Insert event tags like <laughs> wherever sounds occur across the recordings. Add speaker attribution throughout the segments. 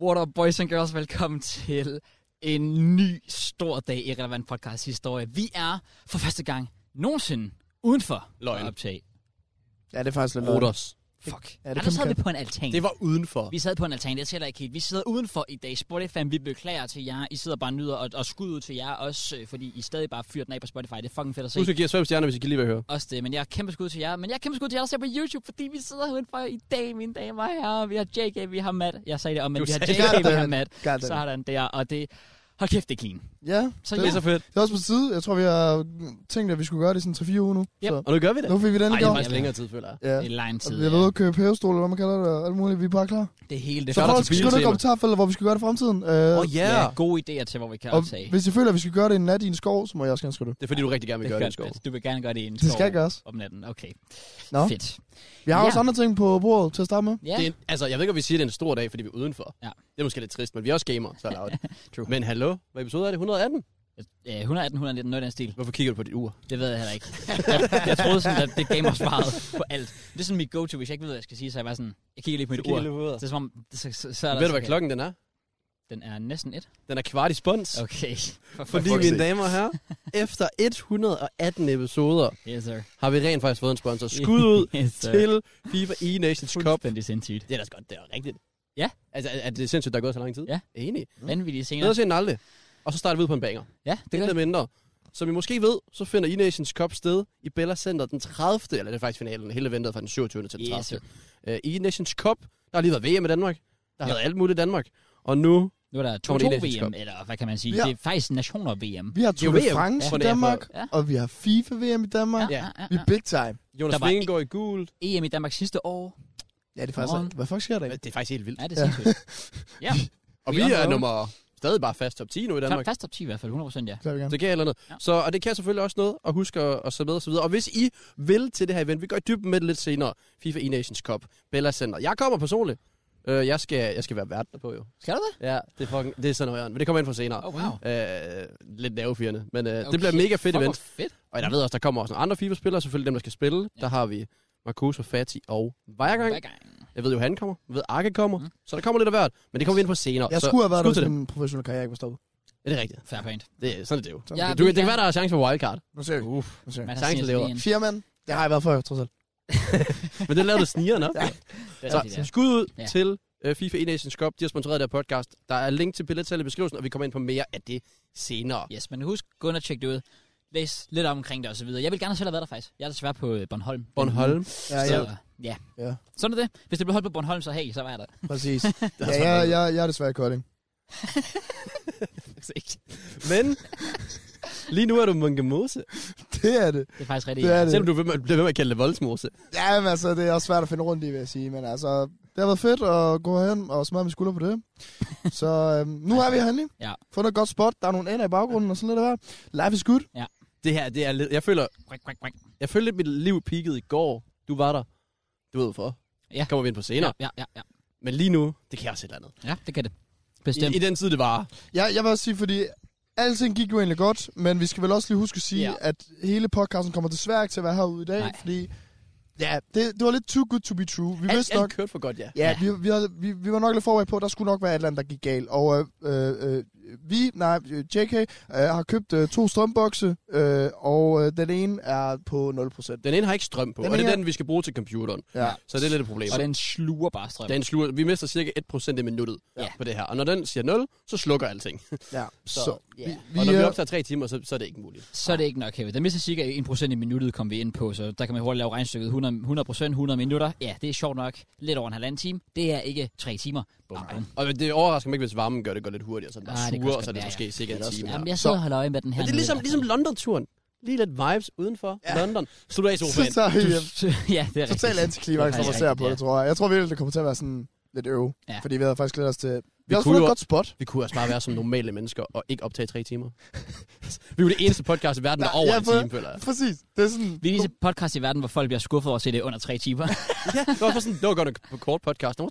Speaker 1: What up, boys and girls? Velkommen til en ny stor dag i Relevant Podcast Historie. Vi er for første gang nogensinde uden for
Speaker 2: Løgn.
Speaker 1: at optage.
Speaker 3: Ja, det er faktisk lidt løgn.
Speaker 2: Rodos.
Speaker 1: Fuck.
Speaker 3: Ja,
Speaker 1: Ja,
Speaker 3: det
Speaker 1: det
Speaker 3: kan
Speaker 1: sad
Speaker 3: man
Speaker 1: vi på en altan.
Speaker 2: Det var udenfor.
Speaker 1: Vi sad på en altan, det tæller ikke helt. Vi sidder udenfor i dag. Spotify, vi beklager til jer. I sidder bare og nyder, og, og skud ud til jer også, øh, fordi I stadig bare fyrer den af på Spotify. Det er fucking fedt at se.
Speaker 2: Husk at give os fem stjerner, hvis I kan lide, hvad I hører.
Speaker 1: Også det, men jeg er kæmpe skud til jer. Men jeg er kæmpe skud til jer, der ser på YouTube, fordi vi sidder udenfor i dag, mine damer og herrer. Vi har JK, vi har Matt. Jeg sagde det om, men
Speaker 2: Du
Speaker 1: vi har
Speaker 2: sagde
Speaker 1: JK,
Speaker 3: det.
Speaker 1: vi har Matt.
Speaker 3: God damn.
Speaker 1: Sådan der, og det... Hold kæft, det er clean.
Speaker 3: Ja,
Speaker 1: Så
Speaker 3: det,
Speaker 1: ja.
Speaker 2: Det er så fedt.
Speaker 3: det er også på tide. Jeg tror, vi har tænkt, at vi skulle gøre det i sådan 3-4 uger nu.
Speaker 1: Yep.
Speaker 3: Så
Speaker 2: Og nu gør vi det.
Speaker 3: nu fik vi den
Speaker 1: Ej,
Speaker 2: Nej,
Speaker 1: det
Speaker 2: det
Speaker 3: gjort.
Speaker 2: er faktisk længere tid, føler jeg.
Speaker 3: Ja.
Speaker 1: Det er lang
Speaker 3: Og
Speaker 1: tid.
Speaker 3: vi har været ude at købe hævestol, eller hvad man kalder det, og alt muligt. Vi er bare klar.
Speaker 1: Det hele, det
Speaker 3: så
Speaker 2: er
Speaker 3: folk
Speaker 2: til
Speaker 3: skal skrive nogle
Speaker 2: biltema.
Speaker 3: kommentarfelter, hvor vi skal gøre det i fremtiden. Uh,
Speaker 2: Åh, ja.
Speaker 1: Ja, gode idéer til, hvor vi kan
Speaker 3: og
Speaker 1: optage.
Speaker 3: hvis I føler, at vi skal gøre det en nat i en skov, så må jeg også gerne skrive det.
Speaker 2: Det er fordi, du rigtig gerne vil
Speaker 1: Det
Speaker 2: gøre
Speaker 1: gør
Speaker 2: det, Skov.
Speaker 1: det. Du vil gerne gøre det i en
Speaker 3: Det
Speaker 1: skov
Speaker 3: skal gøres.
Speaker 1: om natten. Okay,
Speaker 3: Nå.
Speaker 1: fedt.
Speaker 3: Vi har
Speaker 1: Ja.
Speaker 3: også andre ting på bordet til at starte med.
Speaker 1: Ja,
Speaker 2: Det er, en- altså, jeg ved ikke, om vi siger, at det er en stor dag, fordi vi er udenfor.
Speaker 1: Ja.
Speaker 2: Det er måske lidt trist, men vi er også gamere, så er
Speaker 1: True.
Speaker 2: det Men hallo, hvad episode er det? 118?
Speaker 1: øh, 118, 119, noget i den stil.
Speaker 2: Hvorfor kigger du på dit ur?
Speaker 1: Det ved jeg heller
Speaker 2: <laughs>
Speaker 1: ikke. Jeg, jeg troede sådan, at det gav mig svaret på alt. Det er sådan mit go-to, hvis jeg ikke ved, hvad jeg skal sige, så er jeg bare sådan, jeg kigger lige på mit ur.
Speaker 2: ur.
Speaker 1: Det er som om, det- så, så, så er der
Speaker 2: Ved du, hvad
Speaker 1: okay.
Speaker 2: klokken den er?
Speaker 1: Den er næsten et.
Speaker 2: Den er kvart i spons.
Speaker 1: Okay. For,
Speaker 2: Fordi,
Speaker 3: fuck's
Speaker 2: mine
Speaker 3: sake.
Speaker 2: damer og herrer, efter 118 episoder,
Speaker 1: Yes, sir.
Speaker 2: har vi rent faktisk fået en sponsor. Skud
Speaker 1: <laughs>
Speaker 2: ud
Speaker 1: yes, sir.
Speaker 2: til FIFA E-Nations Cup.
Speaker 1: Fuldstændig sindssygt.
Speaker 2: Det er da godt, det er rigtigt.
Speaker 1: Ja.
Speaker 2: Altså, er, er det sindssygt, der er gået så lang tid?
Speaker 1: Ja.
Speaker 2: Enig.
Speaker 1: Vanvittige scener.
Speaker 2: Bedre sent end aldrig. Og så starter vi ud på en banger.
Speaker 1: Ja, det gør
Speaker 2: Intet
Speaker 1: det.
Speaker 2: mindre. Som I måske ved, så finder E-Nations Cup sted i Bella Center den 30. Eller det er faktisk finalen. Hele ventet fra den 27. til den
Speaker 1: Yes,
Speaker 2: 30. Øh, E-Nations Cup. Der har lige været VM i Danmark. Der har
Speaker 1: Ja.
Speaker 2: været alt muligt i Danmark. Og nu...
Speaker 1: Nu er der
Speaker 2: Kommer det
Speaker 1: 2-2
Speaker 2: ind i
Speaker 1: VM,
Speaker 2: Cup?
Speaker 1: eller hvad kan man sige?
Speaker 3: Ja.
Speaker 1: Det er faktisk nationer-VM.
Speaker 3: Vi har
Speaker 2: Det er jo
Speaker 3: Tour de
Speaker 2: VM.
Speaker 3: France
Speaker 2: Ja.
Speaker 3: i Danmark,
Speaker 1: Ja.
Speaker 3: og vi har FIFA-VM i Danmark.
Speaker 1: Ja, ja,
Speaker 3: Vi
Speaker 1: ja.
Speaker 3: er big time.
Speaker 2: Jonas
Speaker 1: Der var
Speaker 2: Vingegaard i gult.
Speaker 1: EM i Danmark sidste år.
Speaker 3: Ja, det er faktisk...
Speaker 1: Godmorgen.
Speaker 3: Hvad fuck sker der?
Speaker 2: Det er faktisk helt vildt.
Speaker 1: Ja, det er sindssygt.
Speaker 2: Og
Speaker 1: Vi
Speaker 2: vi
Speaker 1: er
Speaker 2: er
Speaker 1: oppe.
Speaker 2: nummer... Stadig bare fast top 10 nu i
Speaker 1: Top,
Speaker 2: Danmark.
Speaker 1: fast top 10 i hvert fald, 100% ja.
Speaker 3: Så er vi i gang.
Speaker 2: Det kan eller noget.
Speaker 1: Ja.
Speaker 2: Så, og det kan selvfølgelig også noget, og husk at, at se med og så videre. Og hvis I vil til det her event, vi går i dybden med det lidt senere. FIFA E-Nations Cup, Bella Center. Jeg kommer personligt. Øh, jeg, skal, jeg skal være vært på jo.
Speaker 1: Skal du det?
Speaker 2: Ja, det er, fucking, det er sådan noget, men det kommer ind for senere.
Speaker 1: Oh, wow.
Speaker 2: Øh, lidt nervefirrende, men øh, okay.
Speaker 1: Okay,
Speaker 2: det bliver et mega fedt
Speaker 1: Fuck,
Speaker 2: event.
Speaker 1: hvor fedt.
Speaker 2: Og der ved også, der kommer også nogle andre FIFA-spillere, selvfølgelig dem, der skal spille. Ja. Der har vi Marcus og Fati og Vejergang.
Speaker 1: Hver gang.
Speaker 2: Jeg ved jo, han kommer. Jeg ved, Arke kommer. Mm. Så der kommer lidt af hvert, men det kommer vi ind på senere.
Speaker 3: Jeg
Speaker 2: så,
Speaker 3: skulle have været der,
Speaker 2: skud til
Speaker 3: hvis
Speaker 2: dem.
Speaker 3: min professionelle karriere ikke var stoppet.
Speaker 2: Ja, det er rigtigt.
Speaker 1: Fair point.
Speaker 2: Det, er- sådan er det jo.
Speaker 3: Så-
Speaker 1: Ja,
Speaker 2: Ja,
Speaker 1: vi
Speaker 2: du, det kan
Speaker 1: kan-
Speaker 2: være, der er chance for wildcard.
Speaker 3: Nu ser vi.
Speaker 2: Uff.
Speaker 3: Nu ser vi.
Speaker 1: Man
Speaker 2: Chancen lever.
Speaker 3: Fire mand. Det har jeg været før, trods alt.
Speaker 2: Men det lavede du
Speaker 1: <laughs>
Speaker 2: snigeren op.
Speaker 3: Ja.
Speaker 2: Så skud ud
Speaker 1: Ja.
Speaker 2: ja. til øh, FIFA E-Nations Cup. De har sponsoreret det her podcast. Der er link til billetsalget i beskrivelsen, og vi kommer ind på mere af det senere.
Speaker 1: Yes, men husk, gå ind og tjek det ud. Læs lidt omkring det og så videre. Jeg vil gerne selv have været der faktisk. Jeg er desværre på øh, Bornholm.
Speaker 2: Bornholm.
Speaker 1: <laughs>
Speaker 3: Ja,
Speaker 1: Ja,
Speaker 3: ja,
Speaker 1: ja. ja.
Speaker 3: ja.
Speaker 1: Sådan er det. Hvis det bliver holdt på Bornholm, så hey, så var jeg der. <laughs>
Speaker 3: Præcis.
Speaker 2: Der er
Speaker 3: ja,
Speaker 2: så
Speaker 3: jeg,
Speaker 2: meget.
Speaker 3: jeg, jeg er desværre i Kolding. <laughs>
Speaker 2: Men lige nu er du Munkemose.
Speaker 3: Det er det.
Speaker 1: Det er faktisk rigtig
Speaker 3: Det er det.
Speaker 2: Selvom du bliver ved med- bliver ved med at kalde det voldsmose.
Speaker 3: Ja, men altså, det er også svært at finde rundt i, vil jeg sige. Men altså, det har været fedt at gå hen og smadre min skulder på
Speaker 1: <laughs>
Speaker 3: det. så øhm, nu er vi herinde.
Speaker 1: Ja.
Speaker 3: Fundet et godt spot. Der er nogle ender i baggrunden og sådan lidt af hvert. Life is good.
Speaker 2: Det her, det er lidt... Jeg føler,
Speaker 1: Quack, quack, quack.
Speaker 2: jeg føler lidt, mit liv peakede i går. Du var der. Du ved for.
Speaker 1: Ja.
Speaker 2: Kommer vi ind på
Speaker 1: Ja,
Speaker 2: senere. Ja.
Speaker 1: ja, ja, ja.
Speaker 2: Men lige nu, det kan også et eller andet.
Speaker 1: ja, det kan det.
Speaker 2: I,
Speaker 1: Bestemt.
Speaker 2: I, den tid, det var.
Speaker 3: Jeg, jeg vil også sige, fordi alting gik jo egentlig godt, men vi skal vel også lige huske at sige,
Speaker 1: Ja.
Speaker 3: ja. at hele podcasten kommer desværre ikke til at være herude i dag,
Speaker 1: Nej.
Speaker 3: Nej. fordi ja, det, det var lidt too good to be true. Vi
Speaker 2: Alt,
Speaker 3: vidste nok,
Speaker 2: alt kørte for godt, ja.
Speaker 3: Ja, vi, vi, havde, vi, vi var nok lidt forberedt på, at der skulle nok være et eller andet, der gik galt. Og øh, øh, øh, vi, nej, øh, JK, øh, har købt øh, to strømbokse, øh, og øh, den ene er på 0%.
Speaker 2: Den ene har ikke strøm på,
Speaker 3: Den
Speaker 2: og det er
Speaker 3: ene-
Speaker 2: den, vi skal bruge til computeren.
Speaker 3: Ja.
Speaker 2: Så det er lidt et problem.
Speaker 1: Og den sluger bare strøm.
Speaker 2: Den sluger, vi mister cirka 1% i minuttet
Speaker 1: Ja.
Speaker 2: ja. på det her. Og når den siger 0, så slukker alting.
Speaker 3: ja. Så,
Speaker 2: Så,
Speaker 1: ja.
Speaker 3: vi,
Speaker 2: og når
Speaker 3: vi,
Speaker 2: vi
Speaker 3: øh,
Speaker 2: optager 3 timer, så, så er det ikke muligt.
Speaker 1: Så er det ikke nok, Kevin. Den mister cirka 1% i minuttet, kom vi ind på, så der kan man hurtigt lave regnstykket 100, 100%, 100 minutter. Ja, det er sjovt nok. Lidt over en halvanden time. Det er ikke tre timer. Bum, bum.
Speaker 2: Og det overrasker mig ikke, hvis varmen gør det går lidt hurtigere, så den bare
Speaker 1: Ah, det kan
Speaker 2: suger,
Speaker 1: også
Speaker 2: og så er
Speaker 1: godt
Speaker 2: det
Speaker 1: være,
Speaker 2: måske cirka en
Speaker 3: Det er også
Speaker 2: time.
Speaker 3: fair.
Speaker 2: her.
Speaker 1: Jamen, jeg sidder og holder øje med den her.
Speaker 2: Men det er
Speaker 1: nede.
Speaker 2: ligesom,
Speaker 1: <laughs>
Speaker 2: ligesom <laughs> London-turen. Lige lidt vibes udenfor. Ja. London. Slut af i
Speaker 3: så
Speaker 2: sofaen.
Speaker 3: tager vi hjem.
Speaker 1: <laughs> ja, det er rigtigt.
Speaker 3: Total antiklimaks, når man ser på
Speaker 1: Ja.
Speaker 3: det, tror jeg. Jeg tror virkelig, det kommer til at være sådan lidt øv,
Speaker 1: Ja.
Speaker 3: ja. fordi vi havde faktisk glædet os til... Vi,
Speaker 2: Vi
Speaker 3: har også
Speaker 2: kunne
Speaker 3: fundet
Speaker 2: jo-
Speaker 3: et godt spot.
Speaker 2: Vi kunne også bare være som normale mennesker og ikke optage tre timer. vi er jo det eneste podcast i verden, der er
Speaker 3: Nej,
Speaker 2: over
Speaker 3: jeg
Speaker 2: en
Speaker 3: ved-
Speaker 2: time, føler jeg.
Speaker 3: Præcis. Det er sådan...
Speaker 1: Vi er lige et podcast i verden, hvor folk bliver skuffet over at se det under tre timer.
Speaker 2: Ja, det var, sådan, det var godt nok på kort podcast. Nummer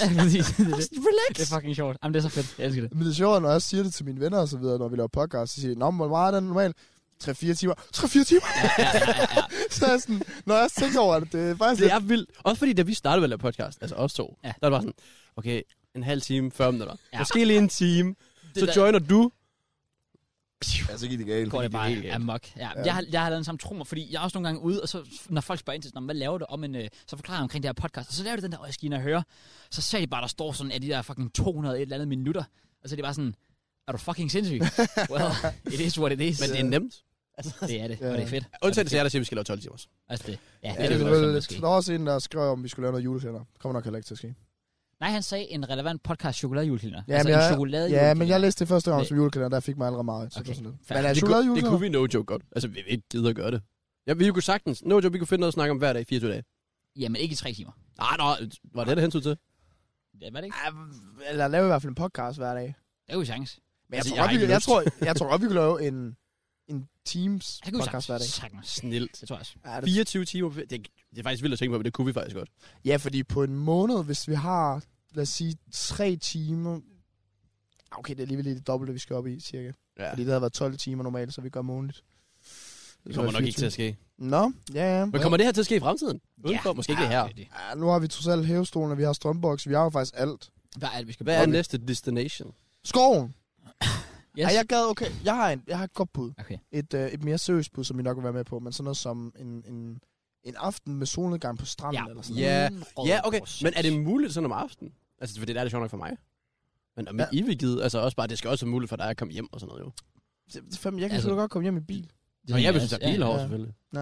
Speaker 1: <laughs> Ja, præcis. det, er det.
Speaker 2: Relax.
Speaker 1: det er fucking sjovt. Jamen, det er så fedt. Jeg elsker
Speaker 2: <laughs>
Speaker 1: det.
Speaker 3: Men det er sjovt, når jeg siger det til mine venner og så videre, når vi laver podcast, så siger de, Nå, men hvor meget er den normalt? 3-4 timer. 3-4 timer? så er jeg sådan, når jeg tænker over det, det er faktisk
Speaker 2: Det er vildt. Også fordi, da vi startede med at lave podcast, altså os to,
Speaker 1: Ja.
Speaker 2: ja. der var det bare sådan, okay, en halv time, 40 minutter.
Speaker 1: Ja.
Speaker 2: Ja. Måske lige en time.
Speaker 1: Det
Speaker 2: så
Speaker 1: der-
Speaker 2: joiner du.
Speaker 4: Ja, så gik det galt.
Speaker 1: går det bare
Speaker 2: helt galt.
Speaker 1: amok. Ja, ja. Jeg, har, jeg har lavet den samme trummer, fordi jeg er også nogle gange ude, og så når folk spørger ind til sådan, "Nå, hvad laver du om en, øh, så forklarer jeg omkring det her podcast, og så laver de den der, og jeg skal ind og høre, så ser de bare, der står sådan, at de der fucking 200 et eller andet minutter, og så er de bare sådan, er du fucking sindssyg? well, it is what it is.
Speaker 2: Men det er nemt.
Speaker 1: <laughs> det er det,
Speaker 3: Ja.
Speaker 1: og Altså, det er fedt.
Speaker 2: Undtagen til jer, der siger, at vi skal lave 12 timer.
Speaker 1: Altså det, ja, det,
Speaker 3: Ja,
Speaker 1: er
Speaker 3: det
Speaker 1: det,
Speaker 3: er
Speaker 1: det,
Speaker 3: vel
Speaker 1: det,
Speaker 3: lidt. Der er også en, der skrev, om vi skulle lave noget julesender. Kommer nok heller ikke til at ske.
Speaker 1: Nej, han sagde en relevant podcast chokoladejulekalender.
Speaker 3: Ja,
Speaker 1: Ja, altså
Speaker 3: men jeg-
Speaker 1: en chokoladejulekalender.
Speaker 3: Ja, men jeg læste det første gang
Speaker 1: Det-
Speaker 3: som julekalender, der fik mig allerede meget. Så
Speaker 1: Okay,
Speaker 3: okay. det var sådan lidt.
Speaker 1: fair.
Speaker 3: Men
Speaker 2: det, kunne,
Speaker 3: er
Speaker 2: det
Speaker 3: chokoladejulesender?
Speaker 2: kunne vi no joke godt. Altså, vi vi ikke gider at gøre det. Ja, vi kunne sagtens. No joke, vi kunne finde noget at snakke om hver dag i 24 dage.
Speaker 1: Jamen ikke i tre timer.
Speaker 2: Nej, nej, var det det hensyn til?
Speaker 1: Ja, var det ikke?
Speaker 3: Ja, eller lave i hvert fald en podcast hver dag.
Speaker 1: Det er jo en chance.
Speaker 3: Men jeg,
Speaker 2: Altså,
Speaker 3: tror,
Speaker 2: jeg
Speaker 3: godt,
Speaker 2: har
Speaker 3: vi,
Speaker 2: ikke
Speaker 3: jeg,
Speaker 2: lyst.
Speaker 3: tror, jeg tror godt, vi kunne lave en, en Teams
Speaker 1: Det kunne vi
Speaker 3: podcast hver dag.
Speaker 1: sagtens. Sagtens.
Speaker 2: Snilt.
Speaker 1: Det tror jeg også.
Speaker 3: Ja, det,
Speaker 2: 24 timer. Det, det er faktisk vildt at tænke på, men det kunne vi faktisk godt.
Speaker 3: ja, fordi på en måned, hvis vi har, lad os sige, tre timer... Ah, Okay, det er alligevel lige det dobbelte, vi skal op i, cirka.
Speaker 2: Ja,
Speaker 3: Fordi det havde været 12 timer normalt, så vi gør månedligt.
Speaker 2: det kommer nok ikke til at ske.
Speaker 3: Nå, ja, ja.
Speaker 2: Men kommer det her til at ske i fremtiden? Udenfor, måske ikke her.
Speaker 1: det er det.
Speaker 3: Ja, nu har vi trods alt hævestolen, og vi har strømboks, vi har jo faktisk alt.
Speaker 1: Hvad er det, vi skal
Speaker 2: Hvad er
Speaker 1: bruge?
Speaker 2: næste destination?
Speaker 3: Skoven!
Speaker 1: Yes.
Speaker 3: Yes. Ja, jeg gad, okay, jeg har, en, jeg har et godt bud.
Speaker 1: Okay.
Speaker 3: Et, øh, et mere seriøst bud, som I nok vil være med på, men sådan noget som en, en, en aften med solnedgang på stranden. Ja. Eller sådan
Speaker 2: Ja.
Speaker 1: Hundrede
Speaker 2: Ja, okay.
Speaker 1: procent.
Speaker 2: Men er det muligt sådan om aftenen? Altså, for det er det sjovt nok for mig. Men om
Speaker 3: Ja.
Speaker 2: ja. I vil gide, altså også bare, det skal også være muligt for dig at komme hjem og sådan noget jo.
Speaker 3: noget. Det- Fem, jeg kan
Speaker 1: Altså-
Speaker 3: altså, godt komme hjem i bil.
Speaker 1: Det
Speaker 2: Og
Speaker 1: tænker
Speaker 2: jeg vil synes, at
Speaker 1: også.
Speaker 2: biler
Speaker 1: Ja,
Speaker 2: over
Speaker 3: ja.
Speaker 2: selvfølgelig.
Speaker 3: Ja.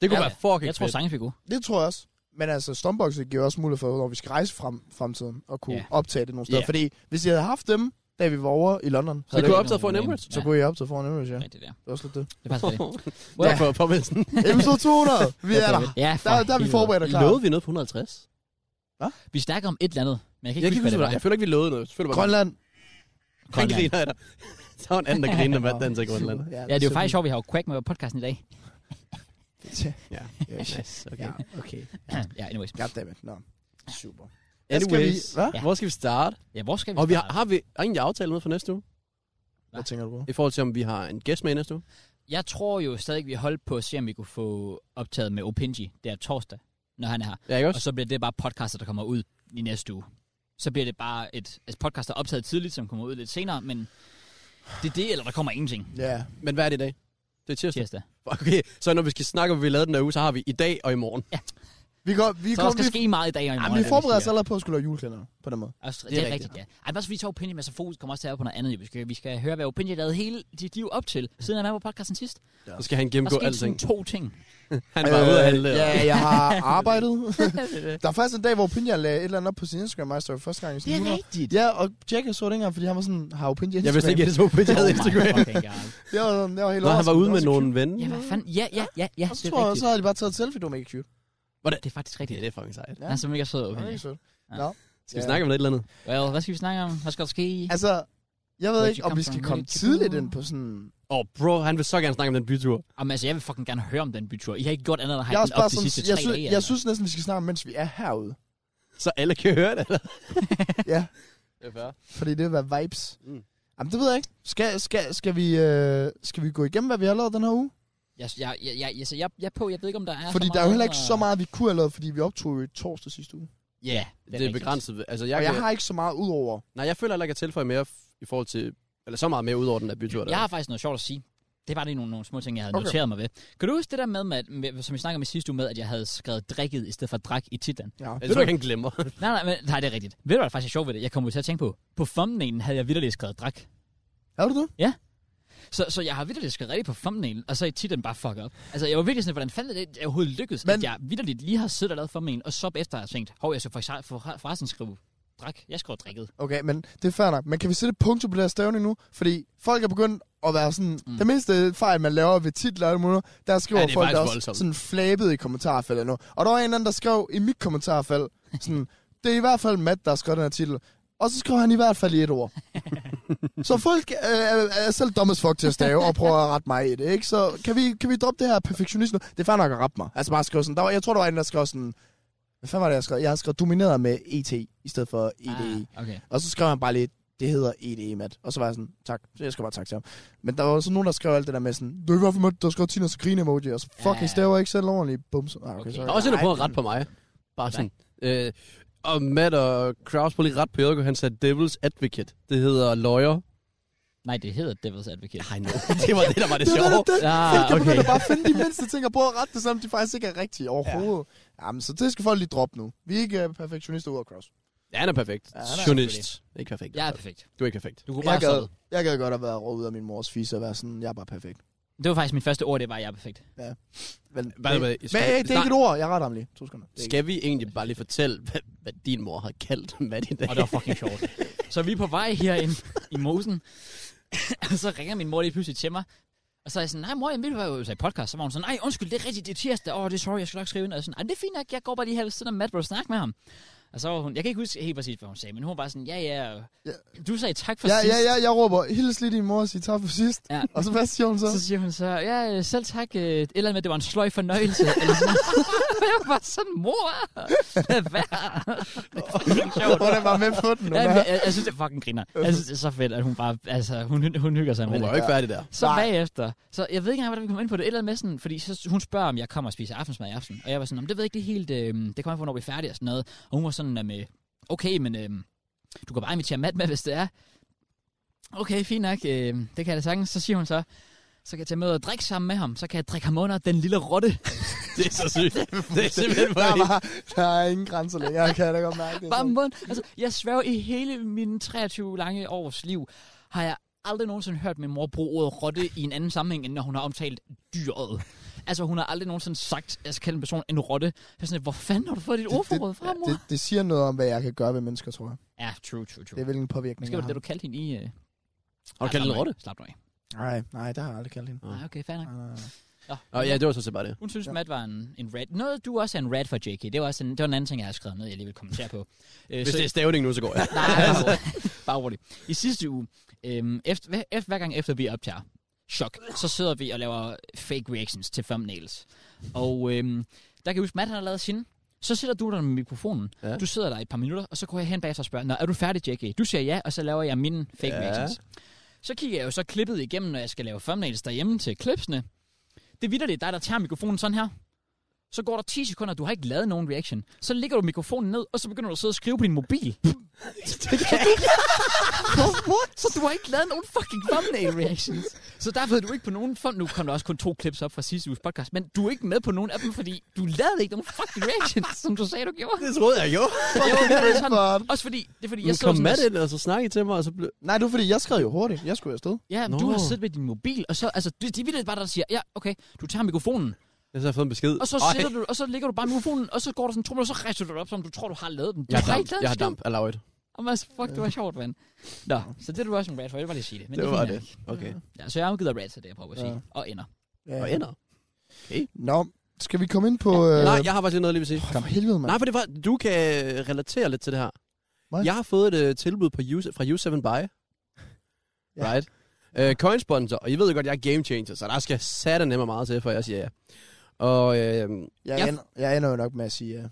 Speaker 2: Det kunne
Speaker 1: Ja,
Speaker 2: være fucking
Speaker 1: Jeg tror,
Speaker 2: fedt.
Speaker 1: sangen fik god.
Speaker 3: Det tror jeg også. Men altså, strømbokset giver også mulighed for, når vi skal rejse frem fremtiden, og kunne
Speaker 1: Ja.
Speaker 3: yeah. optage det nogle steder.
Speaker 2: Ja.
Speaker 3: Yeah. Fordi hvis I havde haft dem, da vi var over i London,
Speaker 2: Vi
Speaker 3: så, det,
Speaker 2: kunne
Speaker 3: kunne,
Speaker 2: optage for en Emirates.
Speaker 3: så kunne I optage foran Emirates, ja. Det
Speaker 1: Rigtigt, ja.
Speaker 3: var også lidt det.
Speaker 1: Det passer
Speaker 2: <laughs>
Speaker 1: det.
Speaker 2: Ja. for påmeldelsen.
Speaker 3: Episode 200! Vi er der!
Speaker 1: Ja, for
Speaker 3: Der, der er vi
Speaker 1: helvede.
Speaker 3: forberedt og klar.
Speaker 2: Lovede vi noget på 150?
Speaker 1: Vi snakker om et eller andet, men jeg kan ikke
Speaker 2: Jeg, kan ikke
Speaker 1: huske,
Speaker 2: huske,
Speaker 1: hvad
Speaker 2: hvad
Speaker 1: det
Speaker 2: jeg føler ikke, vi lovede noget. Jeg føler bare,
Speaker 3: Grønland.
Speaker 1: var.
Speaker 2: Grønland.
Speaker 1: Grønland.
Speaker 2: griner af dig. Så var en anden, <laughs> der griner, hvad den til Grønland.
Speaker 1: Ja, det er jo
Speaker 3: simpelthen-
Speaker 1: faktisk sjovt, vi har jo Quack med på podcasten i dag.
Speaker 2: Ja,
Speaker 3: Yes.
Speaker 2: yes, okay.
Speaker 3: Ja, okay.
Speaker 1: ja, anyways.
Speaker 3: Goddammit. Nå. Super. Hvad skal
Speaker 2: Anyways,
Speaker 3: vi- hvad?
Speaker 2: ja. hvor skal vi starte?
Speaker 1: Ja, hvor skal vi
Speaker 2: Og vi har,
Speaker 1: starte?
Speaker 2: har vi egentlig aftalt noget for næste uge?
Speaker 3: Hvad tænker du på?
Speaker 2: I forhold til, om vi har en gæst med i næste uge?
Speaker 1: Jeg tror jo stadig, vi holdt på at se, om vi kunne få optaget med Opinji der torsdag, når han er her.
Speaker 2: Ja, ikke
Speaker 1: Og
Speaker 2: også?
Speaker 1: så bliver det bare podcaster, der kommer ud i næste uge. Så bliver det bare et altså podcast, der er optaget tidligt, som kommer ud lidt senere, men det er det, eller der kommer ingenting
Speaker 3: Ja.
Speaker 2: Men hvad er det i dag? Det er tirsdag.
Speaker 1: tirsdag.
Speaker 2: Okay, så når vi skal snakke om, hvad vi lavede den her uge, så har vi i dag og i morgen.
Speaker 3: Vi, går, vi,
Speaker 1: Så
Speaker 3: kom,
Speaker 1: der skal
Speaker 3: vi,
Speaker 1: ske meget i dag og i morgen.
Speaker 3: jamen,
Speaker 1: er
Speaker 3: vi
Speaker 1: det,
Speaker 3: forbereder os
Speaker 1: siger.
Speaker 3: allerede på at skulle lave juleklænder på den måde.
Speaker 1: Altså, det,
Speaker 2: Det
Speaker 1: er
Speaker 2: er
Speaker 1: rigtigt,
Speaker 2: rigtigt,
Speaker 1: ja. Ej, bare så vi tager Opinion med, så fokus kommer også til at være på noget andet. Vi skal, vi skal høre, hvad Opinion lavede hele dit liv op til, siden han var på podcasten sidst.
Speaker 2: Så skal han
Speaker 1: Der
Speaker 2: gennemgå
Speaker 1: skete sådan
Speaker 2: alting.
Speaker 1: to
Speaker 3: <laughs>
Speaker 1: ting.
Speaker 2: Han var ude at handle.
Speaker 3: Øh, Ja, jeg
Speaker 1: <laughs>
Speaker 3: har arbejdet. <laughs> der er faktisk en dag, hvor Pinja lagde et eller andet op på sin Instagram, og for første gang i
Speaker 1: Det
Speaker 3: sin
Speaker 1: er
Speaker 3: uger.
Speaker 1: rigtigt.
Speaker 3: Ja, og Jack jeg så det ikke engang, fordi han var sådan, har jo Pinja Instagram.
Speaker 2: Jeg vidste ikke, at jeg så på
Speaker 1: Oh
Speaker 2: det
Speaker 1: my
Speaker 2: Instagram.
Speaker 1: fucking god.
Speaker 3: Det var, sådan- det var helt
Speaker 2: Nå, han var
Speaker 3: overraskende.
Speaker 2: ude med
Speaker 3: Det var så
Speaker 2: nogle venner.
Speaker 1: Ja, hvad fanden? Ja, ja, ja, ja,
Speaker 3: cute. Og så,
Speaker 1: det er
Speaker 3: tror jeg,
Speaker 1: rigtigt.
Speaker 3: så havde de bare taget et selfie, du var mega cute.
Speaker 1: Det er faktisk
Speaker 2: Ja,
Speaker 1: rigtigt.
Speaker 2: det er fucking sejt.
Speaker 1: Han er så mega sød,
Speaker 3: Det var
Speaker 1: Opinion.
Speaker 3: mega sødt.
Speaker 2: Skal vi
Speaker 3: Ja.
Speaker 2: snakke om noget eller andet?
Speaker 1: Well, hvad skal vi snakke om? Hvad skal der ske?
Speaker 3: Altså, jeg ved
Speaker 1: Where'd
Speaker 3: ikke,
Speaker 1: you
Speaker 3: om
Speaker 1: come
Speaker 3: vi skal
Speaker 1: from? Where
Speaker 3: komme
Speaker 1: did you
Speaker 3: tidligt
Speaker 1: go?
Speaker 3: ind på sådan...
Speaker 2: Åh, oh, bro, han vil så gerne snakke om den bytur.
Speaker 1: Jamen, altså, jeg vil fucking gerne høre om den bytur. I har ikke gjort andet end at
Speaker 3: Jeg, er
Speaker 1: have
Speaker 3: også
Speaker 1: den op
Speaker 3: bare
Speaker 1: de
Speaker 3: sådan,
Speaker 1: sidste
Speaker 3: jeg,
Speaker 1: tre
Speaker 3: sy-
Speaker 1: dage. altså.
Speaker 3: jeg synes næsten, vi skal snakke, om, mens vi er
Speaker 1: <laughs>
Speaker 3: herude.
Speaker 2: Så alle kan høre det, Mm. eller?
Speaker 3: Ja.
Speaker 2: Det er fair.
Speaker 3: Fordi det vil være vibes.
Speaker 2: Mm.
Speaker 3: Mm. Jamen, det ved jeg ikke. Skal, skal, skal, vi, øh, skal vi gå igennem, hvad vi har lavet den her uge?
Speaker 1: Jeg, jeg, jeg, jeg, jeg, så jeg, jeg er på, jeg ved ikke, om der er
Speaker 3: Ja,
Speaker 1: så
Speaker 3: fordi
Speaker 1: meget
Speaker 3: der er jo heller ikke
Speaker 1: andet
Speaker 3: så
Speaker 1: at-
Speaker 3: meget, vi kunne have lavet, fordi vi optog jo i torsdag sidste uge.
Speaker 2: Ja,
Speaker 1: er
Speaker 2: det er,
Speaker 1: rigtigt.
Speaker 2: begrænset. Altså,
Speaker 3: Jeg
Speaker 2: jeg,
Speaker 3: og
Speaker 2: kan,
Speaker 3: jeg har ikke så meget ud over.
Speaker 2: Nej, jeg føler heller ikke, at tilføje mere f- i forhold til... Eller så meget mere ud over den der bytur. Der.
Speaker 1: Jeg har faktisk noget sjovt at sige. Det var lige nogle, nogle små ting, jeg havde okay.
Speaker 3: Okay.
Speaker 1: noteret mig ved. Kan du huske det der med, med, med som vi snakkede om i sidste uge, med, at jeg havde skrevet drikket i stedet for drak i titlen?
Speaker 3: Ja.
Speaker 2: Jeg tror ikke, han glemmer.
Speaker 1: Nej, nej, men, nej, det er rigtigt. Ved du, hvad der faktisk er sjovt ved det? Jeg kom jo til at tænke på, på thumbnailen havde jeg vidderligt skrevet drak.
Speaker 3: Er du det?
Speaker 1: Så, så jeg har vidderligt skrevet rigtigt på thumbnailen, og så er titlen bare fuck op. Altså, jeg var virkelig sådan, hvordan fanden er det jeg overhovedet lykkedes, men...
Speaker 3: Men-
Speaker 1: at jeg vidderligt lige har siddet og lavet thumbnailen, og så efter har jeg tænkt, hov, jeg skal for, for, for, forresten skrive drak. Jeg skriver drikket.
Speaker 3: Okay, men det er fair nok. Men kan vi sætte et punktum på det her stævning nu? Fordi folk er begyndt at være sådan...
Speaker 1: Mm.
Speaker 3: Mm. Den mindste fejl, man laver ved titler og alt muligt, der
Speaker 2: Ja,
Speaker 3: skriver ja,
Speaker 2: det er
Speaker 3: folk
Speaker 2: faktisk
Speaker 3: også
Speaker 2: voldsomt.
Speaker 3: sådan flabet i kommentarfeltet nu. Og der var en eller anden, der skrev i mit kommentarfelt, sådan, <laughs> det er i hvert fald Matt, der har skrevet den her titel. Og så skrev han i hvert fald i et
Speaker 2: <laughs>
Speaker 3: ord. så folk øh, er- er selv dumme as fuck til at stave og prøver at rette mig i det, ikke? Så kan vi, kan vi droppe det her perfektionist nu? Det er fair nok at rette mig. Altså bare skrive sådan, der var, jeg tror, der var en, der skrev sådan, hvad fanden var det, jeg skrev? Jeg har skrevet domineret med ET i stedet for EDE. Ah.
Speaker 1: Ah, okay.
Speaker 3: Og så skrev han bare lige, det hedder EDE, Matt. Og så var jeg sådan, tak. Så jeg skal bare tak til ham. Men der var også nogen, der skrev alt det der med sådan, du er ikke hvorfor, Matt, der skrev Tina så grine emoji. Og så, fuck,
Speaker 1: Ja.
Speaker 3: ja. I staver ikke selv ordentligt. Bum, så, ah, okay,
Speaker 1: Okay.
Speaker 3: okay. Så,
Speaker 2: Der er også en, der prøver at rette på mig. Bare sådan. Øh, Og Matt og Kraus på lige ret på Jørgen, han sagde Devil's Advocate. Det hedder
Speaker 3: <laughs>
Speaker 2: lawyer.
Speaker 1: Nej, det hedder Devil's Advocate.
Speaker 2: Nej, nej. Det var det, der var det
Speaker 3: Det er
Speaker 2: sjove.
Speaker 3: det, <laughs> det.
Speaker 1: Ah,
Speaker 3: Folk kan
Speaker 2: okay.
Speaker 3: begynde at bare finde de mindste ting og prøve at rette det, selvom de faktisk ikke er rigtige overhovedet. Ja. Jamen, så det skal folk lige droppe nu. Vi er ikke uh, perfektionister over cross.
Speaker 2: Ja, han er perfekt.
Speaker 3: Ja, han er
Speaker 2: Journalist. Ikke perfekt.
Speaker 1: Jeg er perfekt.
Speaker 2: Du er ikke perfekt.
Speaker 1: Du kunne
Speaker 3: Jeg
Speaker 1: bare
Speaker 3: gad,
Speaker 1: stoppe.
Speaker 3: jeg gad godt at være råd ud af min mors fisse og være sådan, jeg er bare perfekt.
Speaker 1: Det var faktisk min første ord, det var, jeg er perfekt.
Speaker 3: Men,
Speaker 2: By the way,
Speaker 3: men,
Speaker 2: skal-
Speaker 3: hey, det er ikke et ord. Jeg retter ham lige. To sekunder. Det er ikke-
Speaker 2: Skal vi egentlig bare lige fortælle, hvad, hvad din mor har kaldt Matt i
Speaker 1: <laughs>
Speaker 2: dag?
Speaker 1: Og det var fucking sjovt. så vi er på vej herind i mosen, <laughs> og så ringer min mor lige pludselig til mig. Og så er jeg sådan, nej mor, jeg var jo i podcast, så var hun sådan, nej undskyld, det er rigtigt, det er tirsdag, åh, det er sorry, jeg skal nok skrive ind. Og jeg er sådan, nej, det er fint nok, jeg går bare lige her ved siden af Matt, hvor snakke med ham. Og så var hun, jeg kan ikke huske helt præcis, hvad hun sagde, men hun var bare sådan, ja, ja, du sagde tak for
Speaker 3: Ja,
Speaker 1: sidst.
Speaker 3: ja, ja, jeg råber, hils lige din mor og sig tak for sidst.
Speaker 1: Ja.
Speaker 3: Og så hvad siger hun så?
Speaker 1: Så siger hun så, ja, øh, selv tak, øh, et eller andet med, det var en sløj fornøjelse. <laughs> eller sådan noget. jeg var sådan, mor, lad være. det <laughs> er fucking sjovt.
Speaker 3: Hvordan var med på den?
Speaker 1: Ja,
Speaker 3: hun
Speaker 1: jeg,
Speaker 3: er-
Speaker 1: jeg, jeg synes, det er fucking griner. Jeg synes, det er så fedt, at hun bare, altså, hun, hun hygger sig med
Speaker 2: Hun var jo
Speaker 1: det.
Speaker 2: ikke færdig der.
Speaker 1: Så
Speaker 3: Nej.
Speaker 1: bagefter, så jeg ved ikke engang, hvordan vi kom ind på det, et eller andet med sådan, fordi så, hun spørger, om jeg kommer og spiser aftensmad i aften, og jeg var sådan, "Nå, men det ved jeg ikke lige helt, øh, det kommer an på, når vi er færdige og sådan noget, og hun var sådan, med, okay, men øh, du kan bare invitere Matt med, hvis det er. Okay, fint nok, øh, det kan jeg da sagtens, så siger hun så, så kan jeg tage med og drikke sammen med ham, så kan jeg drikke ham under den lille rotte,
Speaker 2: Det er så sygt. <laughs> det er simpelthen
Speaker 3: Der
Speaker 2: bare...
Speaker 3: er, bare, der er ingen grænser længere, kan jeg da godt mærke det.
Speaker 1: bare mund. Altså, jeg sværger i hele mine 23 lange års liv, har jeg aldrig nogensinde hørt min mor bruge ordet rotte i en anden sammenhæng, end når hun har omtalt dyret. Altså, hun har aldrig nogensinde sagt, at jeg skal kalde en person en rotte. Jeg er sådan, lidt, hvor fanden har du fået dit ordforråd fra, mor?
Speaker 3: det, det siger noget om, hvad jeg kan gøre ved mennesker, tror jeg.
Speaker 1: Ja, true, true, true.
Speaker 3: Det er vel en påvirkning,
Speaker 1: Måske var
Speaker 3: jeg
Speaker 1: det, det, du kaldte hende i... Øh...
Speaker 2: Har du kaldt en rotte?
Speaker 1: Slap nu af.
Speaker 3: har. Nej, nej, det har jeg aldrig kaldt hende.
Speaker 1: Nej, okay, fair nok.
Speaker 3: Nej, nej, nej.
Speaker 2: Nå, ja, det var så set bare det.
Speaker 1: Hun synes,
Speaker 3: Ja.
Speaker 1: ja. Matt var en, en rat. Noget, du også er en rat for, JK. Det var, også en, det var en anden ting, jeg har skrevet ned, jeg lige vil kommentere på. Øh,
Speaker 2: Hvis
Speaker 1: så-
Speaker 2: det er stavning nu, så går jeg.
Speaker 1: <laughs> Nej, bare rolig. Altså, <laughs> bare rolig. I sidste uge, øhm, efter, hver, efter, hver gang efter vi optager, chok, så sidder vi og laver fake reactions til thumbnails. Og øhm, der kan jeg huske, Matt han har lavet sin. Så sidder du der med mikrofonen.
Speaker 2: Ja.
Speaker 1: Ja. Du sidder der i et par minutter, og så går jeg hen bagefter og spørger, Nå, er du færdig, JK? Du siger ja, og så laver jeg mine fake
Speaker 2: Ja.
Speaker 1: ja. reactions. Så kigger jeg jo så klippet igennem, når jeg skal lave thumbnails derhjemme til klipsene. Det er vitterligt dig, der tager mikrofonen sådan her. Så går der 10 sekunder, du har ikke lavet nogen reaction. Så ligger du mikrofonen ned, og så begynder du at sidde og skrive på din mobil. What? Så du har ikke lavet nogen fucking thumbnail reactions. Så der ved du ikke på nogen fund. Nu kom der også kun to klips op fra sidste uges podcast, men du er ikke med på nogen af dem, fordi du lavede ikke nogen fucking reactions, som du sagde, du gjorde.
Speaker 2: <laughs> Det troede jeg <laughs> jo.
Speaker 1: Jeg var virkelig
Speaker 3: Godt.
Speaker 1: Også fordi, det er fordi,
Speaker 2: Nu
Speaker 1: jeg sidder
Speaker 2: kom
Speaker 1: sådan
Speaker 2: Matt
Speaker 1: og-
Speaker 2: ind, og så snakkede I til mig, og så blev...
Speaker 3: Nej, det var fordi, jeg skrev jo hurtigt. Jeg skulle jo afsted.
Speaker 1: Ja, men
Speaker 2: Nå.
Speaker 1: du har siddet med din mobil, og så, altså, det, det er vildt bare, der siger, ja, okay, du tager mikrofonen,
Speaker 2: Jeg så har fået en besked.
Speaker 1: og så,
Speaker 2: Ej,
Speaker 1: sætter du, og så ligger du bare mikrofonen, og så går der sådan to minutter, og så rejser du dig op, som du tror, du har lavet den. Du
Speaker 2: Jeg har
Speaker 1: har
Speaker 2: damp.
Speaker 1: ikke lavet
Speaker 2: Jeg
Speaker 1: en
Speaker 2: har
Speaker 1: skid.
Speaker 2: damp. Allow it.
Speaker 1: Og man, fuck, det var sjovt, mand. Nå, så det er du også en rat for, jeg vil bare lige sige det. Men
Speaker 2: Det
Speaker 1: det,
Speaker 2: var
Speaker 1: er
Speaker 2: det.
Speaker 1: fint nok.
Speaker 2: Okay.
Speaker 1: Ja, så jeg har givet rat til det, jeg prøver at sige.
Speaker 3: Ja.
Speaker 1: Og ender.
Speaker 3: Ja.
Speaker 2: Og ender.
Speaker 3: Nå, skal vi komme ind på... Øh...
Speaker 2: Nej, jeg har faktisk lige noget, jeg lige vil sige.
Speaker 3: For helvede, mand.
Speaker 2: Nej, for det var, du kan øh, relatere lidt til det her.
Speaker 3: Hvad?
Speaker 2: Jeg har fået et uh, tilbud på U- fra U7 Buy.
Speaker 3: <laughs> Ja.
Speaker 2: Right? Uh, coinsponsor, og I ved jo godt, jeg er game changer, så der skal satte nemmere meget til, for jeg siger ja. Og uh,
Speaker 3: Jeg,
Speaker 2: Jeg-
Speaker 3: ender, jeg ender jo nok med at sige ja.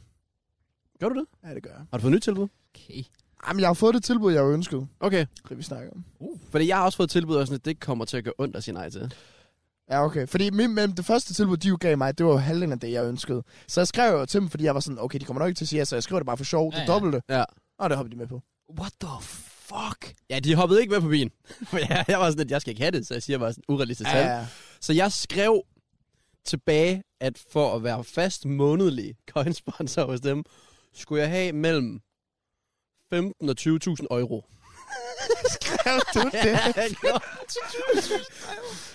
Speaker 2: gør du det?
Speaker 3: Ja, det gør jeg.
Speaker 2: Har du fået et nyt tilbud?
Speaker 1: Okay.
Speaker 3: Jamen, jeg har fået det tilbud, jeg ønskede.
Speaker 2: Okay,
Speaker 3: Det vi snakker om.
Speaker 2: fordi jeg har også fået et tilbud, og sådan, at det kommer til at gøre ondt at sige nej til.
Speaker 3: Ja, okay. Fordi men, men det første tilbud, de jo gav mig, det var jo halvdelen af det, jeg ønskede. Så jeg skrev jo til dem, fordi jeg var sådan, okay, de kommer nok ikke til at sige ja, så jeg skriver det bare for sjov.
Speaker 1: Ja,
Speaker 3: Det
Speaker 1: ja.
Speaker 3: dobbelte.
Speaker 2: Ja.
Speaker 3: Og det hopper de med på.
Speaker 1: What the fuck?
Speaker 2: Ja, de hoppede ikke med på bilen. <laughs> For jeg, jeg var sådan, at jeg skal ikke have det, så jeg siger bare sådan urealistisk tal.
Speaker 3: ja.
Speaker 2: Så jeg skrev tilbage, at for at være fast månedlig coinsponsor hos dem, skulle jeg have mellem 15 og 20.000 euro.
Speaker 3: Skrev du det?
Speaker 2: <laughs>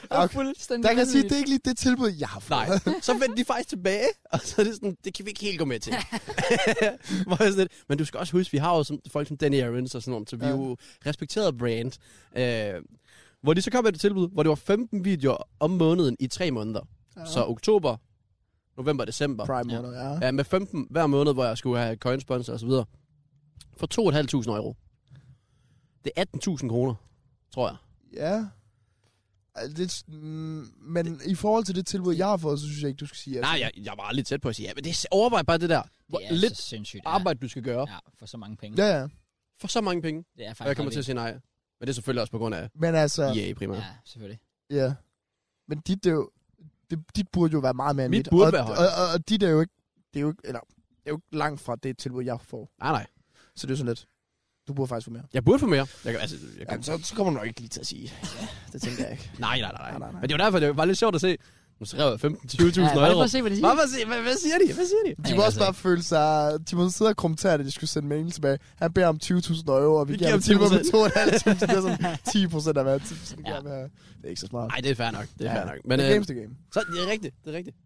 Speaker 3: Okay.
Speaker 1: Fuldstændig
Speaker 3: Der kan jeg sige, det er ikke lige det tilbud, jeg har fået.
Speaker 2: Nej,
Speaker 3: <laughs>
Speaker 2: så vendte de faktisk tilbage, og så er det sådan, det kan vi ikke helt gå med til. Hvor jeg sådan, lidt, men du skal også huske, vi har jo sådan, folk som Danny Aarons og sådan noget, så vi er jo respekteret brand. Øh, hvor de så kom med et tilbud, hvor det var 15 videoer om måneden i tre måneder. Ja. Så oktober, november, december.
Speaker 3: Prime måned, ja.
Speaker 2: Ja, med 15 hver måned, hvor jeg skulle have coinsponsor og så videre. For 2.500 euro. Det er 18.000 kroner, tror jeg.
Speaker 3: Ja. Altså, Det, mm, men i forhold til det tilbud, jeg har fået, så synes jeg ikke, du skal sige ja.
Speaker 2: Nej, jeg, jeg var lidt tæt på at sige, ja, men det er, overvej bare det der. Hvor
Speaker 1: det er
Speaker 2: det lidt
Speaker 1: så sindssygt.
Speaker 2: arbejde, du skal gøre
Speaker 1: Ja, ja, for så mange penge.
Speaker 3: Ja, ja.
Speaker 2: for så mange penge.
Speaker 1: Det er
Speaker 2: Og
Speaker 1: faktisk
Speaker 2: jeg kommer
Speaker 1: ret
Speaker 2: til at sige nej. Men det er selvfølgelig også på grund af
Speaker 3: Men altså,
Speaker 2: ja.
Speaker 3: yeah.
Speaker 2: EA primært.
Speaker 1: vildt.
Speaker 2: Ja.
Speaker 1: Ja, selvfølgelig.
Speaker 3: ja. Men dit, det er jo, det, dit burde jo være meget mere end
Speaker 2: Mit
Speaker 3: mit.
Speaker 2: burde
Speaker 3: og,
Speaker 2: være
Speaker 3: og,
Speaker 2: højt.
Speaker 3: og, og, dit er jo ikke, det er jo ikke, eller, det er jo ikke langt fra det tilbud, jeg får.
Speaker 2: Nej, nej.
Speaker 3: Så det er sådan lidt, du burde faktisk få mere.
Speaker 2: Jeg burde få mere. Jeg, kan- altså, jeg, kan-
Speaker 3: Jamen, så, så kommer du nok ikke lige til at sige. Ja, det tænker jeg ikke.
Speaker 2: nej, nej, nej,
Speaker 3: Nej,
Speaker 2: nej,
Speaker 3: nej, nej.
Speaker 2: Men det var derfor, det var lidt sjovt at se. Nu skrev
Speaker 1: Ja,
Speaker 2: jeg 15-20.000 ja,
Speaker 1: bare lige
Speaker 2: euro.
Speaker 1: for at se, hvad det siger.
Speaker 2: Bare for at se, hvad, hvad siger de? Hvad siger de?
Speaker 3: De må også bare føle sig... De må sidde og kommentere det, de skulle sende mail tilbage. Han beder om 20.000 euro, og vi,
Speaker 2: Vi
Speaker 3: giver
Speaker 2: giver
Speaker 3: ham
Speaker 2: ham
Speaker 3: tilbud med 2.500. Det er
Speaker 2: <laughs>
Speaker 3: sådan 10 procent af hver tip. Sådan
Speaker 2: Ja.
Speaker 3: ja. Det er ikke så smart.
Speaker 2: Nej, det er fair nok. Det er
Speaker 3: Ja.
Speaker 2: fair nok.
Speaker 3: Men,
Speaker 2: Men
Speaker 3: det
Speaker 2: øh,
Speaker 3: er games to game.
Speaker 2: så, det er rigtigt. Det er rigtigt.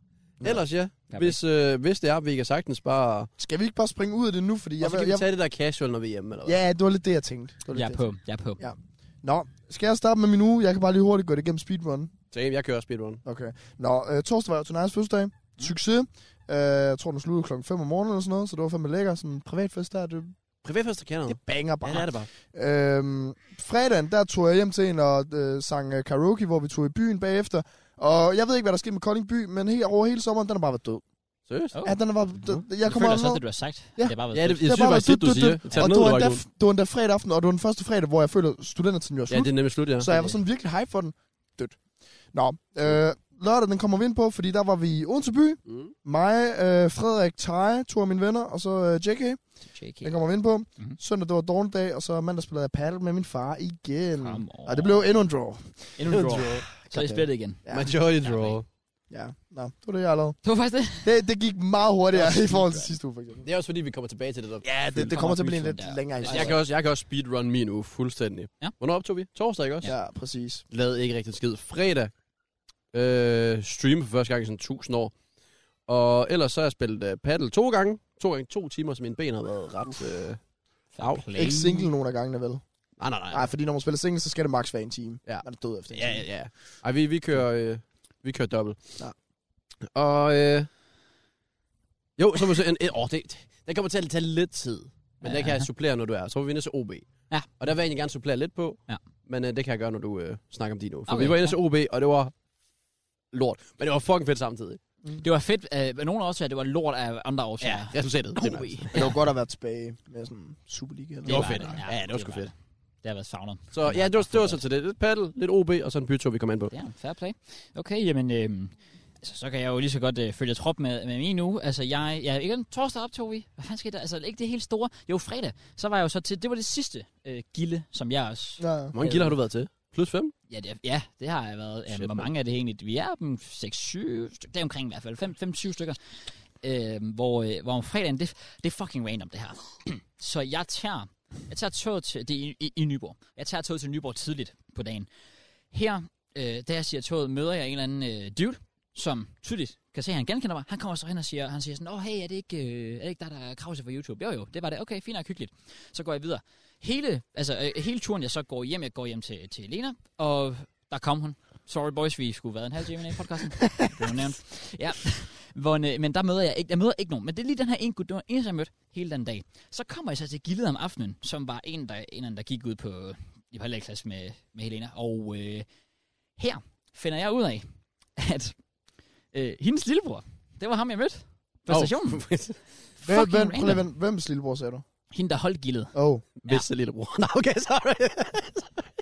Speaker 3: Ja.
Speaker 2: Ellers ja.
Speaker 1: Ja,
Speaker 2: Hvis, øh, hvis det er, vi kan sagtens bare...
Speaker 3: Skal vi ikke bare springe ud af det nu? Fordi
Speaker 2: Jeg, og
Speaker 3: jeg,
Speaker 2: så kan
Speaker 3: jeg,
Speaker 2: vi
Speaker 3: jeg,
Speaker 2: tage det der casual, når vi er hjemme, eller hvad?
Speaker 3: ja, det var lidt det, jeg tænkte. Det var lidt
Speaker 1: Jeg er
Speaker 3: det,
Speaker 1: på,
Speaker 3: tænkte.
Speaker 1: jeg er på.
Speaker 3: Ja. Nå, skal jeg starte med min uge? Jeg kan bare lige hurtigt gå det igennem speedrun.
Speaker 2: Så jamen, jeg kører speedrun.
Speaker 3: Okay. Nå, øh, torsdag var jo Tonajs
Speaker 2: Mm.
Speaker 3: fødselsdag. Succes. Øh, jeg tror, den sluttede klokken 5 om morgenen eller sådan noget, så det var fandme lækker. Sådan en privatfest der, det,
Speaker 2: Privatfest er kanon.
Speaker 3: det banger bare.
Speaker 2: Ja, det er det bare.
Speaker 3: Øhm, fredagen, der tog jeg hjem til en og øh, sang øh, karaoke, hvor vi tog i byen bagefter. Og jeg ved ikke, hvad der skete med Kolding By, men helt over hele sommeren, den har bare været død.
Speaker 2: Seriøst?
Speaker 1: Oh.
Speaker 3: Ja, den har bare død. Jeg
Speaker 1: Jeg
Speaker 3: kommer
Speaker 1: føler også,
Speaker 3: aldrig ned.
Speaker 1: at det, du har sagt.
Speaker 3: Ja.
Speaker 1: Det er bare
Speaker 2: Ja, det,
Speaker 3: Det
Speaker 2: jeg
Speaker 3: har
Speaker 2: synes
Speaker 3: bare
Speaker 2: faktisk, det,
Speaker 3: været
Speaker 2: du
Speaker 3: dut, dut,
Speaker 2: siger. Tag
Speaker 3: Og
Speaker 2: den
Speaker 3: det
Speaker 2: ned,
Speaker 3: var,
Speaker 2: Ragnhild.
Speaker 3: endda, det var den fredag aften, og det var den første fredag, hvor jeg følte, at studentertiden var
Speaker 2: Ja,
Speaker 3: slut.
Speaker 2: det er nemlig slut, ja.
Speaker 3: Så jeg var sådan virkelig hype for den. Dødt. Nå, øh, lørdag den kommer vi ind på, fordi der var vi i Odense By.
Speaker 2: Mm.
Speaker 3: Mig, øh, Frederik, Thaj, to af mine venner, og så øh, JK.
Speaker 1: JK.
Speaker 3: Den kommer vi ind på.
Speaker 1: Mhm.
Speaker 3: Mm-hmm. Søndag, det var dårlig dag, og så mandag spillede jeg paddle med min far igen.
Speaker 1: Come on.
Speaker 3: Og det blev endnu en draw.
Speaker 1: Endnu en draw. Så er I splittet igen.
Speaker 3: Ja,
Speaker 2: Majority draw.
Speaker 3: ja. Nå, det var det, jeg har lavet.
Speaker 1: Det var faktisk det.
Speaker 3: Det, det gik meget hurtigere i forhold til
Speaker 1: mand.
Speaker 3: sidste uge, for eksempel.
Speaker 2: Det er også fordi, vi kommer tilbage til det der.
Speaker 3: Ja, det, det kommer til at blive en lidt
Speaker 1: Ja.
Speaker 3: længere
Speaker 1: Altså,
Speaker 2: Altså, jeg,
Speaker 3: historie.
Speaker 2: kan også, jeg kan også speedrun min uge fuldstændig.
Speaker 1: Ja.
Speaker 2: Hvornår optog vi? Torsdag, ikke også?
Speaker 3: Ja, præcis.
Speaker 2: Lavede ikke rigtig en skid. Fredag øh, stream for første gang i sådan 1000 år. Og ellers så har jeg spillet øh, paddle to gange. To gange to timer, så mine ben har været ret... Øh, Au.
Speaker 1: Play.
Speaker 3: Ikke single nogen af gangene, vel?
Speaker 2: nej, nej, nej.
Speaker 3: Nej, fordi når man spiller single, så skal det max være en time.
Speaker 2: Ja.
Speaker 3: Man er død efter en
Speaker 2: Ja,
Speaker 3: time.
Speaker 2: ja, ja. Ej, vi, vi kører, øh, vi kører dobbelt.
Speaker 3: Ja.
Speaker 2: Og øh, jo, så må vi se, en, en, åh, det, den kommer til at tage lidt tid. Men ja,
Speaker 1: Ja.
Speaker 2: det kan jeg supplere, når du er. Så var vi inde til OB.
Speaker 1: Ja.
Speaker 2: Og der vil jeg egentlig gerne supplere lidt på.
Speaker 1: Ja.
Speaker 2: Men øh, det kan jeg gøre, når du øh, snakker om din nu. For
Speaker 1: Okay,
Speaker 2: vi var inde
Speaker 1: ja.
Speaker 2: til OB, og det var lort. Men det var fucking fedt samtidig.
Speaker 1: Det var fedt. Øh, men nogle årsager, det var lort af andre årsager.
Speaker 2: resultatet. Det,
Speaker 1: OB.
Speaker 2: nice.
Speaker 3: Men det var godt at være tilbage med sådan Superliga. Eller
Speaker 2: det var
Speaker 1: var
Speaker 2: fedt.
Speaker 1: det.
Speaker 2: nok.
Speaker 1: Ja,
Speaker 2: Ja, det var
Speaker 1: det
Speaker 2: sgu
Speaker 1: var
Speaker 2: fedt.
Speaker 1: Det har været savnet.
Speaker 2: Så ja, det var, det var så til det. Lidt paddle, lidt OB, og så en bytur, vi kom ind på.
Speaker 1: Ja, fair play. Okay, jamen, øh, altså, så kan jeg jo lige så godt øh, følge trop med, med min uge. Altså, jeg, jeg, igen, torsdag optog vi. Hvad fanden skete der? Altså, ikke det helt store. Jo, fredag, så var jeg jo så til, det var det sidste øh, gilde, som jeg også...
Speaker 3: Ja, ja.
Speaker 2: Hvor mange gilder har du været til? Plus 5?
Speaker 1: Ja, det, ja, det har jeg været.
Speaker 2: Shit,
Speaker 1: Shit, hvor
Speaker 2: mand.
Speaker 1: mange er det egentlig? Vi er dem 6-7 stykker, omkring i hvert fald. 5-7 stykker. Øh, hvor, øh, hvor om fredagen, det, det er fucking random, det her. <clears throat> så jeg tager, jeg tager toget til, det er i, i, i Nyborg. Jeg tager toget til Nyborg tidligt på dagen. Her, øh, da jeg siger toget, møder jeg en eller anden øh, dude, som tydeligt kan se, at han genkender mig. Han kommer så hen og siger, han siger sådan, åh, hey, er det ikke, øh, er det ikke der, der er krause for YouTube? Jo, jo, det var det. Okay, fint og hyggeligt. Så går jeg videre. Hele, altså, øh, hele turen, jeg så går hjem, jeg går hjem til, til Lena, og der kom hun. Sorry boys, vi skulle have været en halv time inde i
Speaker 3: <laughs>
Speaker 1: podcasten. Det blev nævnt. Ja. Hvor, øh, men der møder jeg ikke, jeg møder ikke nogen. Men det er lige den her en gut, det var den eneste, jeg mødte hele den dag. Så kommer jeg så til gildet om aftenen, som var en, der, en eller anden, der gik ud på i parallelklasse med, med Helena. Og øh, her finder jeg ud af, at øh, hendes lillebror, det var ham, jeg mødte på
Speaker 2: Åh. <laughs>
Speaker 1: stationen.
Speaker 3: Hvem,
Speaker 1: Fucking
Speaker 3: hvem, prøv lige,
Speaker 1: random.
Speaker 3: hvem, hvem's lillebror sagde du?
Speaker 1: Hende, der holdt gildet.
Speaker 3: Oh.
Speaker 2: Hvis ja. lillebror. <laughs> Nå, okay, sorry.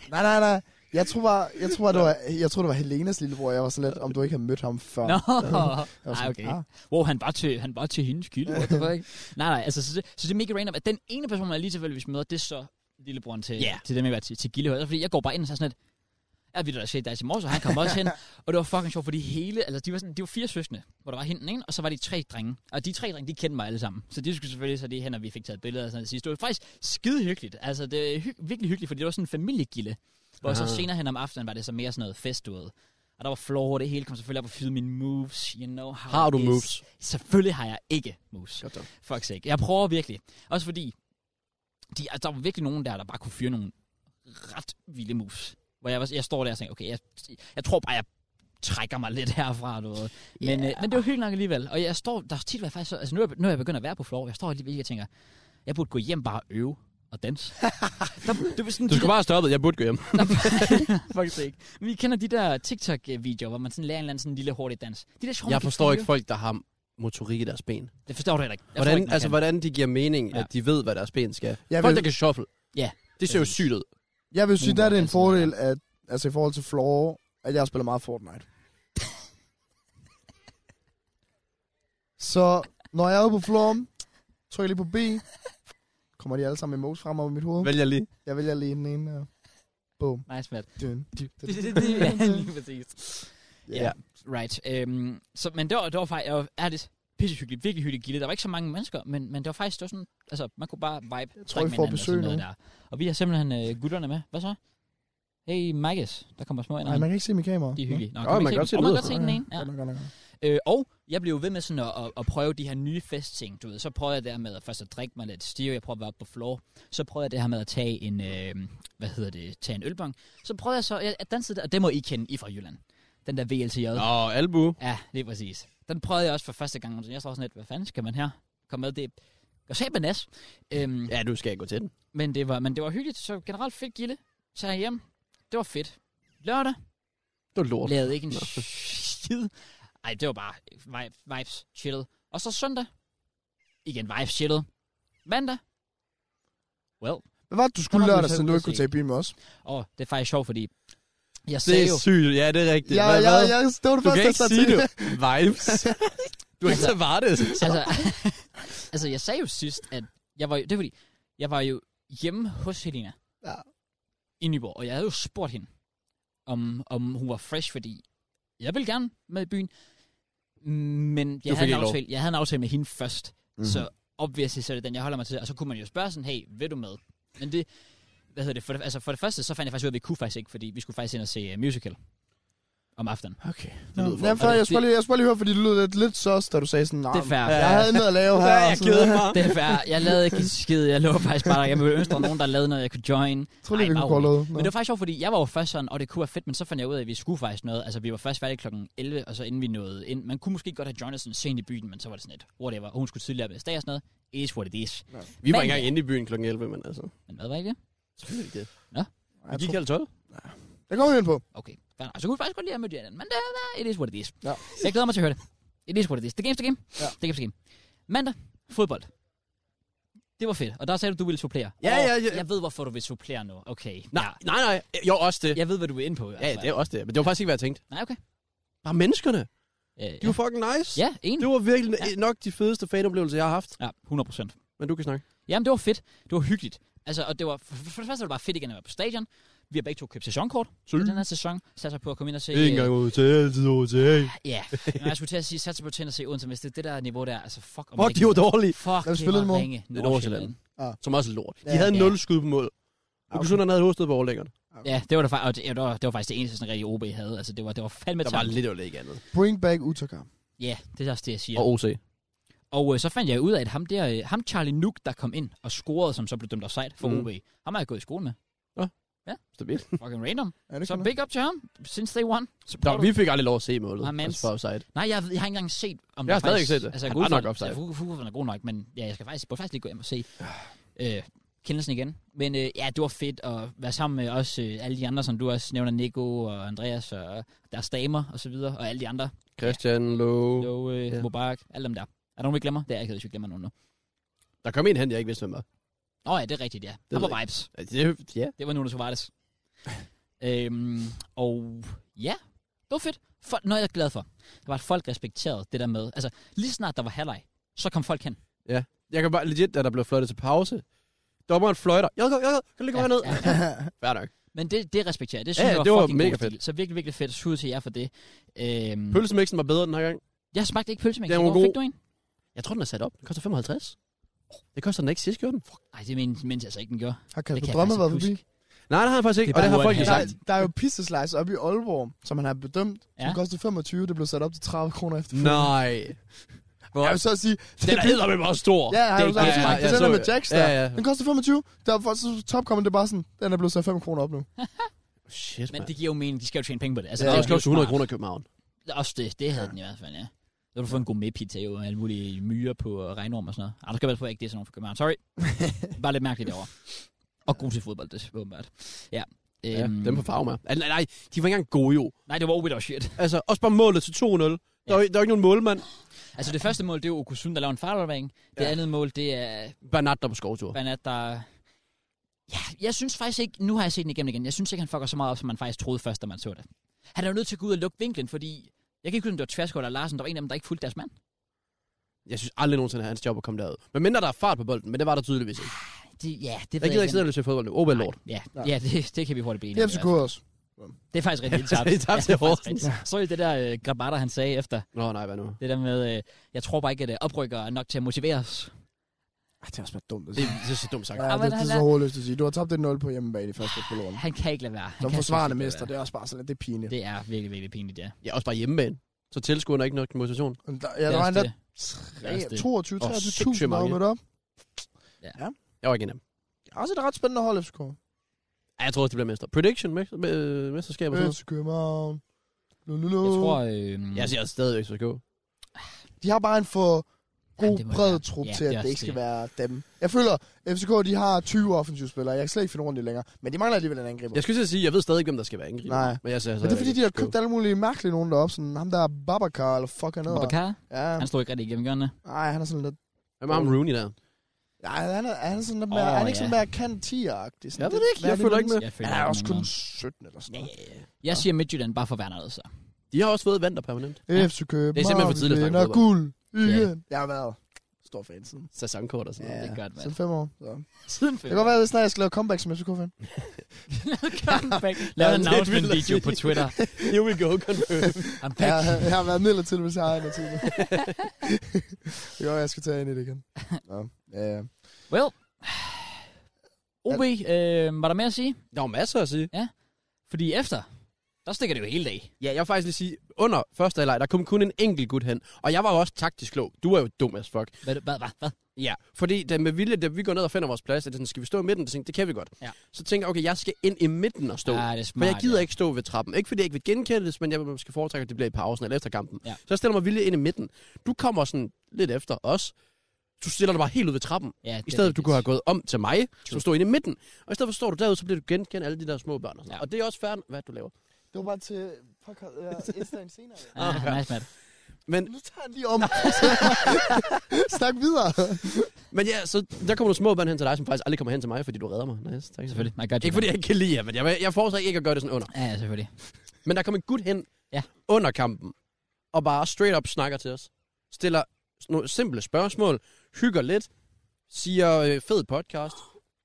Speaker 3: Nej, nej, nej. Jeg tror bare, jeg tror, det var, jeg tror, det var Helenas lillebror. Jeg var sådan lidt, om du ikke har mødt ham før.
Speaker 1: Nå,
Speaker 3: Jeg var
Speaker 1: Ej,
Speaker 3: sådan, Ah.
Speaker 1: okay. Wow, han var til, han var til hendes kilde. What the fuck? nej, nej, altså, så, det, så det er mega random, at den ene person, jeg lige tilfældigvis møder, det er så lillebroren til,
Speaker 2: Ja.
Speaker 1: yeah. til dem, jeg var til, til Gillehøj. Altså, Fordi jeg går bare ind og så er sådan lidt, ja, vi der set dig til morges, og han kom også
Speaker 2: <laughs>
Speaker 1: hen. Og det var fucking sjovt, fordi hele, altså, de var, sådan, de var fire søskende, hvor der var hende den ene, og så var de tre drenge. Og de tre drenge, de kendte mig alle sammen. Så de skulle selvfølgelig så lige hen, og vi fik taget billeder og sådan noget sidst. Det var faktisk skide hyggeligt. Altså, det er hy- virkelig hyggeligt, fordi det var sådan en familiegilde. Hvor
Speaker 2: Ah.
Speaker 1: så senere hen om aftenen var det så mere sådan noget fest, du ved. Og der var floor, det hele kom selvfølgelig op og fyde mine moves, you know how
Speaker 2: Har du
Speaker 1: it is.
Speaker 2: moves?
Speaker 1: Selvfølgelig har jeg ikke moves.
Speaker 2: Godt dog.
Speaker 1: Fuck sake. Jeg prøver virkelig. Også fordi, de, altså, der var virkelig nogen der, der bare kunne fyre nogle ret vilde moves. Hvor jeg, var, jeg står der og tænker, okay, jeg, jeg tror bare, jeg trækker mig lidt herfra, du ved. Men, yeah. øh, men det var hyggeligt nok alligevel. Og jeg står, der er tit, hvor jeg faktisk, så- altså nu er, jeg- nu er jeg begyndt at være på floor, jeg står lige og tænker, jeg burde gå hjem bare og øve og
Speaker 2: <laughs>
Speaker 1: danse. der, det var sådan,
Speaker 2: Du skulle
Speaker 1: <laughs>
Speaker 2: bare have stoppet. Jeg burde gå hjem.
Speaker 1: faktisk ikke. Men I kender de der TikTok-videoer, hvor man sådan lærer en eller anden sådan lille hurtig dans. De der sjove, man
Speaker 2: Jeg
Speaker 1: kan
Speaker 2: forstår ikke
Speaker 1: styre.
Speaker 2: folk, der har motorik i deres ben.
Speaker 1: Det forstår du heller ikke. Jeg forstår
Speaker 2: Hvordan,
Speaker 1: ikke, man
Speaker 2: altså,
Speaker 1: kan.
Speaker 2: hvordan de giver mening, ja.
Speaker 1: Ja.
Speaker 2: at de ved, hvad deres ben skal.
Speaker 3: Jeg
Speaker 2: folk,
Speaker 3: vil-
Speaker 2: der kan shuffle.
Speaker 1: Ja,
Speaker 2: Det ser jo
Speaker 1: præcis.
Speaker 2: sygt ud.
Speaker 3: Jeg vil sige,
Speaker 1: Humor,
Speaker 3: der er det en
Speaker 1: altså.
Speaker 3: fordel, at, altså i forhold til Floor, at jeg spiller meget Fortnite. Så når jeg er ude på Floor, Trykker lige på B. Kommer de alle sammen emotes frem over mit hoved?
Speaker 2: Vælger lige.
Speaker 3: Jeg vælger lige den ene. her. Boom.
Speaker 1: Nice, Matt.
Speaker 3: Dun, dun, dun.
Speaker 1: Det- <laughs> det- det- ja, lige præcis.
Speaker 3: Ja.
Speaker 1: Ja. Right. Øhm, så, men det var, det var faktisk jeg var ærligt pissehyggeligt, virkelig hyggeligt gilde. Der var ikke så mange mennesker, men, men det var faktisk det var sådan, altså man kunne bare vibe. Jeg
Speaker 3: tror, vi får besøg nu.
Speaker 1: Der. Og vi har simpelthen øh, gutterne med. Hvad så? Hey, Marcus, der kommer små ind.
Speaker 3: Nej, man kan ikke se mit kamera.
Speaker 1: De er hyggelige. Nå,
Speaker 2: Åh,
Speaker 1: kan
Speaker 2: man kan
Speaker 1: ikke
Speaker 2: godt se
Speaker 1: dem? Åh, man kan godt
Speaker 2: det
Speaker 1: se den ene.
Speaker 3: Ja.
Speaker 1: Ja.
Speaker 3: Godt nok, godt nok.
Speaker 1: Øh, og jeg blev jo ved med sådan at, at, at prøve de her nye festting, du ved. Så prøvede jeg det her med at først at drikke mig lidt stiv, jeg prøvede at være oppe på floor. Så prøvede jeg det her med at tage en, øh, hvad hedder det, tage en ølbong. Så prøvede jeg så, jeg, jeg dansede der, og det må I kende, I er fra Jylland. Den der VLCJ.
Speaker 2: Nå, albu.
Speaker 1: Ja, lige præcis. Den prøvede jeg også for første gang. Jeg står sådan lidt, hvad fanden skal man her? Kom med, det gør sæt nas. Øhm, ja.
Speaker 2: Ja, du skal gå til den.
Speaker 1: men, det var, men det var hyggeligt, så generelt fedt gilde. Så jeg hjem. Det var fedt. Lørdag
Speaker 2: Det var lort.
Speaker 1: lavede ikke en skid. Ej, det var bare vibe, vibes chillet. Og så søndag. Igen vibes chillet. Mandag. Well.
Speaker 3: Hvad var det, du skulle
Speaker 1: Der var vi
Speaker 3: lørdag,
Speaker 1: så
Speaker 3: siden du
Speaker 1: ude
Speaker 3: ikke
Speaker 1: at
Speaker 3: kunne
Speaker 1: se.
Speaker 3: tage i byen med os?
Speaker 1: Og det er faktisk sjovt, fordi jeg
Speaker 2: Det
Speaker 1: sagde
Speaker 2: er
Speaker 1: jo...
Speaker 2: sygt. Ja, det er rigtigt.
Speaker 3: Ja,
Speaker 2: Hvad-
Speaker 3: ja,
Speaker 2: hvad?
Speaker 3: ja, det var det
Speaker 2: Du
Speaker 3: første,
Speaker 2: kan
Speaker 3: jeg
Speaker 2: ikke
Speaker 3: sagde
Speaker 2: sige
Speaker 3: til
Speaker 2: det.
Speaker 3: dig.
Speaker 2: Vibes. Du er ikke så var
Speaker 1: <laughs>
Speaker 2: det.
Speaker 1: altså, altså, jeg sagde jo sidst, at jeg var jo, det er fordi, jeg var jo hjemme hos Helena
Speaker 3: Ja.
Speaker 1: i Nyborg, og jeg havde jo spurgt hende, om, om hun var fresh, fordi jeg ville gerne med i byen, men jeg
Speaker 2: fik
Speaker 1: havde,
Speaker 2: ikke
Speaker 1: en
Speaker 2: lov.
Speaker 1: aftale, jeg havde en aftale med hende først,
Speaker 4: Mhm.
Speaker 1: mm. så obviously så er det den, jeg holder mig til, og så kunne man jo spørge sådan, hey, vil du med? Men det, hvad hedder det, for det, altså for det første, så fandt jeg faktisk ud af, at vi kunne faktisk ikke, fordi vi skulle faktisk ind og se uh, musical om aftenen.
Speaker 2: Okay.
Speaker 3: Ja, for
Speaker 1: Og det-
Speaker 3: jeg skulle bare lige, jeg skulle bare lige høre, fordi det lød lidt, lidt søs, da du sagde sådan, nej,
Speaker 1: Det er fair.
Speaker 3: jeg havde noget at
Speaker 2: <laughs>
Speaker 3: lave
Speaker 2: Ja,
Speaker 3: her. og
Speaker 2: jeg
Speaker 3: sådan
Speaker 2: keder
Speaker 3: noget.
Speaker 2: mig.
Speaker 1: Det er fair. Jeg lavede ikke en skid. Jeg lå faktisk bare der. Jeg ville ønske, der var nogen, der lavede noget, jeg kunne join.
Speaker 3: Jeg tror lige, vi
Speaker 1: Ej,
Speaker 3: kunne
Speaker 1: bare
Speaker 3: kolde ud.
Speaker 1: Men det var faktisk sjovt, fordi jeg var jo først sådan, og det kunne være fedt, men så fandt jeg ud af, at vi skulle faktisk noget. Altså, vi var først færdige kl. 11, og så inden vi nåede ind. Man kunne måske godt have joinet sådan sent i byen, men så var det sådan et whatever. Og hun skulle tidligere være dag og sådan noget. It is what it is.
Speaker 2: Vi var
Speaker 1: Men-
Speaker 2: ikke engang inde i byen kl. 11, men altså.
Speaker 1: Men hvad var ikke det?
Speaker 2: Selvfølgelig ikke det. Vi
Speaker 3: Jeg
Speaker 2: gik
Speaker 3: tror-
Speaker 2: halv 12.
Speaker 3: Det kommer vi ind på.
Speaker 1: Okay, fair. Og så kunne vi faktisk godt lide at møde hinanden, men det er, it is what it is.
Speaker 3: Ja.
Speaker 1: Jeg glæder mig til at høre det. It is what it is. The game's the game.
Speaker 3: Ja.
Speaker 1: The game's the game. Mandag, fodbold. Det var fedt, og der sagde du, du ville supplere.
Speaker 2: Ja,
Speaker 1: Åh,
Speaker 2: ja, ja.
Speaker 1: Jeg ved, hvorfor du vil supplere nu. Okay.
Speaker 2: Nej, nej, nej. Jo, også det.
Speaker 1: Ja. altså. Jeg ved, hvad du er inde på. i hvert
Speaker 2: Ja,
Speaker 1: fald.
Speaker 2: det er også det. Men det var faktisk ikke, hvad jeg tænkte.
Speaker 1: Nej, okay.
Speaker 2: Bare menneskerne.
Speaker 1: Øh,
Speaker 2: De var fucking nice.
Speaker 1: ja, en.
Speaker 2: Det var virkelig nok de fedeste fanoplevelser, jeg har haft.
Speaker 1: Ja, 100 procent.
Speaker 2: Men du kan snakke.
Speaker 1: Jamen, det var fedt. Det var hyggeligt. Altså, og det var, for, for det første var det bare fedt igen at være på stadion. Vi har begge to købt sæsonkort i den her sæson. Satser på at komme ind og se... øh,
Speaker 2: ud til, altid ud til.
Speaker 1: Ja, men jeg skulle til at sige, satser på at tænde og se Odense, hvis det er det der niveau der, altså fuck om
Speaker 2: Fuck, de var dårlige.
Speaker 1: Fuck,
Speaker 3: Hvem
Speaker 1: det
Speaker 3: spillede
Speaker 1: var
Speaker 3: i morgen?
Speaker 1: ringe.
Speaker 2: Det er Nordsjælland. Som også er lort. De
Speaker 3: Ja.
Speaker 2: havde
Speaker 1: Ja.
Speaker 2: nul skud på mål. Og okay. havde et hovedstød på overlæggeren.
Speaker 1: Ja, det var, der, fa- og det, ja, det, var, det var faktisk det eneste, sådan rigtig OB havde. Altså, det var, det var fandme
Speaker 2: Der var
Speaker 1: tamt.
Speaker 2: lidt og ikke andet.
Speaker 3: Bring back Utaka.
Speaker 1: Ja, det er også det, jeg siger.
Speaker 2: Og
Speaker 1: Og,
Speaker 2: OC.
Speaker 1: og øh, så fandt jeg ud af, at ham, der, øh, ham Charlie Nook, der kom ind og scorede, som så blev dømt offside for
Speaker 2: Mm.
Speaker 1: mm. OB, ham har jeg gået i skole
Speaker 3: <laughs>
Speaker 1: med.
Speaker 2: Stabilt.
Speaker 1: Fucking random.
Speaker 3: Er det
Speaker 1: Så
Speaker 3: ikke
Speaker 1: big up til ham, since day one.
Speaker 2: Nå,
Speaker 1: Supporter.
Speaker 2: vi fik aldrig lov at se målet.
Speaker 1: Ah,
Speaker 2: Ah,
Speaker 1: mens.
Speaker 2: altså for offside.
Speaker 1: Nej, jeg, jeg har ikke engang set, om
Speaker 2: Jeg
Speaker 1: der
Speaker 2: har stadig
Speaker 1: faktisk-
Speaker 2: ikke set det.
Speaker 1: Altså,
Speaker 2: Han
Speaker 1: jeg går
Speaker 2: var
Speaker 1: ud fra-
Speaker 2: nok offside.
Speaker 1: Ja, Fugle- Fugle- Fugle er god nok, men ja, jeg skal faktisk, burde faktisk lige gå hjem og
Speaker 2: <sighs>
Speaker 1: se øh, kendelsen igen. Men øh, ja, det var fedt at være sammen med også øh, alle de andre, som du også nævner, Nico og Andreas og deres damer og så videre, og alle de andre.
Speaker 2: Christian Lowe.
Speaker 1: Jo, øh,
Speaker 2: Ja.
Speaker 1: ja. Mubarak, alle dem der. Er der nogen, vi glemmer? Det er jeg ikke, hvis vi glemmer nogen nu.
Speaker 2: Der kom en hen, jeg ikke vidste, hvem var.
Speaker 1: Nå ja, det er rigtigt, ja. Det
Speaker 2: ved
Speaker 1: var vibes.
Speaker 2: Ja, det- Ja.
Speaker 1: Det var Nuno
Speaker 2: <laughs>
Speaker 1: Suvarez. øhm, og ja, det var fedt. For, noget jeg er glad for, det var, at folk respekterede det der med. Altså, lige snart der var halvleg, så kom folk hen.
Speaker 2: Jeg kan bare legit, da der blev fløjtet til pause. Dommeren fløjter. Jeg kan kan du lige gå herned?
Speaker 1: ja, ja.
Speaker 2: Fair nok.
Speaker 1: Men det, det respekterer jeg. Det synes
Speaker 2: Ja,
Speaker 1: ja, jeg var
Speaker 2: det var
Speaker 1: fucking
Speaker 2: mega
Speaker 1: god stil.
Speaker 2: fedt.
Speaker 1: Så virkelig, virkelig fedt. Skud til jer for det. Øhm,
Speaker 2: Pølsemixen var bedre den her gang.
Speaker 1: jeg smagte ikke pølsemængde.
Speaker 2: Den var
Speaker 1: Hvor fik
Speaker 2: god.
Speaker 1: du en?
Speaker 2: Jeg tror, den er sat op. Den koster 55. Det koster den ikke sidst, gjorde den. Fuck.
Speaker 1: Nej, det mente, mente jeg altså ikke, den gjorde.
Speaker 3: <laughs> Har
Speaker 1: det
Speaker 3: Kasper
Speaker 1: kan jeg
Speaker 3: Drømme
Speaker 1: faktisk
Speaker 3: været
Speaker 1: ikke
Speaker 3: forbi?
Speaker 1: huske.
Speaker 2: Nej, det har han faktisk ikke.
Speaker 1: Det er
Speaker 2: og det har
Speaker 1: bare
Speaker 2: folk
Speaker 1: uretfærdigt.
Speaker 2: lige
Speaker 3: Der,
Speaker 2: sagt.
Speaker 3: der er jo pizzeslice oppe i Aalborg, som han har bedømt. Ja.
Speaker 1: Ja.
Speaker 3: Som kostede 25, det blev sat op til 30 kroner efter.
Speaker 2: Nej.
Speaker 3: Jeg vil så sige...
Speaker 2: Den er eddermed bare stor.
Speaker 3: Ja, han
Speaker 1: Det er
Speaker 3: har jo
Speaker 1: ikke
Speaker 3: sagt,
Speaker 1: godt smagt.
Speaker 3: det er
Speaker 2: Jeg
Speaker 3: den
Speaker 2: så
Speaker 3: der med
Speaker 2: det.
Speaker 3: Jacks
Speaker 2: Ja,
Speaker 3: der.
Speaker 2: ja.
Speaker 3: Den koster 25. Der er faktisk topkommen, det er bare sådan, den er blevet sat 5 kroner op nu.
Speaker 2: Shit,
Speaker 1: Men
Speaker 2: man.
Speaker 1: det giver jo mening. De skal jo tjene penge på det. Altså,
Speaker 2: Ja,
Speaker 1: det
Speaker 2: der
Speaker 1: er
Speaker 2: skal
Speaker 1: jo
Speaker 2: også 100
Speaker 1: smart.
Speaker 2: kroner i København.
Speaker 1: Også det. Det havde den i hvert fald, ja. Så kan du få en god medpizza jo, og alle mulige myrer på og regnorm og sådan noget. Ej, du skal bare på, at ikke det er sådan nogen fra København.
Speaker 2: <laughs>
Speaker 1: Sorry. bare lidt mærkeligt derovre. Og god til fodbold, det er åbenbart. Ja.
Speaker 2: Ja,
Speaker 1: Øhm,
Speaker 2: dem på farve med. Altså, nej, nej, de var ikke engang gode jo.
Speaker 1: Nej, det var weird shit.
Speaker 2: Altså, også bare målet til 2-0. Der var, der var ikke nogen målmand. Altså,
Speaker 1: Altså det første mål, det er jo Okusun, der laver en farvalvering. Det
Speaker 2: Ja.
Speaker 1: andet mål, det er
Speaker 2: Bernat der på skovtur.
Speaker 1: Bernat, der... Ja, jeg synes faktisk ikke... Nu har jeg set den igennem igen. Jeg synes ikke, han fucker så meget op, som man faktisk troede først, da man så det. Han er jo nødt til at gå ud og lukke vinklen, fordi... Jeg kan ikke huske, om det var Tverskål eller Larsen. Der var en af dem, der ikke fulgte deres mand.
Speaker 2: Jeg synes aldrig nogensinde, at hans job er kommet derud. Men mindre der er fart på bolden, men det var der tydeligvis ikke.
Speaker 1: Det, ja, det ved
Speaker 2: Jeg gider ikke sidde og se fodbold nu. Oh, well, lord.
Speaker 1: Ja, ja det, det kan vi hurtigt blive enige
Speaker 3: Det
Speaker 1: om
Speaker 3: er
Speaker 1: i hvert
Speaker 3: FCK
Speaker 1: fald.
Speaker 3: også.
Speaker 1: Det er faktisk rigtig
Speaker 2: Ja,
Speaker 1: tabt.
Speaker 2: det er tabt til Horsens.
Speaker 1: Så I det der øh, Grabater, han sagde efter?
Speaker 2: Nå, nej, hvad nu?
Speaker 1: Det der med, øh, jeg tror bare ikke, at øh, oprykker er nok til at motivere os.
Speaker 3: Ej, det er også bare dumt at
Speaker 2: Det,
Speaker 3: sige.
Speaker 2: det er så dumt sagt.
Speaker 3: Ja,
Speaker 1: Ej,
Speaker 3: det,
Speaker 1: men
Speaker 3: det,
Speaker 1: han
Speaker 3: er
Speaker 1: er-
Speaker 3: så hårdløst at sige. Du har tabt den 0 på hjemmebane i første spillerunde.
Speaker 1: Han kan ikke lade være. Han
Speaker 3: Som
Speaker 1: kan
Speaker 3: forsvarende
Speaker 1: simpelthen ikke
Speaker 3: mester,
Speaker 1: lade
Speaker 3: det er også bare sådan lidt, det er pinligt.
Speaker 1: være.
Speaker 3: Det,
Speaker 1: Det er virkelig, virkelig pinligt, ja.
Speaker 2: Ja, også bare hjemmebane. Så tilskuerne er ikke nok motivation.
Speaker 3: der, ja,
Speaker 1: Det
Speaker 3: der
Speaker 1: er
Speaker 3: var
Speaker 1: også
Speaker 3: endda
Speaker 1: det. Det er også det.
Speaker 3: 22
Speaker 2: Og
Speaker 3: 23
Speaker 2: sindssygt
Speaker 3: 000 der var
Speaker 2: mange.
Speaker 3: mødt op.
Speaker 2: Jeg var ikke en af dem.
Speaker 3: Også et ret spændende hold, FCK.
Speaker 2: Ej, jeg tror også, de bliver mester. Prediction, mest- øh, mesterskabet. Øh.
Speaker 3: Øst København. Lululu.
Speaker 1: Jeg tror... Øh,
Speaker 2: Jeg siger stadigvæk FCK.
Speaker 3: De har bare en for god
Speaker 1: det må
Speaker 3: bred
Speaker 1: være.
Speaker 3: trup
Speaker 1: Ja,
Speaker 3: til,
Speaker 1: det er
Speaker 3: at
Speaker 1: også
Speaker 3: det ikke skal
Speaker 1: det.
Speaker 3: være dem. Jeg føler, FCK de har 20 offensive spillere. Jeg kan slet ikke finde rundt i længere. Men de mangler alligevel en angriber.
Speaker 2: Jeg skulle til at sige, jeg ved stadig ikke, hvem der skal være angriber.
Speaker 3: Nej.
Speaker 2: Men jeg øh, siger,
Speaker 3: Men det er fordi, de har
Speaker 2: FCK.
Speaker 3: købt alle mulige mærkelige nogen deroppe. Sådan ham der Babacar, eller fuck han hedder.
Speaker 1: Bakar,
Speaker 3: Ja,
Speaker 1: han slog ikke rigtig igennem hjørnet.
Speaker 3: nej, han er sådan lidt...
Speaker 2: Hvem er ham Rooney der?
Speaker 3: Ja, han er, han er sådan lidt mere...
Speaker 1: Åh,
Speaker 3: Oh, han er ikke
Speaker 1: ja.
Speaker 3: sådan mere kant 10-agtig. Sådan
Speaker 2: Jeg ved det
Speaker 3: lidt-
Speaker 2: ikke,
Speaker 3: hvad
Speaker 2: jeg
Speaker 3: er det,
Speaker 2: følger
Speaker 3: man-
Speaker 2: ikke med.
Speaker 1: Jeg føler
Speaker 3: Han er
Speaker 1: ikke
Speaker 3: også kun
Speaker 1: nogen.
Speaker 3: 17 eller sådan noget.
Speaker 1: Jeg siger Midtjylland bare for Werner, altså.
Speaker 2: De har også fået Vander permanent.
Speaker 1: Ja.
Speaker 3: FC København,
Speaker 2: Det er simpelthen for tidligt at
Speaker 3: vi
Speaker 2: snakke
Speaker 3: vinder
Speaker 2: fodbold.
Speaker 3: guld igen. Jeg har været stor fan siden.
Speaker 2: Sæsonkort og sådan
Speaker 1: Ja.
Speaker 2: noget.
Speaker 1: det er godt, mand.
Speaker 3: Siden fem år. Så.
Speaker 1: Siden
Speaker 3: Det kan
Speaker 1: <laughs>
Speaker 3: godt være, at jeg snart skal lave comeback som FCK-fan.
Speaker 1: Lav
Speaker 2: Ja,
Speaker 1: en
Speaker 2: det
Speaker 1: announcement
Speaker 2: vil jeg
Speaker 1: video
Speaker 2: sige.
Speaker 1: på
Speaker 2: <laughs>
Speaker 1: Twitter.
Speaker 2: Here we go, confirm.
Speaker 1: I'm
Speaker 3: Jeg,
Speaker 1: back.
Speaker 3: har- jeg har været midlertidig, hvis jeg har en af
Speaker 2: <laughs>
Speaker 3: <laughs> tiden. det gør, jeg skal tage ind i det igen. Nå, øh,
Speaker 1: Well. OB, øh, var der mere at sige?
Speaker 2: Der var masser at sige.
Speaker 1: Fordi efter, der stikker det jo hele dag.
Speaker 2: Ja, jeg vil faktisk lige sige, under første halvleg, der kom kun en enkelt gut hen. Og jeg var jo også taktisk klog. Du er jo dum as fuck.
Speaker 1: Hvad, hvad, hvad? hvad?
Speaker 2: Ja, fordi da med vilje, da vi går ned og finder vores plads, er det sådan, skal vi stå i midten? Det, tænker, jeg, det kan vi godt.
Speaker 1: Ja.
Speaker 2: Så tænker jeg, okay, jeg skal ind i midten og stå.
Speaker 1: Ja, Ah, det er
Speaker 2: For
Speaker 1: smart.
Speaker 2: jeg gider
Speaker 1: ja.
Speaker 2: ikke stå ved trappen. Ikke fordi jeg ikke vil genkendes, men jeg vil måske foretrække, at det bliver i pausen eller efter kampen.
Speaker 1: Ja.
Speaker 2: Så jeg stiller mig vildt ind i midten. Du kommer sådan lidt efter os. Du stiller dig bare helt ud ved trappen.
Speaker 1: Ja, det
Speaker 2: I
Speaker 1: er
Speaker 2: stedet for, du
Speaker 1: rigtigt.
Speaker 2: kunne have gået om til mig, True. som
Speaker 1: True.
Speaker 2: stod inde i midten. Og i stedet for står du derude, så bliver du genkendt af alle de der små børn. Og, ja.
Speaker 1: Ja.
Speaker 2: og det er også fair, hvad du laver.
Speaker 3: det var bare til podcast,
Speaker 2: <laughs>
Speaker 3: øh, Instagram senere. ja.
Speaker 1: Ah,
Speaker 2: Okay.
Speaker 1: nice, Matt.
Speaker 2: Men,
Speaker 3: Nu tager jeg lige om. <laughs> Snak videre.
Speaker 2: men ja, så der kommer nogle små børn hen til dig, som faktisk aldrig kommer hen til mig, fordi du redder mig. Nice, tak.
Speaker 1: Selvfølgelig. Nej, godt.
Speaker 2: Ikke fordi jeg ikke kan lide jer, men jeg, jeg foretrækker ikke at gøre det sådan under.
Speaker 1: Ja, ja, selvfølgelig.
Speaker 2: Men der kom en gut hen
Speaker 1: Ja.
Speaker 2: under kampen, og bare straight up snakker til os. Stiller nogle simple spørgsmål, hygger lidt, siger øh, fed podcast,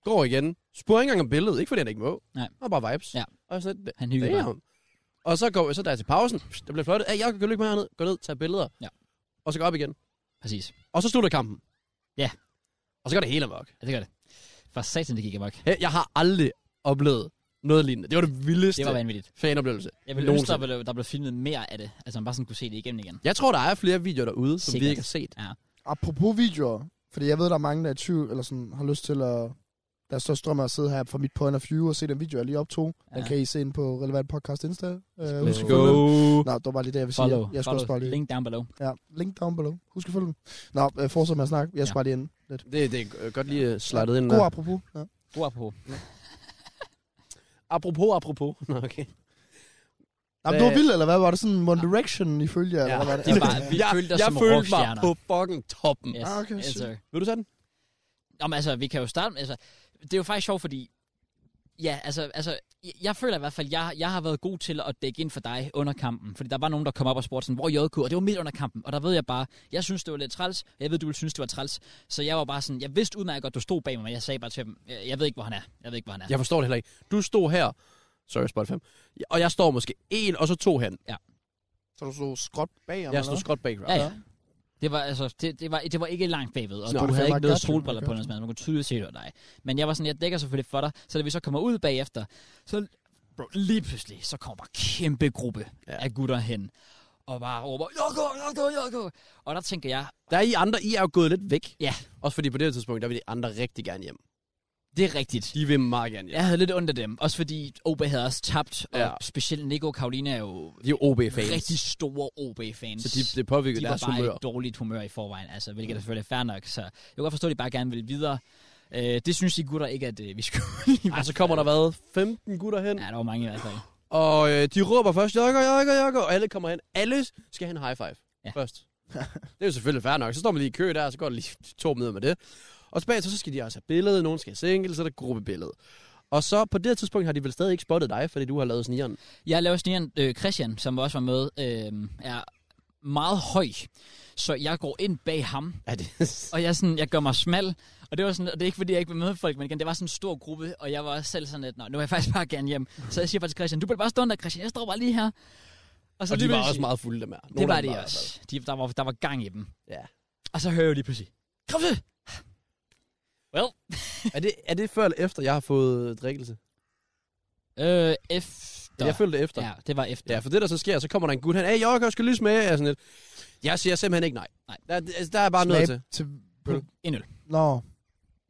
Speaker 2: går igen, spørger ikke engang om billedet, ikke fordi han ikke må.
Speaker 1: Nej.
Speaker 2: Og bare vibes.
Speaker 1: Ja.
Speaker 2: Og sådan lidt,
Speaker 1: Han hygger bare.
Speaker 2: damn. Og så går så der er til pausen, Pst, der bliver fløjtet, hey, jeg kan lykke med herned, gå ned, tage billeder.
Speaker 1: Ja.
Speaker 2: Og så går op igen.
Speaker 1: Præcis.
Speaker 2: Og så slutter kampen.
Speaker 1: Ja.
Speaker 2: Og så går det hele amok.
Speaker 1: Ja, det gør det. For satan, det gik amok.
Speaker 2: Hey, Jeg har aldrig oplevet noget lignende. Det var det vildeste
Speaker 1: Det var vanvittigt.
Speaker 2: fanoplevelse.
Speaker 1: Jeg ville ønske,
Speaker 2: Nogensinde.
Speaker 1: der, blev- der blev filmet mere af det. Altså, man bare sådan kunne se det igennem igen.
Speaker 2: Jeg tror, der er flere videoer derude, som vi
Speaker 1: Sikkert.
Speaker 2: ikke har set.
Speaker 3: Apropos videoer, fordi jeg ved, der er mange, der er i tvivl, eller sådan, har lyst til at... Der står strømmer at sidde her fra mit point of view og se den video, jeg lige optog. Den
Speaker 1: Ja.
Speaker 3: kan I se ind på relevant podcast Insta. Øh,
Speaker 2: Let's
Speaker 3: husk at
Speaker 2: go.
Speaker 3: følge dem. Nå, det var bare lige det, jeg ville sige.
Speaker 1: Follow.
Speaker 3: Jeg, jeg skulle
Speaker 1: follow.
Speaker 3: også bare lige...
Speaker 1: Link down below.
Speaker 3: Ja, link down below. Husk at følge dem. Nå, øh, fortsæt med at snakke. Jeg skal
Speaker 1: Ja.
Speaker 3: bare lige ind lidt.
Speaker 2: Det, det er øh, godt lige øh, slidet ind.
Speaker 3: God
Speaker 2: der.
Speaker 3: apropos. Ja.
Speaker 1: God apropos.
Speaker 2: Apropos, apropos. Nå, okay.
Speaker 3: Nå, men du var vild, eller hvad? Var det sådan One Direction ifølge? Ja, eller hvad var det?
Speaker 1: det er
Speaker 3: <laughs>
Speaker 1: bare- vi
Speaker 2: jeg,
Speaker 1: følte os
Speaker 2: jeg
Speaker 1: som
Speaker 2: følte mig
Speaker 1: rockstjerner.
Speaker 2: på fucking toppen. Ja.
Speaker 1: Yes.
Speaker 3: Ah, okay,
Speaker 1: yes,
Speaker 3: shit.
Speaker 1: sir.
Speaker 2: Vil du tage den?
Speaker 1: Nå, men altså, vi kan jo starte med, altså, det er jo faktisk sjovt, fordi, ja, altså, altså jeg, jeg føler i hvert fald, jeg, jeg har været god til at dække ind for dig under kampen, fordi der var nogen, der kom op og spurgte sådan, hvor er JK, og det var midt under kampen, og der ved jeg bare, jeg synes, det var lidt træls, og jeg ved, du ville synes, det var træls, så jeg var bare sådan, jeg vidste udmærket godt, du stod bag mig, men jeg sagde bare til dem, jeg, jeg ved ikke, hvor han er, jeg ved ikke, hvor han er.
Speaker 2: Jeg forstår det heller ikke. Du stod her, sorry, spot 5, og jeg står måske en, og så to hen.
Speaker 3: Så du så skråt bag ham,
Speaker 2: Jeg stod skråt bag.
Speaker 1: Ja, ja. Det var, altså, det, det, var, det var ikke langt bagved, og
Speaker 2: Nå,
Speaker 1: Nå, du
Speaker 3: det
Speaker 1: havde
Speaker 3: var
Speaker 1: ikke noget
Speaker 3: godt, det var
Speaker 1: solbriller på,
Speaker 3: godt.
Speaker 1: noget, som helst. man kunne tydeligt se, det var dig. Men jeg var sådan, jeg dækker selvfølgelig for dig, så da vi så kommer ud bagefter, så bro, lige pludselig, så kommer bare kæmpe gruppe
Speaker 2: Ja.
Speaker 1: ja. af gutter hen, og bare råber, Joko, Joko, Joko. Og der tænker jeg,
Speaker 2: Der er I andre, I er jo gået lidt væk.
Speaker 1: Ja.
Speaker 2: Også fordi på det her tidspunkt, der vil de andre rigtig gerne hjem.
Speaker 1: det er rigtigt.
Speaker 2: De vil meget gerne hjem.
Speaker 1: Jeg havde lidt ondt af dem, også fordi OB havde også tabt, og
Speaker 2: Ja.
Speaker 1: ja. specielt Nico og Karoline er jo
Speaker 2: De er jo OB-fans.
Speaker 1: rigtig store OB-fans.
Speaker 2: Så de, det påvirker
Speaker 1: de var
Speaker 2: deres
Speaker 1: bare
Speaker 2: humør.
Speaker 1: i dårligt humør i forvejen, altså, hvilket er selvfølgelig fair nok. Så jeg kan godt forstå, at de bare gerne vil videre. Øh, det synes de gutter ikke, at øh, vi skulle. <laughs>
Speaker 2: Ej, så kommer der hvad? 15 gutter hen.
Speaker 1: ja, der var mange i hvert fald.
Speaker 2: Og øh, de råber først, jokker, jokker, jokker, og alle kommer hen. Alle skal have en high five ja.
Speaker 1: Ja.
Speaker 2: først. <laughs> det er jo selvfølgelig fair nok. Så står man lige i kø der, og så går det lige <laughs> to minutter med det. Og så bagefter, så skal de også have billede, nogen skal have single, så er der gruppebillede. Og så på det her tidspunkt har de vel stadig ikke spottet dig, fordi du har lavet snigeren.
Speaker 1: Jeg laver snigeren øh, Christian, som også var med, øh, er meget høj. Så jeg går ind bag ham,
Speaker 2: Ja, <laughs> det,
Speaker 1: og jeg, sådan, jeg gør mig smal. Og det var sådan, og det er ikke fordi, jeg ikke vil møde folk, men igen, det var sådan en stor gruppe, og jeg var også selv sådan lidt, nå, nu vil jeg faktisk bare gerne hjem. Så jeg siger faktisk til Christian, du bliver bare stående der, Christian, jeg står bare lige her. Og så
Speaker 2: og
Speaker 1: lige
Speaker 2: de var
Speaker 1: pludselig-
Speaker 2: også meget fulde, dem her. Nogle
Speaker 1: Det var
Speaker 2: af dem
Speaker 1: de
Speaker 2: i hvert fald.
Speaker 1: også. De, der, var, der var gang i dem.
Speaker 2: Ja.
Speaker 1: Og så hører jeg lige pludselig, kom så! Well,
Speaker 2: Er det, er det før eller efter, jeg har fået drikkelse?
Speaker 1: øh, efter.
Speaker 2: Jeg følte det efter.
Speaker 1: Ja, det var efter.
Speaker 2: Ja, for det der så sker, så kommer der en gut, han, hey, jeg kan skal lyse med, er sådan lidt. Jeg siger simpelthen ikke nej.
Speaker 1: Nej.
Speaker 2: Der, der- der er bare noget til.
Speaker 3: til...
Speaker 1: En øl.
Speaker 3: Nå.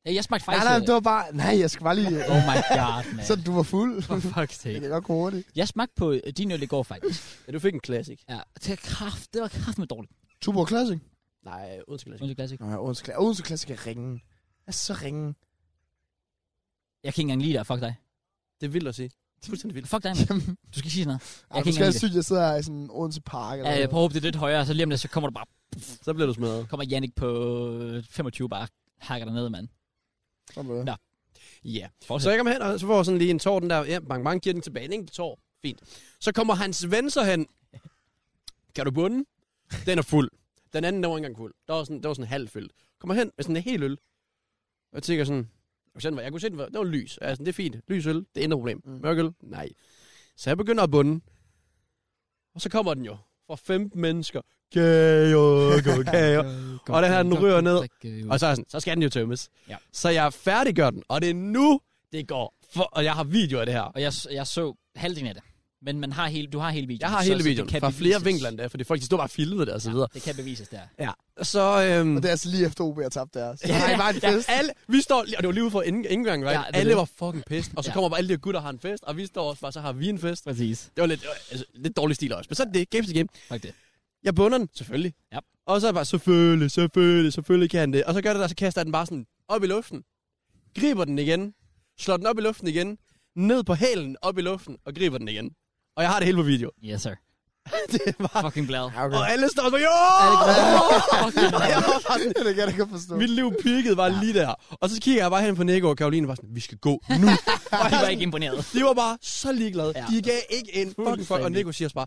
Speaker 1: Ja, jeg smagte
Speaker 3: Nej,
Speaker 1: faktisk...
Speaker 3: nej,
Speaker 1: øh,
Speaker 3: det var bare... Nej, jeg skal bare lige...
Speaker 1: Oh my god, man.
Speaker 3: Så du var
Speaker 1: <laughs>
Speaker 3: fuld.
Speaker 1: For fuck's
Speaker 3: Det
Speaker 1: sake.
Speaker 3: kan godt gå hurtigt.
Speaker 1: Jeg smagte på øh, din øl i går, faktisk.
Speaker 2: Ja, du fik en classic.
Speaker 1: Ja, det var kraft, det var kraft med dårligt.
Speaker 3: Tuborg Classic.
Speaker 2: Nej, uden til classic.
Speaker 1: Odense Classic.
Speaker 3: Nå, ja, Odense Classic. Odense Classic er ringen. Jeg er så ringen.
Speaker 1: Jeg kan ikke engang lide dig, fuck dig.
Speaker 2: Det er vildt at sige. Fuldstændig vildt.
Speaker 1: Fuck dig, man.
Speaker 3: Jamen,
Speaker 1: Du skal ikke sige sådan noget. Jeg kan
Speaker 3: jeg kan
Speaker 1: ikke
Speaker 3: skal
Speaker 1: lide
Speaker 3: sygt, jeg sidder her i sådan en Odense Park.
Speaker 1: Ja,
Speaker 3: Eller
Speaker 1: jeg
Speaker 3: noget.
Speaker 1: prøver at håbe, det er lidt højere, så lige om lidt, så kommer du bare...
Speaker 2: Så bliver du smadret.
Speaker 1: Kommer Jannik på øh, 25 bare hakker dig ned, mand.
Speaker 3: Sådan noget.
Speaker 1: Nå.
Speaker 2: Ja. Yeah. Så
Speaker 1: Fortsæt. Øh,
Speaker 2: jeg kommer hen, og så får jeg sådan lige en tår, den der, ja, bang, bang, giver den tilbage. Ingen tår. Fint. Så kommer hans ven så hen. Kan du bunde? Den er fuld. Den anden, der var ikke engang fuld. Der var sådan, der var sådan halvfyldt. Kommer hen med sådan en hel øl. Og jeg tænker sådan, og sådan var- jeg kunne se, den var, det var lys. Altså, det er fint. Lys øl, det er intet problem.
Speaker 3: Mm.
Speaker 2: Mørk øl, nej. Så jeg begynder at bunde. Og så kommer den jo fra 15 mennesker. Gager, gager, gager. Og den her, den ryger ned. Mm. Og så, er jeg sådan, så skal den jo tømmes.
Speaker 1: Ja.
Speaker 2: Så jeg færdiggør den, og det er nu, det går. For, og jeg har video af det her.
Speaker 1: Og jeg, jeg så halvdelen af det. Men man har hele, du har hele videoen.
Speaker 2: Jeg har
Speaker 1: så-
Speaker 2: hele
Speaker 1: så det
Speaker 2: videoen
Speaker 1: kan
Speaker 2: fra flere
Speaker 1: bevises.
Speaker 2: vinkler end det, fordi folk de stod bare og filmede det og så
Speaker 1: Ja,
Speaker 2: videre.
Speaker 1: Det kan bevises der.
Speaker 2: Ja. Så, øhm,
Speaker 3: Og det er altså lige efter OB har tabt der. Så
Speaker 2: <laughs> Ja,
Speaker 3: ja, det var en fest.
Speaker 2: ja, alle, vi står lige, og det var lige ude for ind- indgangen, right?
Speaker 1: Ja, det
Speaker 2: Ja,
Speaker 1: er
Speaker 2: alle
Speaker 1: det.
Speaker 2: var fucking pissed, og så
Speaker 1: Ja.
Speaker 2: ja. kommer bare alle de her gutter og har en fest, og vi står også bare, så har vi en fest.
Speaker 1: Præcis.
Speaker 2: Det var lidt, det var, altså, lidt dårlig stil også, men så er det det, games to game.
Speaker 1: Fuck det.
Speaker 2: Jeg bunder den, selvfølgelig.
Speaker 1: Ja.
Speaker 2: Og så er jeg bare, selvfølgelig, selvfølgelig, selvfølgelig kan han det. Og så gør det der, så kaster jeg den bare sådan op i luften. Griber den igen. Slår den op i luften igen. Ned på hælen, op i luften, og griber den igen. Og jeg har det hele på video. <laughs>
Speaker 1: Yes, sir.
Speaker 2: det var...
Speaker 1: Fucking
Speaker 2: <laughs>
Speaker 1: glad.
Speaker 2: Og alle står bare,
Speaker 1: Er det
Speaker 2: jo!
Speaker 1: glad? Fucking glad.
Speaker 2: <laughs> Jeg var bare sådan,
Speaker 3: <laughs> det kan jeg da godt forstå.
Speaker 2: mit liv peakede bare lige der. Og så kigger jeg bare hen på Nico og Karoline og var sådan, vi skal gå nu.
Speaker 1: De var ikke
Speaker 2: <laughs>
Speaker 1: imponeret.
Speaker 2: De var bare så ligeglade.
Speaker 1: Ja.
Speaker 2: Ja. De gav ikke en fucking fuck. Og Nico siger også bare,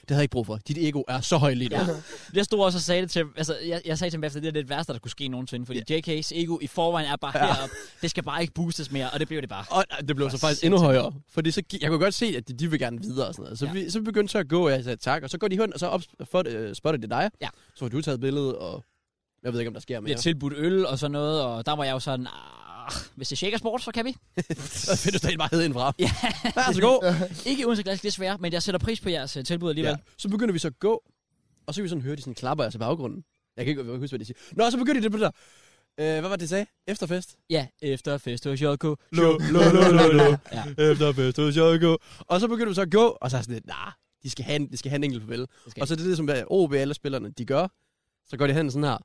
Speaker 2: det havde jeg ikke brug for. Dit ego er så højt lige nu.
Speaker 1: Ja. Jeg stod også og sagde det til altså, jeg, jeg sagde til ham efter, det er det værste, der kunne ske nogensinde, fordi JK's ego i forvejen er bare ja. heroppe. Det skal bare ikke boostes mere, og det blev det bare.
Speaker 2: Og det blev så faktisk endnu højere. Fordi så, gi- jeg kunne godt se, at de, de vil gerne videre og sådan noget. Så,
Speaker 1: Ja.
Speaker 2: ja. vi, så begyndte jeg at gå, og jeg sagde tak. Og så går de hen, og så op, for, øh, spotter det dig.
Speaker 1: Ja.
Speaker 2: Så har du taget billedet, og jeg ved ikke, om der sker
Speaker 1: Vi
Speaker 2: mere.
Speaker 1: har
Speaker 2: <laughs>
Speaker 1: tilbudt øl og sådan noget, og der var jeg jo sådan, "Ah, hvis det er shaker sport, så kan vi.
Speaker 2: Så finder du stadig bare heden fra.
Speaker 1: Ja.
Speaker 2: Vær så
Speaker 1: <laughs>
Speaker 2: god.
Speaker 1: Ikke uden så glas, desværre, men jeg sætter pris på jeres øh, tilbud alligevel.
Speaker 2: Ja. Så begynder vi så at gå, og så kan vi sådan høre, de sådan klapper altså i baggrunden. Jeg kan ikke jeg kan ikke huske, hvad de siger. Nå, så begynder de det på det der. Øh, hvad var det, de sagde? Efterfest?
Speaker 1: Ja, efter fest hos JK.
Speaker 2: Lo, lo, lo, lo, lo.
Speaker 1: <laughs> Ja.
Speaker 2: Efterfest hos JK. Og så begynder vi så at gå, og så er jeg sådan lidt, nah, de skal have en, de skal have en enkelt farvel.
Speaker 1: Det skal
Speaker 2: Og så er det det, som øh, OB alle spillerne, de gør. Så går de hen sådan her,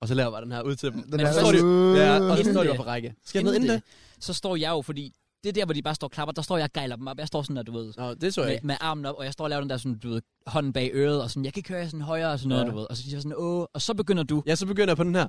Speaker 2: og så laver bare den her ud til dem.
Speaker 3: Den
Speaker 1: Men
Speaker 3: er
Speaker 1: så
Speaker 2: står de- Ja, og så
Speaker 1: Inden
Speaker 2: står de
Speaker 1: det.
Speaker 2: bare på række. Skal jeg med
Speaker 1: Inden
Speaker 2: inden det?
Speaker 1: så står jeg jo, fordi det er der, hvor de bare står og klapper, der står jeg og gejler dem op. Jeg står sådan, at du ved,
Speaker 2: Nå, det så jeg
Speaker 1: med,
Speaker 2: ikke.
Speaker 1: med, armen op, og jeg står og laver den der sådan, du ved, hånden bag øret, og sådan, jeg kan ikke høre jer sådan højere og sådan noget,
Speaker 2: Ja.
Speaker 1: du ved. Og så siger jeg sådan, åh, og så begynder du.
Speaker 2: Ja, så begynder jeg på den her.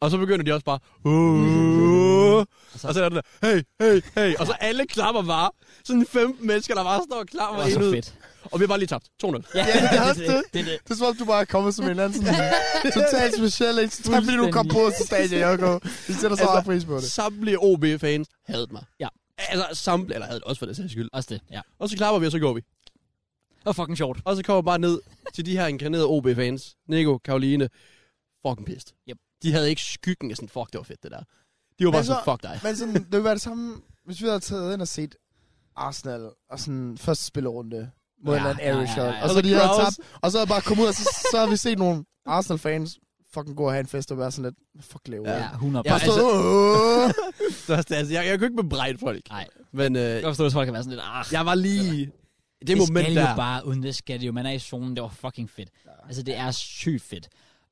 Speaker 2: Og så begynder de også bare, "Åh."
Speaker 1: Og så,
Speaker 2: og så er det der, hey, hey, hey. Og så alle klapper bare. Sådan 15 mennesker, der bare står og klapper
Speaker 1: det var
Speaker 2: ind
Speaker 1: så
Speaker 2: ud.
Speaker 1: fedt.
Speaker 2: Og vi har bare lige tabt 2-0.
Speaker 1: Ja,
Speaker 3: det er også det.
Speaker 1: Det er det.
Speaker 3: Det er som om, du bare er kommet som en eller anden <laughs> sådan, totalt speciel. Ikke? Tak fordi du kom på til stadion, Joko. <laughs> Vi sætter så
Speaker 2: Altså,
Speaker 3: meget pris på det.
Speaker 2: Samtlige OB-fans havde mig.
Speaker 1: Ja.
Speaker 2: Altså, samtlige, eller havde det også for det sags skyld.
Speaker 1: Også det, ja.
Speaker 2: Og så klapper vi, og så går vi.
Speaker 1: Det var fucking sjovt.
Speaker 2: Og så kommer jeg bare ned til de her inkarnerede OB-fans. Nico, Karoline, fucking pissed.
Speaker 1: Yep.
Speaker 2: De havde ikke skyggen af sådan, fuck, det var fedt det der. De var bare
Speaker 3: Men så-
Speaker 2: sådan, fuck dig.
Speaker 3: Men sådan, det ville være det samme, hvis vi havde taget ind og set Arsenal og sådan første spillerunde mod
Speaker 1: Ja,
Speaker 3: ja, en eller
Speaker 1: ja,
Speaker 3: anden
Speaker 1: ja,
Speaker 3: ja,
Speaker 1: ja,
Speaker 3: ja,
Speaker 1: ja.
Speaker 3: Og
Speaker 2: Og
Speaker 3: så
Speaker 2: så
Speaker 3: de havde
Speaker 2: crowds.
Speaker 3: tabt, og så havde jeg bare kommet ud, og så, så har vi set nogle Arsenal-fans fucking gå og have en fest og være sådan lidt, "Hvad fuck lever
Speaker 1: Ja,
Speaker 3: ja.
Speaker 1: 100
Speaker 2: Ja,
Speaker 1: ja,
Speaker 3: Bare stå, "Åh."
Speaker 2: Så, altså, jeg, jeg kunne ikke bebrejde folk.
Speaker 1: Nej.
Speaker 2: Men øh,
Speaker 1: Jeg forstår, at folk kan være sådan lidt, ah,
Speaker 2: jeg var lige... i Det,
Speaker 1: det, det
Speaker 2: moment
Speaker 1: skal
Speaker 2: der.
Speaker 1: jo bare, uden det skal det jo. Man er i zonen, det var fucking fedt. Altså, det er sygt fedt.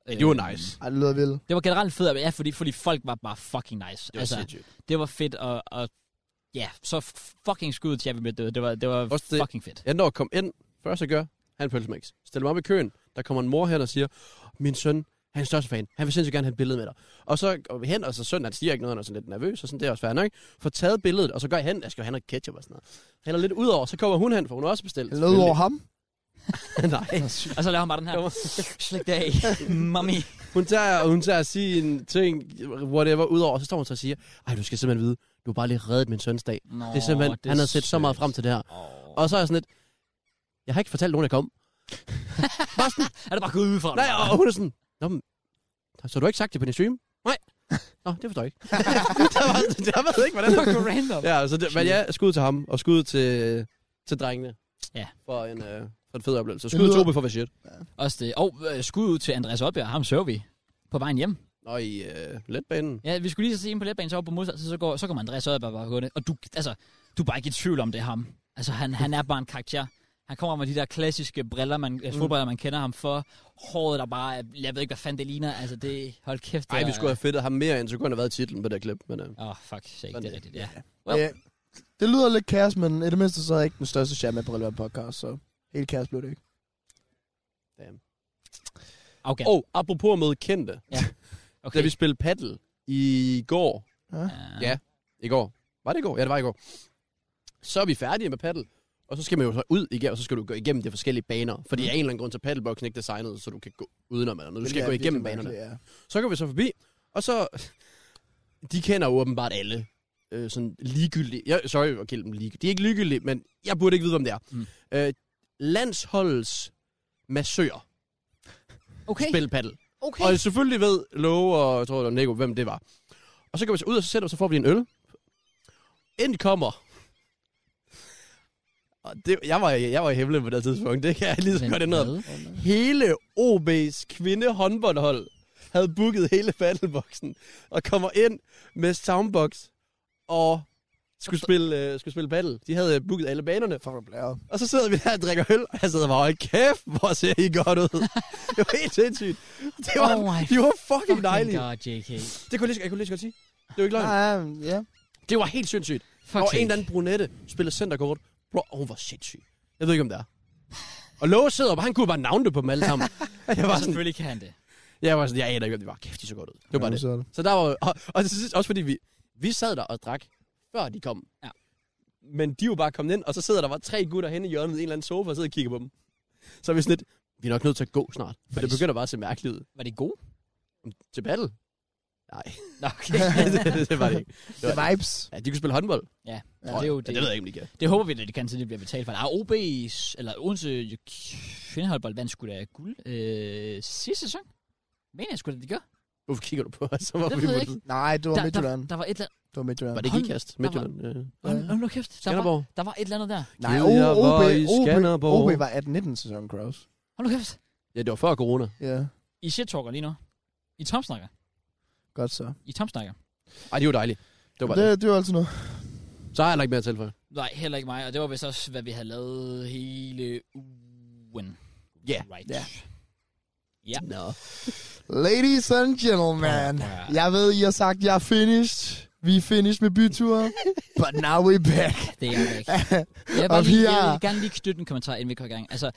Speaker 2: Det var
Speaker 1: Øhm,
Speaker 2: nice.
Speaker 3: Ej, det lyder <laughs> vildt.
Speaker 1: Det var generelt fedt, ja, fordi, fordi folk var bare fucking nice.
Speaker 2: Det var
Speaker 1: altså,
Speaker 2: sindssygt.
Speaker 1: det var fedt, og, og ja, så fucking skud til, at vi blev døde. Det var, det var
Speaker 2: Også det-
Speaker 1: fucking fedt.
Speaker 2: Jeg når at komme ind, først jeg gør, han en pølsemix. Stiller mig op i køen, der kommer en mor hen og siger, min søn, han er største fan, han vil sindssygt gerne have et billede med dig. Og så går vi hen, og så sønnen, han siger ikke noget, han er sådan lidt nervøs, og sådan, det er også fair nok. Får taget billedet,
Speaker 3: <laughs>
Speaker 2: og så går jeg hen, jeg skal jo have noget ketchup og sådan noget. Hælder lidt ud over, så kommer hun hen, for hun har også bestilt.
Speaker 3: Noget over ham.
Speaker 2: Nej.
Speaker 1: Og så laver han bare den her. Slik det af. Mommy.
Speaker 2: Hun tager, hun tager sin ting, whatever, udover, og så står hun så og siger, ej, du skal simpelthen vide, du har bare lige reddet min søns dag.
Speaker 1: Nå,
Speaker 2: Det er simpelthen, det han har set så meget frem til det her.
Speaker 1: Oh.
Speaker 2: Og så er jeg sådan lidt, jeg har ikke fortalt nogen, jeg kom. bare sådan,
Speaker 1: Er det bare gået ud fra
Speaker 2: nej, og hun er sådan, Nå, men, så har du ikke sagt det på din stream? Nej. Nå, det forstår jeg ikke. <laughs> der, var, der ved ikke, hvordan det
Speaker 1: Fuck random.
Speaker 2: Ja, så det, men ja, skud til ham, og skud til, til drengene.
Speaker 1: Ja.
Speaker 2: For en, øh, for en fed oplevelse.
Speaker 3: Det
Speaker 2: Skud til
Speaker 3: lyder-
Speaker 2: Tobi for at være shit.
Speaker 1: Også det. Og øh, skud ud til Andreas Oddbjerg. Ham så vi på vejen hjem.
Speaker 2: Nå, i øh, letbanen.
Speaker 1: Ja, vi skulle lige så se ind på letbanen, så over på modsat, så, så, går, så kommer Andreas Oddbjerg bare gående. Og du, altså, du er bare ikke i tvivl om, det er ham. Altså, han, han er bare en karakter. Han kommer med de der klassiske briller, man, mm. fodbriller, man kender ham for. Håret, der bare, er- jeg ved ikke, hvad fanden det ligner. Altså, det, hold kæft.
Speaker 2: Nej, vi skulle have fedtet ham mere, end så kunne han have været i titlen på det klip. Men, øh.
Speaker 1: Åh, oh, fuck, shit, det er rigtigt, ja. Well.
Speaker 3: Ja. Det lyder lidt kaos, men i det mindste så er jeg ikke den største charme på relevant podcast, så helt kaos blev det ikke.
Speaker 1: Afghan.
Speaker 2: Og apropos at møde kendte,
Speaker 1: okay.
Speaker 2: da vi spillede paddle i går,
Speaker 1: ja.
Speaker 2: Ja. i går. Var det i går? Ja, det var i går. Så er vi færdige med paddle. Og så skal man jo så ud igen, og så skal du gå igennem de forskellige baner. Fordi af en eller anden grund, så er paddleboxen ikke designet, så du kan gå udenom eller noget. Du
Speaker 3: Mm. Det
Speaker 2: skal
Speaker 3: er
Speaker 2: gå
Speaker 3: virkelig
Speaker 2: igennem banerne.
Speaker 3: mærkeligt, Ja.
Speaker 2: Så går vi så forbi, og så... <laughs> De kender jo åbenbart alle. Øh, sådan ligegyldige. Jeg, sorry at kalde dem ligegyldige. De er ikke ligegyldige, men jeg burde ikke vide, hvem det er.
Speaker 1: Mm.
Speaker 2: Mm. Øh, landsholdets massør
Speaker 1: Okay,
Speaker 2: spil paddle.
Speaker 1: okay.
Speaker 2: Og jeg selvfølgelig ved Lowe og jeg tror, det var Nico, hvem det var. Og så går vi så ud, og så sætter vi, så får vi en øl. Endelig kommer. Og det, jeg, var, jeg var i himlen på det tidspunkt. Det kan jeg lige så
Speaker 1: Men
Speaker 2: godt indrømme.
Speaker 1: hvad?
Speaker 2: Hele OB's kvindehåndboldhold havde booket hele battleboxen. Og kommer ind med soundbox og skulle spille, øh, skulle spille battle. De havde øh, booket alle banerne.
Speaker 3: Fuck, hvor blæret.
Speaker 2: Og så sidder vi der og drikker øl, og jeg sidder bare, hold kæft, hvor ser I
Speaker 1: <laughs>
Speaker 2: godt ud. det var helt sindssygt. Det var,
Speaker 1: Oh my
Speaker 2: oh de var fucking,
Speaker 1: Fucking
Speaker 2: fucking dejlige.
Speaker 1: God, JK.
Speaker 2: Det kunne jeg lige, jeg kunne lige så godt sige. Det var ikke løgn.
Speaker 3: Ja, ja.
Speaker 2: Det var helt sindssygt.
Speaker 1: Fuck
Speaker 2: og en eller anden brunette spillede centerkort. Bro, og hun var sindssyg. Jeg ved ikke, om det er. Og Lowe sidder op, han kunne bare navne det på dem alle
Speaker 1: <laughs>
Speaker 2: sammen. jeg var sådan,
Speaker 1: Selvfølgelig kan han det.
Speaker 2: jeg var sådan, jeg aner ikke, om de var kæft, de så godt ud. Det var bare
Speaker 3: Ja,
Speaker 2: det.
Speaker 3: så er det.
Speaker 2: Så der var, og, og til sidst, også fordi vi, vi sad der og drak, før de kom.
Speaker 1: Ja.
Speaker 2: Men de er jo bare kommet ind, og så sidder der bare tre gutter henne i hjørnet i en eller anden sofa og sidder og kigger på dem. Så er vi sådan lidt, vi er nok nødt til at gå snart, for det begynder bare at se mærkeligt ud.
Speaker 1: Var det god?
Speaker 2: Til battle? <laughs> Nej,
Speaker 1: Nå, okay.
Speaker 2: det, det, det var det ikke.
Speaker 3: The vibes.
Speaker 2: Ja, de kunne spille håndbold.
Speaker 1: ja, det, er jo
Speaker 2: Ja, det ved jeg ikke, om de kan.
Speaker 1: det håber vi, at det kan, så det Ah, bliver betalt for. Der er OB's, eller Odense kvindehåndbold vandt skulle da guld øh, sidste sæson. Mener jeg skulle da, de gør.
Speaker 2: Hvorfor kigger du på os? Så var
Speaker 1: Det
Speaker 2: vi
Speaker 1: ved jeg
Speaker 2: på-
Speaker 3: Nej, det var
Speaker 1: Der, der,
Speaker 3: Midtjylland.
Speaker 1: der var et eller andet.
Speaker 3: Det var Midtjylland.
Speaker 2: Var det ikke Ikast? Midtjylland? øh,
Speaker 1: Hold nu- Hold nu kæft. Der var,
Speaker 2: Skanderborg?
Speaker 1: der var et eller andet der.
Speaker 3: Nej,
Speaker 2: Gud,
Speaker 3: O-
Speaker 2: jeg
Speaker 3: OB,
Speaker 2: var i
Speaker 3: OB,
Speaker 2: Skanderborg.
Speaker 3: OB var 18-19 sæsonen, Kraus.
Speaker 1: Hold nu kæft.
Speaker 2: Ja, det var før corona.
Speaker 3: Ja,
Speaker 1: I shit-talker lige nu. I tomsnakker.
Speaker 3: godt så.
Speaker 1: I tomsnakker.
Speaker 2: Ej, det var dejligt. Det var bare det.
Speaker 3: Det, det var altid noget.
Speaker 2: Så har jeg ikke mere at tilføje.
Speaker 1: Nej, heller ikke mig. Og det var vist også, hvad vi havde lavet hele ugen.
Speaker 2: Ja.
Speaker 1: Right.
Speaker 3: Ja.
Speaker 1: Ja.
Speaker 2: Nå.
Speaker 3: Ladies and gentlemen,
Speaker 1: Prøv at-
Speaker 3: jeg ved, I har sagt, jeg er finished. Vi er finished med byture, but now we're
Speaker 2: <laughs>
Speaker 3: back.
Speaker 1: Det er
Speaker 3: <laughs>
Speaker 1: jeg ikke. Jeg vil,
Speaker 3: Og
Speaker 1: bare lige,
Speaker 3: vi
Speaker 1: jeg
Speaker 3: er-
Speaker 1: vil gerne lige knytte en kommentar, inden vi går i gang. Altså,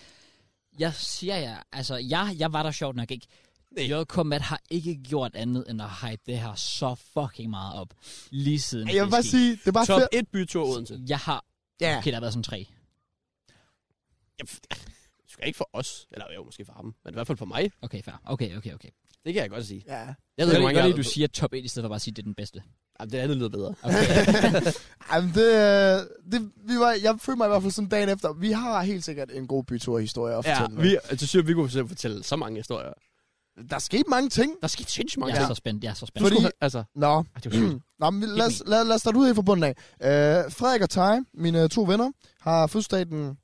Speaker 1: jeg siger jer, altså, jeg, jeg var der sjovt nok ikke. JK Matt har ikke gjort andet end at hype det her så fucking meget op. Lige siden
Speaker 3: Jeg vil
Speaker 1: det
Speaker 3: bare
Speaker 1: skete.
Speaker 3: sige, det var
Speaker 2: Top
Speaker 3: fedt.
Speaker 2: 1 bytur Odense.
Speaker 1: Jeg har...
Speaker 3: Ja.
Speaker 1: Okay, der har været sådan tre.
Speaker 2: Jeg, skal ikke for os, eller jo, måske for ham, men i hvert fald for mig.
Speaker 1: Okay, fair. Okay, okay, okay.
Speaker 2: Det kan jeg godt sige.
Speaker 3: Ja.
Speaker 2: Jeg
Speaker 1: Jeg
Speaker 2: ved
Speaker 1: ved
Speaker 2: ikke,
Speaker 1: ikke,
Speaker 2: hvor mange
Speaker 1: lige, du siger top 1, i stedet for bare at sige, det er den
Speaker 3: <laughs>
Speaker 1: bedste.
Speaker 2: Jamen, det andet lyder bedre.
Speaker 1: Okay.
Speaker 3: Jamen, det, øh, det, vi var, jeg følte mig i hvert fald sådan dagen efter. Vi har helt sikkert en god byture-historie at
Speaker 2: Ja,
Speaker 3: fortælle.
Speaker 2: vi, altså, synes, vi kunne selv fortælle så mange historier.
Speaker 3: Der skete mange ting.
Speaker 2: Der skete sindssygt mange
Speaker 1: jeg er
Speaker 2: ting.
Speaker 1: så spændt, jeg er så spændt.
Speaker 2: Du
Speaker 3: Fordi-
Speaker 2: skulle have- altså,
Speaker 3: Nå,
Speaker 2: ej, det var <clears throat> sygt.
Speaker 3: Nå men vi- lad, os, lad, lad os starte ud af fra bunden af. Øh, Frederik og Tej, mine øh, to venner, har fødselsdag den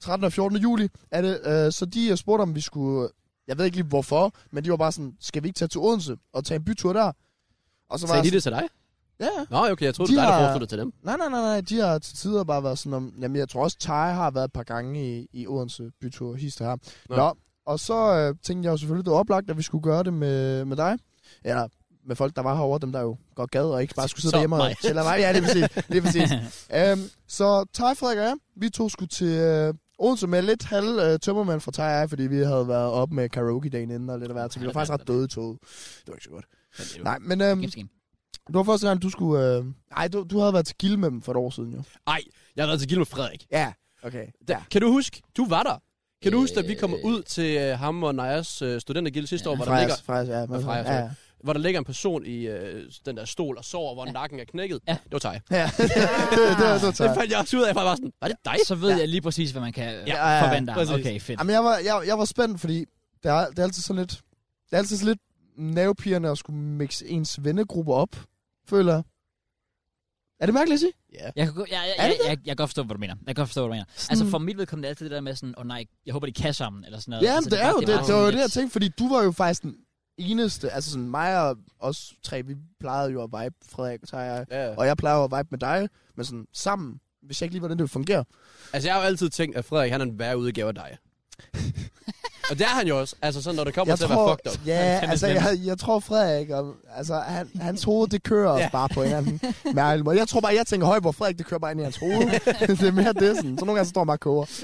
Speaker 3: 13. og 14. juli. Er det, øh, så de øh, spurgte, om vi skulle... Jeg ved ikke lige hvorfor, men de var bare sådan, skal vi ikke tage til Odense og tage en bytur der? Og så var
Speaker 2: Sagde
Speaker 3: jeg
Speaker 2: de det til dig?
Speaker 3: sådan, Ja, ja.
Speaker 2: Nå, okay, jeg troede,
Speaker 3: De
Speaker 2: det var dig, der
Speaker 3: har-
Speaker 2: forestod det til dem.
Speaker 3: Nej, nej, nej, nej. De har til tider bare været sådan om... Jamen, jeg tror også, Tej har været et par gange i, i Odense bytur hister her.
Speaker 2: Nå.
Speaker 3: Nå. Nå. Og så øh, tænkte jeg jo selvfølgelig, det var oplagt, at vi skulle gøre det med, med dig. Eller med folk, der var herovre, dem der jo godt gad, og ikke bare skulle sidde
Speaker 2: Så
Speaker 3: derhjemme og
Speaker 2: mig.
Speaker 3: <laughs> tælle mig. Ja, det er præcis. Det er præcis. øhm, så Tej, Frederik og jeg, vi to skulle til øh, Odense med lidt halv øh, tømmermand fra Tej og jeg, fordi vi havde været op med karaoke dagen inden og lidt af hvert, så vi var faktisk ret døde i toget. Det var ikke så godt. Nej, men øhm,
Speaker 1: Games game.
Speaker 3: det var første gang, du skulle... Øh, nej, du, du havde været til Gilde med dem for et år siden jo.
Speaker 2: Ej, jeg har været til Gilde med Frederik.
Speaker 3: Ja, Okay.
Speaker 2: Da, kan du huske, du var der. Kan du huske, at vi
Speaker 1: Øh.
Speaker 2: kommer ud til øh, ham og Najas øh, studentergilde sidste
Speaker 1: Ja.
Speaker 2: år, hvor der,
Speaker 3: Frejas,
Speaker 2: ligger,
Speaker 3: Frejas, ja.
Speaker 2: Og Freja,
Speaker 3: ja,
Speaker 2: sorry.
Speaker 3: ja.
Speaker 2: hvor der ligger en person i øh, den der stol og sover, hvor ja. nakken er knækket?
Speaker 1: Ja.
Speaker 2: Det var dig.
Speaker 3: ja. <laughs> det, det, det,
Speaker 2: Det
Speaker 3: det, det,
Speaker 2: fandt jeg også ud af, jeg var sådan, var det dig?
Speaker 1: Så ved jeg lige præcis, hvad man kan øh,
Speaker 3: Ja, ja, ja,
Speaker 1: forvente af ham.
Speaker 2: præcis.
Speaker 1: Okay, fedt.
Speaker 3: Jamen, jeg var, jeg, jeg var spændt, fordi det er, det er altid sådan lidt... Det er altid sådan lidt nervepirrende at skulle mixe ens vennegrupper op, føler jeg. Er det mærkeligt at sige?
Speaker 2: Ja.
Speaker 1: Jeg kan, go- jeg, jeg,
Speaker 3: Er
Speaker 1: jeg,
Speaker 3: det det?
Speaker 1: jeg, jeg kan godt forstå, hvad du mener. Jeg kan godt forstå, hvad du mener.
Speaker 3: Mm.
Speaker 1: Altså for mit vedkommende er det altid det der med sådan, åh oh, nej, jeg håber, de kan sammen, eller sådan noget.
Speaker 3: Ja,
Speaker 1: altså,
Speaker 3: men det er jo
Speaker 1: bare-
Speaker 3: det.
Speaker 1: bare
Speaker 3: Det var jo
Speaker 1: sådan
Speaker 3: det, jeg
Speaker 1: lidt-
Speaker 3: tænkte, fordi du var jo faktisk den eneste. Altså sådan mig og os tre, vi plejede jo at vibe, Frederik og jeg.
Speaker 2: Ja.
Speaker 3: Og jeg plejer jo at vibe med dig, men sådan sammen. Hvis jeg ikke lige, hvordan det fungerer.
Speaker 2: Altså, jeg har jo altid tænkt, at Frederik, han er en værre udgave af dig. og det er han jo også. Altså, sådan, når det kommer jeg til tror... at være fucked up.
Speaker 3: ja,
Speaker 1: Han er
Speaker 3: altså,
Speaker 1: fandme
Speaker 3: jeg, jeg tror Frederik, og, altså, han, hans hoved, det kører os
Speaker 2: Ja.
Speaker 3: bare på en
Speaker 2: <laughs>
Speaker 3: eller anden mærkelig måde. Jeg tror bare, jeg tænker højt, hvor Frederik, det kører bare ind i hans hoved. det er mere det, sådan. Så nogle gange så står han bare og koger.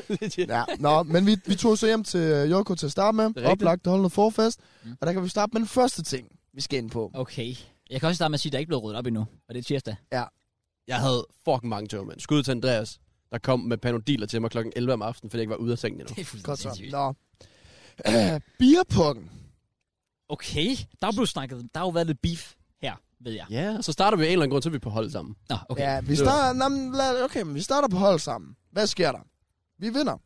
Speaker 3: Ja, nå, men vi, vi tog så hjem til øh, Joko til at starte med.
Speaker 2: rigtigt.
Speaker 3: Oplagt at holde noget forfest.
Speaker 1: Mm.
Speaker 3: Og der kan vi starte med den første ting, vi skal ind på.
Speaker 1: Okay. Jeg kan også starte med at sige, at der er ikke blevet ryddet op endnu, og det er tirsdag.
Speaker 2: Jeg havde fucking mange tømmermænd. Skud til Andreas, der kom med panodiler til mig klokken 11 om aftenen, fordi jeg ikke var ude af sengen endnu.
Speaker 1: Det er
Speaker 3: Godt
Speaker 1: fuldstændig
Speaker 3: så.
Speaker 1: sindssygt.
Speaker 3: Nå. <clears throat> Bierpukken.
Speaker 1: Okay, der er blevet snakket, der har jo været lidt beef her, ved jeg.
Speaker 2: Ja, og så starter vi af en eller anden grund, så er vi på hold sammen.
Speaker 1: Nå, okay.
Speaker 3: Ja, vi
Speaker 2: det var-
Speaker 3: starter, nå, men lad- okay, men vi starter på hold sammen. Hvad sker der? Vi vinder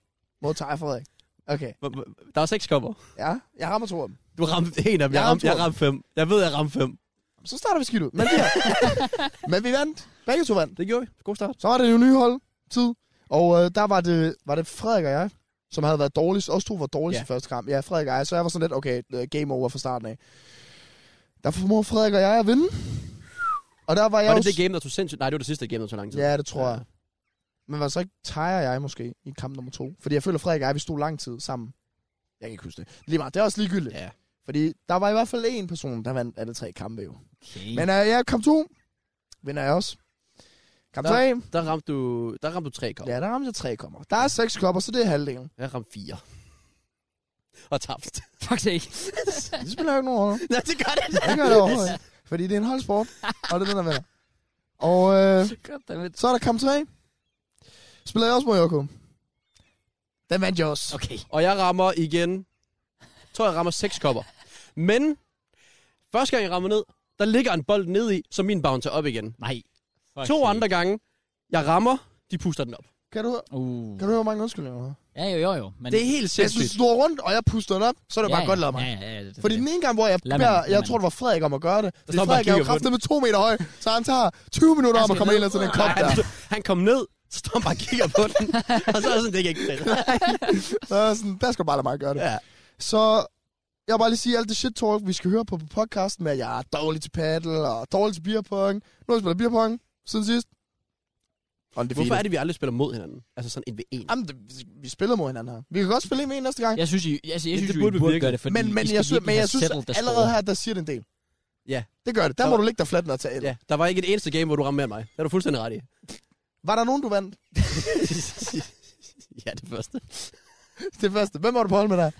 Speaker 3: mod Thaj Frederik. Okay,
Speaker 2: Hvor- hvor- Der var seks kopper.
Speaker 3: ja, jeg rammer to af dem.
Speaker 2: Du ramte en af dem. Jeg, ramte,
Speaker 3: Jeg ramte
Speaker 2: jeg
Speaker 3: to.
Speaker 2: ramte fem. Jeg ved, jeg ramte fem.
Speaker 3: Så starter vi skidt ud. Men vi, men vi vandt. Begge to vandt.
Speaker 2: Det gjorde vi. God start.
Speaker 3: Så var det jo nye hold. Tid. Og øh, der var det, var det Frederik og jeg, som havde været dårligst. Os to var dårligst
Speaker 2: Ja.
Speaker 3: i første kamp. Ja, Frederik og jeg. Så jeg var sådan lidt, okay, øh, game over fra starten af. Der formår Frederik og jeg at vinde. Og der var jeg
Speaker 2: Var
Speaker 3: jo
Speaker 2: det det game, der tog sindssygt? Nej, det var det sidste game, der tog lang tid.
Speaker 3: Ja, det tror jeg. Men var det så ikke Tejer og jeg måske i kamp nummer to? Fordi jeg føler, at Frederik og jeg, vi stod lang tid sammen. Jeg kan ikke huske det. Lige meget, det er også ligegyldigt.
Speaker 2: Ja.
Speaker 3: Fordi der var i hvert fald en person, der vandt alle tre kampe jo.
Speaker 1: okay.
Speaker 3: Men øh, ja, kamp to vinder jeg også. Kamp
Speaker 2: Nå.
Speaker 3: tre,
Speaker 2: Der ramte du, der ramte du tre kopper.
Speaker 3: ja, der ramte jeg tre kommer. Der er seks kopper, så det er halvdelen.
Speaker 2: Jeg ramte fire. Og tabte.
Speaker 1: <laughs> Fuck det
Speaker 3: <laughs>
Speaker 1: ikke.
Speaker 3: Det spiller jo ikke nogen rolle.
Speaker 2: Nej, det gør
Speaker 1: <laughs>
Speaker 2: det.
Speaker 3: Det gør det overhovedet ikke. Fordi det er en holdsport, og det er den, der vinder. Og øh,
Speaker 1: Goddammit.
Speaker 3: så er der kamp tre. Spiller jeg også mod Joko. Den vandt jeg også.
Speaker 1: Okay.
Speaker 2: Og jeg rammer igen. Jeg tror, jeg rammer seks kopper. Men første gang, jeg rammer ned, der ligger en bold ned i, så min bouncer op igen.
Speaker 1: Nej. Fuck
Speaker 2: To
Speaker 1: det.
Speaker 2: andre gange, jeg rammer, de puster den op.
Speaker 3: Kan du,
Speaker 1: Uh.
Speaker 3: kan du høre, hvor mange undskyldninger du har?
Speaker 1: Ja, jo, jo, jo. Men...
Speaker 2: Det er helt
Speaker 3: Hvis du
Speaker 2: sindssygt.
Speaker 3: står rundt, og jeg puster den op, så er det
Speaker 1: ja,
Speaker 3: ja, bare
Speaker 1: ja,
Speaker 3: godt lavet mig. Ja,
Speaker 1: Ja, ja, ja. Det,
Speaker 3: Fordi den ene gang, hvor jeg
Speaker 1: Lad
Speaker 3: beder,
Speaker 1: mand, lad
Speaker 3: jeg
Speaker 1: mand.
Speaker 3: tror, det var Frederik om at gøre det. Fordi
Speaker 2: står man og
Speaker 3: Frederik er jo
Speaker 2: kigger på
Speaker 3: kraftet med to meter høj, så han tager 20 minutter om
Speaker 1: Han
Speaker 3: at
Speaker 1: skal
Speaker 3: komme
Speaker 1: ned.
Speaker 3: ind til den
Speaker 2: Ej,
Speaker 3: kop der.
Speaker 2: han, stod- <laughs> han kom ned, så står han bare og kigger på den. og så er jeg sådan, det kan ikke fedt.
Speaker 3: Så er jeg sådan, der skal du bare lade mig gøre det.
Speaker 2: Ja.
Speaker 3: Så jeg vil bare lige sige, alt det shit talk, vi skal høre på på podcasten, med, at jeg er dårlig til paddle og dårlig til beerpong. Nu har jeg spillet beerpong siden sidst. Og det
Speaker 2: Hvorfor er det, vi aldrig spiller mod hinanden? Altså sådan en ved en.
Speaker 3: Jamen, det, vi spiller mod hinanden her. Vi kan godt spille en med en næste gang.
Speaker 1: Jeg synes, I, jeg, jeg synes,
Speaker 2: det
Speaker 1: I
Speaker 2: burde
Speaker 1: burde,
Speaker 2: vi
Speaker 1: burde
Speaker 2: virkelig.
Speaker 1: gøre det, fordi
Speaker 3: men, men,
Speaker 1: I skal
Speaker 3: jeg, synes,
Speaker 1: virkelig
Speaker 3: men jeg
Speaker 1: have
Speaker 3: synes
Speaker 1: settled the
Speaker 3: allerede
Speaker 1: score.
Speaker 3: her, der siger det en del.
Speaker 2: Ja.
Speaker 3: Det gør det. Der
Speaker 2: Der
Speaker 3: må
Speaker 2: var-
Speaker 3: du ligge dig fladt ned og tage el.
Speaker 2: Ja, der var ikke et eneste game, hvor du ramte mere end mig. Det er du fuldstændig ret i.
Speaker 3: Var der nogen, du vandt?
Speaker 2: ja, det første.
Speaker 3: Det første. Hvem var du på hold med dig?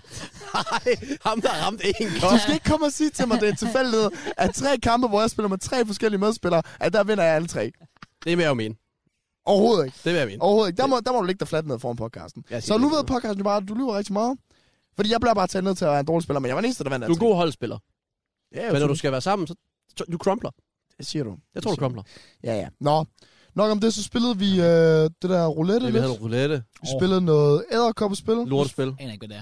Speaker 2: Nej, ham der ramte en
Speaker 3: Du
Speaker 2: kop.
Speaker 3: skal ikke komme og sige til mig, det er en tilfældighed, at tre kampe, hvor jeg spiller med tre forskellige medspillere, at der vinder jeg alle tre.
Speaker 2: Det vil jeg jo mene.
Speaker 3: Overhovedet ikke.
Speaker 2: Det vil jeg mene.
Speaker 3: Overhovedet ikke. Der må, der må du ligge dig fladt ned foran podcasten.
Speaker 2: Jeg siger
Speaker 3: Så nu
Speaker 2: det.
Speaker 3: ved podcasten jo bare, at du lyver rigtig meget. Fordi jeg bliver bare taget ned til at være en dårlig spiller, men jeg var den eneste, der vandt
Speaker 2: Du
Speaker 3: alle
Speaker 2: er en god holdspiller.
Speaker 3: tre. Ja,
Speaker 2: Men når du
Speaker 3: du...
Speaker 2: skal være sammen, så så- du crumpler.
Speaker 3: Det siger du.
Speaker 2: Jeg tror, du crumpler.
Speaker 3: Ja, ja. Nå. Nok om det, så spillede vi øh, det der roulette
Speaker 2: Ja,
Speaker 3: lidt.
Speaker 2: vi havde en roulette.
Speaker 3: Vi spillede noget æderkoppespil. Det
Speaker 2: Lortespil.
Speaker 1: Aner ikke, hvad det er.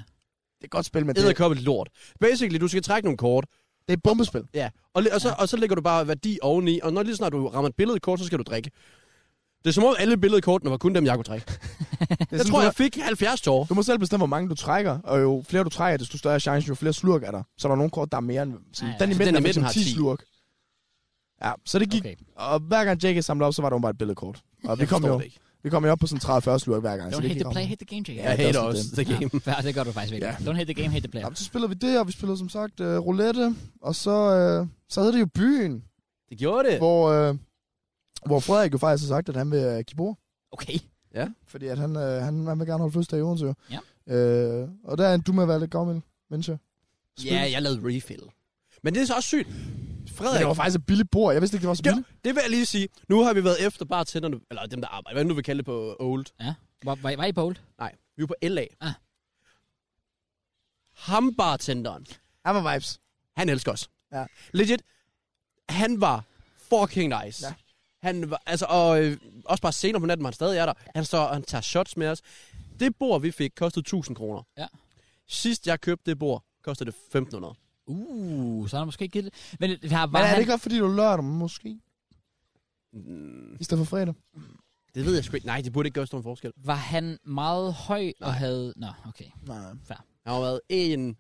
Speaker 3: er et godt spil, men det, det
Speaker 2: Æderkoppet lort. Basically, du skal trække nogle kort.
Speaker 3: er et bombespil.
Speaker 2: Ja. Og, li- og, så, og så lægger du bare værdi oveni. Og når lige snart du rammer et billedkort, så skal du drikke. Det er som om alle billedkortene var kun dem, jeg kunne trække.
Speaker 3: Det er
Speaker 2: Jeg
Speaker 3: sådan,
Speaker 2: tror,
Speaker 3: du-
Speaker 2: jeg fik 70 tårer.
Speaker 3: Du må selv bestemme, hvor mange du trækker, og jo flere du trækker, desto større er chancen, jo flere slurk er der. Så der er nogle kort, der er mere end... Sådan,
Speaker 1: Ja, ja.
Speaker 3: Den i
Speaker 2: Så
Speaker 3: midten, den i midten har 10 slurk. Ja, så det gik... Okay.
Speaker 1: Okay.
Speaker 3: Og hver gang Jake samlede op, så var det jo bare et billedkort. Og vi kom,
Speaker 2: forstår
Speaker 3: jo,
Speaker 2: det ikke.
Speaker 3: vi kom jo op på sådan 30-40 slurk hver gang.
Speaker 1: Don't hate
Speaker 3: Altså, gik
Speaker 1: the play,
Speaker 3: om.
Speaker 1: hate the game, Jake.
Speaker 2: Jeg
Speaker 3: det er
Speaker 2: hater
Speaker 3: også
Speaker 2: også the game.
Speaker 1: Ja, det gør du faktisk virkelig.
Speaker 3: Ja.
Speaker 1: Don't hate the game, hate the player.
Speaker 3: Jamen, så spillede vi det, og vi spillede som sagt øh, roulette, og så, øh, så havde det jo byen,
Speaker 2: Det gjorde det.
Speaker 3: hvor, øh, hvor Frederik jo faktisk har sagt, at han vil øh, give bord.
Speaker 1: Okay.
Speaker 3: Fordi at han, øh, han, han vil gerne holde fødselsdag i Odense jo.
Speaker 1: Ja.
Speaker 3: Øh, og der er en du med at være lidt gammel, mens jeg.
Speaker 2: Ja, jeg lavede refill. Men det er så også sygt.
Speaker 3: Men
Speaker 2: Frederik,
Speaker 3: det var faktisk et billigt bord. Jeg vidste ikke, det var så
Speaker 2: Ja,
Speaker 3: billigt.
Speaker 2: det vil jeg lige sige. Nu har vi været efter bartenderne, eller dem, der arbejder, hvad nu vi kalde det på old.
Speaker 1: Ja. Var, var, I- var I bold?
Speaker 2: Nej, vi var på LA.
Speaker 1: Ah.
Speaker 2: Ham bartenderen,
Speaker 3: I'm a vibes.
Speaker 2: han elsker os.
Speaker 3: Ja.
Speaker 2: Legit, han var fucking nice.
Speaker 3: Ja.
Speaker 2: Ja. Han var, altså, og øh, også bare senere på natten, hvor han stadig er der. Han står og han tager shots med os. Det bord, vi fik, kostede 1000 kroner.
Speaker 1: Ja.
Speaker 2: Sidst jeg købte det bord, kostede det 1500.
Speaker 1: Uh, så har han måske ikke givet det. Men det har,
Speaker 3: Men
Speaker 1: var
Speaker 3: er
Speaker 1: han,
Speaker 3: det ikke også, fordi du er lørdag, måske?
Speaker 2: Mm,
Speaker 3: I stedet for fredag?
Speaker 2: det ved jeg sgu ikke. Nej, det burde ikke gøre stor en forskel.
Speaker 1: var han meget høj Nej. og havde... Nå, okay.
Speaker 3: Nej.
Speaker 2: Han har jo været en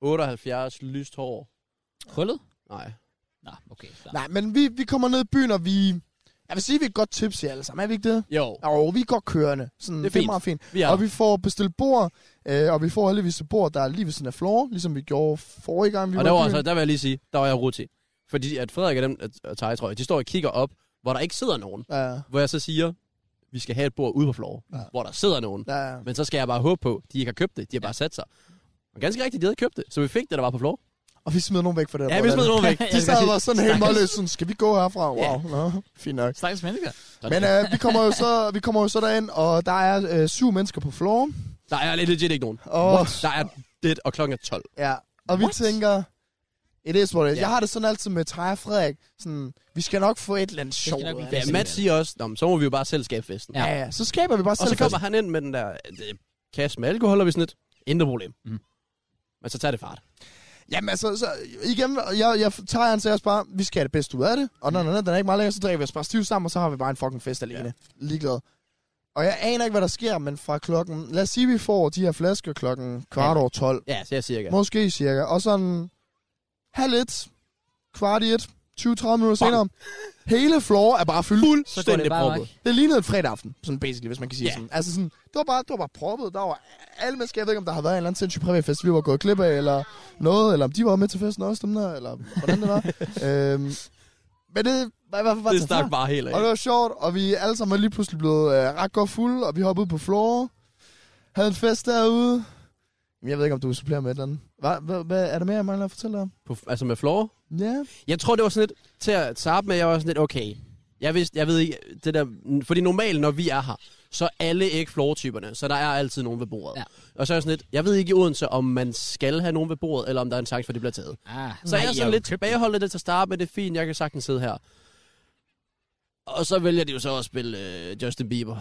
Speaker 2: 78 lyst hår.
Speaker 1: Krøllet?
Speaker 2: Nej.
Speaker 1: Nå, okay. Så.
Speaker 3: Nej, men vi, vi kommer ned i byen, og vi... Jeg vil sige, vi er godt tips i alle sammen. Er vi ikke det?
Speaker 2: Jo,
Speaker 3: Jo, vi er godt kørende. Sådan,
Speaker 2: Det er
Speaker 3: det er
Speaker 2: fint.
Speaker 3: meget fint.
Speaker 2: vi
Speaker 3: Ja.
Speaker 2: er
Speaker 3: Og
Speaker 2: vi...
Speaker 3: vi får bestilt bord, øh, og vi får heldigvis et bord, der er lige ved siden af floor, ligesom vi gjorde forrige gang,
Speaker 2: Og
Speaker 3: vi var
Speaker 2: der,
Speaker 3: i
Speaker 2: var,
Speaker 3: byen.
Speaker 2: altså, der vil jeg lige sige, der var jeg ruti. Fordi at Frederik og dem, at Thaj, tror jeg, de står og kigger op, hvor der ikke sidder nogen.
Speaker 3: Ja,
Speaker 2: Hvor jeg så siger, vi skal have et bord ude på floor,
Speaker 3: Ja.
Speaker 2: ja. hvor der sidder nogen. Ja.
Speaker 3: ja, ja.
Speaker 2: Men så skal jeg bare håbe på, de ikke har købt det. De har bare sat sig. Og ganske rigtigt, de havde købt det. Så vi fik det, der var på floor.
Speaker 3: Og vi smed nogen væk fra det der
Speaker 2: Ja, vi
Speaker 3: bord,
Speaker 2: smed
Speaker 1: <laughs>
Speaker 2: nogen væk.
Speaker 3: De
Speaker 1: Jeg
Speaker 3: sad
Speaker 1: skal
Speaker 3: og var sådan helt målløs, sådan, skal vi gå herfra? Wow,
Speaker 2: Ja.
Speaker 3: nå, fint nok.
Speaker 1: Stakkels mennesker.
Speaker 3: Men øh, vi, kommer jo så, vi kommer jo så derind, og der er øh, syv mennesker på floor,
Speaker 2: Der er lidt legit ikke nogen.
Speaker 3: og,
Speaker 2: Der er det, og klokken er 12.
Speaker 3: ja, og vi
Speaker 1: What?
Speaker 3: tænker, it is what it is.
Speaker 2: Ja.
Speaker 3: Jeg har det sådan altid med Thaj og Frederik, sådan, vi skal nok få et eller andet
Speaker 1: skal
Speaker 3: sjovt.
Speaker 1: nok blive
Speaker 3: ud af
Speaker 2: Ja,
Speaker 1: fedt.
Speaker 3: det.
Speaker 2: Matt siger også, "Nå, men så må vi jo bare selv skabe festen.
Speaker 1: Ja.
Speaker 3: Ja, ja, så skaber vi bare
Speaker 2: Og
Speaker 3: selv
Speaker 2: så kommer han ind med den der øh, kasse med alkohol, og vi sådan lidt, intet problem.
Speaker 1: Mhm.
Speaker 2: Mm. Men så tager det fart.
Speaker 3: Jamen altså, så, igen, jeg, jeg tager han til os bare, vi skal have det bedste ud af det, og når mm. den er ikke meget længere, så drikker vi os bare stiv sammen, og så har vi bare en fucking fest alene. Ja. Ligeglad. Og jeg aner ikke, hvad der sker, men fra klokken, lad os sige, vi får de her flasker klokken kvart
Speaker 2: Ja.
Speaker 3: over 12,
Speaker 2: Ja, så jeg cirka.
Speaker 3: måske cirka, og sådan halv et, kvart i et, 20-30 minutter senere, hele floor er bare fyldt. Fuld.
Speaker 1: Så går det
Speaker 2: Fuldstændig
Speaker 1: bare
Speaker 2: proppet.
Speaker 1: nok.
Speaker 3: Det lignede en fredag aften, sådan basically, hvis man kan sige
Speaker 2: Ja.
Speaker 3: sådan. Altså sådan, det var bare, det var bare proppet, der var alle mennesker, jeg ved ikke, om der har været en eller anden sindssyg privatfest, vi var gået glip af, eller noget, eller om de var med til festen også, dem der, eller hvordan det var.
Speaker 2: <laughs>
Speaker 3: øhm, men det var i hvert fald bare
Speaker 2: Det
Speaker 3: til
Speaker 2: stak
Speaker 3: far.
Speaker 2: bare helt af.
Speaker 3: Og det var sjovt, og vi alle sammen var lige pludselig blevet øh, ret godt fulde, og vi hoppede ud på floor, havde en fest derude. Jamen, jeg ved ikke, om du vil supplere med et eller andet. Hvad, hvad, hvad er der mere, jeg mangler at fortælle dig om?
Speaker 2: På, altså med floor.
Speaker 3: Ja.
Speaker 2: Jeg tror, det var sådan lidt, til at starte med, jeg var sådan lidt, okay, jeg, vidste, jeg ved ikke, det der, fordi normalt, når vi er her, så er alle ikke floortyperne, så der er altid nogen ved bordet.
Speaker 1: Ja.
Speaker 2: Og så er jeg sådan lidt, jeg ved ikke i Odense, om man skal have nogen ved bordet, eller om der er en chance for, at det bliver taget.
Speaker 1: Ah,
Speaker 2: Så jeg er sådan lidt
Speaker 1: købt
Speaker 2: tilbageholdet det til at starte med, det er fint, jeg kan sagtens sidde her. Og så vælger de jo så at spille øh,
Speaker 1: <laughs>
Speaker 2: Justin Bieber.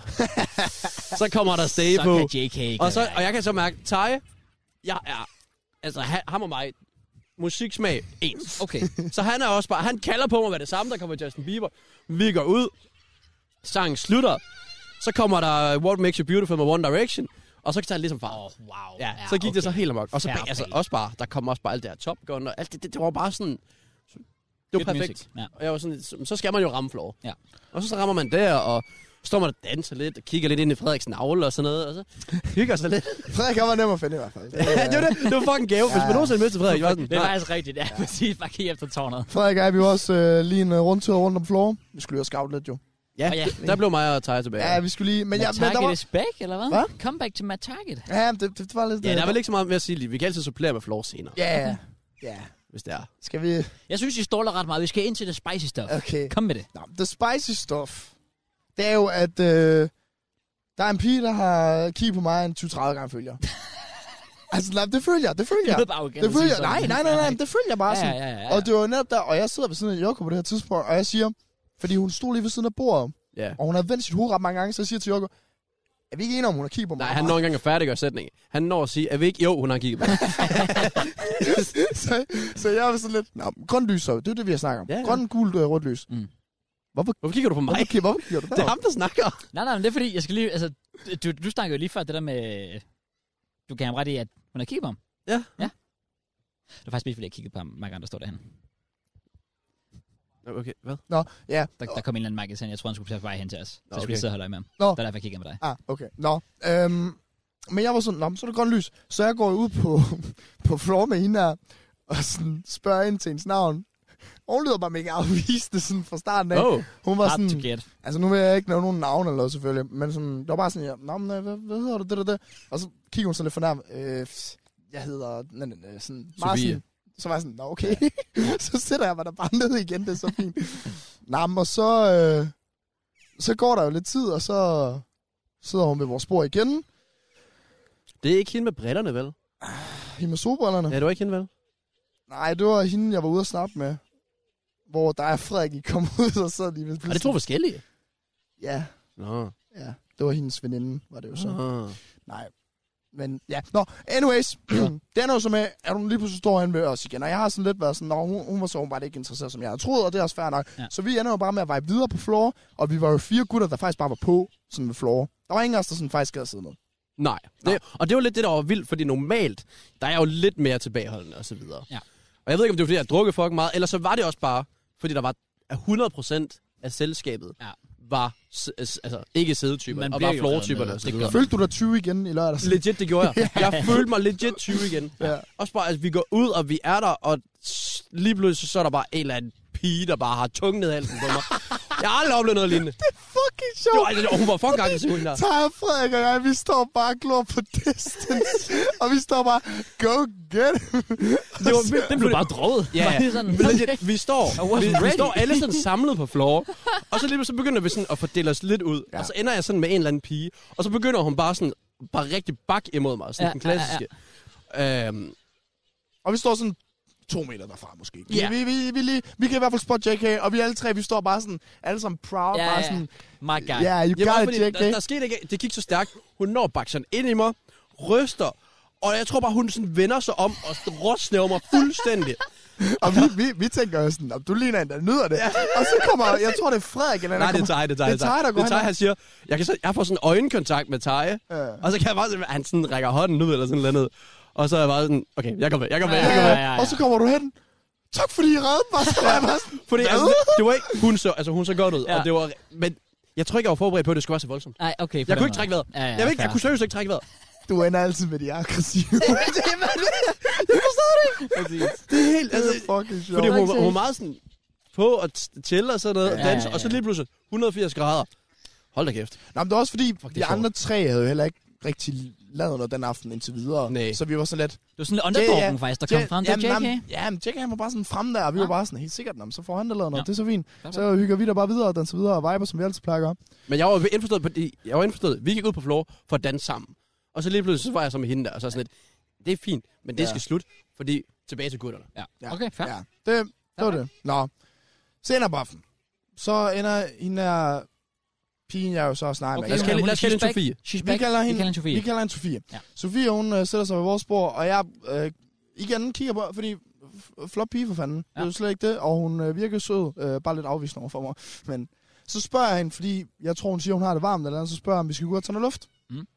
Speaker 2: så kommer der stay
Speaker 1: så
Speaker 2: på.
Speaker 1: kan JK ikke
Speaker 2: Og, så, og jeg kan så mærke, Thaj, jeg er, altså ha- ham og mig, musiksmag ens. <laughs>
Speaker 1: Okay.
Speaker 2: Så han er også bare, han kalder på mig med det samme, der kommer Justin Bieber. Vi går ud, sangen slutter, så kommer der uh, What Makes You Beautiful med One Direction, og så tager det ligesom far.
Speaker 1: Åh, oh, wow.
Speaker 2: Ja, så gik okay. det så helt amok. Og så
Speaker 1: Fair
Speaker 2: bag, altså,
Speaker 1: play.
Speaker 2: også bare, der kom også bare alt det her Top Gun, og alt det, det, det var bare sådan, det var
Speaker 1: Good
Speaker 2: perfekt.
Speaker 1: music. Ja.
Speaker 2: Og jeg var sådan, så- så skal man jo ramme floor.
Speaker 1: Ja.
Speaker 2: Og så, så rammer man der, og står man og danser lidt, og kigger lidt ind i Frederiks navle og sådan noget, og så hygger sig lidt.
Speaker 3: Frederik, jeg var nem at finde i hvert
Speaker 2: <laughs>
Speaker 3: fald.
Speaker 2: Ja, <laughs> det var det. Det var fucking gave. Hvis man nogensinde mødte Frederik, var sådan,
Speaker 1: Det er
Speaker 2: nej,
Speaker 1: faktisk rigtigt, ja, præcis. Bare kig efter tårnet.
Speaker 3: Frederik og jeg, vi var også øh, lige en øh, rundtur rundt om floor. Vi skulle jo også scout lidt, jo.
Speaker 2: ja,
Speaker 1: Og ja.
Speaker 2: der blev mig og Thaj tilbage.
Speaker 3: Ja, vi skulle lige... Men,
Speaker 1: Men,
Speaker 3: ja,
Speaker 1: Matt
Speaker 3: men der
Speaker 1: Target
Speaker 3: var,
Speaker 1: is back, eller hvad?
Speaker 3: Hva?
Speaker 1: Comeback til Matt Target.
Speaker 3: ja, det, det, det var lidt...
Speaker 2: Ja,
Speaker 3: øh,
Speaker 2: der er vel ikke så meget mere at sige lige. Vi kan altid supplere med floor senere,
Speaker 3: Ja, ja. ja.
Speaker 2: hvis det er.
Speaker 3: Skal vi...
Speaker 1: Jeg synes, I ståler ret meget. Vi skal ind til det spicy stuff.
Speaker 3: Okay.
Speaker 1: Kom med det.
Speaker 3: Nå, the spicy stuff, det er jo, at øh, der er en pige, der har kigget på mig en 20-30 gange følger. altså, nej, det følger, det følger.
Speaker 1: lyder bare arrogant
Speaker 3: Det
Speaker 1: at
Speaker 3: følger,
Speaker 1: sige sådan.
Speaker 3: nej, nej, nej, nej, det følger bare
Speaker 1: Ja,
Speaker 3: sådan.
Speaker 1: ja, ja, ja.
Speaker 3: Og det var jo netop der, og jeg sidder ved siden af Joko på det her tidspunkt, og jeg siger, fordi hun stod lige ved siden af bordet,
Speaker 2: Ja.
Speaker 3: og hun har vendt sit hoved ret mange gange, så jeg siger til Joko, er vi ikke enige om, hun har kigget på mig?
Speaker 2: Nej, han når ikke engang at færdiggøre sætningen. Han når at sige, er vi ikke? Jo, hun har kigget på mig.
Speaker 3: <laughs> så, så jeg var sådan lidt, nå, grønt lys, så, det er det, vi har snakket om.
Speaker 2: Ja, ja.
Speaker 3: Grønt, gult, øh, rødt lys.
Speaker 1: Mm.
Speaker 3: Hvorfor,
Speaker 2: Hvorfor kigger du på mig?
Speaker 3: hvorfor, hvorfor kigger du
Speaker 2: <laughs> Det er
Speaker 3: derop?
Speaker 2: ham, der snakker.
Speaker 1: Nej, nej, men det er fordi, jeg skal lige... Altså, du, du snakkede jo lige før det der med... Du kan ham ret i, at hun har kigget på ham.
Speaker 2: Ja.
Speaker 1: Ja. Det var faktisk mest, fordi jeg kiggede på ham, Mark der står derhen.
Speaker 2: Nå, Okay, hvad?
Speaker 3: Nå, ja.
Speaker 1: Der, der kom en eller anden Mark ind, jeg tror, han skulle tage på vej hen til os. Så
Speaker 2: Nå,
Speaker 1: skulle
Speaker 2: okay.
Speaker 1: jeg sidde og holde øje med ham.
Speaker 3: Nå.
Speaker 1: Der er derfor, jeg kigger med dig.
Speaker 3: Ah, okay. Nå. Øhm, men jeg var sådan, nå, men så er det grønt lys. Så jeg går ud på, <laughs> på floor med hende her, og sådan spørger ind til hendes navn. Og Hun lyder bare mega afvisende sådan fra starten af.
Speaker 2: Oh,
Speaker 3: Hun var
Speaker 1: Hard to
Speaker 3: sådan,
Speaker 1: get.
Speaker 3: altså nu vil jeg ikke nævne nogen navn eller noget selvfølgelig, men sådan, det var bare sådan, ja, nå, men, øh, hvad, hvad hedder du, det der, det. Og så kigger hun så lidt fornærmet, øh, jeg hedder, næ, næ, næ, sådan, meget
Speaker 2: Sofie.
Speaker 3: sådan, så var jeg sådan, nå, okay. <laughs> så sætter jeg mig der bare ned igen, det er så fint. nå, men og så, øh, så går der jo lidt tid, og så, sidder hun ved vores spor igen.
Speaker 2: Det er ikke hende med brillerne, vel?
Speaker 3: Hende med solbrillerne.
Speaker 2: Ja, det var ikke hende, vel?
Speaker 3: Nej, det var hende, jeg var ude at snakke med. Hvor der er Frederik, I kom <laughs> ud og så lige ved
Speaker 2: Er det to forskellige?
Speaker 3: Ja,
Speaker 2: Nå.
Speaker 3: ja. Det var hendes veninde, var det jo så.
Speaker 2: Ah.
Speaker 3: Nej. Men ja, nå, anyways, <clears throat> den er jo så med, at hun lige pludselig står hen ved os igen, og jeg har sådan lidt været sådan, nå, hun, hun var så åbenbart ikke interesseret, som jeg havde troet, og det er også fair nok.
Speaker 1: Ja.
Speaker 3: Ja. Så vi ender jo bare med at vibe videre på floor, og vi var jo fire gutter, der faktisk bare var på, sådan ved floor. Der var ingen af os, der sådan faktisk gad sidde ned.
Speaker 2: Nej. Det, og det var lidt det, der var vildt, fordi normalt, der er jeg jo lidt mere tilbageholdende og så videre.
Speaker 1: Ja.
Speaker 2: Og jeg ved ikke, om det var, fordi jeg drukket fucking meget, eller så var det også bare, fordi der var at 100% af selskabet
Speaker 1: Ja.
Speaker 2: var s- s- altså, ikke sædetyper,
Speaker 1: Man
Speaker 2: og
Speaker 1: bliver
Speaker 2: var
Speaker 1: jo
Speaker 2: flortyperne
Speaker 1: revet
Speaker 2: og
Speaker 1: med,
Speaker 2: så
Speaker 1: det
Speaker 2: videre.
Speaker 1: gør
Speaker 3: Følte du dig 20 igen i lørdags?
Speaker 2: Legit, det gjorde <laughs> jeg. Jeg følte mig legit 20 igen.
Speaker 3: Ja.
Speaker 2: Også bare, at vi går ud, og vi er der, og s- lige pludselig så er der bare en eller anden pige, der bare har tungen ned i halsen på mig. Jeg har aldrig oplevet noget lignende.
Speaker 3: <laughs> Fucking
Speaker 2: Jo,
Speaker 3: sjovt!
Speaker 2: altså, hun var fucking aggressiv, hende der.
Speaker 3: Tager Frederik og jeg, vi står bare og glor på <laughs> distance, og vi står bare, go get him.
Speaker 2: Det var vildt.
Speaker 1: Den blev bare <laughs> droget.
Speaker 2: <laughs> Ja,
Speaker 1: Var
Speaker 2: ja.
Speaker 1: det sådan,
Speaker 3: <laughs>
Speaker 2: Men legit, vi står, vi,
Speaker 1: wasn't
Speaker 2: vi
Speaker 1: ready.
Speaker 2: står alle sådan samlet på <laughs> floor, og så lige så begynder vi sådan at fordele os lidt ud, ja. og så ender jeg sådan med en eller anden pige, og så begynder hun bare sådan, bare rigtig bak imod mig, sådan
Speaker 1: Ja,
Speaker 2: ja, den klassiske. Ja, ja. Øhm,
Speaker 3: Og vi står sådan to meter derfra måske.
Speaker 2: Ja.
Speaker 3: Ja. Vi, vi, vi, lige, vi kan i hvert fald spotte JK, og vi alle tre, vi står bare sådan, alle sammen proud,
Speaker 1: Ja,
Speaker 3: ja, bare
Speaker 1: ja.
Speaker 3: sådan,
Speaker 1: My guy.
Speaker 3: ja, yeah, you
Speaker 2: det var
Speaker 3: got
Speaker 2: fordi,
Speaker 3: it,
Speaker 2: der, der
Speaker 3: JK.
Speaker 2: skete ikke, det gik så stærkt, hun når baksen ind i mig, ryster, og jeg tror bare, hun sådan vender sig om og råsnæver mig
Speaker 3: <laughs>
Speaker 2: fuldstændig.
Speaker 3: Og vi, vi, vi tænker jo sådan, "Nå, du ligner en, der nyder det. Og så kommer, jeg tror, det er Frederik, eller
Speaker 2: Nej, det er
Speaker 3: kommer,
Speaker 2: Tej, det er Tej.
Speaker 3: Det er Tej, der går
Speaker 2: Det er Tej,
Speaker 3: hen.
Speaker 2: han siger, jeg, kan så, jeg får sådan øjenkontakt med Tej,
Speaker 3: Ja.
Speaker 2: og så kan jeg bare sådan, han sådan rækker hånden ud eller sådan noget andet. Og så er jeg bare sådan, okay, jeg kommer med, jeg kommer med, jeg kommer
Speaker 1: Ja,
Speaker 2: med.
Speaker 1: ja, ja.
Speaker 3: Og så kommer du hen. Tak fordi I reddede mig. Så var jeg bare sådan,
Speaker 2: Fordi altså, det, det var ikke, hun så, altså, hun så godt ud,
Speaker 1: Ja.
Speaker 2: ja. og det var, men jeg tror ikke, jeg var forberedt på, at det skulle være så voldsomt.
Speaker 1: Nej, okay. på
Speaker 2: Jeg
Speaker 1: den
Speaker 2: kunne ikke
Speaker 1: måde.
Speaker 2: trække vejret.
Speaker 1: Ja, ja,
Speaker 2: jeg, ved ikke, jeg
Speaker 1: fair.
Speaker 2: kunne seriøst ikke trække vejret.
Speaker 3: du ender altid med de aggressive. <laughs>
Speaker 2: Det er helt,
Speaker 3: det
Speaker 2: altså,
Speaker 3: er fucking sjovt.
Speaker 2: fordi
Speaker 3: Fordi,
Speaker 1: var
Speaker 2: hun,
Speaker 1: ikke
Speaker 2: var- hun var meget sådan på og chille og sådan noget,
Speaker 1: Ja,
Speaker 2: ja, danse,
Speaker 1: ja,
Speaker 2: og så
Speaker 1: ja.
Speaker 2: lige pludselig 180 grader. Hold da kæft.
Speaker 3: Nå, men det var også fordi,
Speaker 2: det er
Speaker 3: de
Speaker 2: sjovt.
Speaker 3: andre tre havde jo heller ikke rigtig lavet noget den aften indtil videre.
Speaker 2: Nej.
Speaker 3: Så vi var sådan lidt...
Speaker 1: Det var sådan lidt underdoggen, faktisk, der kom
Speaker 3: Ja,
Speaker 1: frem. Det var JK.
Speaker 3: Jamen, ja, men JK han var bare sådan frem der, og vi var
Speaker 1: Ja.
Speaker 3: bare sådan helt sikkert, "Nå, men så får han der lavet noget,
Speaker 1: Ja.
Speaker 3: det er så fint.
Speaker 1: Fair
Speaker 3: Så hygger vi der bare videre og danser videre og viber, som vi altid plejer at gøre.
Speaker 2: Men jeg var indforstået, på, jeg var indforstået, vi gik ud på floor for at danse sammen. Og så lige pludselig, så var jeg så med hende der, og så sådan lidt, det er fint, men det
Speaker 3: Ja.
Speaker 2: skal slut, fordi tilbage til gutterne.
Speaker 1: Ja. Okay, fair.
Speaker 3: Ja, det, det var det. Nå, senere på aftenen, så ender hende her pigen, jeg jo så snakker
Speaker 1: Okay,
Speaker 3: med.
Speaker 2: Lad os
Speaker 1: hun-
Speaker 2: kalde-
Speaker 1: hun-
Speaker 2: lad os kalde
Speaker 1: she's
Speaker 2: hende
Speaker 1: back.
Speaker 2: Sofie.
Speaker 1: She's
Speaker 3: Vi
Speaker 1: back.
Speaker 3: kalder hende-
Speaker 1: Vi kalder hende Sofie.
Speaker 3: Vi kalder hende Sofie.
Speaker 1: Ja.
Speaker 3: Ja. Sofie, hun øh, sætter sig ved vores spor, og jeg øh, igen kigger på, fordi f- flot pige for fanden. Ja. Det er jo slet ikke det, og hun øh, virker sød, øh, bare lidt afvisende over for mig. Men så spørger jeg hende, fordi jeg tror, hun siger, hun har det varmt eller andet, så spørger jeg, om vi skal gå ud og tage noget luft.
Speaker 1: Mm.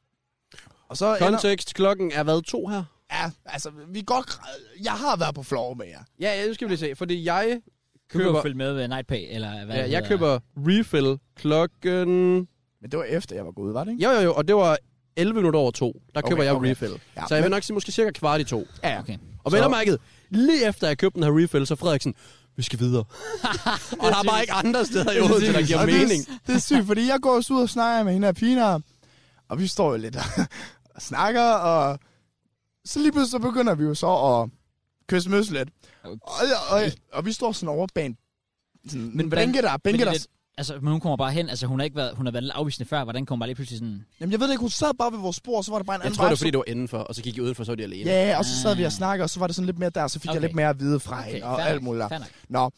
Speaker 3: Og så ender,
Speaker 2: Kontekst, klokken er været to her.
Speaker 3: ja, altså, vi er godt, jeg har været på floor med jer.
Speaker 2: Ja, ja, nu skal vi lige se, fordi jeg
Speaker 1: Du kan jo
Speaker 2: køber,
Speaker 1: følge med ved Nightpay, eller hvad
Speaker 2: ja,
Speaker 1: det
Speaker 2: jeg
Speaker 1: hedder.
Speaker 2: køber refill klokken...
Speaker 3: Men det var efter, jeg var gået, var det ikke?
Speaker 2: Jo, jo, jo, og det var 11 minutter over to, der
Speaker 3: Okay,
Speaker 2: køber jeg
Speaker 3: okay.
Speaker 2: refill.
Speaker 3: Ja,
Speaker 2: Så jeg vil
Speaker 3: men-
Speaker 2: nok sige måske cirka kvart i to.
Speaker 3: Ja,
Speaker 1: Okay.
Speaker 2: Og
Speaker 3: Så-
Speaker 2: vel og mærket, lige efter jeg købte den her refill, så er Frederiksen, vi skal
Speaker 3: <laughs>
Speaker 2: videre. og der er bare ikke andre steder i Odense, der giver
Speaker 3: Og
Speaker 2: mening.
Speaker 3: Det, er- det er sygt, fordi jeg går også ud og snakker med hende her pigen her, og vi står jo lidt og <laughs> snakker, og så lige pludselig så begynder vi jo så at kysse møs lidt. Og, og, og, vi står sådan over bag en sådan,
Speaker 1: Men
Speaker 3: men
Speaker 1: hvordan-
Speaker 3: bænke der, bænke
Speaker 1: Fordi
Speaker 3: der.
Speaker 1: det- Altså, men hun kommer bare hen. Altså, hun har ikke været, hun har været lidt afvisende før. Hvordan kommer bare lige pludselig sådan...
Speaker 3: Jamen jeg ved det ikke, hun sad bare ved vores spor, og så var der bare en
Speaker 2: Jeg
Speaker 3: anden
Speaker 2: tror, det var
Speaker 3: vibe,
Speaker 2: fordi, det var indenfor, og så gik jeg udenfor, så var de alene.
Speaker 3: så- Ja, og så sad vi og snakkede, og så var det sådan lidt mere der, og så fik okay. jeg
Speaker 1: Okay.
Speaker 3: lidt mere at vide fra okay, hende, og
Speaker 1: fair
Speaker 3: alt
Speaker 1: nok,
Speaker 3: muligt der.
Speaker 1: fair nok.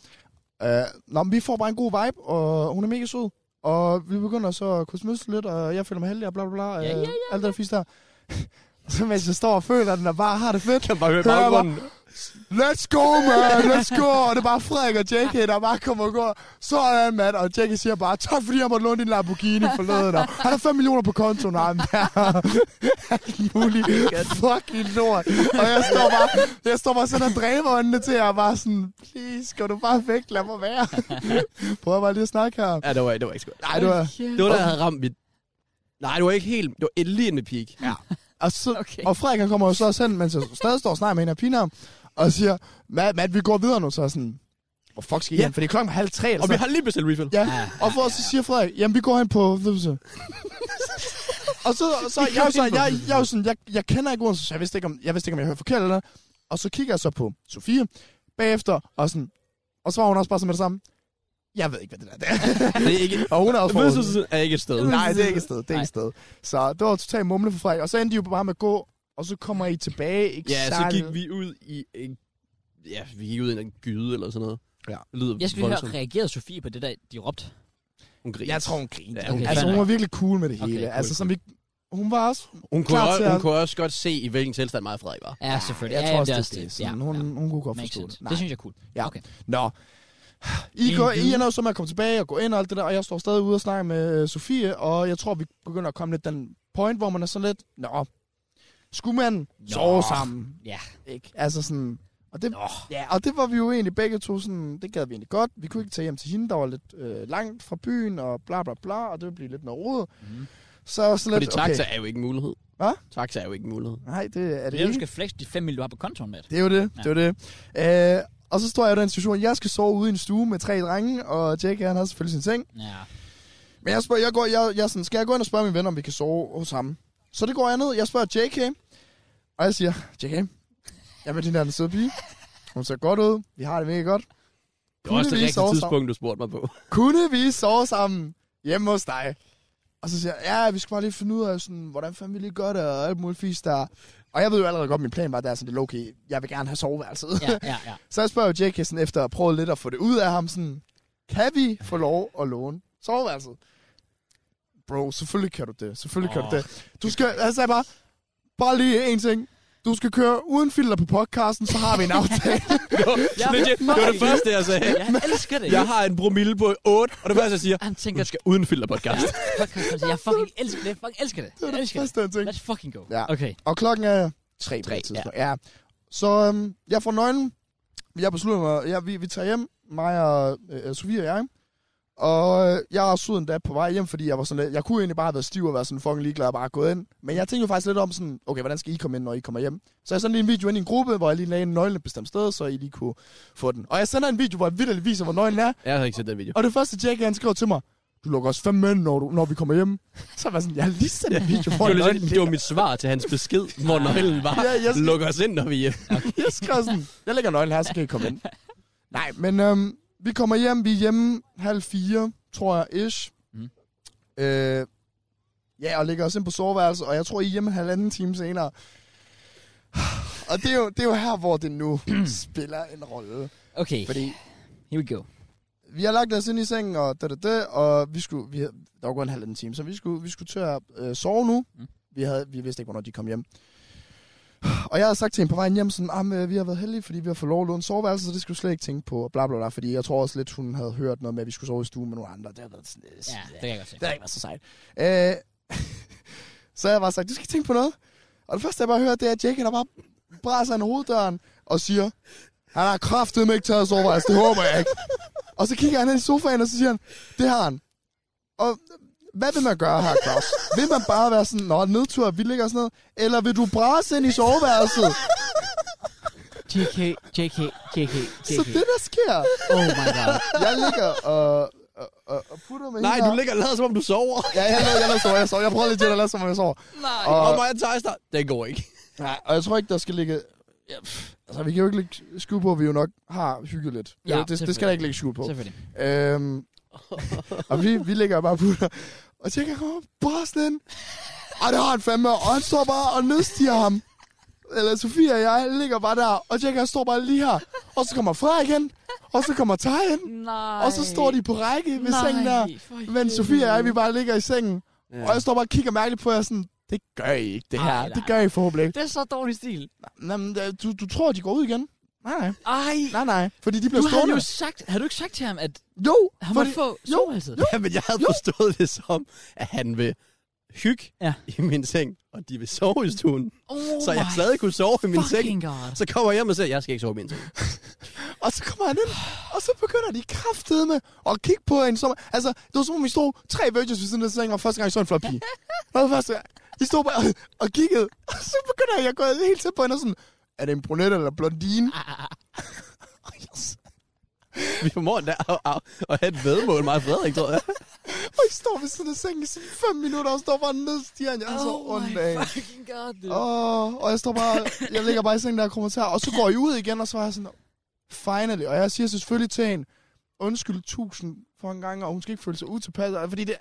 Speaker 3: Nå. Øh, nå, men vi får bare en god vibe, og hun er mega sød. Og vi begynder så at kunne smøsle lidt, og jeg føler mig heldig, og bla bla bla.
Speaker 1: Ja, ja, ja,
Speaker 3: Alt det der fisk der. <laughs> Og så mens jeg står og føler den, og bare har det fedt.
Speaker 2: Jeg kan bare høre i
Speaker 3: Hører jeg
Speaker 2: baggrunden.
Speaker 3: Let's go, man! Let's go! Og det er bare Frederik og JK, der bare kommer og går. Sådan, mand. Og JK siger bare, tak fordi jeg måtte låne din Lamborghini forleden. Og han har 5 millioner på kontoen, og han er alt muligt fucking lort. Og jeg står bare, jeg står bare sådan og dræber øjnene til jer, og bare sådan, please, gå du bare væk, lad mig være. Prøv bare lige at snakke her.
Speaker 2: Ja, det var, det var ikke så godt.
Speaker 3: Nej, det var...
Speaker 2: Det var, da jeg havde ramt mit... Nej, det var ikke helt... Det var et- lige med peak. Ja.
Speaker 3: Og, så,
Speaker 1: Okay.
Speaker 3: okay. og Frederik han kommer jo så også hen, mens jeg stadig står og snakker med hende af piner, og siger, Matt, Matt, vi går videre nu, så er jeg sådan, hvor fuck skal I
Speaker 2: Ja.
Speaker 3: ja. hen? For det er klokken halv tre, eller
Speaker 2: Og vi
Speaker 3: sådan
Speaker 2: har lige bestilt refill.
Speaker 3: Ja, og for så siger Frederik, jamen vi går hen på Odense. og så, og så jeg, er jo så, jeg, jeg, jeg, er jo sådan, jeg, jeg kender ikke Odense, så jeg vidste ikke, om jeg, vidste ikke, om jeg hørte forkert eller noget. Og så kigger jeg så på Sofie bagefter, og sådan, og så var hun også bare sådan med det samme. Jeg ved ikke, hvad det der er.
Speaker 2: <laughs> Det er ikke,
Speaker 3: og hun er også fra Odense.
Speaker 2: Mødselsen er ikke et sted.
Speaker 3: Nej, det er ikke et sted. Det er ikke
Speaker 1: Nej.
Speaker 3: et sted. Så det var totalt mumle for Frederik. Og så endte de jo bare med at gå, og så kommer I tilbage. Ikke
Speaker 2: Ja, så gik vi ud i en... Ja, vi gik ud i en gyde eller sådan noget.
Speaker 3: Ja.
Speaker 2: Det lyder
Speaker 1: Jeg skal lige
Speaker 2: voldsomt.
Speaker 1: høre, reagerede Sofie på det der, de råbte?
Speaker 2: Hun griner.
Speaker 3: Jeg tror, hun grinte.
Speaker 2: Ja,
Speaker 3: Ja,
Speaker 1: okay,
Speaker 3: okay,
Speaker 1: fair
Speaker 3: altså, hun
Speaker 1: nok.
Speaker 3: var virkelig cool med det
Speaker 1: Okay,
Speaker 3: hele.
Speaker 1: cool,
Speaker 3: altså, som vi... Hun var også...
Speaker 2: Hun kunne,
Speaker 3: Klar til
Speaker 2: også, hun
Speaker 3: at-
Speaker 2: kunne også godt se, i hvilken tilstand mig og Frederik var.
Speaker 1: Ja, selvfølgelig.
Speaker 3: Jeg
Speaker 1: ja,
Speaker 3: tror
Speaker 1: jamen,
Speaker 3: også, det
Speaker 1: er
Speaker 3: er det. Sådan, hun, hun kunne godt
Speaker 1: makes
Speaker 3: forstå det.
Speaker 1: sense. Det synes jeg er cool.
Speaker 3: Ja.
Speaker 1: Okay.
Speaker 3: Nå. I, går, I ender jo så med at komme tilbage og gå ind og alt det der, og jeg står stadig ude og snakke med øh, Sofie, og jeg tror, vi begynder at komme lidt den point, hvor man er sådan lidt, nå, skulle man sove sammen?
Speaker 1: Ja.
Speaker 3: Ikke? Altså sådan, og det,
Speaker 1: Nå.
Speaker 3: ja, og det var vi jo egentlig begge to sådan, det gad vi egentlig godt. Vi kunne ikke tage hjem til hende, der var lidt øh, langt fra byen, og bla bla bla, og det ville blive lidt noget rodet.
Speaker 1: Mhm.
Speaker 3: Mm. Så jeg var sådan
Speaker 2: Fordi
Speaker 3: lidt, okay,
Speaker 2: taxa er jo ikke en mulighed.
Speaker 3: Hvad?
Speaker 2: Taxa er jo ikke en mulighed.
Speaker 3: nej, det er
Speaker 1: Det
Speaker 3: det
Speaker 1: er, du
Speaker 3: ikke.
Speaker 1: skal flex de 5 mil, du har på kontoen med.
Speaker 3: Det er jo det, ja. det er jo det. Øh, og så står jeg i den situation, jeg skal sove ude i en stue med tre drenge, og Jake, han har selvfølgelig sin seng. <laughs>
Speaker 1: Ja.
Speaker 3: Men jeg, spørger, jeg, går, jeg, jeg er sådan, skal jeg gå ind og spørge min ven, om vi kan sove hos ham? Så det går jeg ned, jeg spørger JK, og jeg siger, JK, jeg med den der søde pige. Hun ser godt ud, vi har det mega godt.
Speaker 2: Det var også det
Speaker 3: vi
Speaker 2: rigtige
Speaker 3: sove sammen?
Speaker 2: tidspunkt, du spurgte mig på.
Speaker 3: Kunne vi sove sammen hjemme hos dig? Og så siger jeg, ja, vi skal bare lige finde ud af, sådan, hvordan fanden vi lige gør det, og alt muligt fisk der. Og jeg ved jo allerede godt, min plan var, der er sådan lidt okay, jeg vil gerne have soveværelset.
Speaker 1: Ja, ja, ja.
Speaker 3: Så jeg spørger jo Jake sådan efter at prøve lidt at få det ud af ham, sådan, kan vi få lov at låne soveværelset? Bro, selvfølgelig kan du det. Selvfølgelig oh.
Speaker 1: Åh.
Speaker 3: kan du det. Du skal, han sagde bare, bare lige en ting. Du skal køre uden filter på podcasten, så har vi en aftale. <laughs>
Speaker 1: Jeg-
Speaker 2: Legit, det var det første,
Speaker 3: Altså,
Speaker 2: jeg sagde.
Speaker 1: Jeg elsker det.
Speaker 2: Jeg har en promille på 8, og det første, jeg siger,
Speaker 1: Han tænker,
Speaker 2: du skal uden filter podcast.
Speaker 1: podcast, jeg fucking elsker det. Jeg fucking elsker det.
Speaker 3: det
Speaker 1: Jeg
Speaker 3: var det
Speaker 1: elsker det.
Speaker 3: første, jeg tænkte.
Speaker 1: Let's fucking go.
Speaker 3: Ja.
Speaker 1: Okay.
Speaker 3: Og klokken er tre på
Speaker 2: Tre,
Speaker 3: det tidspunkt. Ja. ja. Så øhm, jeg får nøglen. Jeg beslutter mig. Ja, vi, vi tager hjem, mig og øh, Sofie og jeg. Og øh, jeg er syd endda på vej hjem, fordi jeg var sådan lidt, jeg kunne egentlig bare have været stiv og været sådan fucking ligeglad og bare gået ind. Men jeg tænkte jo faktisk lidt om sådan, okay, hvordan skal I komme ind, når I kommer hjem? Så jeg sendte lige en video ind i en gruppe, hvor jeg lige lagde en nøgle et bestemt sted, så I lige kunne få den. Og jeg sender en video, hvor jeg vidderligt viser, hvor nøglen er.
Speaker 2: Jeg har ikke set den video.
Speaker 3: Og det første, Jack han skriver til mig, du lukker også fem mænd, når, du, når vi kommer hjem. <laughs> Så var jeg sådan, jeg har lige sendt en video,
Speaker 2: Det
Speaker 3: hvor
Speaker 2: var,
Speaker 3: nøglen
Speaker 2: legit, det var mit svar til hans besked, hvor nøglen var.
Speaker 3: Ja, jeg skal-
Speaker 2: Luk os ind, når vi er hjemme.
Speaker 3: Jeg skrev sådan, jeg lægger nøglen her, så kan I komme ind. Nej, men øhm, vi kommer hjem, vi er hjemme halv fire, tror jeg, ish.
Speaker 1: Mm.
Speaker 3: Mm. Øh, ja, og lægger os ind på soveværelset, og jeg tror, I er hjemme halvanden time senere. <sighs> Og det er, jo, det er jo her, hvor det nu spiller en rolle.
Speaker 1: Okay.
Speaker 3: Fordi
Speaker 1: Here we go.
Speaker 3: vi har lagt os ind i sengen, og det, det, det, og vi skulle, vi, havde- der var gået en halvanden time, så vi skulle, vi skulle til at øh, sove nu.
Speaker 1: Mm.
Speaker 3: Mm. Vi, havde, vi vidste ikke, hvornår de kom hjem. Og jeg havde sagt til hende på vejen hjem, sådan, "Am, øh, vi har været heldige, fordi vi har fået lov at låne soveværelse, så det skulle vi slet ikke tænke på, og bla bla bla, fordi jeg tror også lidt, hun havde hørt noget med, at vi skulle sove i stuen med nogle andre. Det har været sådan, øh,
Speaker 1: Ja, det kan jeg godt se.
Speaker 3: det har ikke været så sejt. Øh, <laughs> så jeg bare sagt, du skal ikke tænke på noget. Og det første, jeg bare hører, det er, at Jake, der bare brænder ind i hoveddøren og siger, han har kraftedeme ikke taget sovevejs, det håber jeg ikke. og så kigger han ind i sofaen, og så siger han, det har han. Og hvad vil man gøre her, Claus? Vil man bare være sådan, nå, nedtur, vi ligger og sådan noget, eller vil du brase ind i soveværelset?
Speaker 1: JK, JK, JK,
Speaker 3: Så det, der sker.
Speaker 1: Oh my god.
Speaker 3: <laughs> Jeg ligger og, og, og, og putter med
Speaker 2: Nej,
Speaker 3: hende
Speaker 2: du
Speaker 3: her.
Speaker 2: ligger og lader, som om du sover.
Speaker 3: Ja, jeg lader, jeg lader sove, jeg sover. Jeg prøver lidt at lade, som om jeg sover.
Speaker 1: Nej.
Speaker 3: Og-
Speaker 2: Og mig og Thijster, den går ikke.
Speaker 3: Nej, og jeg tror ikke, der skal ligge... Ja, pff, altså, vi kan jo ikke lægge skue på, at vi jo nok har hygget lidt.
Speaker 1: Ja,
Speaker 3: Ja, det, det skal
Speaker 1: selvfølgelig.
Speaker 3: der ikke lægge skue på.
Speaker 1: Selvfølgelig.
Speaker 3: Øhm, og vi, vi ligger bare og putter. Og tænker, åh, Bosnien. Og det har han fandme. Og han står bare og nedstiger ham. Eller Sofia og jeg ligger bare der. Og Jack, han står bare lige her. Og så kommer Frederik hen. Og så kommer Thaj hen.
Speaker 1: Nej.
Speaker 3: Og så står de på række ved
Speaker 1: Nej,
Speaker 3: sengen der.
Speaker 1: for
Speaker 3: Men Sofia og jeg, vi bare ligger i sengen.
Speaker 2: Ja.
Speaker 3: Og jeg står bare og kigger mærkeligt på jer sådan, det gør I ikke, det her.
Speaker 1: Ej,
Speaker 3: Ej,
Speaker 1: nej.
Speaker 3: det gør I forhåbentlig ikke.
Speaker 1: Det er så dårlig stil.
Speaker 3: Jamen, da- øh, du, du tror, de går ud igen? Nej, nej.
Speaker 1: Ej.
Speaker 3: Nej, nej. Fordi de
Speaker 1: Du
Speaker 3: bliver
Speaker 1: havde
Speaker 3: stående.
Speaker 1: jo sagt, havde du ikke sagt til ham, at
Speaker 3: Jo,
Speaker 1: han
Speaker 3: fordi...
Speaker 1: måtte få
Speaker 3: jo,
Speaker 1: soveværelset?
Speaker 2: Ja, men jeg havde forstået det som, at han vil hygge
Speaker 1: Ja.
Speaker 2: ja. i min seng, og de vil sove i stuen.
Speaker 1: Oh
Speaker 2: så jeg
Speaker 1: my
Speaker 2: stadig kunne sove i min seng.
Speaker 1: fucking god.
Speaker 2: Så kommer jeg hjem og siger, jeg skal ikke sove i min seng.
Speaker 3: Og så kommer han ind, og så begynder de kraftedeme at kigge på en som... Altså, det var som om, vi stod tre virgins ved siden af sengen, og første gang jeg så en flot
Speaker 1: <laughs>
Speaker 3: pige. Og det første gang, de stod bare <laughs> og, og kiggede, og så begynder jeg at gå helt tæt på hende og sådan, er det en brunette eller blondine?
Speaker 1: Ah.
Speaker 3: Og jeg
Speaker 2: Vi formår der og, og, og have et vedmål, mig og Frederik, tror jeg.
Speaker 3: Og jeg står ved siden af sengen i sådan fem minutter og står bare ned stigen. Jeg er så
Speaker 1: Oh my
Speaker 3: ondt af.
Speaker 1: fucking god, dude.
Speaker 3: Oh, og jeg står bare, jeg ligger bare i sengen der og kommenterer. Og så går I ud igen, og så var jeg sådan, finally. Og jeg siger selvfølgelig til hende, undskyld tusind fucking gange, og hun skal ikke føle sig utilpas, og- fordi det,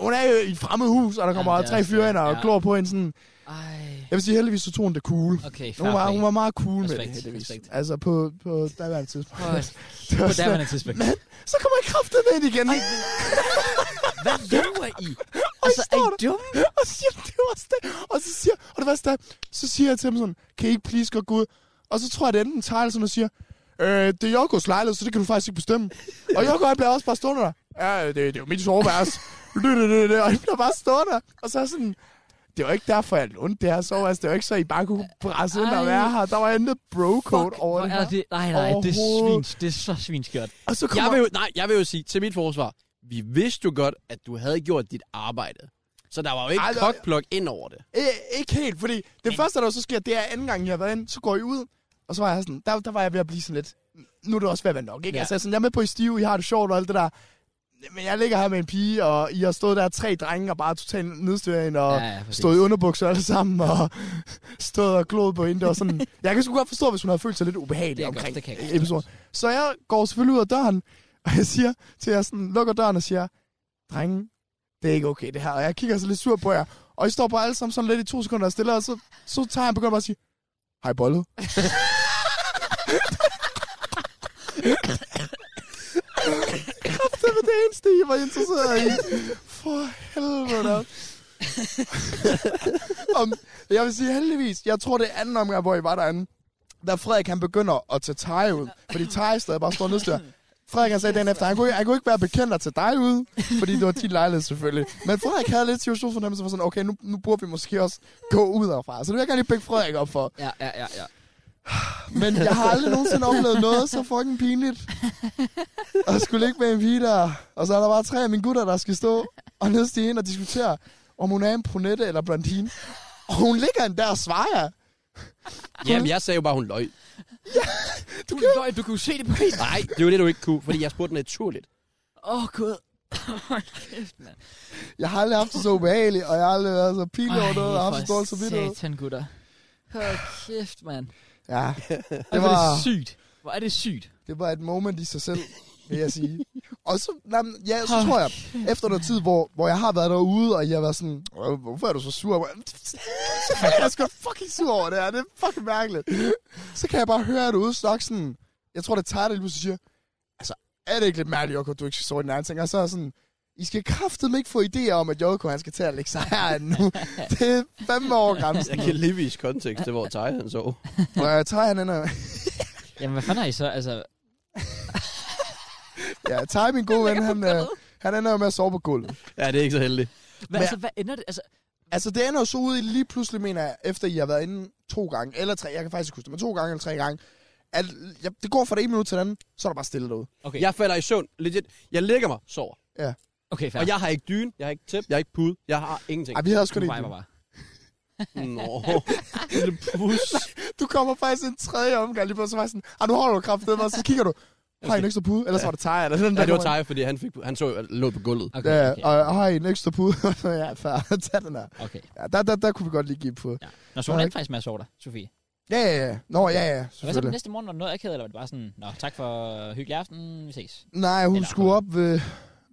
Speaker 3: hun er jo i et fremmed hus, og der kommer
Speaker 1: det
Speaker 3: ja,
Speaker 1: er
Speaker 3: tre
Speaker 1: også
Speaker 3: fyre
Speaker 1: det.
Speaker 3: ind og
Speaker 1: Ja.
Speaker 3: glor på hende sådan.
Speaker 1: Ej.
Speaker 3: Jeg vil sige, heldigvis så tog hun det cool.
Speaker 1: Okay, fair
Speaker 3: Hun var,
Speaker 1: play.
Speaker 3: hun var meget cool med
Speaker 1: Respekt,
Speaker 3: det, heldigvis.
Speaker 1: respekt.
Speaker 3: Altså på, på daværende tidspunkt.
Speaker 1: På,
Speaker 3: Det <laughs> var
Speaker 1: på
Speaker 3: sådan,
Speaker 1: daværende tidspunkt.
Speaker 3: men så kommer jeg kraftet ind igen,
Speaker 1: Hvad laver I? Altså, er I
Speaker 3: står der.
Speaker 1: dumme?
Speaker 3: og så siger, det var også det. Og så siger, og det værste er, så siger jeg til ham sådan, kan I ikke please godt gå ud? Og så tror jeg, at det enten tegler sådan og siger, øh, det er Jokos lejlighed, så det kan du faktisk ikke bestemme. Og Joko, han bliver også bare stående der. Ja, det, det er jo mit soveværelse. <laughs> Det, det, det, det. Og han bliver bare stående der. Og så er jeg sådan, det var ikke derfor, jeg lånte det her soveværelse. Det var ikke så, I bare kunne brænde ind og være her. Der var intet bro-code
Speaker 1: Fuck,
Speaker 3: over
Speaker 1: hvor
Speaker 3: det
Speaker 1: er
Speaker 3: her.
Speaker 1: det. Nej, nej, det er
Speaker 3: Overhovedet.
Speaker 1: svins. Det er så svinskørt.
Speaker 3: Og så
Speaker 2: Jeg
Speaker 3: kommer
Speaker 2: vil jo, nej, jeg vil jo sige til mit forsvar, vi vidste jo godt, at du havde gjort dit arbejde. Så der var jo ikke
Speaker 3: Ej, der-
Speaker 2: kokblok ind over det.
Speaker 3: Øh, ikke helt, fordi det første, der så sker, det er anden gang, jeg har været ind, så går I ud, og så var jeg sådan, der, der var jeg ved at blive sådan lidt, nu er det også ved at være nok, ikke?
Speaker 2: Ja.
Speaker 3: Ja. Altså, jeg er sådan, jeg er med på i stive, I har det sjovt og alt det der, men jeg ligger her med en pige, og I har stået der tre drenge og bare totalt nedstyret hende, og
Speaker 1: Ja,
Speaker 3: ja,
Speaker 1: ja, præcis.
Speaker 3: stået i underbukser alle sammen, og stået og glod på hende, og sådan,
Speaker 1: <laughs>
Speaker 3: jeg kan sgu godt forstå, hvis hun havde følt sig lidt ubehagelig
Speaker 1: Det er godt,
Speaker 3: omkring
Speaker 1: det kan jeg godt forstå.
Speaker 3: episoden. Så jeg går selvfølgelig ud af døren, og jeg siger til jer sådan, lukker døren og siger, drenge, det er ikke okay det her. Og jeg kigger så lidt sur på jer. Og I står bare alle sammen sådan lidt i to sekunder og stille, og så, så tager jeg begynder bare at sige, hej bollet. Kræfter med det eneste, I var interesseret i. For helvede da. Om, jeg vil sige heldigvis, jeg tror det er anden omgang, hvor I var derinde, da Frederik han begynder at tage Thaj ud, fordi Thaj stadig bare står nedstyr. Frederik han sagde den efter, han kunne, ikke- han kunne ikke være bekendt at tage dig ud, fordi det var din lejlighed selvfølgelig. Men Frederik havde lidt situationsfornemmelse for sådan, okay, nu, nu burde vi måske også gå ud herfra. Så det vil jeg gerne lige bække Frederik op for.
Speaker 1: Ja, ja, ja, ja.
Speaker 3: Men jeg har aldrig nogensinde oplevet noget så fucking pinligt. Og skulle ikke med en pige der. Og så er der bare tre af mine gutter, der skal stå og nedstige ind og diskutere, om hun er en brunette eller blondine. Og hun ligger en der og svarer.
Speaker 2: Jamen, jeg sagde jo bare, hun løg.
Speaker 1: Du, løg, du kan jo se det på hende.
Speaker 2: Nej, det var det, du ikke kunne, fordi jeg spurgte naturligt.
Speaker 1: Åh, oh, gud. <laughs> Hold kæft, mand.
Speaker 3: Jeg har aldrig haft det så ubehageligt, og jeg har aldrig været så pinlig over noget, og haft så
Speaker 1: for
Speaker 3: dårligt så vidt.
Speaker 1: satan, gutter. Hold kæft, mand.
Speaker 3: Ja,
Speaker 1: Det
Speaker 3: det
Speaker 1: var...
Speaker 3: var,
Speaker 1: det sygt. Hvor er det sygt.
Speaker 3: det var et moment i sig selv, vil jeg sige. Og så, nej, men ja, så
Speaker 1: Hold
Speaker 3: tror jeg, efter noget tid, hvor, hvor jeg har været derude, og jeg har været sådan, "Åh, hvorfor er du så sur? Jeg er sgu da fucking sur over det her, det er fucking mærkeligt. Så kan jeg bare høre derude snakke sådan, jeg tror, det tager det lige pludselig siger, altså, er det ikke lidt mærkeligt, Joko, at du ikke skal sove i den anden ting? Og så er jeg sådan, I skal kraftedeme ikke få idéer om, at Joko, han skal til at lægge sig her nu. Det er fandme over
Speaker 2: <laughs>
Speaker 3: grænsen.
Speaker 2: Jeg kan livvis kontekst til, hvor Thaj han så.
Speaker 3: Og jeg tager han ender.
Speaker 1: Jamen, hvad fanden er I så? Altså,
Speaker 3: Ja, tager min
Speaker 1: <laughs>
Speaker 3: gode ven, han, øh, han ender jo med at sove på gulvet.
Speaker 2: Ja, det er ikke så heldigt.
Speaker 1: hvad,
Speaker 3: Men-
Speaker 1: altså, hvad ender det? Altså,
Speaker 3: Altså, det ender jo så ud i lige pludselig, mener jeg, efter I har været inde to gange, eller tre, jeg kan faktisk ikke huske det, men to gange eller tre gange, at ja, det går fra det ene minut til det andet, så er der bare stille derude.
Speaker 1: okay,
Speaker 2: Jeg falder i søvn, legit. Jeg ligger mig, sover.
Speaker 1: okay, fair.
Speaker 2: Og jeg har ikke dyne, jeg har ikke tæp, jeg har ikke pude, jeg har ingenting.
Speaker 3: Ej, vi havde også
Speaker 1: du
Speaker 3: kun en.
Speaker 1: viber bare.
Speaker 2: Nå, lille pus.
Speaker 3: Du kommer faktisk en tredje omgang lige på, og så var jeg sådan, ah, nu holder du kraftedet, og så kigger du, har I en ekstra pude? Ellers var det Thaj, eller sådan
Speaker 2: Ja, det var Thaj, fordi han, fik, han så jo- lå på gulvet.
Speaker 1: Okay,
Speaker 3: Ja,
Speaker 1: okay,
Speaker 3: og har I en ekstra pude? <laughs> ja, fair. <laughs> Tag den her.
Speaker 1: okay.
Speaker 3: Ja, der, der, der kunne vi godt lige give på.
Speaker 1: Ja. Nå, så hun
Speaker 3: Nej.
Speaker 1: endte faktisk med at sove dig, Sofie.
Speaker 3: Ja, ja, ja. Nå, ja, ja,
Speaker 1: Så hvad så
Speaker 3: selvfølgelig.
Speaker 1: næste morgen, når noget akavet, eller var det bare sådan, nå, tak for øh, hyggelig aften, vi ses.
Speaker 3: Nej, hun
Speaker 1: Eller-
Speaker 3: Eller skulle op ved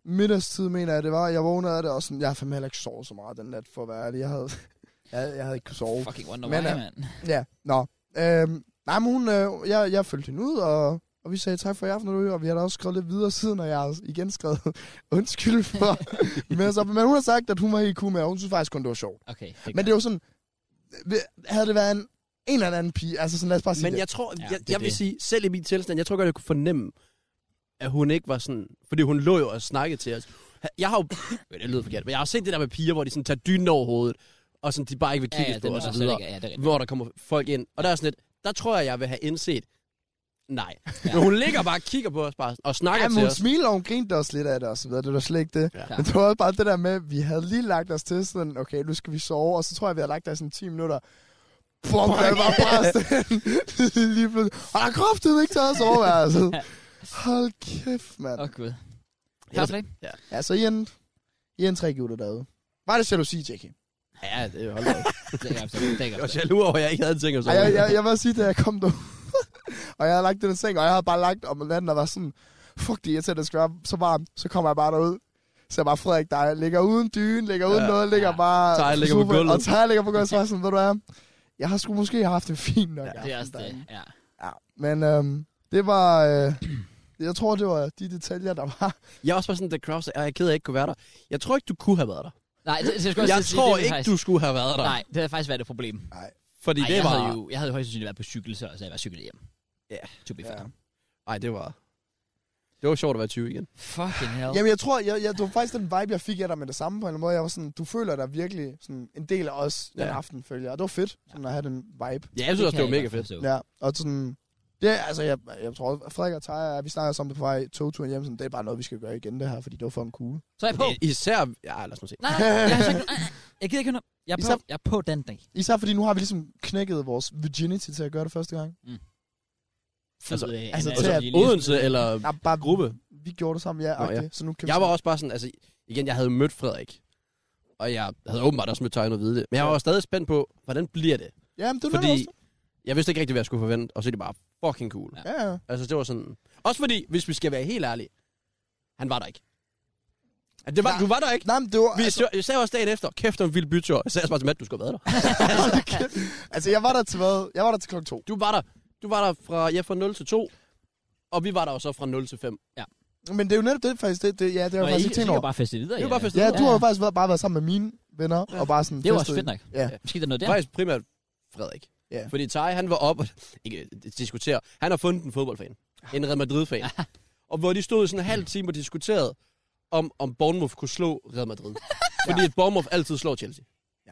Speaker 3: middagstid, mener jeg det var. Jeg vågnede af det, og sådan, jeg har fandme heller ikke sovet så meget den nat, for at være ærlig. Jeg havde, <laughs> jeg, jeg havde ikke kunnet sove.
Speaker 1: Fucking wonder
Speaker 3: Men,
Speaker 1: why,
Speaker 3: øh,
Speaker 1: mand.
Speaker 3: Ja, nå. Øhm, nej, men hun, øh, jeg, jeg følte hende ud, og, og vi sagde tak for i aften, og, og vi har da også skrevet lidt videre siden, og jeg har igen skrevet <laughs> undskyld for. men, så, men hun har sagt, at hun var helt cool med, og hun synes faktisk kun, det var sjovt.
Speaker 1: Okay,
Speaker 3: Men det er jo sådan, ved- havde det været en, en eller anden pige, altså sådan, lad os bare sige
Speaker 2: Men
Speaker 3: det.
Speaker 2: jeg tror,
Speaker 1: Ja,
Speaker 2: ja,
Speaker 1: det er
Speaker 2: jeg, jeg vil
Speaker 1: det.
Speaker 2: sige, selv i min tilstand, jeg tror godt, jeg kunne fornemme, at hun ikke var sådan... Fordi hun lå jo og snakkede til os. Jeg har jo...
Speaker 1: <laughs>
Speaker 2: Det lyder forkert, men jeg har set det der med piger, hvor de sådan tager dynen over hovedet, og sådan, de bare ikke vil kigge ja, på
Speaker 1: den
Speaker 2: og
Speaker 1: var
Speaker 2: så
Speaker 1: slet
Speaker 2: videre.
Speaker 1: ikke- Ja, det er rigtigt.
Speaker 2: Hvor der kommer folk ind. Og der er sådan lidt... Der tror jeg, jeg vil have indset... Nej. Men hun ligger bare og kigger på os bare, og snakker
Speaker 3: Jamen,
Speaker 2: til
Speaker 3: hun
Speaker 2: os.
Speaker 3: smilte, og hun grinte også lidt af det og så videre. Det var slet ikke det.
Speaker 2: Ja.
Speaker 3: Ja. Men det var også bare det der med, at vi havde lige lagt os til sådan, okay, nu skal vi sove, og så tror jeg, vi har lagt os sådan 10 minutter. Bum, der var bare sådan <laughs> lige pludselig. Og der er kraftigt ikke taget soveværelset. Hold kæft, mand.
Speaker 1: Åh, gud. Fair
Speaker 2: Ellers-
Speaker 1: play.
Speaker 3: Ja, så I en, I en tre gutter derude. Var det jalousi, Jackie?
Speaker 2: Ja, det holder jeg.
Speaker 1: Det kan jeg forstå. Det kan jeg
Speaker 2: Jeg var
Speaker 1: forstå.
Speaker 2: jaloux over, at jeg ikke havde en ting at
Speaker 3: Ej,
Speaker 2: sove.
Speaker 3: <laughs> jeg, jeg, jeg vil sige, da jeg kom derud, og jeg havde lagt den i seng, og jeg havde bare lagt om natten og var sådan, fuck det er irriterende, det skal være så varmt. Så kommer jeg bare derud. Så jeg bare, Frederik, der ligger uden dyne, ligger uden
Speaker 2: Ja.
Speaker 3: ja, noget, ligger
Speaker 1: Ja.
Speaker 3: bare...
Speaker 2: Thaj ligger på
Speaker 3: sofaen,
Speaker 2: gulvet.
Speaker 3: Og Thaj ligger på gulvet, så er jeg sådan, ved du hvad, jeg har sgu måske haft det fint nok.
Speaker 2: Ja, det
Speaker 1: Det er
Speaker 3: aften
Speaker 1: også
Speaker 3: derinde."
Speaker 1: det, ja.
Speaker 3: Ja, men øhm, det var... Øh, jeg tror, det var de detaljer, der var.
Speaker 2: Jeg er også bare sådan, da Kraus sagde, "Ej, jeg er ked af, at jeg ikke kunne være der. Jeg tror ikke, du kunne have været der.
Speaker 1: Nej, det, det, det,
Speaker 2: Jeg, jeg tror ikke,
Speaker 1: faktisk,
Speaker 2: du skulle have været der.
Speaker 1: Nej, det havde faktisk været et problem. Ej,
Speaker 2: Fordi Ej, det
Speaker 1: jeg,
Speaker 2: var...
Speaker 1: havde jo, jeg havde jo højst sandsynligt været på cykel, så så havde jeg var cyklet hjem.
Speaker 2: Ja.
Speaker 1: To be fair.
Speaker 3: Ja.
Speaker 2: Nej, det var... Det var sjovt at være 20 igen.
Speaker 1: Fucking hell.
Speaker 3: Jamen, jeg tror, jeg, jeg, det var faktisk den vibe, jeg fik af dig med det samme på en eller anden måde. Jeg var sådan, du føler dig virkelig sådan, en del af os den
Speaker 2: Ja.
Speaker 3: aften, følger jeg. Og det var fedt, sådan, at have den vibe.
Speaker 2: Ja, jeg synes
Speaker 1: kan
Speaker 2: også, det var
Speaker 1: jeg
Speaker 2: mega
Speaker 1: godt
Speaker 2: fedt.
Speaker 1: forstå.
Speaker 3: Ja, og sådan... Det, er- altså, jeg, jeg tror, at Frederik og Thaj, vi snakkede også om det på vej togturen hjem, sådan, det er bare noget, vi skal gøre igen det her, fordi det var fucking cool.
Speaker 1: Så er jeg på.
Speaker 2: I- Især... Ja, lad os nu se.
Speaker 1: Nej, nej, jeg, har sagt,
Speaker 2: <laughs>
Speaker 1: nej, nej, jeg gider ikke høre noget. Jeg er på,
Speaker 3: Især-
Speaker 1: jeg er på den dag.
Speaker 3: Især fordi nu har vi ligesom knækket vores virginity til at gøre det første gang.
Speaker 2: Altså,
Speaker 1: Fed, øh,
Speaker 3: altså,
Speaker 1: Anna,
Speaker 2: Og så
Speaker 3: til
Speaker 1: lige lidt-
Speaker 2: Odense eller...
Speaker 3: Ja, bare
Speaker 2: Gruppe.
Speaker 3: Vi gjorde det sammen, ja,
Speaker 2: Nå, ja.
Speaker 3: agtigt, så nu kan vi
Speaker 2: Jeg var
Speaker 3: sådan-
Speaker 2: også bare sådan... Altså, igen, jeg havde mødt Frederik. Og jeg havde åbenbart også mødt Tegn og vide det. Men jeg
Speaker 3: Ja.
Speaker 2: var også stadig spændt på, hvordan bliver det?
Speaker 3: Jamen, det var
Speaker 2: Fordi
Speaker 3: også.
Speaker 2: jeg vidste ikke rigtig, hvad jeg skulle forvente. Og så er det bare fucking cool.
Speaker 1: Ja.
Speaker 3: Ja, ja.
Speaker 2: Altså, det var sådan... Også fordi, hvis vi skal være helt ærlige, han var der ikke. At Det var,
Speaker 3: Nej.
Speaker 2: du var der ikke.
Speaker 3: Nej, men det var...
Speaker 2: Vi altså, sagde også dagen efter, kæft om vild bytur. Jeg sagde også bare til Matt, du skulle have været der.
Speaker 3: <laughs> altså, jeg var der til hvad? Jeg var der til klokken to.
Speaker 2: Du var der, du var der fra, ja, fra 0 til 2, og vi var der også fra 0 til 5.
Speaker 3: Men det er jo netop det, faktisk. Det, det, ja, det har
Speaker 1: Nå,
Speaker 3: jeg
Speaker 1: I-
Speaker 3: faktisk
Speaker 1: så
Speaker 3: ikke tænkt
Speaker 1: kan jeg
Speaker 3: over.
Speaker 1: bare feste videre.
Speaker 2: Det var
Speaker 1: ja.
Speaker 2: bare festet.
Speaker 3: Ja,
Speaker 2: videre.
Speaker 3: du har jo
Speaker 1: Ja.
Speaker 3: faktisk været, bare været sammen med mine venner, og bare sådan...
Speaker 1: Det var
Speaker 3: festet
Speaker 1: også fedt nok.
Speaker 3: Ja.
Speaker 1: Måske der er noget der.
Speaker 2: Faktisk primært Frederik.
Speaker 3: Ja.
Speaker 2: Fordi Thaj, han var op og <laughs> ikke, øh, diskutere. Han har fundet en fodboldfan. En Real Madrid-fan. Og hvor de stod i sådan en halv time og diskuterede, om, om Bournemouth kunne slå Real
Speaker 3: <laughs>
Speaker 2: Madrid. Fordi at Bournemouth altid slår Chelsea.
Speaker 3: Ja.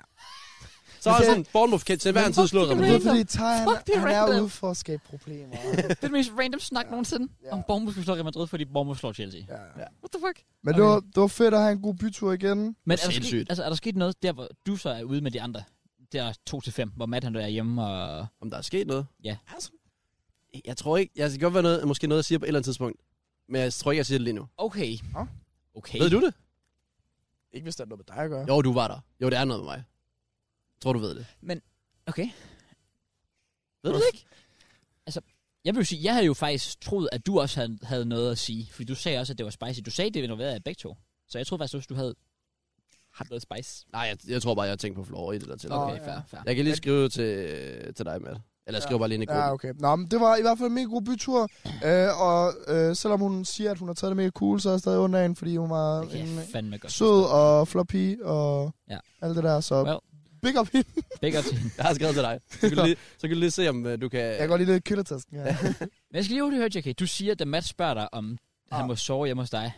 Speaker 2: Så er
Speaker 3: Men det-
Speaker 2: sådan, Bournemouth kan til hver en tid slå Real
Speaker 3: Men
Speaker 2: Madrid.
Speaker 3: det er fordi, Thaj, han,
Speaker 1: Fuck, det er
Speaker 3: han er
Speaker 1: random.
Speaker 3: ude for at skabe
Speaker 1: <laughs>
Speaker 3: problemer.
Speaker 1: Det er den mest random snak nogensinde.
Speaker 3: Ja.
Speaker 1: Om Bournemouth skulle slå Real Madrid, fordi Bournemouth slår Chelsea.
Speaker 3: ja. ja.
Speaker 1: What the fuck?
Speaker 3: Men det, var, det var fedt at have en god bytur igen.
Speaker 1: Men er der, sket,
Speaker 2: Sindssygt.
Speaker 1: altså, er der sket noget der, hvor du så er ude med de andre? Der 2-5, hvor Matt han er hjemme og...
Speaker 2: Om der er sket noget?
Speaker 1: Ja.
Speaker 2: Altså, jeg tror ikke. Jeg skal godt være noget, måske noget, jeg siger på et eller andet tidspunkt. Men jeg tror ikke, jeg siger det lige nu.
Speaker 1: Okay.
Speaker 3: Nå.
Speaker 1: Okay.
Speaker 2: Ved du det?
Speaker 3: Ikke hvis der er noget med dig at gøre.
Speaker 2: Jo, du var der. Jo, det er noget med mig. Jeg tror, du ved det.
Speaker 1: Okay.
Speaker 2: Ved du det ikke?
Speaker 1: Altså, Jeg vil jo sige, jeg havde jo faktisk troet, at du også havde, havde noget at sige. Fordi du sagde også, at det var spicy. Du sagde, at det involverede af begge to. Så jeg troede faktisk også, du havde haft noget spice.
Speaker 2: Nej, jeg, jeg tror bare, jeg har tænkt på Flora i det der til.
Speaker 3: Nå,
Speaker 1: Okay,
Speaker 3: ja.
Speaker 1: fair, fair.
Speaker 2: Jeg kan lige skrive til, til dig, Matt. Eller jeg skriver bare lige ind i gruppen.
Speaker 3: Ja, okay. Nå, men det var i hvert fald en mega god bytur. Øh, og øh, selvom hun siger, at hun har taget det mega cool, så er jeg stadig under hende, fordi hun var
Speaker 1: Det kan
Speaker 3: en
Speaker 1: jeg fandme godt.
Speaker 3: sød og flot pige og
Speaker 1: Ja.
Speaker 3: ja. alt det der. Så
Speaker 1: Well.
Speaker 3: well. big up hende.
Speaker 1: Begge op til hende.
Speaker 2: Jeg har skrevet til dig. Så kan du lige, så kan du lige se, om øh, du kan...
Speaker 3: Jeg kan godt lide det
Speaker 1: <laughs>
Speaker 3: kyldertasken her.
Speaker 1: Men jeg skal lige hurtigt høre, JK. Du siger, da Matt spørger dig, om ah. han
Speaker 3: Ah.
Speaker 1: må sove hjemme hos dig,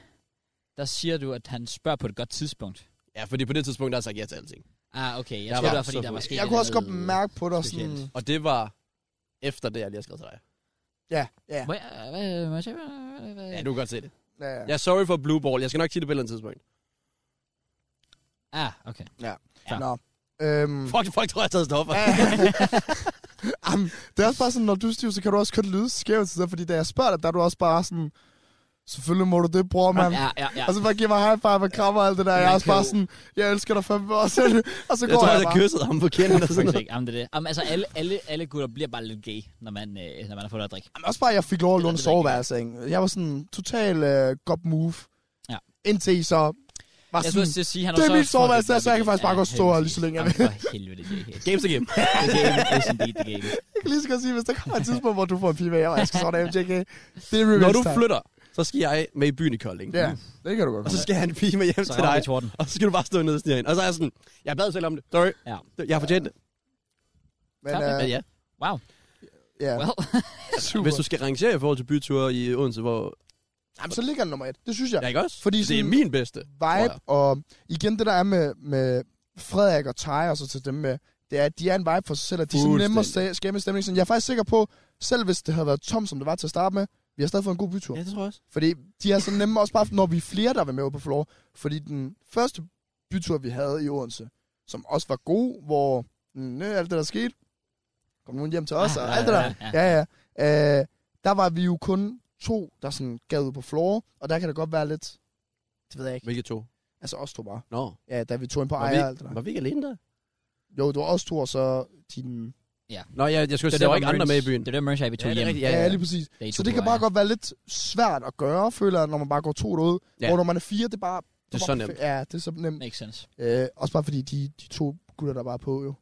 Speaker 1: der siger du, at han spørger på et godt tidspunkt.
Speaker 2: Ja, fordi på det tidspunkt, der har jeg sagt ja til alting.
Speaker 1: Ah, okay. Jeg
Speaker 2: Jeg
Speaker 1: tror, det
Speaker 2: var
Speaker 1: var, fordi
Speaker 2: så
Speaker 1: der var
Speaker 2: fuld.
Speaker 1: sket
Speaker 3: jeg kunne
Speaker 1: et
Speaker 3: også godt
Speaker 1: eller andet-
Speaker 3: mærke på dig sådan...
Speaker 1: specielt.
Speaker 2: Og det var efter det, jeg lige har skrevet til dig.
Speaker 3: Ja, ja.
Speaker 1: Må jeg, hvad, må jeg se, hvad, hvad?
Speaker 2: Ja, du kan godt se det.
Speaker 3: ja, ja.
Speaker 2: Jeg er sorry for blue ball. Jeg skal nok sige det på et eller andet tidspunkt.
Speaker 1: Ah, okay. Ja.
Speaker 3: Nå. Øhm, <laughs>
Speaker 2: Fuck, folk tror, jeg har taget stoffer.
Speaker 3: Jamen, det er også bare sådan, når du er stiv, så kan du også kun lyde skævt til det, fordi da jeg spørger dig, der er du også bare sådan... Selvfølgelig må du det, bror, mand.
Speaker 1: Ja, ja, ja.
Speaker 3: Og så bare giver mig high five og krammer og alt det der. Jeg er
Speaker 1: Man
Speaker 3: også
Speaker 1: kan
Speaker 3: bare
Speaker 1: jo-
Speaker 3: sådan, jeg elsker dig fandme også. <laughs> Og så
Speaker 2: Jeg
Speaker 3: går
Speaker 2: tror,
Speaker 3: jeg,
Speaker 2: jeg har
Speaker 3: bare.
Speaker 2: kysset ham på kinden og sådan
Speaker 1: Faktisk
Speaker 2: noget.
Speaker 1: ikke. Jamen, det er det. Jamen, altså, alle, alle, alle gutter bliver bare lidt gay, når man, øh, når man har fået noget at drikke.
Speaker 3: Men også bare, at jeg fik lov at
Speaker 1: Eller
Speaker 3: låne
Speaker 1: det ved jeg ikke.
Speaker 3: soveværelse. ikke? Jeg var sådan total øh, godt move.
Speaker 1: Ja.
Speaker 3: Indtil I så var
Speaker 1: Jeg
Speaker 3: sådan,
Speaker 1: skulle også til at sige, han
Speaker 3: Altså, det er
Speaker 1: så
Speaker 3: mit
Speaker 1: fucking
Speaker 3: soveværelse,
Speaker 1: glad
Speaker 3: så jeg kan
Speaker 1: ved
Speaker 3: faktisk
Speaker 1: det.
Speaker 3: bare
Speaker 1: Ja,
Speaker 3: gå og stå her
Speaker 1: heldigvis.
Speaker 3: lige så længe jeg
Speaker 1: Jamen, for helvede, det er
Speaker 2: Games to game.
Speaker 1: The game is indeed the game.
Speaker 3: jeg kan lige så godt sige, hvis der kommer et tidspunkt, hvor du får en pige med, og jeg skal sådan af, JK. Det
Speaker 2: Når
Speaker 3: er revenge
Speaker 2: du
Speaker 3: time.
Speaker 2: flytter, så skal jeg med i byen i Kolding.
Speaker 3: Ja, det kan du godt.
Speaker 2: Og så skal han en pige med hjem
Speaker 1: Så
Speaker 2: til
Speaker 1: rammer
Speaker 2: dig.
Speaker 1: vi torden.
Speaker 2: <laughs> Og så skal du bare stå nede og snige hende. Og så er jeg sådan, jeg bad selv om det. Sorry.
Speaker 1: Ja.
Speaker 2: Jeg har fortjent det.
Speaker 3: Men
Speaker 1: Tak,
Speaker 3: øh,
Speaker 2: Men ja.
Speaker 1: Wow.
Speaker 3: ja,
Speaker 1: Well,
Speaker 3: <laughs> super.
Speaker 2: Hvis du skal rangere i forhold til byture i Odense, hvor...
Speaker 3: Jamen, så ligger den nummer et. Det synes jeg.
Speaker 2: Ja, ikke også?
Speaker 3: Fordi
Speaker 2: det er
Speaker 3: sådan-
Speaker 2: min bedste.
Speaker 3: vibe, og igen det der er med, med Frederik og Tej og så til dem med, det er, at de er en vibe for sig selv, og de er sådan nemme at sta- skabe en stemning. Sådan, jeg er faktisk sikker på, selv hvis det havde været tomt, som det var til at starte med, vi har stadig fået en god bytur.
Speaker 2: Ja, det tror jeg også.
Speaker 3: Fordi de er så nemme også bare, når vi er flere, der vil med ud på floor. Fordi den første bytur, vi havde i Odense, som også var god, hvor mm, øh, alt det, der skete, kom nogen hjem til os,
Speaker 1: Ah,
Speaker 3: og
Speaker 1: ja,
Speaker 3: alt det der.
Speaker 1: ja,
Speaker 3: Ja, ja. Øh, der var vi jo kun to, der sådan gav ud på floor, og der kan det godt være lidt, det ved jeg ikke,
Speaker 2: Hvilke to?
Speaker 3: altså os to bare.
Speaker 2: Nå.
Speaker 3: Ja, da vi tog ind på
Speaker 2: Var
Speaker 3: ejer og alt
Speaker 2: vi,
Speaker 3: det der.
Speaker 2: var vi ikke alene der?
Speaker 3: Jo, det var også to, og så din
Speaker 2: Nå, jeg,
Speaker 1: Det
Speaker 2: jeg skulle sige,
Speaker 1: er
Speaker 2: der var
Speaker 1: hvor
Speaker 2: ikke andre med
Speaker 1: Merch-
Speaker 2: i byen.
Speaker 1: Det er der Merch er, vi tog
Speaker 2: Ja, det er
Speaker 1: hjem.
Speaker 2: rigtigt.
Speaker 3: Ja,
Speaker 2: Ja,
Speaker 3: ja,
Speaker 2: ja.
Speaker 3: lige præcis.
Speaker 1: Day
Speaker 3: Så
Speaker 1: to
Speaker 3: det kan
Speaker 1: wire.
Speaker 3: bare godt være lidt svært at gøre, føler jeg, når man bare går to derude.
Speaker 2: Ja.
Speaker 3: Ja. Hvor når man er fire, det er bare...
Speaker 2: Det er
Speaker 3: bare
Speaker 2: så nemt.
Speaker 3: perfekt. Ja, det er så nemt.
Speaker 1: Makes sense.
Speaker 3: Øh, også bare fordi de, de to gutter, der bare er på jo.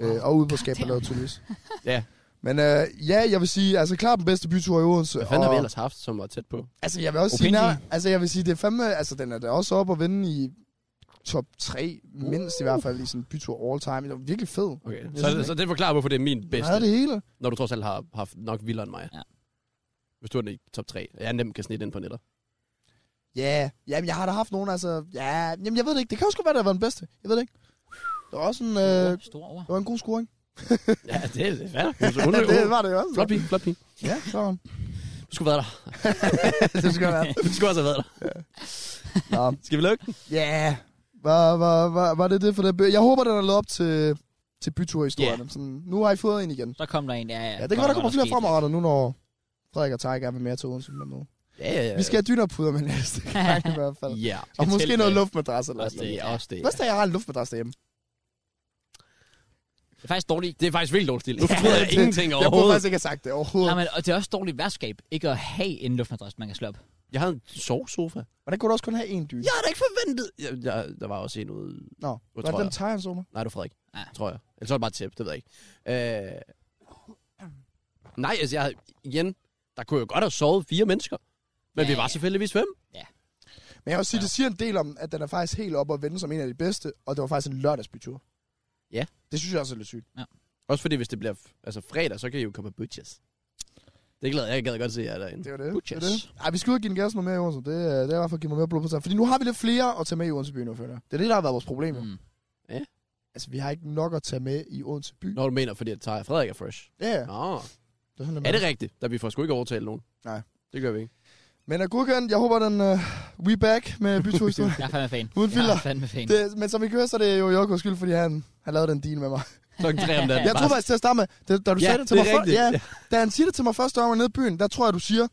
Speaker 3: Øh, og ude på skab, der lavede tydeligvis.
Speaker 2: Ja.
Speaker 3: Men øh, ja, jeg vil sige, altså klart den bedste bytur i Odense.
Speaker 2: Hvad fanden har vi
Speaker 3: og-
Speaker 2: ellers haft, som var tæt på?
Speaker 3: Altså, jeg vil også sige,
Speaker 1: Opinji.
Speaker 3: nær, altså, jeg vil sige, det er fandme, altså, den er da også oppe at vinde i top 3, mindst i hvert fald i sådan en bytur all time. Det var virkelig fed.
Speaker 2: Okay.
Speaker 3: Jeg
Speaker 2: Så, så,
Speaker 3: synes
Speaker 2: så det forklarer, hvorfor det er min
Speaker 3: Bedste.
Speaker 2: bedste,
Speaker 3: Havde det hele.
Speaker 2: når du trods alt har haft nok vildere end mig.
Speaker 1: Ja.
Speaker 2: Hvis du er den i top 3. Jeg nemt kan snit ind på netter.
Speaker 3: Ja, yeah. jamen, jeg har da haft nogen, altså, ja, jamen, jeg ved det ikke. Det kan også godt være, det var den bedste. Jeg ved det ikke. Det var også en, øh,
Speaker 1: Store- Store ord.
Speaker 3: det var en god scoring.
Speaker 2: ja, det er det. Hvad? <laughs> Hun,
Speaker 3: Ja,
Speaker 2: hun,
Speaker 3: det var det jo også.
Speaker 2: Flot pige, flot pige.
Speaker 3: Ja, sådan.
Speaker 2: Du skulle have været der.
Speaker 3: <laughs> det skal være.
Speaker 2: Du skulle også have været der.
Speaker 3: Nå,
Speaker 2: Skal vi lukke den?
Speaker 3: ja. Var, var, var, var det det for det? bø- Jeg håber, den er lavet op til, til byturhistorien. Yeah. Sådan, nu har I fået en igen.
Speaker 1: Så kom der en, ja, ja.
Speaker 3: Ja, det kan være, der kommer flere
Speaker 1: skete
Speaker 3: fremadrettet nu, når Frederik og Tej gerne vil mere til Odense. Men nu.
Speaker 2: Ja, ja, ja.
Speaker 3: Vi skal have dynerpuder med <laughs> næste gang i hvert fald.
Speaker 2: Ja.
Speaker 3: Og måske
Speaker 1: telt
Speaker 3: noget
Speaker 1: med.
Speaker 3: luftmadras eller
Speaker 2: Også
Speaker 3: sådan
Speaker 2: det,
Speaker 3: noget.
Speaker 2: ja, også det.
Speaker 3: Hvad er jeg har en luftmadras derhjemme?
Speaker 1: lidt. Det er faktisk dårligt.
Speaker 2: Det er faktisk vildt dårligt stil. Nu fortryder <laughs> jeg
Speaker 3: det-
Speaker 2: ingenting
Speaker 3: Jeg burde
Speaker 2: overhovedet.
Speaker 3: faktisk ikke have sagt det
Speaker 1: Nej,
Speaker 3: overhovedet.
Speaker 1: men, og det er også dårligt værtskab, ikke at have en luftmadras, man kan slå op.
Speaker 2: Jeg havde en sovesofa.
Speaker 3: Hvordan kunne du også kun have en dyne?
Speaker 2: Jeg havde da ikke forventet. Jeg, jeg, der var også en ude.
Speaker 3: Nå,
Speaker 2: Hvor
Speaker 3: hvordan
Speaker 2: tror
Speaker 3: den tager en sommer?
Speaker 2: Nej, du Frederik.
Speaker 1: Ja.
Speaker 2: Tror jeg. Eller så er det bare et tæppe, det ved jeg ikke. Øh... Nej, altså jeg havde... Igen, der kunne jeg godt have sovet fire mennesker. Men
Speaker 1: Ja,
Speaker 2: vi var
Speaker 1: ja.
Speaker 2: selvfølgelig fem.
Speaker 3: Men jeg vil også sige, det siger en del om, at den er faktisk helt op og vende som en af de bedste, og det var faktisk en lørdagsbytur.
Speaker 2: Ja.
Speaker 3: Det synes jeg også er lidt sygt.
Speaker 2: Også fordi, hvis det bliver f- altså, fredag, så kan I jo komme på butches. Det glæder jeg. Jeg gad godt se jer derinde.
Speaker 3: Det var det.
Speaker 1: Butchers.
Speaker 3: Det var det. Ej, vi skal ud og give den gas noget mere i Odense. Det, øh, det er i hvert fald at give mig mere blod på sig. Fordi nu har vi lidt flere at tage med i Odense by nu, føler jeg. Det er det, der har været vores problem. Mm.
Speaker 1: Mm.
Speaker 3: Altså, vi har ikke nok at tage med i Odense by.
Speaker 2: Når du mener, fordi at Taja Frederik er fresh.
Speaker 3: Ja, ja.
Speaker 2: Nå, ja.
Speaker 3: Det er sådan,
Speaker 2: er det rigtigt? Da vi får sgu ikke overtalt nogen.
Speaker 3: Nej.
Speaker 2: Det gør vi ikke.
Speaker 3: Men er godkendt. Jeg håber, den uh, we back
Speaker 2: <laughs>
Speaker 3: med byturhistorien.
Speaker 1: Jeg er fandme fan.
Speaker 3: Uden
Speaker 1: Jeg
Speaker 3: filter.
Speaker 1: er fandme fan.
Speaker 3: Det, men som I kan høre, så er det jo Jokos skyld, fordi han, han lavede den deal med mig.
Speaker 2: Klokken tre om natten.
Speaker 3: <laughs> Ja, jeg tror faktisk til at starte med, da, da du
Speaker 2: Ja,
Speaker 3: sagde det til
Speaker 2: det er
Speaker 3: mig, før-
Speaker 2: rigtigt.
Speaker 3: ja, da han siger det til mig første gang jeg var nede i byen, der tror jeg, du siger,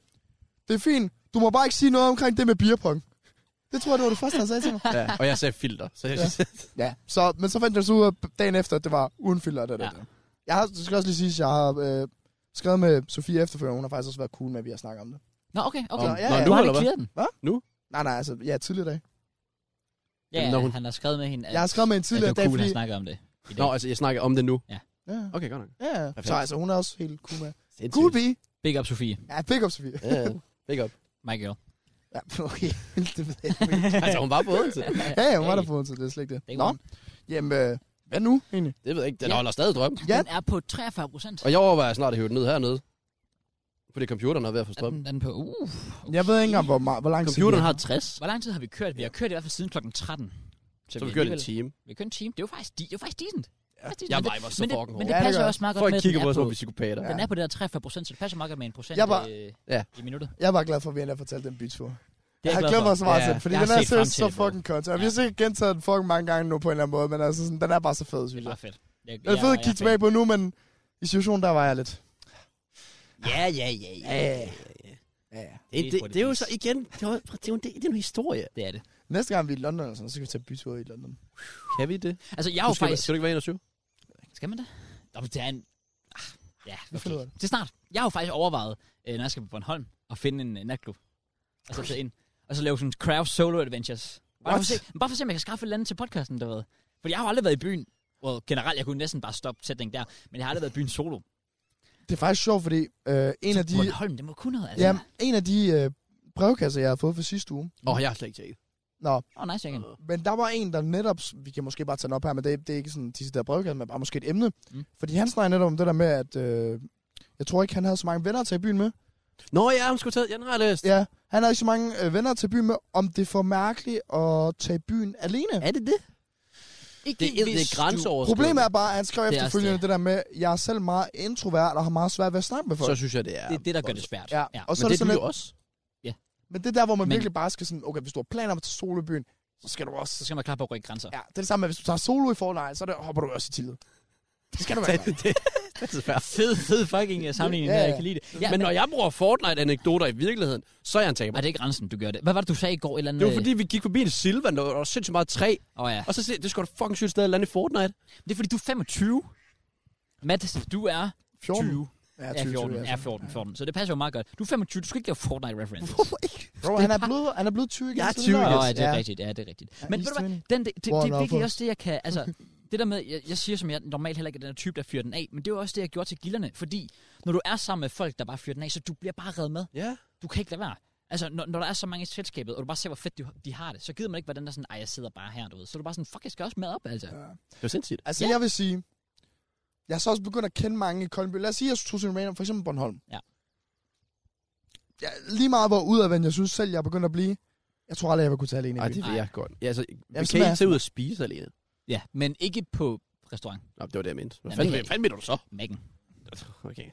Speaker 3: det er fint, du må bare ikke sige noget omkring det med beerpong. Det tror jeg, det var det første, han sagde til mig.
Speaker 2: Ja, og jeg sagde filter. Så jeg, ja.
Speaker 3: ja. Så, men så fandt jeg så ud af dagen efter, at det var uden filter. Det, det,
Speaker 1: Ja.
Speaker 3: det. Jeg har, det skal også lige sige, at jeg har øh, skrevet med Sofie efterfølgende, hun har faktisk også været cool med, at vi har snakket om det.
Speaker 1: Nå, okay, okay.
Speaker 3: Nå, ja,
Speaker 1: Nå,
Speaker 3: ja.
Speaker 1: du
Speaker 2: Nu,
Speaker 1: har
Speaker 2: eller
Speaker 1: ikke
Speaker 2: hvad?
Speaker 1: clearet den.
Speaker 3: Nej, nej, altså, ja, tidligere i dag.
Speaker 1: Ja,
Speaker 2: Jamen,
Speaker 1: ja,
Speaker 2: når hun-
Speaker 1: han har skrevet med hende, at,
Speaker 3: Jeg har skrevet med en
Speaker 1: at det
Speaker 3: tidligere
Speaker 1: var
Speaker 3: dag,
Speaker 1: cool,
Speaker 3: fordi...
Speaker 1: han snakker om det. i dag.
Speaker 2: <laughs> Nå, altså, jeg snakker om det nu.
Speaker 3: Ja,
Speaker 2: Okay, godt nok.
Speaker 3: ja, ja.
Speaker 2: Perfekt.
Speaker 3: Så altså, hun er også helt cool med.
Speaker 2: Sindssygt.
Speaker 3: Cool bee.
Speaker 1: Big up, Sofie.
Speaker 3: Ja, big up, Sofie.
Speaker 2: Ja, ja.
Speaker 1: <laughs>
Speaker 2: Big up.
Speaker 1: My girl.
Speaker 3: Ja, <laughs> okay. det ved jeg ikke.
Speaker 2: Altså, hun var på Odense.
Speaker 3: Ja, ja, hun var der på Odense, det er slet ikke
Speaker 1: Day
Speaker 3: det. Nå,
Speaker 1: one.
Speaker 3: jamen, øh, hvad nu egentlig?
Speaker 2: Det ved jeg ikke. Den
Speaker 1: Ja.
Speaker 2: ja. holder stadig drøm.
Speaker 3: Ja.
Speaker 1: Den er på 43 procent.
Speaker 2: Og jeg overvejer snart at hive den ned hernede. Fordi computeren er ved at få strøm.
Speaker 1: Den, den er på, uh.
Speaker 3: Jeg ved ikke engang, hvor, meget, hvor lang tid...
Speaker 2: Computeren
Speaker 3: vi-
Speaker 2: har 60.
Speaker 1: Hvor lang tid har vi kørt? Vi har kørt i hvert fald siden klokken 13.
Speaker 2: Så vi
Speaker 1: er
Speaker 2: kører en
Speaker 1: alligevel-
Speaker 2: time.
Speaker 1: Vi kører en time. Det er jo faktisk, de, det er jo faktisk decent. Ja. Decent.
Speaker 2: Jeg
Speaker 1: men det-
Speaker 2: viber så
Speaker 1: men det,
Speaker 2: fucking
Speaker 1: men
Speaker 2: hårdt.
Speaker 1: det
Speaker 3: Ja, det
Speaker 1: passer
Speaker 3: gør jeg.
Speaker 1: også meget godt
Speaker 2: Folk
Speaker 1: med, at
Speaker 2: kigger på
Speaker 1: den,
Speaker 2: os,
Speaker 1: er
Speaker 2: som om
Speaker 1: på,
Speaker 2: vi er psykopater.
Speaker 1: den er på det der 43 procent, så det passer meget godt med en procent
Speaker 3: Jeg var-
Speaker 1: øh,
Speaker 2: Ja.
Speaker 1: i minuttet.
Speaker 3: Jeg var glad for, at vi endte har fortalt den bytur.
Speaker 1: Det er
Speaker 3: jeg
Speaker 1: glad
Speaker 3: glæder
Speaker 1: for.
Speaker 3: mig så meget
Speaker 2: Ja,
Speaker 3: til den, fordi
Speaker 1: jeg
Speaker 3: den
Speaker 1: har
Speaker 3: er
Speaker 1: set frem
Speaker 3: seriøst
Speaker 1: til
Speaker 3: så
Speaker 1: det, bro.
Speaker 3: fucking kønt. Og vi
Speaker 1: Ja.
Speaker 3: har sikkert gentaget den fucking mange gange nu på en eller anden måde, men altså, sådan, den er bare så fed,
Speaker 1: Det
Speaker 3: synes
Speaker 1: er
Speaker 3: jeg.
Speaker 1: bare fedt. Jeg,
Speaker 3: Det er fedt at kigge tilbage på nu, men i situationen, der var jeg lidt...
Speaker 2: Ja, ja, ja, ja.
Speaker 3: Ja, ja.
Speaker 2: Det,
Speaker 1: Det
Speaker 2: det,
Speaker 1: tror jeg,
Speaker 2: det, er jo
Speaker 1: det
Speaker 2: så igen, det er jo, det er jo, det, det er jo historie.
Speaker 1: Det er det.
Speaker 3: Næste gang vi er i London, eller sådan, så skal vi tage bytur i London.
Speaker 2: Kan vi det?
Speaker 1: Altså, jeg
Speaker 2: Du
Speaker 1: er jo
Speaker 2: skal,
Speaker 1: faktisk...
Speaker 2: skal du ikke være 21?
Speaker 1: Skal man det? Nå, men det er en... Ah, Ja,
Speaker 3: Vi finder ud af
Speaker 1: okay. Det er snart. Jeg har jo faktisk overvejet, øh, når jeg skal på Bornholm, at finde en øh, natklub. Og så tage ind. Og så lave sådan crowd solo adventures. Bare for, at
Speaker 3: What?
Speaker 1: se, men bare for at se, om jeg kan skaffe et eller andet til podcasten, du ved. Fordi jeg har jo aldrig været i byen. Well, generelt, jeg kunne næsten bare stoppe sætningen der. Men jeg har aldrig været i byen solo.
Speaker 3: Det er faktisk sjovt, fordi øh, en,
Speaker 1: så
Speaker 3: af de,
Speaker 1: Bornholm, det må kunne noget, altså.
Speaker 3: ja, en af de øh, brevkasser, jeg har fået for sidste uge,
Speaker 2: Åh, oh, jeg har slet ikke tjekket.
Speaker 3: Nå,
Speaker 1: Åh, oh, nice, Jørgen.
Speaker 3: men der var en, der netop, vi kan måske bare tage den op her, men det, det er ikke sådan de der brevkasse, men bare måske et emne.
Speaker 1: Mm.
Speaker 3: Mm. Fordi han snakker netop om det der med, at øh, jeg tror ikke, han havde så mange venner at tage i byen med.
Speaker 2: Nå, ja, hun skulle tage... Ja, den har jeg læst.
Speaker 3: Ja, han havde ikke så mange øh, venner at tage i byen med, om det er for mærkeligt at tage i byen alene.
Speaker 2: Er det det?
Speaker 1: Ikke
Speaker 2: Det er, det er
Speaker 1: hvis
Speaker 2: grænseoverskridende.
Speaker 3: Problemet er bare, at han skrev
Speaker 1: Det er
Speaker 3: efterfølgende
Speaker 1: også
Speaker 3: det. det der med, jeg er selv meget introvert og har meget svært ved at snakke med folk.
Speaker 2: Så synes jeg, det er...
Speaker 1: Det er det, der gør det svært.
Speaker 3: ja.
Speaker 1: ja.
Speaker 3: og
Speaker 2: Men
Speaker 3: så er
Speaker 2: det
Speaker 3: det sådan
Speaker 2: er
Speaker 3: lidt,
Speaker 2: du også.
Speaker 3: men det er der, hvor man
Speaker 1: Men-
Speaker 3: men... virkelig bare skal sådan, okay, hvis du har planer om at tage solo i byen, så skal du
Speaker 1: Så
Speaker 3: også...
Speaker 1: skal man klar på at rykke grænser.
Speaker 3: Ja, det er det samme med, hvis du tager solo i forlejen, så er det, hopper du også i tillid. Det skal du være.
Speaker 2: det, det, det er svært.
Speaker 1: Fed, fed fucking øh, sammenligning,
Speaker 3: Ja,
Speaker 1: der,
Speaker 3: ja.
Speaker 1: jeg kan lide det. Ja,
Speaker 2: Men
Speaker 1: men,
Speaker 2: når jeg bruger Fortnite-anekdoter i virkeligheden, så er jeg
Speaker 1: Ej,
Speaker 2: en taber.
Speaker 1: det er ikke grænsen, du gør det. Hvad var det, du sagde i går? Et eller andet,
Speaker 2: Det var fordi, vi gik forbi en Silvan, der var sindssygt meget træ.
Speaker 1: Åh oh, ja.
Speaker 2: Og så siger jeg, det skulle da fucking sygt sted at lande i Fortnite.
Speaker 1: Det er fordi, du er 25. Matt, du er
Speaker 3: 14?
Speaker 1: 20.
Speaker 3: Ja, altså.
Speaker 1: Ja, 14. Ja, 14, 14. Så det passer jo meget godt. Du er 25, du skal ikke lave Fortnite-reference.
Speaker 3: Hvorfor ikke? Bro, han er blevet, han er blevet 20 igen.
Speaker 2: Jeg er
Speaker 3: så det
Speaker 2: 20
Speaker 3: nok.
Speaker 2: igen.
Speaker 1: Nå, ja, det er
Speaker 3: Ja.
Speaker 1: rigtigt, ja, det er rigtigt.
Speaker 3: Ja,
Speaker 1: Men ved
Speaker 3: he's
Speaker 1: du hvad,
Speaker 3: 20.
Speaker 1: den, det, det, det
Speaker 3: Warren
Speaker 1: er virkelig
Speaker 3: Buffett.
Speaker 1: også det, jeg kan... Altså, det der med, jeg, jeg siger som jeg normalt heller ikke er den her type, der fyrer den af, men det er jo også det, jeg gjorde til gilderne, fordi når du er sammen med folk, der bare fyrer den af, så du bliver bare reddet med.
Speaker 2: Ja.
Speaker 1: Du kan ikke lade være. Altså, når, når der er så mange i selskabet, og du bare ser, hvor fedt de, de har det, så gider man ikke være den der sådan, ej, jeg sidder bare her, du ved. Så er du bare sådan, fuck, jeg skal også med op, altså.
Speaker 3: Ja.
Speaker 2: Det var sindssygt.
Speaker 3: Altså,
Speaker 1: Ja.
Speaker 3: jeg vil sige, jeg har så også begyndt at kende mange i Koldby. Lad os sige, at jeg tog til en random, for eksempel Bornholm.
Speaker 1: Ja.
Speaker 3: Jeg, lige meget hvor udadvendt jeg synes selv, jeg er begyndt at blive. Jeg tror aldrig, jeg vil kunne tage alene
Speaker 2: Ej,
Speaker 3: i byen.
Speaker 2: det vil jeg godt. Ja, altså, vi
Speaker 3: Jamen,
Speaker 2: kan
Speaker 3: sådan
Speaker 2: ikke
Speaker 3: er-
Speaker 2: tage ud og spise alene.
Speaker 1: Ja, men ikke på restaurant.
Speaker 2: Nå, det var det, jeg mente. Hvad
Speaker 1: Jamen,
Speaker 2: fanden,
Speaker 1: det-
Speaker 2: hvad fanden mener du så?
Speaker 1: Mækken.
Speaker 2: Okay.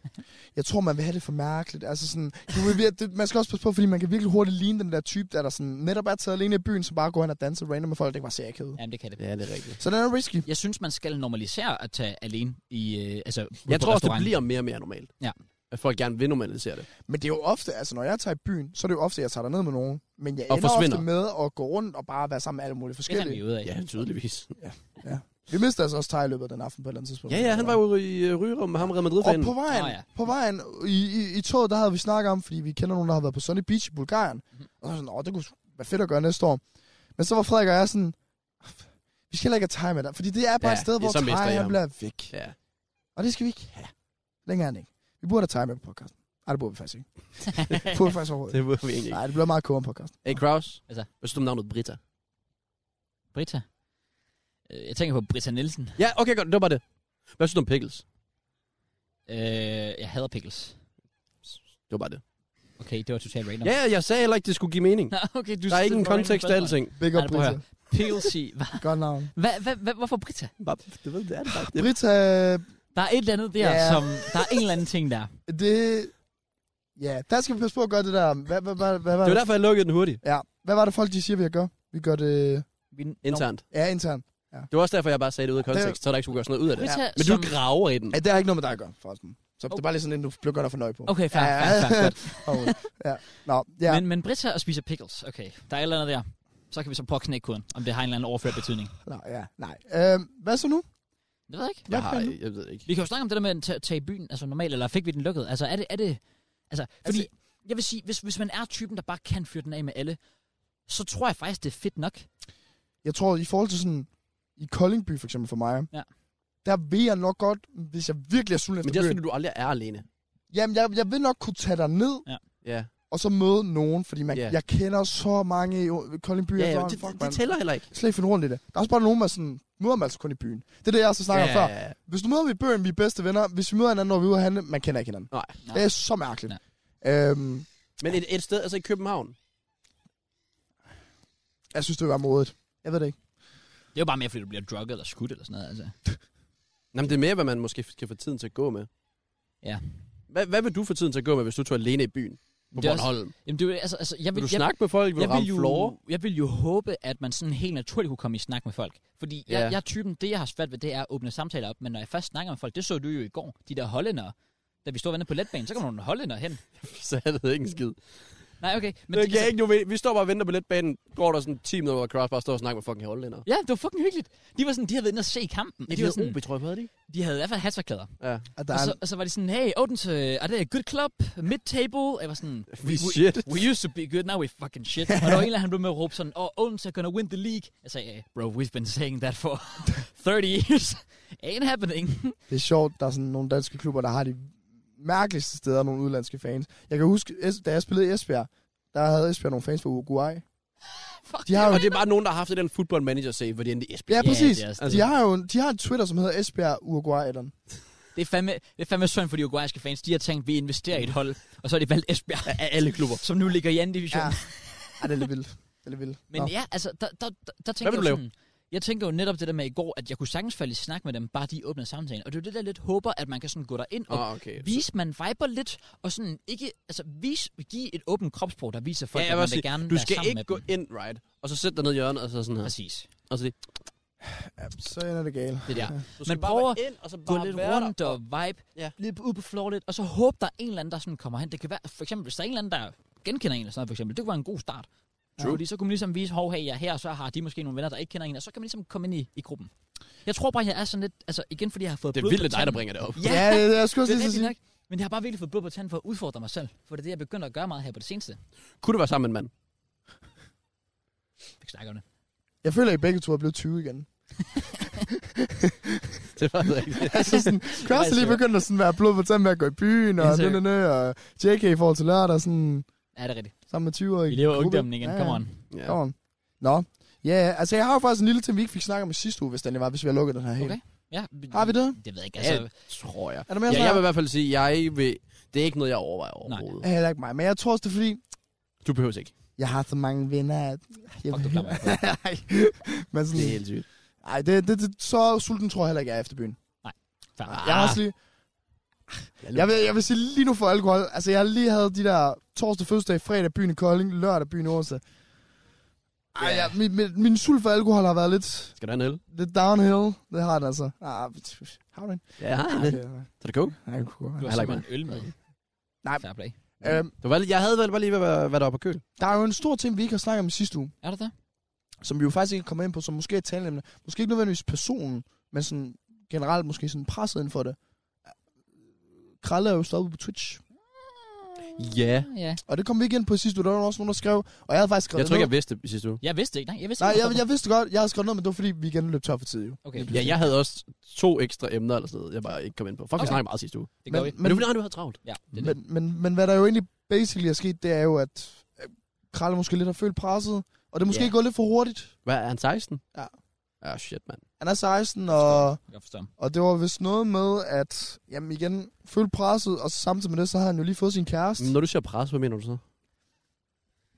Speaker 3: Jeg tror, man vil have det for mærkeligt. Altså sådan, du vil, vir- det, man skal også passe på, fordi man kan virkelig hurtigt ligne den der type, der, der sådan, netop er taget alene i byen, så bare går hen og danser random med folk, der ikke var
Speaker 2: Mm.
Speaker 3: særkede.
Speaker 1: Jamen, det kan det.
Speaker 2: Ja, det er rigtigt.
Speaker 3: Så den er risky.
Speaker 1: Jeg synes, man skal normalisere at tage alene i, øh, altså,
Speaker 2: Jeg
Speaker 1: på
Speaker 2: tror også, det
Speaker 1: restaurant.
Speaker 2: bliver mere og mere normalt.
Speaker 1: Ja.
Speaker 2: At folk gerne vil normalisere det.
Speaker 3: Men det er jo ofte, altså når jeg tager i byen, så er det jo ofte, jeg tager ned med nogen. Men jeg
Speaker 2: Og
Speaker 3: ender
Speaker 2: forsvinder.
Speaker 3: ofte med at gå rundt og bare være sammen med alle mulige
Speaker 1: Det fandt vi
Speaker 3: forskellige.
Speaker 1: ud af.
Speaker 2: Ja, tydeligvis.
Speaker 3: Vi mistede altså også Thaj i løbet af den aften på et eller andet tidspunkt.
Speaker 2: Ja, ja, han var jo i øh, rygerum med ham Real
Speaker 3: Og
Speaker 2: Madrid-fanen.
Speaker 3: på vejen,
Speaker 1: Nå
Speaker 3: oh,
Speaker 1: ja.
Speaker 3: ja. på vejen i, i, i toget, der havde vi snakket om, fordi vi kender nogen, der har været på Sunny Beach i Bulgarien.
Speaker 1: Mhm.
Speaker 3: Mm-hmm. Og så var jeg sådan, åh, det kunne sgu være fedt at gøre næste år. Men så var Frederik og jeg sådan, vi skal heller ikke have time med dig, fordi det er bare
Speaker 2: Ja,
Speaker 3: ja, et sted,
Speaker 2: det-
Speaker 3: hvor
Speaker 2: så mister I
Speaker 3: Thaj han
Speaker 2: ham.
Speaker 3: bliver væk.
Speaker 2: Ja.
Speaker 3: Og det skal vi ikke have. Længere end ikke. Vi burde have time med på podcasten. Nej, det burde vi
Speaker 2: <laughs>
Speaker 3: faktisk ikke. Det burde vi faktisk overhovedet
Speaker 2: <laughs> Det var vi egentlig
Speaker 3: ikke.
Speaker 2: ikke.
Speaker 3: Nej, det bliver meget kogere en podcast.
Speaker 2: Hey, Kraus.
Speaker 1: Altså.
Speaker 2: Hvad synes du om navnet Britta?
Speaker 1: Britta. Øh, Jeg tænker på Britta Nielsen.
Speaker 2: Ja, okay, godt. Det var bare det. Hvad synes du om pickles?
Speaker 1: Øh, jeg hader pickles.
Speaker 2: Det var bare det.
Speaker 1: Okay, det var totalt random.
Speaker 2: Ja, jeg sagde heller ikke, det skulle give
Speaker 1: <laughs>
Speaker 2: mening.
Speaker 1: Nå, okay, du
Speaker 2: Der er ikke en kontekst til alting.
Speaker 3: Big
Speaker 1: Nej,
Speaker 3: up,
Speaker 1: det prøver
Speaker 3: Brita.
Speaker 1: PLC. Hva,
Speaker 3: Godt navn.
Speaker 1: hva, hva, hva, hvorfor Britta?
Speaker 2: Bare, du ved, det er det bare. Det,
Speaker 3: Brita,
Speaker 1: Der er et eller andet der,
Speaker 3: Ja.
Speaker 1: som... Der er en eller anden ting der.
Speaker 3: det... Ja, der skal vi passe på at gøre det der. Hvad, hvad, hvad, hvad,
Speaker 2: det var derfor, jeg lukkede den hurtigt.
Speaker 3: Ja. Hvad var det, folk de siger, vi gør? Vi gør det...
Speaker 1: Vi,
Speaker 2: Internt.
Speaker 3: Ja, internt.
Speaker 2: Det var også derfor, jeg bare sagde det ud af kontekst, så der ikke skulle gøre sådan noget ud af det.
Speaker 1: Britta,
Speaker 2: Men
Speaker 1: som,
Speaker 2: du graver i den.
Speaker 3: Ja, det har ikke noget med dig at gøre, forresten. Så
Speaker 1: Oh.
Speaker 3: det er bare lige sådan en, du bliver godt at fornøje på.
Speaker 1: Okay, fair, fair, fair,
Speaker 3: <laughs>
Speaker 1: godt.
Speaker 3: Og, ja. Nå, ja.
Speaker 1: Men, men Britta og spiser pickles. Okay, der er et eller andet der. Så kan vi så prøve at knække koden, om det har en eller anden overført betydning.
Speaker 3: Nå, ja. Nej. Øhm, hvad så nu?
Speaker 1: Det ved jeg ikke.
Speaker 2: Jeg
Speaker 3: Hvad
Speaker 2: har,
Speaker 3: fanden?
Speaker 2: jeg ved ikke.
Speaker 1: Vi kan jo snakke om det der med at tage- tage i byen, altså normalt, eller fik vi den lukket? Altså er det, er det altså, fordi altså, jeg vil sige, hvis, hvis man er typen, der bare kan fyre den af med alle, så tror jeg faktisk, det er fedt nok.
Speaker 3: Jeg tror, i forhold til sådan... I Koldingby, for eksempel for mig,
Speaker 1: Ja.
Speaker 3: der ved jeg nok godt, hvis jeg virkelig er sulten
Speaker 2: Men
Speaker 3: efter
Speaker 2: det er også,
Speaker 3: byen.
Speaker 2: fordi du aldrig er alene.
Speaker 3: Jamen, jeg, jeg vil nok kunne tage dig ned,
Speaker 2: Ja.
Speaker 3: og så møde nogen, fordi man,
Speaker 2: Ja.
Speaker 3: yeah. jeg kender så mange i O- Koldingby.
Speaker 2: Ja, ja
Speaker 3: efterhånden.
Speaker 2: det,
Speaker 3: Fuck,
Speaker 2: det,
Speaker 3: man.
Speaker 2: tæller heller ikke.
Speaker 3: Jeg slet ikke finde rundt i det. Der er også bare nogen, man sådan, møder man altså kun i byen. Det er det, jeg så snakker om før.
Speaker 2: ja.
Speaker 3: Hvis du møder vi i bøgen, vi er bedste venner. Hvis vi møder hinanden, når vi er ude at handle, man kender ikke hinanden.
Speaker 2: Nej.
Speaker 3: Det er så mærkeligt. Øhm,
Speaker 2: Men et, et sted, altså i København.
Speaker 3: jeg synes, det var modigt. Jeg ved det ikke.
Speaker 1: Det er jo bare mere, fordi du bliver drugget eller skudt eller sådan noget. Altså.
Speaker 2: Jamen, det er mere, hvad man måske kan få tiden til at gå med.
Speaker 1: Ja.
Speaker 2: Hvad, hvad vil du få tiden til at gå med, hvis du tog alene i byen? På
Speaker 1: Det er også-
Speaker 2: Bornholm.
Speaker 1: Jamen, det er, jo- altså, altså, jeg
Speaker 2: Vil
Speaker 1: vil,
Speaker 2: du
Speaker 1: jeg,
Speaker 2: snakke med folk? Vil
Speaker 1: jeg,
Speaker 2: du ramme
Speaker 1: vil
Speaker 2: floor? <laughs>
Speaker 1: jo, jeg vil jo håbe, at man sådan helt naturligt kunne komme i snak med folk. Fordi jeg,
Speaker 2: Ja.
Speaker 1: ja. jeg er typen, det jeg har svært ved, det er at åbne samtaler op. Men når jeg først snakker med folk, det så du jo i går, de der hollændere. Da vi stod og ventede på letbanen, så kom der nogle hollændere hen.
Speaker 2: Så jeg ved ikke en skid.
Speaker 1: Nej, okay. Men
Speaker 2: Men det,
Speaker 1: det,
Speaker 2: kan jeg ikke nu ved. Vi står bare og venter på letbanen. Går der sådan 10 minutter, hvor Cross bare står og snakker med fucking hollænder.
Speaker 1: Ja, det var fucking hyggeligt. De var sådan, de havde været inde og se kampen. og de, var sådan,
Speaker 2: tror jeg på, havde de?
Speaker 1: de havde i hvert fald hasverklæder.
Speaker 2: Ja.
Speaker 3: At der
Speaker 1: Og
Speaker 3: er
Speaker 1: så,
Speaker 3: en,
Speaker 1: og så var de sådan, hey, Odense, er det a good club? Mid-table? Og Jeg var sådan,
Speaker 2: Vi shit.
Speaker 1: we used to be good, now we fucking shit. og der var en, eller anden, han blev med at råbe sådan, oh, Odense are gonna win the league. Jeg sagde, hey, bro, we've been saying that for <laughs> 30 years. Ain't happening. <laughs>
Speaker 3: det er sjovt, der er sådan nogle danske klubber, der har de mærkeligste steder, nogle udlandske fans. Jeg kan huske, es- da jeg spillede i Esbjerg, der havde Esbjerg nogle fans fra Uruguay.
Speaker 1: Fuck,
Speaker 3: De har jo,
Speaker 2: Og det er bare nogen, der har haft den football manager save, hvor de endte i Esbjerg.
Speaker 3: ja, præcis.
Speaker 1: det er også
Speaker 3: Yeah,
Speaker 1: det.
Speaker 3: de har jo en, de har en Twitter, som hedder Esbjerg Uruguay. Eller.
Speaker 1: det er fandme, det er fandme synd for de uruguayske fans. De har tænkt, vi investerer i et hold, og så har de valgt Esbjerg. Af alle klubber. <laughs> Som nu ligger i anden division.
Speaker 3: Ja. Ej, det er lidt vildt. Det er lidt vildt.
Speaker 1: Men
Speaker 3: Nå.
Speaker 1: Nå. ja, altså, der, der, der, der
Speaker 2: Hvad
Speaker 1: tænker
Speaker 2: vil
Speaker 1: jeg
Speaker 2: du
Speaker 1: jo
Speaker 2: lave?
Speaker 1: sådan, jeg tænker jo netop det der med i går, at jeg kunne sagtens falde i snak med dem, bare de åbnede samtalen. Og det er jo det, der lidt håber, at man kan sådan gå derind og
Speaker 2: Ah, okay.
Speaker 1: vise, man viber lidt, og sådan ikke, altså vis, give et åbent kropsprog, der viser folk,
Speaker 2: Ja,
Speaker 1: ja,
Speaker 2: jeg
Speaker 1: at man vil
Speaker 2: vil også sige,
Speaker 1: gerne
Speaker 2: Du
Speaker 1: være
Speaker 2: skal
Speaker 1: sammen
Speaker 2: ikke
Speaker 1: med
Speaker 2: gå
Speaker 1: dem.
Speaker 2: ind, right? Og så sætte dig ned i hjørnet, og så sådan her.
Speaker 1: Præcis.
Speaker 2: Og så det.
Speaker 3: Ja, så ender det galt.
Speaker 1: Det der.
Speaker 2: Du skal
Speaker 1: Men
Speaker 2: bare
Speaker 1: prøver
Speaker 2: være ind, og så
Speaker 1: Gå
Speaker 2: bare
Speaker 1: lidt
Speaker 2: være
Speaker 1: rundt
Speaker 2: der.
Speaker 1: og vibe,
Speaker 2: Ja.
Speaker 1: ja. lidt ud på floor lidt, og så håb, der er en eller anden, der sådan kommer hen. Det kan være, for eksempel, hvis der er en eller anden, der genkender en eller sådan noget, for eksempel, det kunne være en god start. True. Fordi så kunne man ligesom vise, hov, hey, jeg er her, og så har de måske nogle venner, der ikke kender en, og så kan man ligesom komme ind i, i gruppen. Jeg tror bare, jeg er sådan lidt, altså igen, fordi jeg har fået
Speaker 2: Det er
Speaker 1: blod
Speaker 2: vildt
Speaker 1: på
Speaker 2: at dig, der
Speaker 1: tanden.
Speaker 2: bringer det op.
Speaker 1: Ja,
Speaker 3: Ja, det, det er jeg skulle
Speaker 1: det er
Speaker 3: også lige
Speaker 1: rigtigt
Speaker 3: sige.
Speaker 1: nok. Men jeg har bare virkelig fået blod på tanden for at udfordre mig selv. For det er det, jeg begynder at gøre meget her på det seneste. Jeg
Speaker 2: Kunne du være sammen med en mand?
Speaker 1: kan ikke snakke om det.
Speaker 3: Jeg føler, at I begge to er blevet 20 igen.
Speaker 2: <laughs> Det er faktisk rigtigt.
Speaker 3: altså
Speaker 1: <laughs>
Speaker 3: sådan,
Speaker 1: er
Speaker 3: kan også lige
Speaker 1: sjovt.
Speaker 3: begynde at sådan være blod på tanden med at gå i byen, og,
Speaker 1: Ja,
Speaker 3: ja,
Speaker 1: seriøst.
Speaker 3: nø, og JK i forhold til lørdag, sådan
Speaker 1: Ja, det er rigtigt.
Speaker 3: sammen med 20 år.
Speaker 1: Vi lever ungdommen igen. Come on.
Speaker 2: Ja.
Speaker 3: Come on. Nå. Ja, yeah, altså jeg har jo faktisk en lille ting, vi ikke fik snakket om i sidste uge, hvis den var, hvis vi har lukket den her helt.
Speaker 1: Okay. Ja,
Speaker 3: Har vi det?
Speaker 1: Det ved jeg ikke.
Speaker 2: Altså,
Speaker 1: Altså,
Speaker 2: ja, tror jeg.
Speaker 3: Er der mere
Speaker 2: Ja,
Speaker 3: snak?
Speaker 2: jeg vil i hvert fald sige, jeg vil... Det er ikke noget, jeg overvejer overhovedet.
Speaker 3: Ja, Heller ikke mig, men jeg tror også, det er fordi,
Speaker 2: Du behøver ikke.
Speaker 3: jeg har så mange venner, at... Jeg
Speaker 1: fuck, du klammer mig.
Speaker 3: <laughs> Nej, men
Speaker 2: Det er
Speaker 3: sådan...
Speaker 2: helt sygt.
Speaker 3: Ej, det, det, det, så sulten tror jeg heller ikke, jeg er efter byen.
Speaker 1: Fair.
Speaker 2: Ah.
Speaker 3: Jeg har også lige... Jeg vil, jeg vil sige lige nu for alkohol. Altså, jeg har lige havde de der torsdag, fødselsdag, fredag, byen i Kolding, lørdag, byen i Odense. Ej,
Speaker 2: Ja.
Speaker 3: ja, min, min, min sult for alkohol har været lidt,
Speaker 2: Skal du have en øl?
Speaker 3: lidt downhill. Det har den altså. Ah, pff, har du en?
Speaker 2: Ja, jeg har
Speaker 3: Okay,
Speaker 2: det.
Speaker 3: nej.
Speaker 2: Så er det coke?
Speaker 3: Nej, jeg kunne godt.
Speaker 1: Du har
Speaker 2: Heller ikke
Speaker 1: simpelthen en øl med.
Speaker 3: Nej.
Speaker 1: Fair play.
Speaker 3: Øhm,
Speaker 2: Det var, jeg havde vel bare lige, hvad, hvad der var på køl.
Speaker 3: der er jo en stor ting, vi ikke har snakket om i sidste uge,
Speaker 1: Er det det?
Speaker 3: som vi jo faktisk ikke kommer ind på, som måske er et taleemne. Måske ikke nødvendigvis personen, men sådan generelt måske sådan presset inden for det. Kralle er jo stoppet på Twitch.
Speaker 2: Ja.
Speaker 1: Ah, Ja.
Speaker 3: Og det kom vi ikke ind på i sidste uge. Der var også nogen, der skrev, og jeg havde faktisk skrevet
Speaker 2: Jeg tror
Speaker 3: det
Speaker 2: ikke, jeg vidste det i sidste uge.
Speaker 1: Jeg vidste det ikke. Nej, jeg vidste
Speaker 3: Nej,
Speaker 1: ikke.
Speaker 3: jeg, jeg vidste godt, jeg havde skrevet noget, men det var fordi, vi igen løb tør for tid, jo.
Speaker 1: Okay,
Speaker 2: Ja, jeg havde også to ekstra emner eller sådan noget, jeg bare ikke kom ind på. Fuck, okay.
Speaker 1: Okay.
Speaker 2: vi snakkede meget sidste uge.
Speaker 1: det gør vi.
Speaker 2: Men, men det var fordi, du havde travlt.
Speaker 1: Ja, det er det.
Speaker 3: men, men, men hvad der jo egentlig basically er sket, det er jo, at øh, Kralle måske lidt har følt presset, og det er måske
Speaker 2: Ja.
Speaker 3: yeah. gået lidt for hurtigt.
Speaker 2: Hvad, er han 16?
Speaker 3: Ja.
Speaker 2: Ja, shit, mand.
Speaker 3: Han er 16, og,
Speaker 1: Jeg kan forstå.
Speaker 3: og det var vist noget med, at jamen igen, følte presset, og samtidig med det, så har han jo lige fået sin kæreste.
Speaker 1: Mm.
Speaker 2: Når du siger pres, hvad mener du så?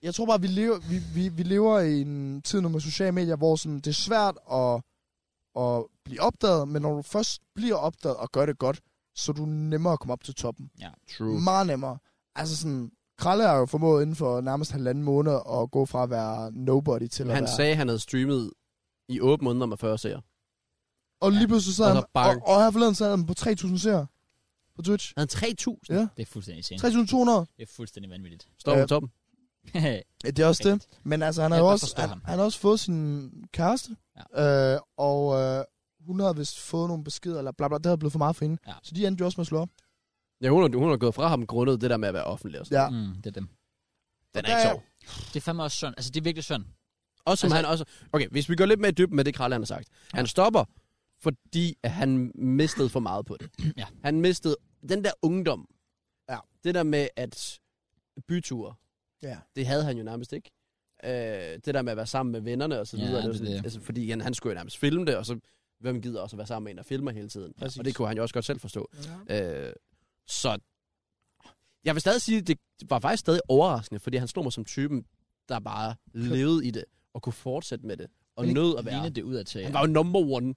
Speaker 3: Jeg tror bare, vi lever, vi, vi, vi lever i en tid nu med sociale medier, hvor sådan, det er svært at, at blive opdaget, men når du først bliver opdaget og gør det godt, så er du nemmere at komme op til toppen.
Speaker 2: True.
Speaker 3: Meget nemmere. Altså sådan, Kralle har jo formået inden for nærmest halvanden måned at gå fra at være nobody til at
Speaker 2: Han
Speaker 3: være...
Speaker 2: sagde, at han havde streamet i 8 måneder med 40 seere.
Speaker 3: og lige pludselig så
Speaker 2: Og så
Speaker 3: sad han...
Speaker 2: bang.
Speaker 3: Og, og her forleden sad han på 3.000 seere på Twitch.
Speaker 2: Han havde 3.000.
Speaker 3: Ja.
Speaker 1: Det er fuldstændig insane.
Speaker 3: 3.200.
Speaker 1: Det er fuldstændig vanvittigt.
Speaker 2: Står
Speaker 3: Ja.
Speaker 2: på toppen.
Speaker 3: Ja, det er også det. Men altså, han har
Speaker 1: Ja,
Speaker 3: jo
Speaker 1: jeg
Speaker 3: også,
Speaker 1: forstår
Speaker 3: han,
Speaker 1: ham.
Speaker 3: han har også fået sin kæreste. Ja. Øh, og øh, hun havde vist fået nogle beskeder, eller bla bla, det havde blevet for meget for hende.
Speaker 1: Ja.
Speaker 3: Så de endte jo også med at slå op.
Speaker 2: Ja, hun, er- hun er gået fra ham grundet det der med at være offentlig. Og sådan.
Speaker 1: <laughs>
Speaker 3: Ja.
Speaker 1: Mm, det er dem.
Speaker 2: Den er ikke
Speaker 3: Ja, ja.
Speaker 2: sjov.
Speaker 1: Det er fandme også synd. Altså, det er virkelig synd.
Speaker 2: Også som
Speaker 1: Altså-
Speaker 2: altså, han også... Okay, hvis vi går lidt mere i dybden med det, Kralle han har sagt. Han stopper, fordi at han mistede for meget på det.
Speaker 1: Ja.
Speaker 2: Han mistede den der ungdom.
Speaker 3: Ja.
Speaker 2: Det der med at byture,
Speaker 3: Ja.
Speaker 2: det havde han jo nærmest ikke. Øh, det der med at være sammen med vennerne og så
Speaker 1: Ja,
Speaker 2: videre.
Speaker 1: det er
Speaker 2: var sådan-
Speaker 1: det.
Speaker 2: Altså, fordi han, han skulle jo nærmest filme det, og så hvem gider også at være sammen med en, der filmer hele tiden.
Speaker 3: Præcis.
Speaker 2: Og det kunne han jo også godt selv forstå. Øh, så jeg vil stadig sige, at det var faktisk stadig overraskende, fordi han slog mig som typen, der bare levede i det, og kunne fortsætte med det, og
Speaker 1: Men
Speaker 2: nød at
Speaker 1: Ligner
Speaker 2: være.
Speaker 1: det ud af til.
Speaker 2: Han var jo number one.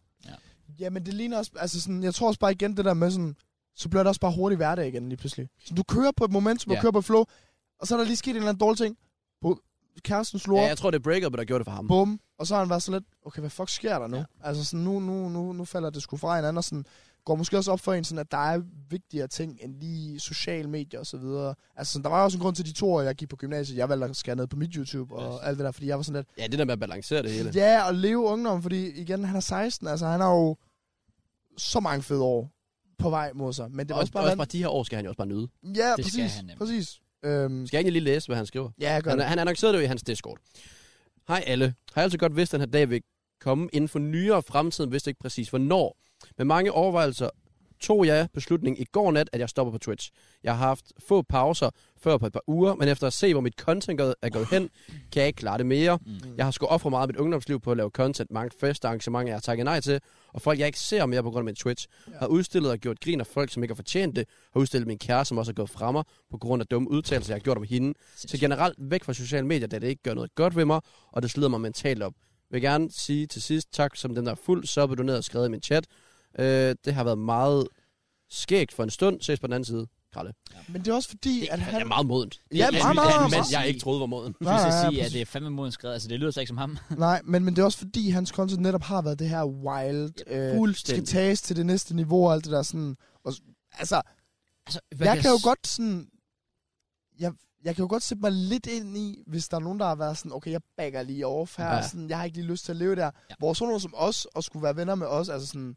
Speaker 3: Ja, men det ligner også, altså sådan, jeg tror også bare igen det der med sådan, så bliver det også bare hurtig hverdag igen lige pludselig. Så du kører på et momentum, og
Speaker 2: Ja.
Speaker 3: kører på et flow, og så er der lige sket en eller anden dårlig ting. Bo- kæresten slår
Speaker 2: Ja,
Speaker 3: ja,
Speaker 2: jeg tror, det er break-up, der gjorde det for ham.
Speaker 3: bum, og så har han været så lidt, okay, hvad fuck sker der nu?
Speaker 2: Ja.
Speaker 3: Ja. Altså sådan, nu, nu, nu, nu falder det sgu fra hinanden, og sådan, går måske også op for en sådan, at der er vigtigere ting end lige sociale medier og så videre. Altså sådan, der var også en grund til de to år, jeg gik på gymnasiet, jeg valgte at skære ned på mit YouTube og
Speaker 2: Yes.
Speaker 3: alt det der, fordi jeg var sådan lidt,
Speaker 2: Ja, det der med at balancere det hele.
Speaker 3: Ja, og leve ungdom, fordi igen, han er 16, altså han har jo så mange fede år på vej mod sig. Men det
Speaker 2: Det
Speaker 3: er
Speaker 2: var
Speaker 3: også bare...
Speaker 2: også bare de her år skal han jo også bare nyde.
Speaker 3: vand- ja,
Speaker 1: Det skal
Speaker 3: præcis.
Speaker 1: han nemlig.
Speaker 3: præcis. Øhm,
Speaker 2: Skal jeg egentlig lige læse, hvad han skriver?
Speaker 3: ja, jeg gør
Speaker 2: Han,
Speaker 3: det.
Speaker 2: han annoncerede det jo i hans Discord. Hej alle. Har altså godt vidst, at den her dag vil komme inden for nyere fremtid, men vidste ikke præcis hvornår. Med mange overvejelser tog jeg beslutningen i går nat, at jeg stopper på Twitch. Jeg har haft få pauser før på et par uger, men efter at se, hvor mit content er gået hen, kan jeg ikke klare det mere.
Speaker 1: Mm.
Speaker 2: Jeg har sgu ofre meget af mit ungdomsliv på at lave content, mange fester, arrangementer, jeg har takket nej til, og folk, jeg ikke ser mere på grund af min Twitch, har udstillet og gjort grin af folk, som ikke har fortjent det, har udstillet min kæreste, som også er gået fra mig på grund af dumme udtalelser, jeg har gjort om hende.
Speaker 1: Altså,
Speaker 2: Så generelt væk fra sociale medier, da det ikke gør noget godt ved mig, og det slider mig mentalt op. Jeg vil gerne sige til sidst tak, som den der er fuld, så er du ned og skrevet i min chat. Øh, det har været meget skægt for en stund. Ses på den anden side, Karle.
Speaker 3: Men det er også fordi,
Speaker 2: Det
Speaker 3: at
Speaker 2: er
Speaker 3: han...
Speaker 2: meget modent.
Speaker 3: Ja,
Speaker 2: Det er
Speaker 3: meget, meget,
Speaker 2: en mand,
Speaker 1: meget.
Speaker 2: jeg ikke troede var moden.
Speaker 1: Jeg
Speaker 3: Nej,
Speaker 1: skal
Speaker 3: nej,
Speaker 1: sige,
Speaker 3: ja,
Speaker 1: at det er fandme moden skrevet. Altså, det lyder så ikke som ham. <laughs>
Speaker 3: Nej, men, men det er også fordi, hans content netop har været det her wild, øh, skal
Speaker 2: Fuldstændig.
Speaker 3: tages til det næste niveau og alt det der sådan. Og, s- altså,
Speaker 1: Altså, hvad
Speaker 3: jeg
Speaker 1: jeg
Speaker 3: kan jo
Speaker 1: s-
Speaker 3: godt sådan... Jeg, jeg kan jo godt sætte mig lidt ind i, hvis der er nogen, der har været sådan, okay, jeg bagger lige off her,
Speaker 2: Ja.
Speaker 3: ja. sådan, jeg har ikke lige lyst til at leve der.
Speaker 1: Ja.
Speaker 3: Ja. Hvor sådan nogen som os, og skulle være venner med os, altså sådan,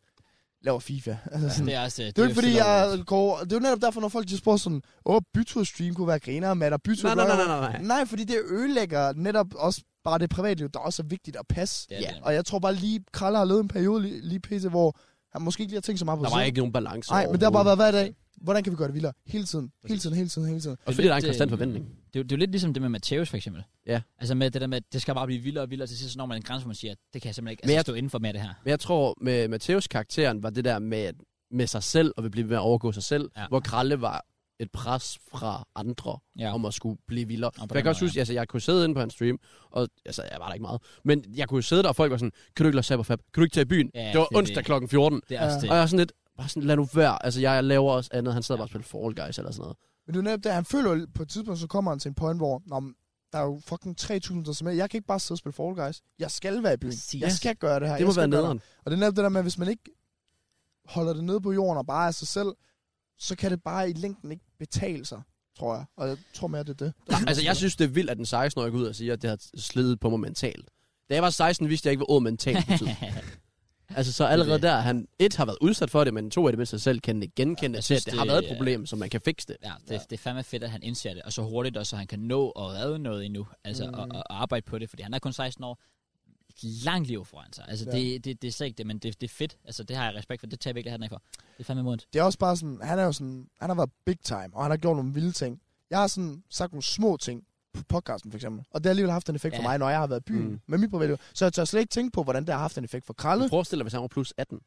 Speaker 3: laver FIFA. <laughs> Altså sådan,
Speaker 1: Det er også...
Speaker 3: det er jo ikke fordi, jeg går... Det er jo netop derfor, når folk de spørger sådan, åh, bytur stream kunne være griner med, der bytur...
Speaker 2: Nej, nej, nej, nej, nej.
Speaker 3: Nej, fordi det ødelægger netop også bare det privatliv, der også er vigtigt at passe.
Speaker 1: Det er det.
Speaker 3: Og jeg tror bare lige, Kralle har levet en periode lige, lige pisse, hvor han måske ikke lige har tænkt så meget på
Speaker 2: Der var ikke nogen balance
Speaker 3: Nej, men der har bare været hver dag. Hvordan kan vi gøre det vildere? Hele tiden, hele tiden, hele tiden, hele tiden.
Speaker 2: Også fordi der er en
Speaker 1: Lidt,
Speaker 2: konstant
Speaker 1: øh,
Speaker 2: forventning.
Speaker 1: Det er, jo, det er jo lidt ligesom det med Mateus, for eksempel.
Speaker 2: Ja.
Speaker 1: Altså med det der med, at det skal bare blive vildere og vildere, til sidst så når man en grænse, hvor man siger, det kan jeg simpelthen ikke
Speaker 2: Men
Speaker 1: altså,
Speaker 2: jeg-
Speaker 1: stå inden for mere det her.
Speaker 2: Men jeg tror, med Mateus karakteren var det der med, at- med sig selv, og vil blive ved med at overgå sig selv,
Speaker 1: Ja.
Speaker 2: ja. hvor Kralle var et pres fra andre
Speaker 1: Ja.
Speaker 2: ja. om at skulle blive vildere.
Speaker 1: på
Speaker 2: For
Speaker 1: den
Speaker 2: jeg kan også
Speaker 1: måde,
Speaker 2: huske, altså, jeg kunne sidde inde på hans stream, og altså, jeg var der ikke meget, men jeg kunne sidde der, og folk var sådan, kan du ikke lade Cyberfab? Kan du ikke tage i byen?
Speaker 1: Ja,
Speaker 2: det var
Speaker 1: det er
Speaker 2: onsdag
Speaker 1: det.
Speaker 2: klokken 14.
Speaker 1: Det er også
Speaker 3: Ja.
Speaker 1: det.
Speaker 2: Og jeg var sådan lidt, bare sådan, lad nu være. Altså, jeg laver også andet. Han sad bare og spillede Fall Guys eller sådan noget.
Speaker 3: Men det er jo netop det, han føler jo på et tidspunkt, så kommer han til en point, hvor Nå, men der er jo fucking 3.000, der er med. Jeg kan ikke bare sidde og spille Fall Guys. Jeg skal være i byen.
Speaker 1: Præcis.
Speaker 3: Jeg skal gøre det her.
Speaker 2: Det må
Speaker 3: Jeg skal
Speaker 2: være
Speaker 3: gøre
Speaker 2: nederen.
Speaker 3: Og det er netop det der med, at hvis man ikke holder det nede på jorden og bare er sig selv, så kan det bare i længden ikke betale sig, tror jeg. Og jeg tror mere, det er det.
Speaker 2: Nej, altså, jeg synes, det er vildt, at den 16-årige går ud og siger, at det har slidet på mig mentalt. Da jeg var 16, vidste jeg ikke, hvor ord
Speaker 1: <laughs>
Speaker 2: mentalt betød. altså, så allerede
Speaker 1: Det
Speaker 2: der, han et har været udsat for det, men to af det mindste selv kan genkende
Speaker 1: Ja,
Speaker 2: ja,
Speaker 1: jeg
Speaker 2: til,
Speaker 1: synes,
Speaker 2: at det,
Speaker 1: det-
Speaker 2: har været et problem, så man kan fikse det.
Speaker 1: Ja, det, det er fandme fedt, at han indser det, og så hurtigt også, så han kan nå at redde noget endnu, altså mm.
Speaker 3: Mm.
Speaker 1: og, og arbejde på det, fordi han er kun 16 år, langt liv foran sig. Altså, ja.
Speaker 3: Ja.
Speaker 1: det, det, det er slet ikke det, men det, det er fedt. Altså, det har jeg respekt for. Det tager jeg virkelig hatten af for. Det er fandme modigt.
Speaker 3: Det er også bare sådan, han er jo sådan, han har været big time, og han har gjort nogle vilde ting. Jeg har sådan sagt nogle små ting på podcasten for eksempel, og det har alligevel haft en effekt ja.
Speaker 1: Ja.
Speaker 3: for mig, når jeg har været i byen
Speaker 2: Mm.
Speaker 3: mm. med mit privatliv. Så jeg tør slet ikke tænke på, hvordan det har haft en effekt for Kralle.
Speaker 2: Men Forestil dig, hvis han var plus 18,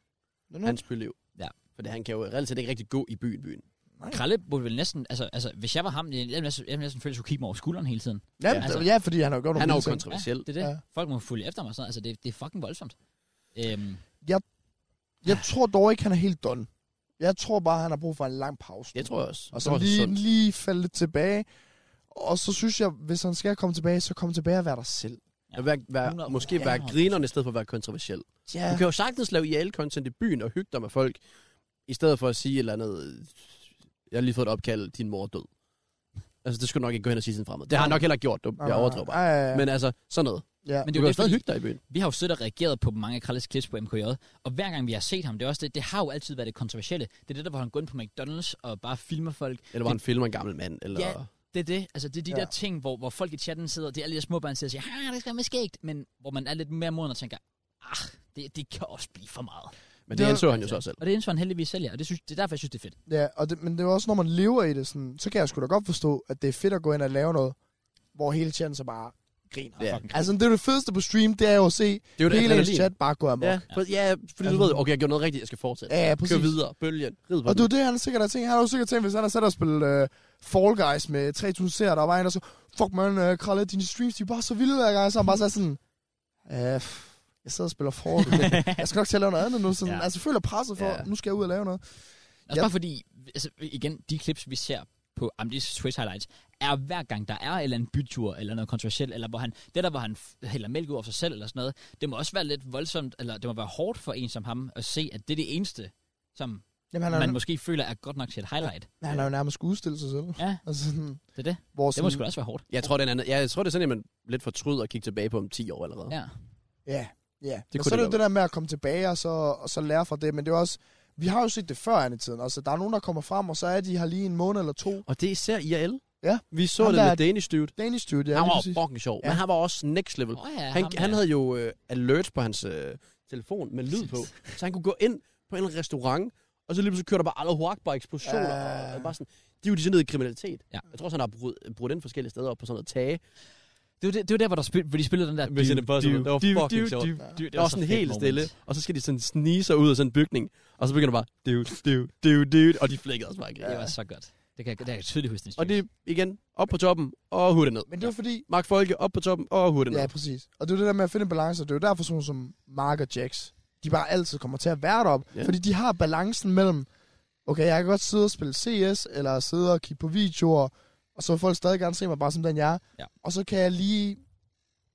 Speaker 3: Nå, nå.
Speaker 2: hans byliv.
Speaker 1: Ja.
Speaker 2: For det, han kan jo reelt set ikke rigtig gå i byen, byen.
Speaker 1: Kralle burde vel næsten, altså, altså hvis jeg var ham, jeg ville næsten, jeg ville næsten føle, at jeg skulle kigge mig over skulderen hele tiden.
Speaker 3: Ja,
Speaker 2: Ja,
Speaker 1: altså-
Speaker 3: altså, ja, fordi han har jo gjort
Speaker 2: Han
Speaker 3: nogle
Speaker 2: er jo
Speaker 3: vilde ting.
Speaker 2: kontroversiel.
Speaker 1: det er det. Ja.
Speaker 3: Ja.
Speaker 1: Folk må følge efter mig og sådan noget. Altså, det, det er fucking voldsomt. Øhm,
Speaker 3: Jeg tror dog ikke, han er helt done. Jeg tror bare, han har brug for en lang pause.
Speaker 2: Jeg
Speaker 1: Mm.
Speaker 2: tror jeg også.
Speaker 3: Og
Speaker 2: Jeg
Speaker 3: så
Speaker 2: tror også, det er
Speaker 3: lige,
Speaker 2: sundt.
Speaker 3: lige falde lidt tilbage. Og så synes jeg, hvis han skal komme tilbage, så kom tilbage og være dig selv.
Speaker 1: Ja.
Speaker 2: At Være, være,
Speaker 1: 100%.
Speaker 2: måske være
Speaker 1: Ja.
Speaker 2: grineren i stedet for at være kontroversiel.
Speaker 3: Ja.
Speaker 2: Du kan jo sagtens lave IL-content i byen og hygge dig med folk, i stedet for at sige et eller andet, øh, jeg har lige fået et opkald, din mor er død. Altså, det skulle nok ikke gå hen og sige til en fremmed. Det har han nok heller ikke gjort, du, jeg overdriver bare.
Speaker 3: Ja, ja, ja.
Speaker 2: Men altså, sådan noget.
Speaker 3: ja.
Speaker 1: men
Speaker 2: Men
Speaker 1: det
Speaker 2: du
Speaker 1: er
Speaker 2: kan
Speaker 1: jo
Speaker 2: jo
Speaker 1: det, fordi
Speaker 2: stadig hygge dig i byen.
Speaker 1: vi har jo siddet og reageret på mange af Kralles klips på MKJ, og hver gang vi har set ham, det er også det, det har jo altid været det kontroversielle. Det er det der, hvor han går ind på McDonald's og bare filmer folk.
Speaker 2: Eller hvor han filmer en gammel mand, eller...
Speaker 1: Ja. Det er det. Altså, det er de ja.
Speaker 3: Ja.
Speaker 1: der ting, hvor, hvor folk i chatten sidder, det er alle de der små børn, der sidder og siger, ah, det skal være med skægt, men hvor man er lidt mere moden og tænker, ah, det, det kan også blive for meget.
Speaker 2: Men det
Speaker 3: Det-
Speaker 2: anså han jo så selv.
Speaker 1: Og det indså han heldigvis selv, ja. og det, synes, det er derfor, jeg synes, det er fedt.
Speaker 3: Ja, og det, men det er jo også, når man lever i det, sådan, så kan jeg sgu da godt forstå, at det er fedt at gå ind og lave noget, hvor hele chatten så bare griner.
Speaker 2: Ja.
Speaker 1: Fucking
Speaker 3: Altså, det er jo det fedeste på stream, det er jo at se
Speaker 2: Det er jo det
Speaker 3: hele ens
Speaker 2: adrenalin.
Speaker 3: chat bare gå amok.
Speaker 2: Ja,
Speaker 3: Ja,
Speaker 2: for, ja, fordi du
Speaker 3: Altså-
Speaker 2: ved, okay, jeg gjorde noget rigtigt, jeg skal fortsætte.
Speaker 3: ja,
Speaker 2: Kør
Speaker 3: ja præcis.
Speaker 2: videre, bølgen, rid på
Speaker 3: Og det er
Speaker 2: den.
Speaker 3: jo det, han sikkert har tænkt. Han har jo sikkert tænkt, hvis han har sat og spillet øh, Fall Guys med 3.000 seere, der var en, og så, fuck man, øh, Kralle, dine streams, de er bare så vilde hver gang. Så han bare sagde sådan, øh, pff, jeg sidder og spiller Fall.
Speaker 2: <laughs>
Speaker 3: jeg skal nok til at lave noget andet nu. Sådan,
Speaker 1: Ja.
Speaker 3: ja. Altså, føler presset for,
Speaker 2: Ja.
Speaker 3: ja. nu skal jeg ud og lave noget.
Speaker 1: Også
Speaker 3: Ja.
Speaker 1: bare fordi, altså, igen, de klips, vi ser på Amdis Twitch highlights, er hver gang, der er en eller anden bytur, eller noget kontroversielt, eller hvor han, det der, hvor han f- hælder mælk ud over sig selv, eller sådan noget, det må også være lidt voldsomt, eller det må være hårdt for en som ham, at se, at det er det eneste, som
Speaker 3: Jamen, han,
Speaker 1: man
Speaker 3: er,
Speaker 1: måske føler er godt nok til et highlight.
Speaker 3: han er jo nærmest udstillet sig selv.
Speaker 1: Ja,
Speaker 3: Altså, sådan,
Speaker 1: det er det.
Speaker 3: hvor
Speaker 1: Det
Speaker 3: sådan,
Speaker 1: må sgu da også være hårdt.
Speaker 2: Jeg tror, den anden, ja, jeg tror, det er sådan, at man lidt fortryder at kigge tilbage på om 10 år allerede.
Speaker 1: Ja.
Speaker 3: Ja, ja.
Speaker 2: Det kunne
Speaker 3: Det og så er
Speaker 2: det
Speaker 3: det jo det der med at komme tilbage og så, og så lære fra det, men det er jo også, vi har jo set det før i tiden, altså der er nogen, der kommer frem, og så er de her lige en måned eller to.
Speaker 2: Og det er især IRL.
Speaker 3: Ja.
Speaker 2: Vi så
Speaker 3: Ham
Speaker 2: det
Speaker 3: der-
Speaker 2: med Danish Dude.
Speaker 3: Danish Dude, ja,
Speaker 2: Han
Speaker 3: lige
Speaker 2: var
Speaker 3: præcis.
Speaker 2: fucking sjov,
Speaker 3: Ja.
Speaker 2: men han var også next level.
Speaker 1: Oh, ja,
Speaker 2: Han,
Speaker 1: ham
Speaker 2: han
Speaker 1: der.
Speaker 2: havde jo øh, alerts på hans øh, telefon med lyd på, så han kunne gå ind på en restaurant, og så lige pludselig kørte der bare Allahu Akbar eksplosioner,
Speaker 3: Ja.
Speaker 2: og, og bare sådan, de er jo de sådan nede i kriminalitet.
Speaker 1: Ja.
Speaker 2: Jeg tror også, han har brudt, brudt ind forskellige steder op på sådan noget tage.
Speaker 1: Det var, det, det var der, hvor, der spil, hvor de spillede den der...
Speaker 2: Mission Impossible. Det var fucking sjovt.
Speaker 1: sjovt.
Speaker 2: Det var sådan helt stille, og så skal de sådan snige sig ud af sådan en bygning, og så begynder bare, dude, dude, dude, dude, og de flækkede også bare.
Speaker 1: Ja. Det
Speaker 2: Ja.
Speaker 1: var så godt. Det kan, jeg- det kan jeg tydeligt huske. den
Speaker 2: Og
Speaker 1: stream.
Speaker 2: det igen, op på toppen, og hurtigt ned.
Speaker 3: Men det var fordi,
Speaker 2: Mark Folke, op på toppen, og hurtigt ned.
Speaker 3: ja præcis, og det er jo det der med at finde en balance, og det er jo derfor sådan nogle som Mark og Jax, de bare altid kommer til at være deroppe,
Speaker 2: Ja.
Speaker 3: ja. fordi de har balancen mellem, okay, jeg kan godt sidde og spille CS, eller sidde og kigge på videoer, og så vil folk stadig gerne se mig bare som den jeg er,
Speaker 1: Ja.
Speaker 3: og så kan jeg lige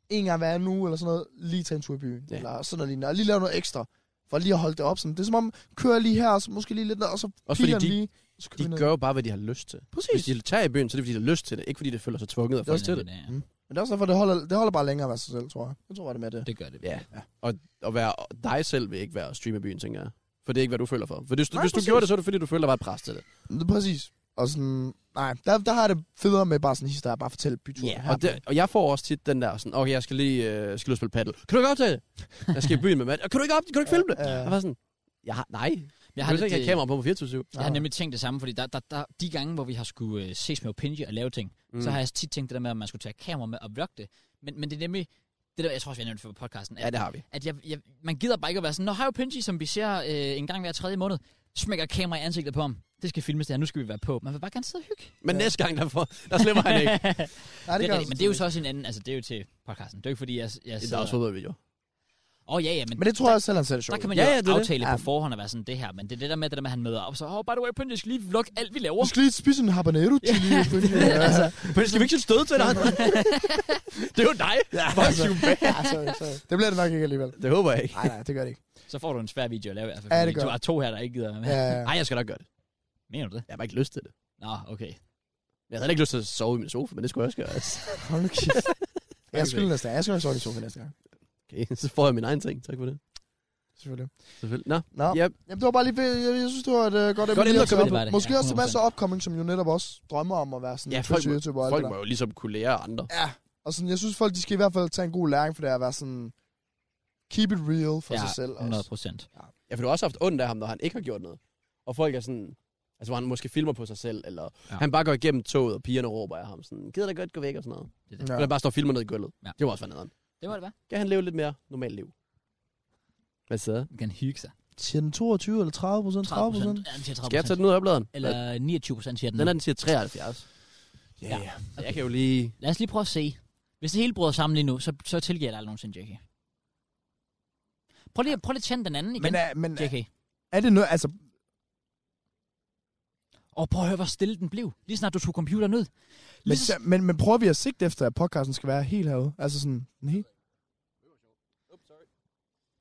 Speaker 3: en gang hver nu, eller sådan noget, lige tage en tur i byen,
Speaker 2: Ja.
Speaker 3: ja. eller sådan noget lignende, og lige lave noget ekstra, for lige at holde det op. Sådan. Det er som om, kører jeg lige her, og så måske lige lidt, ned, og så
Speaker 2: Også
Speaker 3: piker
Speaker 2: fordi
Speaker 3: den
Speaker 2: de-
Speaker 3: lige. Så køber vi
Speaker 2: De
Speaker 3: noget.
Speaker 2: gør jo bare, hvad de har lyst til. Hvis
Speaker 3: Præcis.
Speaker 2: de tager i byen, så er det fordi, de har lyst til det. Ikke fordi, de føler sig tvunget af folk til det.
Speaker 1: Ja,
Speaker 3: Men det er også derfor, det holder, det holder bare længere at være sig selv, tror jeg. Jeg tror bare, det er med
Speaker 2: Mm.
Speaker 3: det.
Speaker 1: det gør det.
Speaker 2: Ja. Og at være dig selv vil ikke være at streame i byen, tænker jeg. For det er ikke, hvad du føler for. For hvis,
Speaker 3: Nej,
Speaker 2: hvis du
Speaker 3: præcis.
Speaker 2: gjorde det, så er det fordi, du føler, der var et pres til det.
Speaker 3: det er præcis. Og sådan, nej, der, der har jeg det federe med bare sådan en historie, bare fortælle byturen.
Speaker 2: Ja, og, det, og jeg får også tit den der sådan, okay, jeg skal lige, øh, skal ud og spille paddle. Kan du ikke optage det? Jeg skal i byen med mand. Kan du ikke, op, kan du ikke filme det?
Speaker 3: Ja, ja.
Speaker 2: Jeg var sådan, jeg har, nej.
Speaker 1: Jeg har,
Speaker 2: ikke
Speaker 1: lidt,
Speaker 2: have
Speaker 1: øh,
Speaker 2: kamera på på 24
Speaker 1: jeg har nemlig tænkt det samme, fordi der, der, der, de gange, hvor vi har skulle øh, ses med Opinji og lave ting, mm. så har jeg tit tænkt det der med, at man skulle tage kamera med og vlogge det. Men, men det er nemlig, det der, jeg tror også, vi har nævnt det for podcasten, at,
Speaker 2: Ja, det har vi.
Speaker 1: at jeg, jeg, man gider bare ikke at være sådan, når Hajo Pinji, som vi ser øh, en gang hver tredje måned, smækker et kamera i ansigtet på ham. Det skal filmes det her, nu skal vi være på. Man vil bare gerne sidde og hygge.
Speaker 2: Men ja. næste gang, der, får, der slipper
Speaker 1: <laughs>
Speaker 2: han ikke.
Speaker 3: nej,
Speaker 1: det er
Speaker 3: gør
Speaker 1: rigtigt, men det er jo så også en anden, altså det er jo til podcasten. Det er jo ikke fordi, jeg, jeg
Speaker 2: Det er også fodboldvideo.
Speaker 1: Åh oh, ja, ja, men,
Speaker 3: Men det tror jeg også selv, han selv er
Speaker 1: der
Speaker 3: sjovt.
Speaker 1: kan man
Speaker 2: Ja,
Speaker 1: jo
Speaker 2: ja, det er det.
Speaker 1: aftale på
Speaker 3: Ja.
Speaker 1: forhånd at være sådan det her, men det er det der med, det der med at han møder op, så, oh, by the way, Pinji, jeg skal lige vlogge alt, vi laver.
Speaker 3: Du skal lige spise en habanero
Speaker 1: <laughs>
Speaker 3: chili.
Speaker 1: det er altså-
Speaker 3: altså,
Speaker 2: Men skal vi ikke sætte stød til dig?
Speaker 1: <laughs>
Speaker 2: det er jo dig. Ja,
Speaker 3: altså. <laughs> ja, sorry, sorry. Det bliver det nok ikke alligevel.
Speaker 2: Det håber jeg ikke.
Speaker 3: Nej, nej, det gør det ikke.
Speaker 1: Så får du en svær video at lave i hvert fald.
Speaker 3: Ja, det
Speaker 1: fordi
Speaker 3: gør
Speaker 1: Du har to her, der ikke gider være med.
Speaker 3: Ja,
Speaker 1: Ja.
Speaker 3: ja.
Speaker 2: Nej, jeg skal nok gøre det.
Speaker 1: Mener du det?
Speaker 2: Jeg har bare ikke lyst til det.
Speaker 1: Nå, okay.
Speaker 2: Jeg havde ikke lyst til at sove i min sofa, men det skulle jeg også gøre. Altså.
Speaker 3: Hold nu
Speaker 1: <laughs>
Speaker 3: kæft. Jeg skulle næste gang. Jeg skal nok sove i sofaen næste gang.
Speaker 2: Okay, <laughs> så får jeg min egen ting. Tak for det.
Speaker 3: Selvfølgelig.
Speaker 2: Selvfølgelig. Nå,
Speaker 3: Nå.
Speaker 2: ja,
Speaker 3: Jamen, det var bare lige fedt. Jeg, jeg synes, det var et uh, godt emne
Speaker 2: emne
Speaker 3: lige
Speaker 2: at
Speaker 3: at
Speaker 1: på.
Speaker 2: komme ind
Speaker 3: tage op.
Speaker 1: Det var det.
Speaker 3: Måske
Speaker 1: Ja,
Speaker 3: også til masser
Speaker 1: 100%.
Speaker 3: af opkoming, som jo netop også drømmer om at være sådan
Speaker 2: Ja,
Speaker 3: en
Speaker 2: folk må-
Speaker 3: YouTuber og alt
Speaker 2: folk
Speaker 3: det der.
Speaker 2: må jo ligesom kunne lære af andre.
Speaker 3: Ja, og sådan, jeg synes folk, de skal i hvert fald tage en god læring for det at være sådan, keep it real for
Speaker 1: Ja,
Speaker 3: sig selv
Speaker 1: 100
Speaker 3: også.
Speaker 1: procent.
Speaker 2: Ja, for du har også haft ondt af ham, når han ikke har gjort noget. Og folk er sådan... Altså, hvor han måske filmer på sig selv, eller
Speaker 1: Ja.
Speaker 2: ja. han bare går igennem toget, og pigerne råber af ham sådan, gider dig godt gå væk, og sådan noget. Ja.
Speaker 3: Ja.
Speaker 2: Eller han bare står og filmer ned i gulvet.
Speaker 1: Ja.
Speaker 2: Ja. Det var også være nederen.
Speaker 1: Det var det, hvad?
Speaker 2: Kan han leve lidt mere normalt liv? Hvad så?
Speaker 1: Man kan hygge sig.
Speaker 3: Siger den 22 eller 30 procent?
Speaker 1: 30
Speaker 3: 30
Speaker 1: procent.
Speaker 3: procent?
Speaker 1: Ja, den siger 30
Speaker 2: Skal jeg tage den ud af opladeren?
Speaker 1: Eller 29 procent siger den.
Speaker 2: Den er, den siger 73.
Speaker 3: Ja,
Speaker 1: Ja.
Speaker 3: ja.
Speaker 2: Okay. Jeg kan jo lige...
Speaker 1: Lad os lige prøve at se. Hvis det hele bryder sammen lige nu, så, så tilgiver jeg dig aldrig nogensinde, JK. Prøv lige, prøv lige at tænde den anden igen,
Speaker 3: Men, øh, er, men
Speaker 1: JK.
Speaker 3: er det noget, altså,
Speaker 1: Og prøv at høre, hvor stille den blev. Lige snart du tog computeren ud.
Speaker 3: men,
Speaker 1: Lige så,
Speaker 3: så- men, men prøver vi at sigte efter, at podcasten skal være helt herude? Altså sådan, den helt?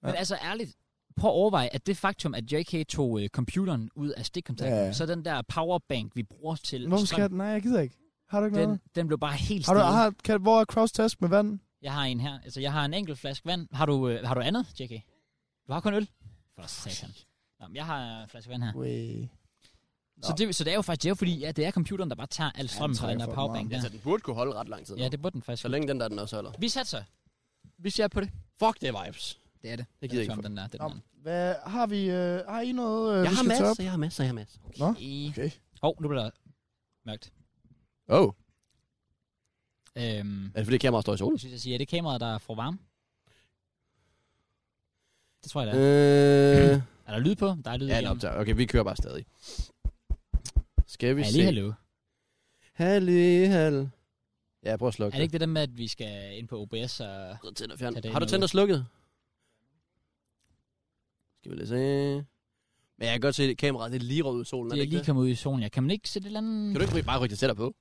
Speaker 3: ja.
Speaker 1: men altså ærligt, prøv at overveje, at det faktum, at JK tog øh, computeren ud af stikkontakten,
Speaker 3: Ja, ja.
Speaker 1: så den der powerbank, vi bruger til
Speaker 3: Hvorfor skal
Speaker 1: strøm,
Speaker 3: jeg, Nej, jeg gider ikke. Har du ikke
Speaker 1: den,
Speaker 3: noget?
Speaker 1: den blev bare helt
Speaker 3: Har du,
Speaker 1: stille.
Speaker 3: har, kan, hvor er cross test med vand?
Speaker 1: Jeg har en her. Altså, jeg har en enkelt flaske vand. Har du, øh, har du andet, JK? Du har kun øl? For satan. Nå, men jeg har en flaske vand her. Så det, så det er jo faktisk, det er jo fordi, ja, det er computeren, der bare tager al strømmen fra den
Speaker 3: trækker
Speaker 1: der
Speaker 3: for
Speaker 1: powerbank
Speaker 3: meget.
Speaker 1: der.
Speaker 2: Altså, den burde kunne holde ret lang tid.
Speaker 1: Ja, det burde den faktisk.
Speaker 2: Så længe den der, den også holder.
Speaker 1: Vi satser. Vi ser på det.
Speaker 2: Fuck, det er vibes.
Speaker 1: Det er det.
Speaker 2: Det gider jeg
Speaker 1: er
Speaker 2: ikke
Speaker 1: den der. Det er
Speaker 3: Nå,
Speaker 1: den anden.
Speaker 3: Hvad, har vi, øh, har I noget, øh,
Speaker 2: Jeg
Speaker 3: vi
Speaker 2: har
Speaker 3: skal tage op?
Speaker 2: masser, jeg har masser, jeg har masser.
Speaker 3: Nå,
Speaker 1: Okay.
Speaker 3: okay.
Speaker 1: Åh, oh, nu bliver der mørkt.
Speaker 2: Oh.
Speaker 1: Øhm,
Speaker 2: Er det fordi kameraet står i solen?
Speaker 1: jeg synes, jeg siger, er det kameraet, der er for varme? Det tror jeg, det er.
Speaker 2: Øh,
Speaker 1: Er der lyd på? Der er lyd
Speaker 2: ja, det
Speaker 1: igennem.
Speaker 2: optager. Okay, vi kører bare stadig. Skal vi
Speaker 1: Ja,
Speaker 2: se?
Speaker 1: lige hallo.
Speaker 2: Halli, hal. Ja, prøv at slukke
Speaker 1: Er det ikke det der med, at vi skal ind på OBS og...
Speaker 2: det? Tænd og fjern.
Speaker 1: Tag det
Speaker 2: Har du
Speaker 1: ind
Speaker 2: tændt
Speaker 1: og
Speaker 2: og slukket? Skal vi lige se. Men jeg kan godt se, at kameraet det er lige rødt ud i solen. er
Speaker 1: Det er
Speaker 2: ikke
Speaker 1: lige
Speaker 2: det?
Speaker 1: kommet ud i solen. Ja. Kan man ikke sætte et eller andet...
Speaker 2: Kan du ikke bare rykke det tættere på?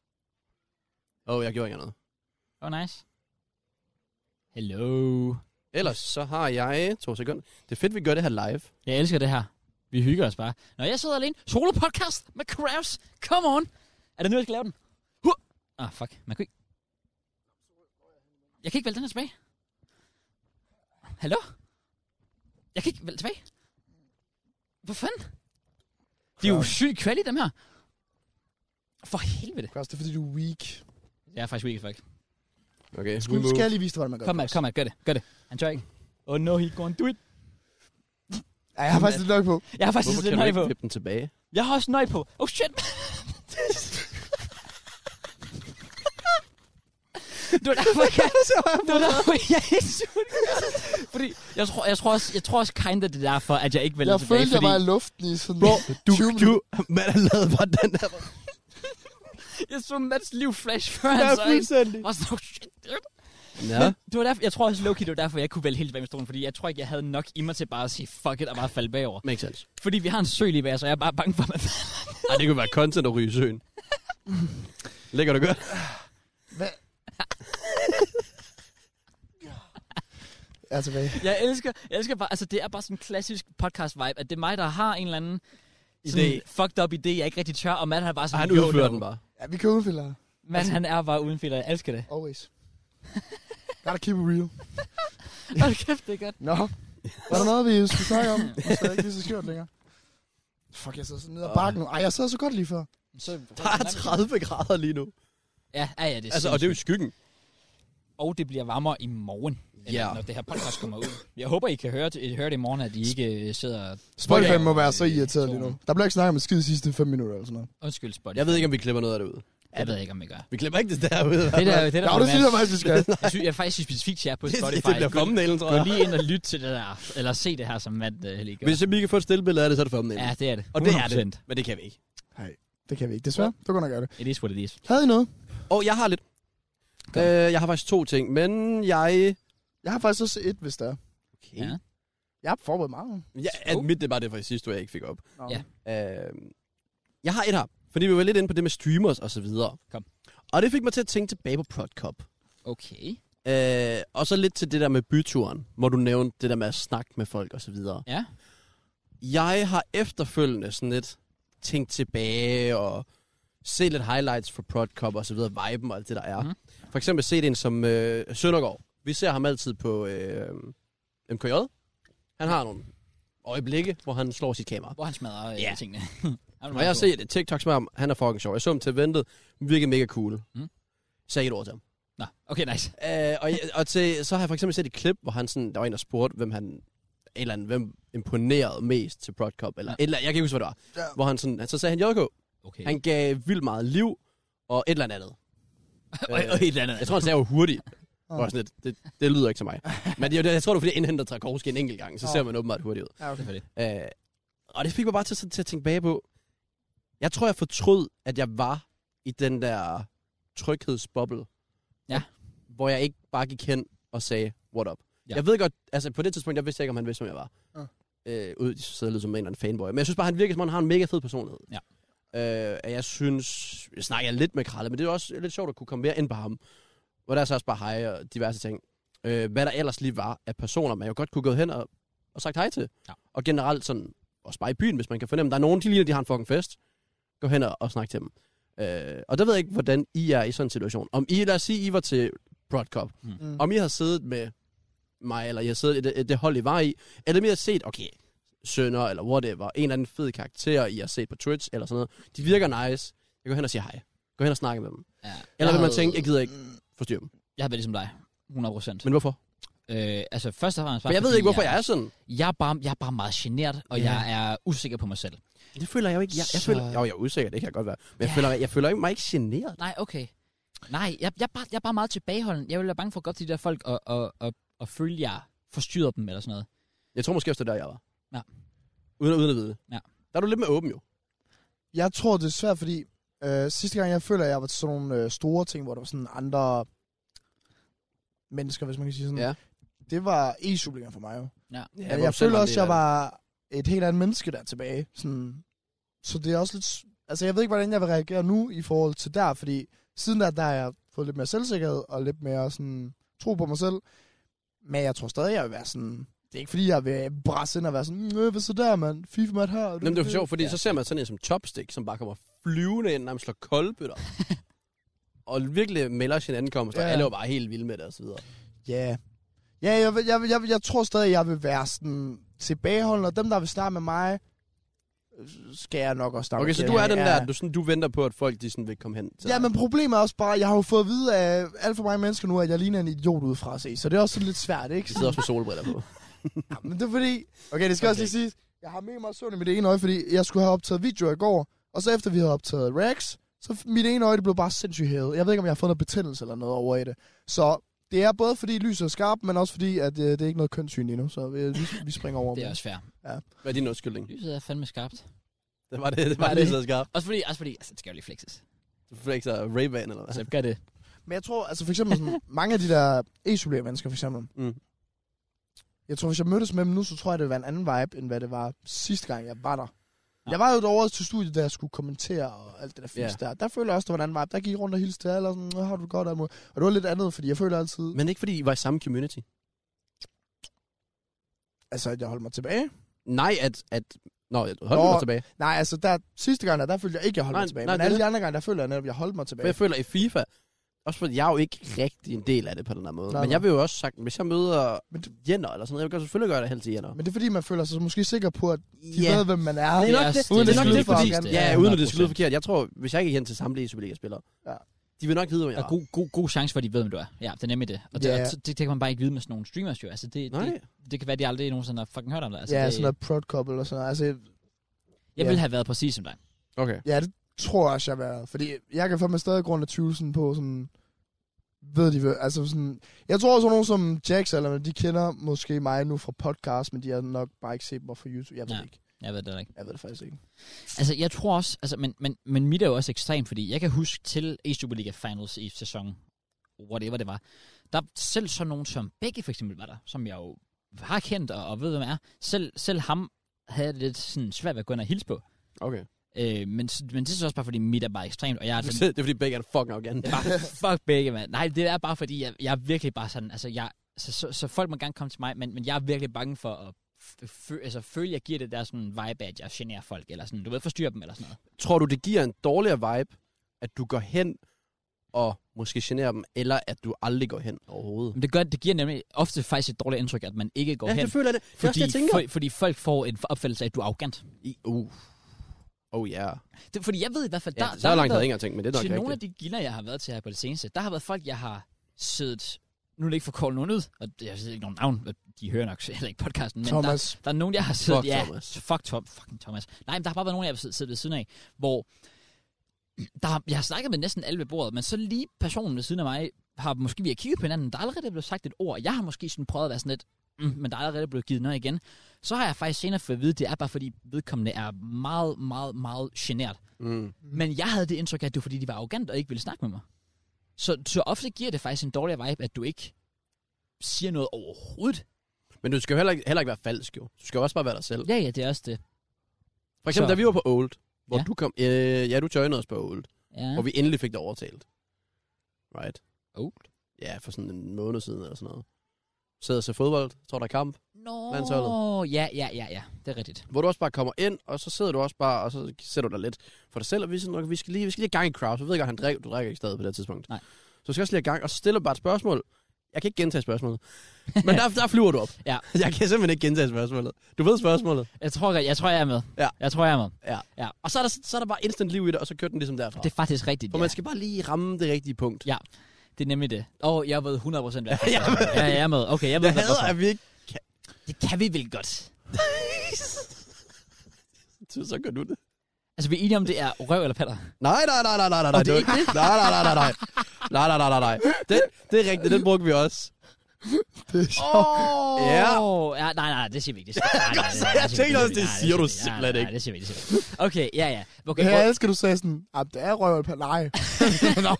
Speaker 2: Åh, oh, jeg gjorde ikke noget.
Speaker 1: Åh, oh, nice. Hello.
Speaker 2: Ellers så har jeg to sekunder. Det er fedt, vi gør det her live.
Speaker 1: Jeg elsker det her. Vi hygger os bare. Når jeg sidder alene, solo podcast med Kraus. Come on. Er det nu, jeg skal lave den? Huh. Ah, fuck. Man kan ikke... Jeg kan ikke vælge den her tilbage. Hallo? Jeg kan ikke vælge tilbage. Hvor fanden? De er jo syg kvalitet, dem her. For helvede.
Speaker 3: Cross, det er fordi, du er weak.
Speaker 1: Jeg er faktisk weak, fuck.
Speaker 2: Okay,
Speaker 3: Du skal jeg lige vise dig, hvordan man gør
Speaker 1: Kom, Matt,
Speaker 3: cross.
Speaker 1: kom, Matt. Gør det, gør det. Han tør ikke. Oh no, he gonna do it.
Speaker 3: Ej, jeg har faktisk lidt nok på.
Speaker 1: Jeg har faktisk
Speaker 2: Hvorfor
Speaker 1: lidt
Speaker 2: kan du
Speaker 1: nøje på.
Speaker 2: ikke vippe den tilbage?
Speaker 1: Jeg har også nøj på. Oh shit. det var derfor, jeg, det var derfor, jeg ikke skulle gøre det. Fordi jeg tror, jeg tror også, jeg tror også kinda det er derfor, at jeg ikke vælger
Speaker 3: Jeg
Speaker 1: tilbage.
Speaker 3: følte, jeg
Speaker 1: fordi
Speaker 3: var i luften i sådan... <laughs>
Speaker 2: Bro, du,
Speaker 3: 20
Speaker 2: du, man har lavet bare den der.
Speaker 1: jeg så Mads liv flash før han så en.
Speaker 2: fuldstændig.
Speaker 1: Og sådan, oh shit, dude.
Speaker 2: Ja.
Speaker 1: Det var derfor, jeg tror også, Loki, det var derfor, jeg kunne vælge helt tilbage med stolen, fordi jeg tror ikke, jeg havde nok i mig til bare at sige fuck it og bare falde bagover.
Speaker 2: Makes sense.
Speaker 1: Fordi vi har en sø lige bag, os, og jeg er bare bange for, at man falder.
Speaker 2: Ej, det kunne være content at ryge i søen. Ligger du godt?
Speaker 3: Hvad? jeg er tilbage.
Speaker 1: altså, Jeg elsker, jeg elsker bare, altså det er bare sådan en klassisk podcast-vibe, at det er mig, der har en eller anden sådan
Speaker 2: idé.
Speaker 1: fucked up idé, jeg ikke rigtig tør, og Matt han er bare
Speaker 2: Og
Speaker 1: sådan,
Speaker 2: han
Speaker 1: "Jo,
Speaker 2: udfører
Speaker 1: dog."
Speaker 2: den bare. Altså-
Speaker 3: Ja, vi kan udfylde det.
Speaker 1: Matt han er bare uden filter, jeg elsker det.
Speaker 3: Always. Gotta keep it real.
Speaker 1: Hold kæft, det er godt.
Speaker 3: Nå. Var der noget, vi skulle snakke om? Nu er jeg ikke lige så skørt længere. Fuck, jeg sidder sådan ned ad bakken nu. Ej, jeg sad så godt lige før.
Speaker 1: Så,
Speaker 2: Der er 30 grader lige nu.
Speaker 1: Ja, ja, ja, det er
Speaker 2: Altså, og det er jo i skyggen.
Speaker 1: og det bliver varmere i morgen, eller
Speaker 2: Ja.
Speaker 1: når det her podcast kommer ud. Jeg håber, I kan høre det, høre det i morgen, at I ikke øh, sidder...
Speaker 3: Spotify må være så irriteret lige nu. Der blev ikke snakket om en skid de sidste 5 minutter eller sådan noget.
Speaker 1: Undskyld, Spotify.
Speaker 2: Jeg ved ikke, om vi klipper noget af det ud.
Speaker 1: jeg ved ikke, om I gør.
Speaker 2: Vi klipper ikke det derude.
Speaker 1: Det der, det der,
Speaker 3: Nå, det synes jeg faktisk, vi <laughs> skal.
Speaker 1: jeg, synes, jeg faktisk synes specifikt, jeg er på
Speaker 2: <laughs> det,
Speaker 1: Spotify.
Speaker 2: det bliver
Speaker 1: Gå-
Speaker 2: thumbnailen, tror
Speaker 1: Gå
Speaker 2: jeg.
Speaker 1: lige ind og lyt til det der, eller se det her, som Matt øh, lige gør.
Speaker 2: Hvis vi kan få et stillbillede af det, så er det thumbnailen.
Speaker 1: Ja, det er det.
Speaker 2: Og det er
Speaker 1: 100%.
Speaker 2: det. Men det kan vi ikke.
Speaker 3: Det kan vi ikke, desværre. Du kan nok gøre det.
Speaker 1: It is what it is.
Speaker 3: Havde I noget?
Speaker 2: Og jeg har lidt. Øh,
Speaker 1: Kom.
Speaker 2: jeg har faktisk to ting, men jeg...
Speaker 3: Jeg har faktisk også et, hvis der er.
Speaker 2: Okay.
Speaker 1: Ja.
Speaker 3: Jeg har forberedt meget.
Speaker 2: Ja, at mit, det var det fra sidste, jeg ikke fik op.
Speaker 3: Nå.
Speaker 1: Ja.
Speaker 2: Øh, jeg har et her, fordi vi var lidt inde på det med streamers og så videre.
Speaker 1: Kom.
Speaker 2: Og det fik mig til at tænke tilbage på ProdCup.
Speaker 1: Okay.
Speaker 2: Øh, og så lidt til det der med byturen, hvor du nævnte det der med at snakke med folk og så videre.
Speaker 1: Ja.
Speaker 2: Jeg har efterfølgende sådan lidt tænkt tilbage og se lidt highlights fra ProdCup og så videre, viben og alt det der er.
Speaker 1: Mhm.
Speaker 2: Mm. For eksempel set en som øh, Søndergaard. Vi ser ham altid på øh, MKJ. Han har nogle øjeblikke, hvor han slår sit kamera.
Speaker 1: Hvor han smadrer øh,
Speaker 2: Ja. <laughs>
Speaker 1: tingene. Han er
Speaker 2: Og jeg har
Speaker 1: meget
Speaker 2: set et TikTok med ham. Han er fucking sjov. Jeg så ham til ventet. Virkede mega cool.
Speaker 1: Mm.
Speaker 2: Sagde ikke et ord til ham.
Speaker 1: god. Nå, okay, nice.
Speaker 2: Øh, og, jeg- og til, så har jeg for eksempel set et klip, hvor han sådan, der var en, der spurgte, hvem han et eller andet, hvem imponerede mest til Broad Cup, eller,
Speaker 1: Ja.
Speaker 2: ja. eller jeg kan ikke huske, hvad det var.
Speaker 3: Ja.
Speaker 2: Hvor han sådan, så sagde han JK.
Speaker 1: Okay.
Speaker 2: Han gav vildt meget liv, og et eller andet andet.
Speaker 1: og, og et eller andet.
Speaker 2: Øh, Jeg tror, han sagde jo hurtigt.
Speaker 3: Ja.
Speaker 2: Ja. Sådan, lidt, det, det, lyder ikke til mig. Men det, er jo- jeg tror, det var, fordi jeg indhenter Trakowski en enkelt gang, så
Speaker 3: Ja.
Speaker 2: ser man åbenbart hurtigt ud.
Speaker 3: Ja, okay.
Speaker 1: Selvfølgelig.
Speaker 2: Øh, og det fik mig bare til, til at tænke bag på. Jeg tror, jeg fortrød, at jeg var i den der tryghedsboble.
Speaker 1: Ja.
Speaker 2: Hvor jeg ikke bare gik hen og sagde, what up.
Speaker 1: Ja.
Speaker 2: Ja. Jeg ved godt, altså på det tidspunkt, jeg vidste ikke, om han vidste, hvem jeg var.
Speaker 3: Ja.
Speaker 2: Øh, ud, så sidder jeg lidt som en eller anden fanboy. Men jeg synes bare, han virker, som om han har en mega fed personlighed.
Speaker 1: Ja.
Speaker 2: Øh, og jeg synes, jeg snakker lidt med Kralle, men det er også lidt sjovt at kunne komme mere ind på ham. Hvor der er så også bare hej og diverse ting. Øh, hvad der ellers lige var af personer, man jo godt kunne gå hen og, og sagt hej til. Og generelt sådan, også bare i byen, hvis man kan fornemme, der er nogen, de ligner, de har en fucking fest. Gå hen og, og snak til dem. Øh, og der ved jeg ikke, hvordan I er i sådan en situation. Om I, lad os sige, I var til Broadcop. Mm.
Speaker 1: Mm.
Speaker 2: Om I har siddet med mig, eller jeg har siddet i det, det hold, I var i. Eller om I har set, okay, Sønder, eller whatever, en eller anden fed karakter, I har set på Twitch, eller sådan noget. De virker nice. Jeg går hen og siger hej. Gå hen og snakke med dem.
Speaker 1: Ja.
Speaker 2: Eller vil man
Speaker 1: havde-
Speaker 2: tænke, jeg gider ikke forstyrre dem.
Speaker 1: Jeg har været ligesom dig. 100 procent.
Speaker 2: Men hvorfor?
Speaker 1: Øh, altså, først og fremmest...
Speaker 2: For jeg ved ikke, hvorfor jeg er sådan.
Speaker 1: Jeg er bare, jeg er bare meget generet, og
Speaker 2: Ja.
Speaker 1: jeg er usikker på mig selv.
Speaker 2: Det føler jeg jo ikke. Jeg, jeg
Speaker 1: Så-
Speaker 2: føler, jo, jeg er usikker, det kan jeg godt være. Men jeg,
Speaker 1: Ja.
Speaker 2: føler, jeg føler ikke mig ikke generet.
Speaker 1: Nej, okay. Nej, jeg, jeg, er bare, jeg er bare meget tilbageholden. Jeg vil være bange for at gå op til de der folk og, og, og, og føle, at jeg forstyrrer dem eller sådan noget.
Speaker 2: Jeg tror måske også, det er der, jeg var.
Speaker 1: Ja.
Speaker 2: Uden, uden at vide det.
Speaker 1: Ja.
Speaker 2: Der er du lidt mere åben, jo.
Speaker 3: Jeg tror, det er svært, fordi øh, sidste gang, jeg føler, at jeg var til sådan nogle øh, store ting, hvor der var sådan andre mennesker, hvis man kan sige sådan.
Speaker 2: Ja.
Speaker 3: Det var e sublinger for mig jo.
Speaker 2: Ja,
Speaker 3: Ja, jeg føler også, at jeg var et helt andet menneske der tilbage. Sådan. Så det er også lidt... s- Altså, jeg ved ikke, hvordan jeg vil reagere nu i forhold til der, fordi siden der, der har jeg fået lidt mere selvsikkerhed og lidt mere sådan, tro på mig selv. Men jeg tror stadig, jeg vil være sådan... Det er ikke fordi, jeg vil brasse ind og være sådan, øh, hvad så der, mand? FIFA mat her.
Speaker 2: Jamen, det er for sjovt, fordi ja. så ser man sådan en som Chopstick, som bare kommer flyvende ind, nærmest slår
Speaker 1: <laughs>
Speaker 2: koldbøtter. og virkelig melder sin ankomst, og
Speaker 3: Ja.
Speaker 2: alle var bare helt vilde med det, og så videre.
Speaker 3: Ja. Ja, jeg, vil- jeg, vil- jeg, vil- jeg tror stadig, jeg vil være sådan tilbageholdende, og dem, der vil snakke med mig, øh, skal jeg nok også snakke
Speaker 2: Okay, så
Speaker 3: med.
Speaker 2: du er den
Speaker 3: Ja.
Speaker 2: der, du, sådan, du venter på, at folk de sådan vil komme hen til
Speaker 3: Ja,
Speaker 2: dig.
Speaker 3: men problemet er også bare, at jeg har jo fået at vide af alt for mange mennesker nu, at jeg ligner en idiot udefra at se. Så det er også sådan lidt svært, ikke?
Speaker 2: De sidder også med solbriller
Speaker 3: <laughs>
Speaker 2: på.
Speaker 3: Ja, men det er fordi... Okay, det skal okay. også
Speaker 2: Okay.
Speaker 3: lige siges. Jeg har mega meget søvn i mit ene øje, fordi jeg skulle have optaget video i går. Og så efter vi havde optaget Rex, så f- mit ene øje det blev bare sindssygt hævet. Jeg ved ikke, om jeg har fået noget betændelse eller noget over i det. Så det er både fordi lyset er skarpt, men også fordi, at øh, det er ikke noget kønssyn lige nu. Så vi, vi, vi springer over.
Speaker 1: Det er
Speaker 3: dem.
Speaker 1: også fair.
Speaker 2: Hvad er din undskyldning?
Speaker 1: Lyset er fandme skarpt.
Speaker 2: Det var det, det var
Speaker 1: Var
Speaker 2: det,
Speaker 1: det?
Speaker 2: så skarpt.
Speaker 1: Også fordi, også fordi altså, det skal jo lige flexes.
Speaker 2: Du flexer Ray-Ban eller hvad?
Speaker 1: Så gør
Speaker 2: <laughs>
Speaker 1: det.
Speaker 3: Men jeg tror, altså for eksempel sådan, mange af de der e mennesker for eksempel.
Speaker 2: Mm.
Speaker 3: Jeg tror, hvis jeg mødtes med dem nu, så tror jeg, det vil være en anden vibe, end hvad det var sidste gang, jeg var der.
Speaker 1: Ja.
Speaker 3: Ja. Jeg var jo derovre til studiet, da jeg skulle kommentere og alt det der fisk
Speaker 2: Ja.
Speaker 3: der. Der føler jeg også, der var en anden vibe. Der gik jeg rundt og hilste til alle, og sådan, "Nå, har du det godt, og alt muligt." Og det var lidt andet, fordi jeg føler altid,
Speaker 2: Men ikke fordi I var i samme community.
Speaker 3: altså, at jeg holdt mig tilbage.
Speaker 2: Nej, at, at Nå, hold nu
Speaker 3: Nå,
Speaker 2: mig tilbage.
Speaker 3: Nej, altså der, sidste gang, der, der følte jeg ikke, at jeg holdt
Speaker 2: Nej,
Speaker 3: mig tilbage.
Speaker 2: nej,
Speaker 3: men
Speaker 2: det er
Speaker 3: alle
Speaker 2: det.
Speaker 3: de andre gange, der føler jeg netop, at jeg holdt mig
Speaker 2: For
Speaker 3: tilbage.
Speaker 2: jeg føler i FIFA, også fordi jeg er jo ikke rigtig en del af det på den her måde.
Speaker 3: Nej,
Speaker 2: men
Speaker 3: nej.
Speaker 2: jeg vil jo også sagt, hvis jeg møder
Speaker 3: Men
Speaker 2: Jenner eller sådan noget, jeg vil selvfølgelig gøre det helst til Jenner.
Speaker 3: Men det er fordi, man føler sig måske sikker på, at de
Speaker 2: Ja.
Speaker 3: ved, hvem man er.
Speaker 2: Det er nok
Speaker 1: også-
Speaker 2: det,
Speaker 1: det er
Speaker 2: det, det, er nok
Speaker 1: skyde
Speaker 2: det
Speaker 1: for
Speaker 2: fordi,
Speaker 1: os, det er
Speaker 2: ja, uden at det skal lyde
Speaker 1: 100%.
Speaker 2: forkert. Jeg tror, hvis jeg gik hen til samtlige Superliga-spillere,
Speaker 3: Ja.
Speaker 2: de vil nok vide, hvem jeg
Speaker 1: Der
Speaker 2: er.
Speaker 1: er god, god, god chance for, at de ved, hvem du er. Ja, det er nemlig det. Og det,
Speaker 3: Ja.
Speaker 1: yeah. det, det, kan man bare ikke vide med sådan nogle streamers jo. Altså, det,
Speaker 2: Nej,
Speaker 1: det, det kan være, at de aldrig nogensinde har fucking hørt om dig. Altså,
Speaker 3: Altså, ja,
Speaker 1: det,
Speaker 3: sådan noget prod couple og sådan noget. Altså,
Speaker 1: jeg
Speaker 3: ja.
Speaker 1: ville have været præcis som dig.
Speaker 2: okay.
Speaker 3: ja, det tror jeg også, jeg har været. Fordi jeg kan fandme stadig grund af tvivlsen på sådan... Ved de, hvad- altså sådan... Jeg tror også, at nogen som Jax eller de kender måske mig nu fra podcast, men de har nok bare ikke set mig fra YouTube. Jeg ved
Speaker 1: Ja.
Speaker 3: ja. ikke.
Speaker 1: Jeg ved det ikke.
Speaker 3: Jeg ved det faktisk ikke.
Speaker 1: Altså, jeg tror også, altså, men, men, men mit er jo også ekstremt, fordi jeg kan huske til e Superliga Finals i sæson, whatever det var, der selv sådan nogen som Begge for eksempel var der, som jeg jo har kendt og, og ved, hvem er. Selv, selv ham havde jeg det lidt sådan svært ved at gå ind og hilse på.
Speaker 2: okay.
Speaker 1: Øh, men, s- men det er så også bare, fordi mit er bare ekstremt, og jeg er sådan,
Speaker 2: <laughs> det er fordi begge er fucking arrogant.
Speaker 1: det er bare, fuck begge, mand. Nej, det er bare, fordi jeg, jeg er virkelig bare sådan, altså, jeg, så, så, så folk må gerne komme til mig, men, men jeg er virkelig bange for at f- fø, altså, føle, jeg giver det der sådan vibe, af, at jeg generer folk, eller sådan, du ved, forstyrrer dem, eller sådan noget.
Speaker 2: Tror du, det giver en dårligere vibe, at du går hen og måske generer dem, eller at du aldrig går hen overhovedet?
Speaker 1: Men det, gør, det giver nemlig ofte faktisk et dårligt indtryk, at man ikke går hen.
Speaker 2: føler jeg det. Fordi,
Speaker 1: fordi, for, fordi folk får en opfattelse af, at du er arrogant.
Speaker 2: I, uh. Oh yeah.
Speaker 1: Det, fordi jeg ved i hvert fald,
Speaker 2: Ja,
Speaker 1: der,
Speaker 2: der, så
Speaker 1: har
Speaker 2: langt havde jeg
Speaker 1: været,
Speaker 2: ikke engang tænkt, men det er nok
Speaker 1: til nogle af
Speaker 2: rigtigt.
Speaker 1: de gilder, jeg har været til her på det seneste, der har været folk, jeg har siddet... Nu er det ikke for at call nogen ud, og jeg ved ikke nogen navn, og de hører nok heller ikke podcasten, men der,
Speaker 3: Thomas,
Speaker 1: der er nogen, jeg har siddet...
Speaker 2: Fuck
Speaker 1: ja,
Speaker 2: Thomas.
Speaker 1: Fuck Tom, fucking Thomas. Nej, men der har bare været nogen, jeg har siddet, siddet ved siden af, hvor der, har- jeg har snakket med næsten alle ved bordet, men så lige personen ved siden af mig har måske vi har kigget på hinanden, der er allerede blevet sagt et ord, og jeg har måske sådan prøvet at være sådan lidt, mm, men der er allerede blevet givet noget igen. Så har jeg faktisk senere fået at vide, det er bare fordi vedkommende er meget, meget, meget genert.
Speaker 2: Mm.
Speaker 1: Men jeg havde det indtryk af, at det var fordi, de var arrogant og ikke ville snakke med mig. Så, så ofte giver det faktisk en dårlig vibe, at du ikke siger noget overhovedet.
Speaker 2: Men du skal jo heller ikke, heller ikke være falsk, jo. Du skal jo også bare være dig selv.
Speaker 1: Ja, ja, det er også det.
Speaker 2: For eksempel,
Speaker 1: Så-
Speaker 2: da vi var på Old, hvor
Speaker 1: Ja.
Speaker 2: du kom... Øh, ja, du joinede os på Old,
Speaker 1: Ja.
Speaker 2: hvor vi endelig fik dig overtalt. Right?
Speaker 1: Old?
Speaker 2: Ja, for sådan en måned siden eller sådan noget. Sidder og ser fodbold, tror der er kamp,
Speaker 1: Nå,
Speaker 2: Landsholdet.
Speaker 1: ja, ja, ja, ja. Det er rigtigt.
Speaker 2: hvor du også bare kommer ind, og så sidder du også bare, og så sætter du dig lidt for dig selv, og vi, er sådan, okay, vi skal lige, vi skal lige have gang i crowd, så ved jeg godt, han drikker, du drikker ikke stadig på det her tidspunkt.
Speaker 1: Nej.
Speaker 2: Så du skal også lige have gang, og så stiller du bare et spørgsmål. Jeg kan ikke gentage
Speaker 1: <laughs>
Speaker 2: spørgsmålet. Men der, der flyver du op.
Speaker 1: Ja.
Speaker 2: <laughs> Jeg kan simpelthen ikke gentage spørgsmålet. Du ved spørgsmålet.
Speaker 1: Jeg tror, jeg, jeg, tror, jeg er med.
Speaker 2: Ja.
Speaker 1: Jeg tror, jeg er med.
Speaker 2: Ja.
Speaker 1: Ja.
Speaker 2: Og så er, der, så er der bare instant liv i det, og så kører den ligesom derfra.
Speaker 1: Det er faktisk rigtigt,
Speaker 2: For
Speaker 1: ja.
Speaker 2: man skal bare lige ramme det rigtige punkt.
Speaker 1: Ja. Det er nemlig det. Åh, oh, jeg ved 100%
Speaker 2: <laughs>
Speaker 1: hvad jeg
Speaker 2: Jeg ved-
Speaker 1: ja, jeg er med. Okay, jeg ved
Speaker 2: Jeg
Speaker 1: godt,
Speaker 2: hader,
Speaker 1: hvorfor.
Speaker 2: at vi ikke...
Speaker 1: Det kan vi vel godt.
Speaker 2: Så, så gør du det.
Speaker 1: Altså, vi er enige om, det er røv eller patter.
Speaker 2: Nej, nej, nej, nej, nej, nej. nej, det er ikke det. Nej, nej, nej, nej, nej. Nej, nej, nej, nej, nej. Den, det er rigtigt, den brugte vi også.
Speaker 3: det er sjovt.
Speaker 1: Åh!
Speaker 2: Ja.
Speaker 1: ja. Nej, nej, det siger vi ikke. Det siger vi ikke. Nej, nej, nej, nej,
Speaker 2: <laughs> jeg
Speaker 1: det siger vi
Speaker 2: tænkte
Speaker 1: ikke.
Speaker 2: også, det
Speaker 1: Nej, nej,
Speaker 2: siger du
Speaker 1: vi
Speaker 2: simpelthen
Speaker 1: Nej,
Speaker 2: ikke.
Speaker 1: Nej, det siger vi ikke. Det siger vi ikke. Okay, ja, ja. Okay,
Speaker 3: Jeg
Speaker 1: hvor-
Speaker 2: <laughs>
Speaker 3: elsker, du sagde sådan, at det er røv eller pal-" Nej. Nå,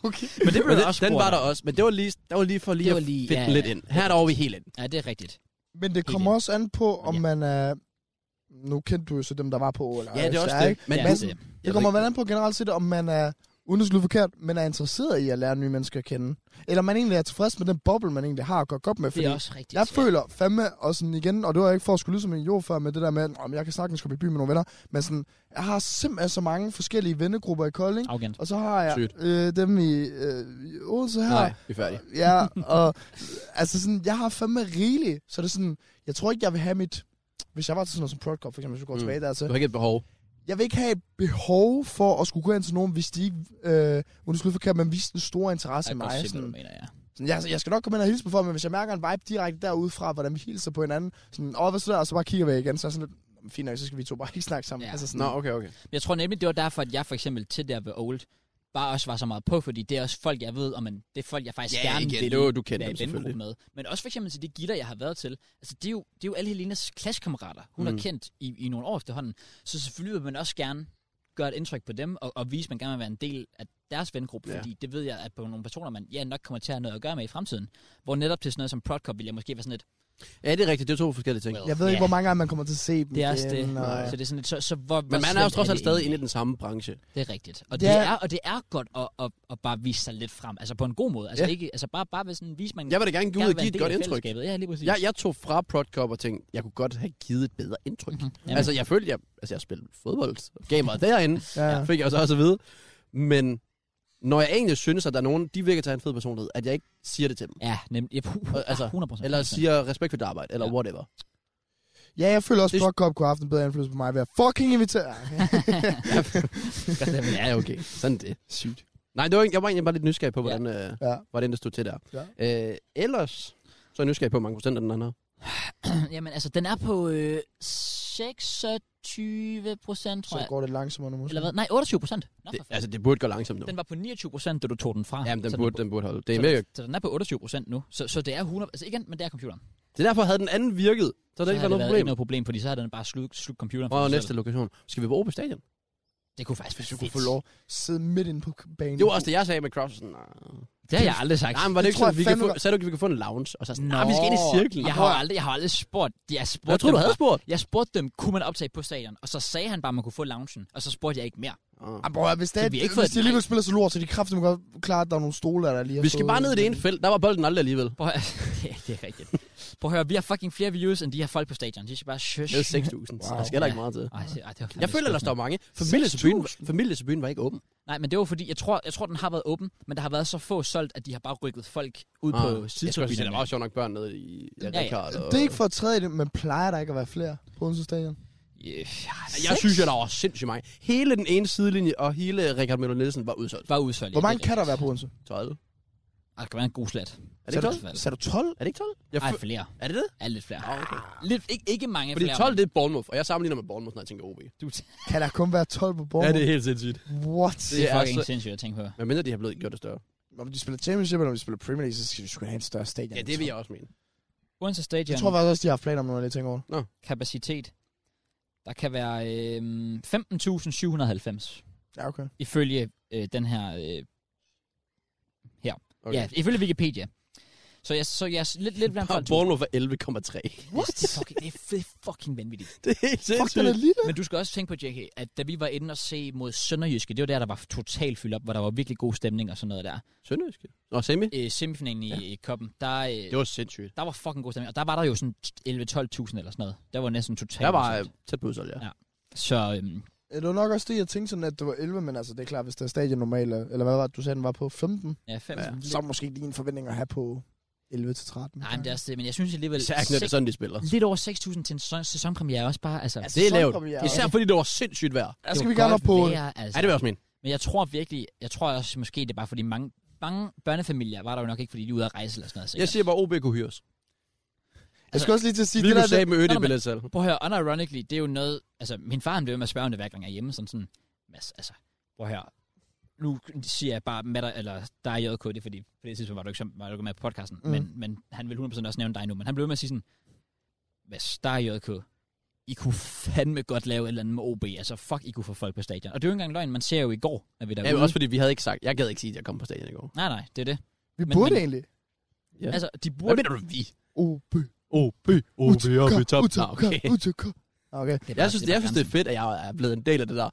Speaker 3: okay.
Speaker 1: men det
Speaker 2: Men
Speaker 1: blev
Speaker 2: den,
Speaker 1: også
Speaker 2: den
Speaker 1: spurgt
Speaker 2: var
Speaker 1: om.
Speaker 2: der også, men det var lige, der var lige for lige
Speaker 1: Det
Speaker 2: at
Speaker 1: var lige-
Speaker 2: lige, finde
Speaker 1: ja,
Speaker 2: ja,
Speaker 1: ja.
Speaker 2: lidt ind. Her er der over vi helt ind.
Speaker 1: Ja, det er rigtigt.
Speaker 3: Men det kommer også an på, om
Speaker 1: Ja.
Speaker 3: man er... Nu kendte du jo så dem, der var på Ål.
Speaker 2: Ja, det er også det.
Speaker 1: Men
Speaker 2: Men
Speaker 1: ja,
Speaker 2: du,
Speaker 1: det, er det.
Speaker 3: Det kommer vel an på generelt set, om man er, uden at skulle forkert, men er interesseret i at lære nye mennesker at kende. Eller man egentlig er tilfreds med den boble, man egentlig har at gå godt med.
Speaker 1: det
Speaker 3: Fordi
Speaker 1: er også rigtigt.
Speaker 3: jeg føler fandme, og sådan igen, og det var ikke for at skulle lyde som en jord før med det der med, om jeg kan sagtens komme i by med nogle venner, men sådan, jeg har simpelthen så mange forskellige vennegrupper i Kolding,
Speaker 1: Arrogant.
Speaker 3: og så har jeg
Speaker 2: Sygt.
Speaker 3: øh, dem i, øh, i Odense her,
Speaker 2: Nej, vi er færdige. <laughs>
Speaker 3: Ja, og altså sådan, jeg har fandme rigeligt, så det er sådan, jeg tror ikke, jeg vil have mit, hvis jeg var til sådan noget som Protocol, for eksempel, hvis vi går
Speaker 2: Mm.
Speaker 3: mm. tilbage der
Speaker 2: Du
Speaker 3: til,
Speaker 2: har ikke et behov.
Speaker 3: jeg vil ikke have et behov for at skulle gå ind til nogen, hvis de ikke, øh, undskyld forkert, men viste den store interesse i
Speaker 1: Jeg kan godt
Speaker 3: mig.
Speaker 1: se, hvad du
Speaker 3: Sådan,
Speaker 1: mener, ja.
Speaker 3: sådan, jeg, jeg skal nok komme ind og hilse på folk, men hvis jeg mærker en vibe direkte derude fra, hvordan vi hilser på hinanden, sådan, åh, hvad så der, og så bare kigger væk igen, så er jeg sådan lidt, "Nå, fint nok, så skal vi to bare ikke snakke sammen.
Speaker 1: Ja.
Speaker 3: Altså sådan,
Speaker 2: Nå, okay, okay.
Speaker 1: Men Jeg tror nemlig, det var derfor, at jeg for eksempel til der ved Old, bare også var så meget på, fordi det er også folk, jeg ved, og man, det er folk, jeg faktisk
Speaker 2: Ja,
Speaker 1: gerne
Speaker 2: igen,
Speaker 1: vil
Speaker 2: det var- du kendte
Speaker 1: være
Speaker 2: dem
Speaker 1: i vennegruppe
Speaker 2: selvfølgelig.
Speaker 1: med. Men også for eksempel til de gitter, jeg har været til. Altså, det er jo, det er jo alle Helenas klassekammerater, hun mm.
Speaker 2: Mm.
Speaker 1: har kendt i, i nogle år efterhånden. Så selvfølgelig vil man også gerne gøre et indtryk på dem, og, og vise, at man gerne vil være en del af deres vengruppe,
Speaker 2: Ja.
Speaker 1: ja. fordi det ved jeg, at på nogle personer, man ja, nok kommer til at have noget at gøre med i fremtiden. Hvor netop til sådan noget som Prodcop, vil jeg måske være sådan lidt,
Speaker 2: Ja, det er rigtigt. Det er to forskellige ting.
Speaker 1: Well.
Speaker 3: Jeg ved ikke,
Speaker 1: Ja.
Speaker 3: hvor mange gange man kommer til at se dem
Speaker 1: Det er også det.
Speaker 3: igen, og-
Speaker 1: Så det er sådan lidt, så, så hvor,
Speaker 2: Men man er jo trods alt stadig inde i
Speaker 1: egentlig?
Speaker 2: den samme branche.
Speaker 1: Det er rigtigt. Og
Speaker 3: Ja.
Speaker 1: det, er, og det er godt at, at, at, bare vise sig lidt frem. Altså på en god måde. Altså,
Speaker 2: Ja.
Speaker 1: ikke, altså bare, bare ved sådan, vise man
Speaker 2: Jeg vil da gerne give ud
Speaker 1: gerne
Speaker 2: og
Speaker 1: være
Speaker 2: give
Speaker 1: en
Speaker 2: et
Speaker 1: del
Speaker 2: godt
Speaker 1: af
Speaker 2: indtryk.
Speaker 1: fællesskabet. Ja, lige præcis.
Speaker 2: Jeg, jeg tog fra Prodcop og tænkte, jeg kunne godt have givet et bedre indtryk.
Speaker 1: Mhm. Jamen,
Speaker 2: Altså, jeg følte, jeg, altså, jeg spillede fodbold, gamer derinde,
Speaker 3: Ja.
Speaker 2: fik jeg jo så også at vide. Men når jeg egentlig synes, at der er nogen, de virker til at have en fed personlighed, at jeg ikke siger det til dem.
Speaker 1: Ja, nemlig. Ja, puh,
Speaker 2: Og- altså,
Speaker 1: altså, 100%.
Speaker 2: Eller siger respekt for dit arbejde, eller
Speaker 1: Ja.
Speaker 2: <laughs> whatever.
Speaker 3: ja, jeg føler også, at
Speaker 2: Det-
Speaker 3: Brokop kunne have haft en bedre indflydelse på mig ved at fucking invitere.
Speaker 2: ja, okay. Sådan er det.
Speaker 3: Sygt.
Speaker 2: Nej, det var, ikke- jeg var egentlig bare lidt nysgerrig på, hvordan, ja. øh,
Speaker 3: Ja.
Speaker 2: hvordan det stod til der. Ja. Øh, ellers, så er jeg nysgerrig på, hvor mange procent af den anden er.
Speaker 1: <clears throat> Jamen, altså, den er på øh, 26 procent, tror
Speaker 3: Så
Speaker 1: jeg.
Speaker 3: går det langsommere nu. måske.
Speaker 1: Eller hvad? Nej, 28 procent. Nå,
Speaker 2: Det,
Speaker 1: for fanden.
Speaker 2: altså, det burde gå langsomt nu.
Speaker 1: Den var på 29 procent, da du tog den fra.
Speaker 2: Jamen, den
Speaker 1: Så
Speaker 2: burde, den burde holde. Det
Speaker 1: så
Speaker 2: er,
Speaker 1: den-
Speaker 2: mega,
Speaker 1: Så den er på 28 procent nu. Så, så det er 100... Altså igen, men det er computeren.
Speaker 2: det er derfor, havde den anden virket. Så havde
Speaker 1: Så
Speaker 2: der
Speaker 1: har
Speaker 2: ikke været noget problem.
Speaker 1: ikke noget problem, fordi så havde den bare slugt, slugt computeren. for
Speaker 2: Og
Speaker 1: sig
Speaker 2: næste
Speaker 1: selv.
Speaker 2: lokation. Skal vi på Aarhus Stadion?
Speaker 1: Det kunne faktisk
Speaker 3: Hvis
Speaker 1: være
Speaker 3: du kunne
Speaker 1: fedt.
Speaker 3: få lov at sidde midt inde på banen.
Speaker 2: Det var også det, jeg sagde med Cross. Sådan, "Ah." nej,
Speaker 1: Det har jeg aldrig sagt.
Speaker 2: nej, men var det
Speaker 3: Det
Speaker 2: ikke
Speaker 3: tror
Speaker 2: sådan,
Speaker 3: jeg
Speaker 2: vi kan
Speaker 3: fandme
Speaker 2: få,
Speaker 3: godt.
Speaker 2: sagde du ikke, vi kan få en lounge? Og så sådan,
Speaker 1: Nå,
Speaker 2: nej, vi skal ind i cirklen.
Speaker 1: Jeg har jo aldrig, jeg har aldrig spurgt. Jeg, spurgte
Speaker 2: jeg tror, du
Speaker 1: dem
Speaker 2: havde
Speaker 1: bare-
Speaker 2: spurgt.
Speaker 1: Jeg spurgte dem, kunne man optage på stadion? Og så sagde han bare, at man kunne få loungen. Og så spurgte jeg ikke mere.
Speaker 2: Ah.
Speaker 3: Ah, bror, hvis, det,
Speaker 1: Så vi har ikke
Speaker 3: er,
Speaker 1: fået
Speaker 3: hvis
Speaker 1: et
Speaker 3: de alligevel spiller så lort, så de kraftigt må godt klare, at der er nogle stole, der lige har
Speaker 2: Vi skal
Speaker 3: stået-
Speaker 2: bare ned i det ene felt. Der var bolden aldrig alligevel.
Speaker 1: Prøv at, <laughs> det, er- det er rigtigt. Prøv at høre, vi har fucking flere views, end de her folk på stadion. De skal bare shush.
Speaker 2: Det er 6.000. så Der
Speaker 3: Wow.
Speaker 2: skal der ikke meget til.
Speaker 1: Ej, se- ej, det var fandme
Speaker 2: Jeg føler, der står
Speaker 1: skuffende.
Speaker 2: mange. Familiesbyen, familiesbyen var ikke åben.
Speaker 1: Nej, men det var fordi, jeg tror, jeg tror, den har været åben, men der har været så få solgt, at de har bare rykket folk ud ah, på
Speaker 2: Jeg skulle sige,
Speaker 1: sidetribunerne.
Speaker 2: der var også sjovt nok børn nede i ja,
Speaker 1: Ja, ja.
Speaker 2: Rikard. Og...
Speaker 3: Det er ikke for at træde i det, men plejer der ikke at være flere på Odense Stadion?
Speaker 1: Yeah,
Speaker 2: Jeg synes, at der var sindssygt mange. Hele den ene sidelinje og hele Rikard Møller Nielsen var udsolgt.
Speaker 1: var udsolgt.
Speaker 3: Hvor
Speaker 1: ja,
Speaker 3: mange
Speaker 1: det er
Speaker 3: kan der
Speaker 1: rigtigt.
Speaker 3: være på Odense?
Speaker 2: 12.
Speaker 1: Ah, det kan være en god slat.
Speaker 2: Er det
Speaker 1: Så
Speaker 2: ikke 12?
Speaker 1: er det-
Speaker 3: Sagde du 12?
Speaker 2: Er det ikke 12? Jeg
Speaker 1: Nej,
Speaker 2: fø-
Speaker 1: flere.
Speaker 2: er det det?
Speaker 1: Ja, lidt flere.
Speaker 2: Ah, okay.
Speaker 1: Lidt, ikke, ikke mange
Speaker 2: Fordi
Speaker 1: flere.
Speaker 2: 12, det er Bournemouth, og jeg sammenligner med Bournemouth, når jeg tænker OB.
Speaker 1: Du,
Speaker 3: Kan der kun være 12 på bordet?
Speaker 2: er helt sindssygt.
Speaker 3: What?
Speaker 1: det er
Speaker 2: er
Speaker 1: fucking
Speaker 2: så-
Speaker 1: sindssygt at tænke på.
Speaker 2: Men mindre de har blevet gjort det større.
Speaker 3: Når de spiller Championship, eller når de spiller Premier League, så skal de sgu have en større stadion.
Speaker 2: Ja, det vil jeg også mene.
Speaker 1: Odense
Speaker 3: Jeg
Speaker 1: Stadion,
Speaker 3: tror faktisk også, de har haft planer om noget, jeg tænker over.
Speaker 1: kapacitet, der kan være øhm, øh, 15.790.
Speaker 3: Ja, okay.
Speaker 1: ifølge øh, den her... Øh, her.
Speaker 2: Okay.
Speaker 1: Okay. Ja, ifølge Wikipedia. Så jeg, så jeg er lidt,
Speaker 2: <laughs>
Speaker 1: lidt blandt
Speaker 2: Og
Speaker 1: folk.
Speaker 2: Bournemouth var 11,3.
Speaker 1: What? Det er fucking, det er f- fucking vanvittigt.
Speaker 2: <laughs> Det er helt
Speaker 3: Fuck, den er
Speaker 2: sindssygt.
Speaker 3: lille.
Speaker 1: Men du skal også tænke på, JK, at da vi var inde og se mod Sønderjyske, det var der, der var totalt fyldt op, hvor der var virkelig god stemning og sådan noget der.
Speaker 2: Sønderjyske. Nå, semi.
Speaker 1: Øh, semifinalen i, ja. i koppen, der, øh,
Speaker 2: Det var sindssygt.
Speaker 1: der var fucking god stemning, og der var der jo sådan 11-12.000 eller sådan noget. Der var næsten totalt.
Speaker 2: Jeg var øh,
Speaker 1: udsolgt.
Speaker 2: tæt på udsolgt, ja.
Speaker 1: Ja. Så øhm,
Speaker 3: Ja, Det var nok også det, jeg tænkte sådan, at det var 11, men altså, det er klart, hvis der er stadion normalt, eller hvad var det, du sagde, den var på 15?
Speaker 1: ja, fem.
Speaker 2: Ja.
Speaker 1: Ja.
Speaker 3: Så er det måske ikke lige en forventning at have på 11 til 13.
Speaker 1: Nej, men det er også det, men jeg synes alligevel,
Speaker 2: Især når det er sådan, de spiller.
Speaker 1: lidt over 6.000 til en sæson- sæsonpremiere er også bare, altså...
Speaker 2: Det er lavt.
Speaker 3: sæsonpremiere.
Speaker 2: Især fordi det var sindssygt vejr.
Speaker 3: Der
Speaker 1: Det
Speaker 3: skal
Speaker 1: var
Speaker 3: vi gerne
Speaker 1: godt
Speaker 3: op på...
Speaker 1: Vejr, altså.
Speaker 2: Ja, det vil jeg også mene.
Speaker 1: Men jeg tror virkelig, jeg tror også måske, det er bare fordi mange, mange børnefamilier var der jo nok ikke, fordi de er ude at rejse eller sådan noget.
Speaker 2: Jeg
Speaker 1: sikkert.
Speaker 2: siger bare, OB kunne hyres.
Speaker 3: Jeg skal også lige til at sige,
Speaker 2: Vi
Speaker 3: det der,
Speaker 2: kunne
Speaker 3: det,
Speaker 2: sagde med øde
Speaker 1: Nå, men-
Speaker 2: billet selv.
Speaker 1: Prøv at høre, unironically, det er jo noget, altså min far han blev ved med at spørge om det hver gang jeg er hjemme, sådan sådan, Mads, altså, prøv at høre, nu siger jeg bare med dig, eller dig i JK, det er fordi, på det tidspunkt var du ikke, så- var du ikke med på podcasten,
Speaker 3: Mm.
Speaker 1: mm. men, men han vil 100% også nævne dig nu, men han blev ved med at sige sådan, Mads, dig i JK, I kunne fandme godt lave et eller andet med OB, altså fuck, I kunne få folk på stadion. Og det er jo ikke engang løgn, man ser jo i går, at vi er
Speaker 2: Ja,
Speaker 1: derude.
Speaker 2: men også fordi vi havde ikke sagt, jeg gad ikke sige, at jeg kom på stadion i går.
Speaker 1: Nej, nej, det er det.
Speaker 3: vi
Speaker 1: men-
Speaker 3: burde
Speaker 1: men-
Speaker 3: egentlig.
Speaker 2: Ja.
Speaker 1: Altså, de
Speaker 2: Hvad
Speaker 1: burde...
Speaker 2: mener du, vi?
Speaker 3: OB,
Speaker 2: OB,
Speaker 3: UTK,
Speaker 2: Nå,
Speaker 3: UTK,
Speaker 2: okay.
Speaker 3: UTK. Okay.
Speaker 1: Det er bare-
Speaker 2: <laughs> Jeg synes, det,
Speaker 1: bare
Speaker 2: jeg synes, det er fedt, at jeg er blevet en del af det der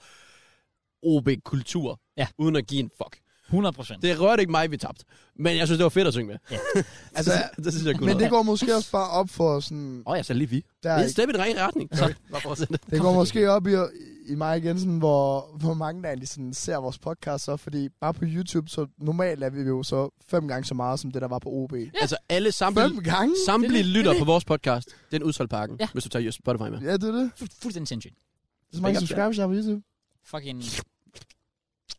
Speaker 2: OB-kultur,
Speaker 1: Ja.
Speaker 2: uden at give en fuck.
Speaker 1: grænsen. 100 procent.
Speaker 2: Det rørte ikke mig, vi tabte. Men jeg synes, det var fedt at synge med. <laughs>
Speaker 1: Ja.
Speaker 3: Altså,
Speaker 2: det, det synes jeg kunne
Speaker 3: Men det
Speaker 2: noget.
Speaker 3: går måske også bare op for sådan...
Speaker 2: Åh, oh, jeg sagde lige vi.
Speaker 3: Der,
Speaker 2: Det er et step i den rene retning. Bare fortsæt.
Speaker 3: det går måske op i, i mig igen, sådan, hvor, hvor mange der egentlig sådan, ser vores podcast så, fordi bare på YouTube, så normalt er vi jo så fem gange så meget, som det der var på OB.
Speaker 2: Altså, alle
Speaker 3: Fem
Speaker 2: samtlige,
Speaker 3: gange?
Speaker 2: samtlige
Speaker 1: det er
Speaker 2: lytter
Speaker 1: det.
Speaker 2: på vores podcast. Det er en udsolgt pakken,
Speaker 1: Ja.
Speaker 2: hvis du tager just Spotify med.
Speaker 3: Ja, det er det.
Speaker 1: Fu- fuldstændig sindssygt.
Speaker 3: Det er så mange
Speaker 2: Big up,
Speaker 3: subscribers, jeg har på YouTube.
Speaker 1: Fucking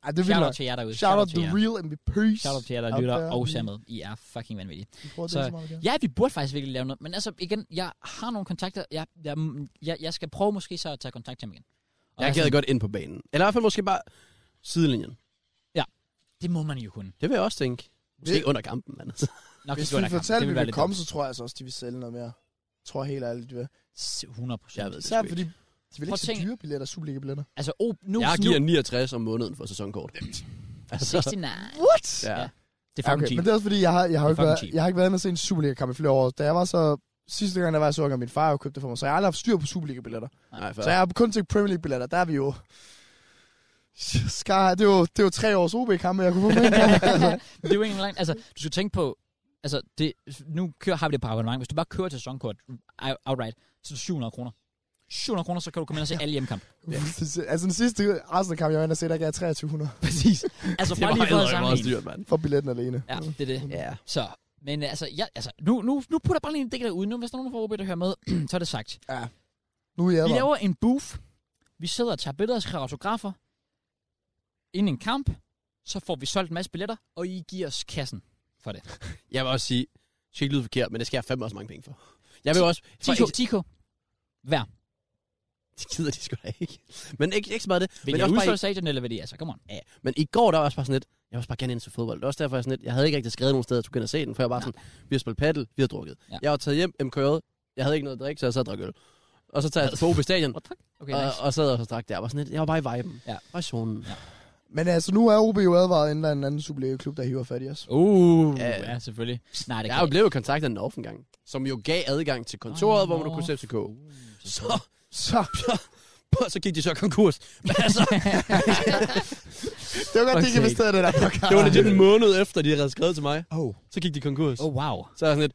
Speaker 3: Ej, det er vildt
Speaker 1: shout out
Speaker 3: nok.
Speaker 1: til jer derude.
Speaker 3: Shout out
Speaker 1: til
Speaker 3: the
Speaker 1: jer.
Speaker 3: real MVP's.
Speaker 1: Shout out til jer, der
Speaker 3: Out
Speaker 1: lytter
Speaker 3: there.
Speaker 1: og ser med. I er fucking vanvittige.
Speaker 3: Vi prøver at
Speaker 1: Så-
Speaker 3: dele så meget, vi kan.
Speaker 1: Ja, vi burde faktisk virkelig lave noget. Men altså, igen, jeg har nogle kontakter. Jeg, jeg, jeg, jeg skal prøve måske så at tage kontakt til ham igen. Og
Speaker 2: Jeg
Speaker 1: altså,
Speaker 2: gad godt ind på banen. Eller i hvert fald måske bare sidelinjen.
Speaker 1: Det må man jo kunne.
Speaker 2: Det vil jeg også tænke. Måske
Speaker 3: Det-
Speaker 2: ikke under kampen, mand. Altså.
Speaker 1: Nok
Speaker 3: Hvis
Speaker 1: ikke under
Speaker 3: vi
Speaker 1: kampen.
Speaker 3: fortalte,
Speaker 1: Det
Speaker 3: at vi
Speaker 1: ville være
Speaker 3: ville
Speaker 1: lidt
Speaker 3: komme, så tror jeg altså også, de vil sælge noget mere. Jeg tror helt ærligt, de vil.
Speaker 1: dumt. 100 procent.
Speaker 2: Jeg ved det
Speaker 3: Især
Speaker 2: sgu ikke.
Speaker 3: fordi, de vil
Speaker 1: Prøv
Speaker 3: ikke
Speaker 1: at
Speaker 3: sælge
Speaker 1: tænke- <laughs>
Speaker 3: dyre billetter, Superliga-billetter.
Speaker 1: Altså, <laughs> oh, nu,
Speaker 2: Jeg
Speaker 1: nu,
Speaker 2: giver 69 om måneden for sæsonkort. Altså,
Speaker 1: 69.
Speaker 3: What?
Speaker 2: ja.
Speaker 1: Ja. Det er
Speaker 3: Ja,
Speaker 1: fucking
Speaker 3: okay,
Speaker 1: okay, <laughs>
Speaker 3: men <laughs> det er også fordi, jeg har, jeg har,
Speaker 1: Det er
Speaker 3: jo ikke
Speaker 1: fucking
Speaker 3: været,
Speaker 1: cheap.
Speaker 3: jeg har ikke været inde og se en Superliga-kamp i flere år. Da jeg var så sidste gang, der var jeg sukker, min far jo købte det for mig, så jeg har aldrig haft styr på Superliga-billetter.
Speaker 2: Nej, for,
Speaker 3: Så jeg har kun set Premier League-billetter, der er vi jo... Skar, det er jo, det er jo tre års OB-kampe, jeg kunne få med.
Speaker 1: <laughs>
Speaker 3: en gang. altså,
Speaker 1: det er jo egentlig langt. Altså, du skal tænke på, altså, det, nu kører, har vi det på abonnement. Hvis du bare kører til sæsonkort outright, så er det 700 kroner. 700 kroner, så kan du komme ind og se alle
Speaker 2: <laughs>
Speaker 1: hjemmekamp.
Speaker 3: altså den sidste Arsenal-kamp, jeg var inde og se, der gav jeg 2300
Speaker 1: Præcis. Altså,
Speaker 2: <laughs> det
Speaker 1: bare
Speaker 2: var
Speaker 1: lige for at
Speaker 2: allerede meget
Speaker 1: sammenligne.
Speaker 2: dyrt, mand.
Speaker 3: for billetten alene.
Speaker 1: Ja, det er det.
Speaker 2: Ja.
Speaker 1: Så, men øh, altså, ja, altså nu, nu, nu putter jeg bare lige en del derude. Nu, hvis der er nogen fra OB, der hører med, <clears throat> så er det sagt.
Speaker 3: Nu er jeg
Speaker 1: Vi
Speaker 3: der.
Speaker 1: laver en booth. Vi sidder og tager billeder og skriver autografer. Inden en kamp, så får vi solgt en masse billetter, og I giver os kassen for det.
Speaker 2: Jeg vil også sige, det skal ikke lyde forkert, men det skal jeg fandme også mange penge for. Jeg vil også... For
Speaker 1: 10k, 10k. Hver.
Speaker 2: <laughs> Det gider de sgu da ikke. Men ikke, ikke så meget det.
Speaker 1: Vil
Speaker 2: Men
Speaker 1: jeg
Speaker 2: også bare,
Speaker 1: udsolgt stadion, eller hvad det er? Så come on.
Speaker 2: Ja, men i går, der var jeg også bare sådan lidt, jeg var også bare gerne ind til fodbold. Det var også derfor, jeg, sådan lidt, jeg havde ikke rigtig skrevet nogen steder, at jeg skulle gå ind og se den, for jeg var sådan, vi har spillet paddel, vi har drukket.
Speaker 1: Ja.
Speaker 2: Ja. Jeg var taget hjem, MK'et, jeg havde ikke noget at drikke, så jeg sad og drak øl. Og så tager jeg til Fobe Stadion,
Speaker 1: What the fuck? Okay,
Speaker 2: og,
Speaker 1: nice.
Speaker 2: og, sad og så drak der. Jeg var, sådan lidt, jeg var bare i viben,
Speaker 1: Ja.
Speaker 2: ja. og i zonen.
Speaker 3: Men altså, nu er OB jo advaret, inden der er en anden Superliga-klub, der hiver fat i os.
Speaker 1: Uh,
Speaker 2: Ja,
Speaker 1: ja,
Speaker 2: ja.
Speaker 1: ja, selvfølgelig. Nej, det
Speaker 2: Jeg er jo blevet kontaktet af Norf engang, som jo gav adgang til kontoret, oh, hvor man kunne se FCK. Så,
Speaker 3: Så
Speaker 2: så gik de så konkurs. Men <laughs> altså,
Speaker 3: det var godt, de
Speaker 1: Okay.
Speaker 3: ikke investerede det der på
Speaker 2: det var lidt en måned efter, de havde skrevet til mig.
Speaker 3: Oh.
Speaker 2: Så gik de konkurs.
Speaker 1: <laughs> Oh, wow.
Speaker 2: Så er jeg sådan lidt,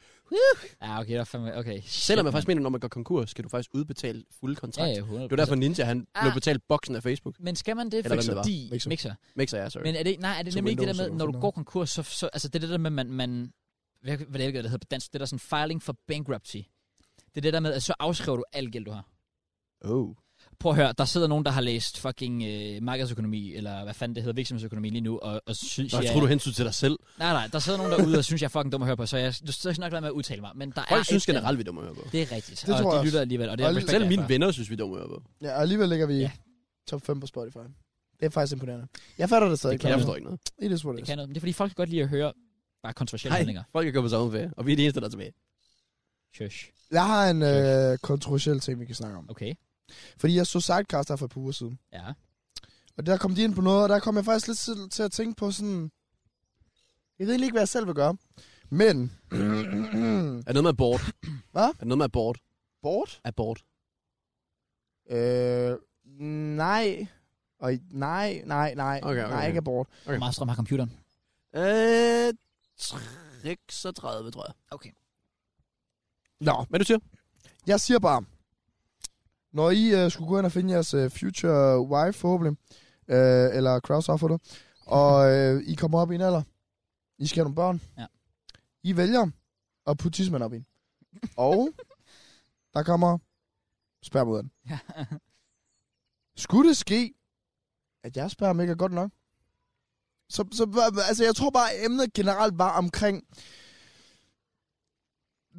Speaker 1: Ja, okay, der er fandme... Okay.
Speaker 2: selvom jeg faktisk mener, når man går konkurs, skal du faktisk udbetale fulde kontrakt.
Speaker 1: Ja, ja, 100%.
Speaker 2: Det var derfor Ninja, han
Speaker 1: Ah.
Speaker 2: blev betalt boksen af Facebook.
Speaker 1: Men skal man det,
Speaker 2: Eller hvem det var.
Speaker 1: fordi...
Speaker 3: Mixer.
Speaker 1: Mixer.
Speaker 2: Mixer, ja, sorry.
Speaker 1: Men er det, nej, er det
Speaker 3: Så
Speaker 1: nemlig ikke det
Speaker 3: Windows
Speaker 1: der med,
Speaker 3: eller
Speaker 1: når du
Speaker 3: sådan
Speaker 1: går
Speaker 3: noget.
Speaker 1: konkurs, så, så altså, det er det der med, man, man hvad, hvad det, er, det hedder på dansk, det der sådan filing for bankruptcy. Det er det der med, at så afskriver du al gæld, du har.
Speaker 2: oh.
Speaker 1: Prøv at høre, der sidder nogen, der har læst fucking øh, markedsøkonomi, eller hvad fanden det hedder, virksomhedsøkonomi lige nu, og, og synes,
Speaker 2: Nå, jeg
Speaker 1: jeg...
Speaker 2: tror du hensyn til dig selv.
Speaker 1: Nej, nej, der sidder nogen derude, og synes, jeg er fucking dum at høre på, så jeg, du skal nok lade med at udtale mig, men der
Speaker 2: Folk
Speaker 1: er...
Speaker 2: synes
Speaker 1: et-
Speaker 2: generelt, vi er dumme at høre på.
Speaker 1: Det er rigtigt,
Speaker 3: Det
Speaker 1: og
Speaker 3: tror
Speaker 1: de
Speaker 3: jeg også.
Speaker 1: lytter alligevel, og det er
Speaker 3: Og
Speaker 1: respekt
Speaker 2: Selv mine
Speaker 1: derfor.
Speaker 2: venner synes, vi er dumme at høre på.
Speaker 3: Ja, og alligevel ligger vi
Speaker 1: Ja.
Speaker 3: ja. top 5 på Spotify. Det er faktisk imponerende. Jeg fatter det stadig.
Speaker 1: Det kan
Speaker 2: Jeg
Speaker 3: Claus.
Speaker 2: forstår ikke noget.
Speaker 3: It is what
Speaker 1: Det
Speaker 3: it is.
Speaker 1: kan noget, men det er fordi, folk kan godt lide at høre bare kontroversielle
Speaker 2: Nej,
Speaker 1: handlinger.
Speaker 2: folk er gået på sommerferie, og vi er de eneste, der er tilbage.
Speaker 1: Shush.
Speaker 3: Jeg har en øh, kontroversiel ting, vi kan snakke om.
Speaker 1: Okay.
Speaker 3: Fordi jeg så Sidecast her for et par uger siden.
Speaker 1: Ja.
Speaker 3: Og der kom de ind på noget, og der kom jeg faktisk lidt til, til at tænke på sådan... Jeg ved egentlig ikke, hvad jeg selv vil gøre. Men... <clears throat>
Speaker 2: Er det noget med abort?
Speaker 3: Hvad?
Speaker 2: Er det noget med abort?
Speaker 3: Bort?
Speaker 2: Abort.
Speaker 3: Øh, nej. Og i- nej, nej, nej.
Speaker 2: Okay, okay.
Speaker 3: Nej, ikke abort.
Speaker 1: Hvor meget strøm har computeren?
Speaker 2: Øh, 36, tror jeg.
Speaker 3: Nå,
Speaker 2: Hvad du siger?
Speaker 3: jeg siger bare, når I øh, skulle gå ind og finde jeres øh, future wife forhåbentlig, øh, eller crowdsource for det, og øh, I kommer op i en alder, I skal have nogle børn,
Speaker 1: Ja.
Speaker 3: I vælger at putte tidsmænd op i en. Og der kommer sperm ud af den.
Speaker 1: Ja.
Speaker 3: Skulle det ske, at jeg sperm ikke er godt nok? Så, så hva- altså, jeg tror bare, at emnet generelt var omkring,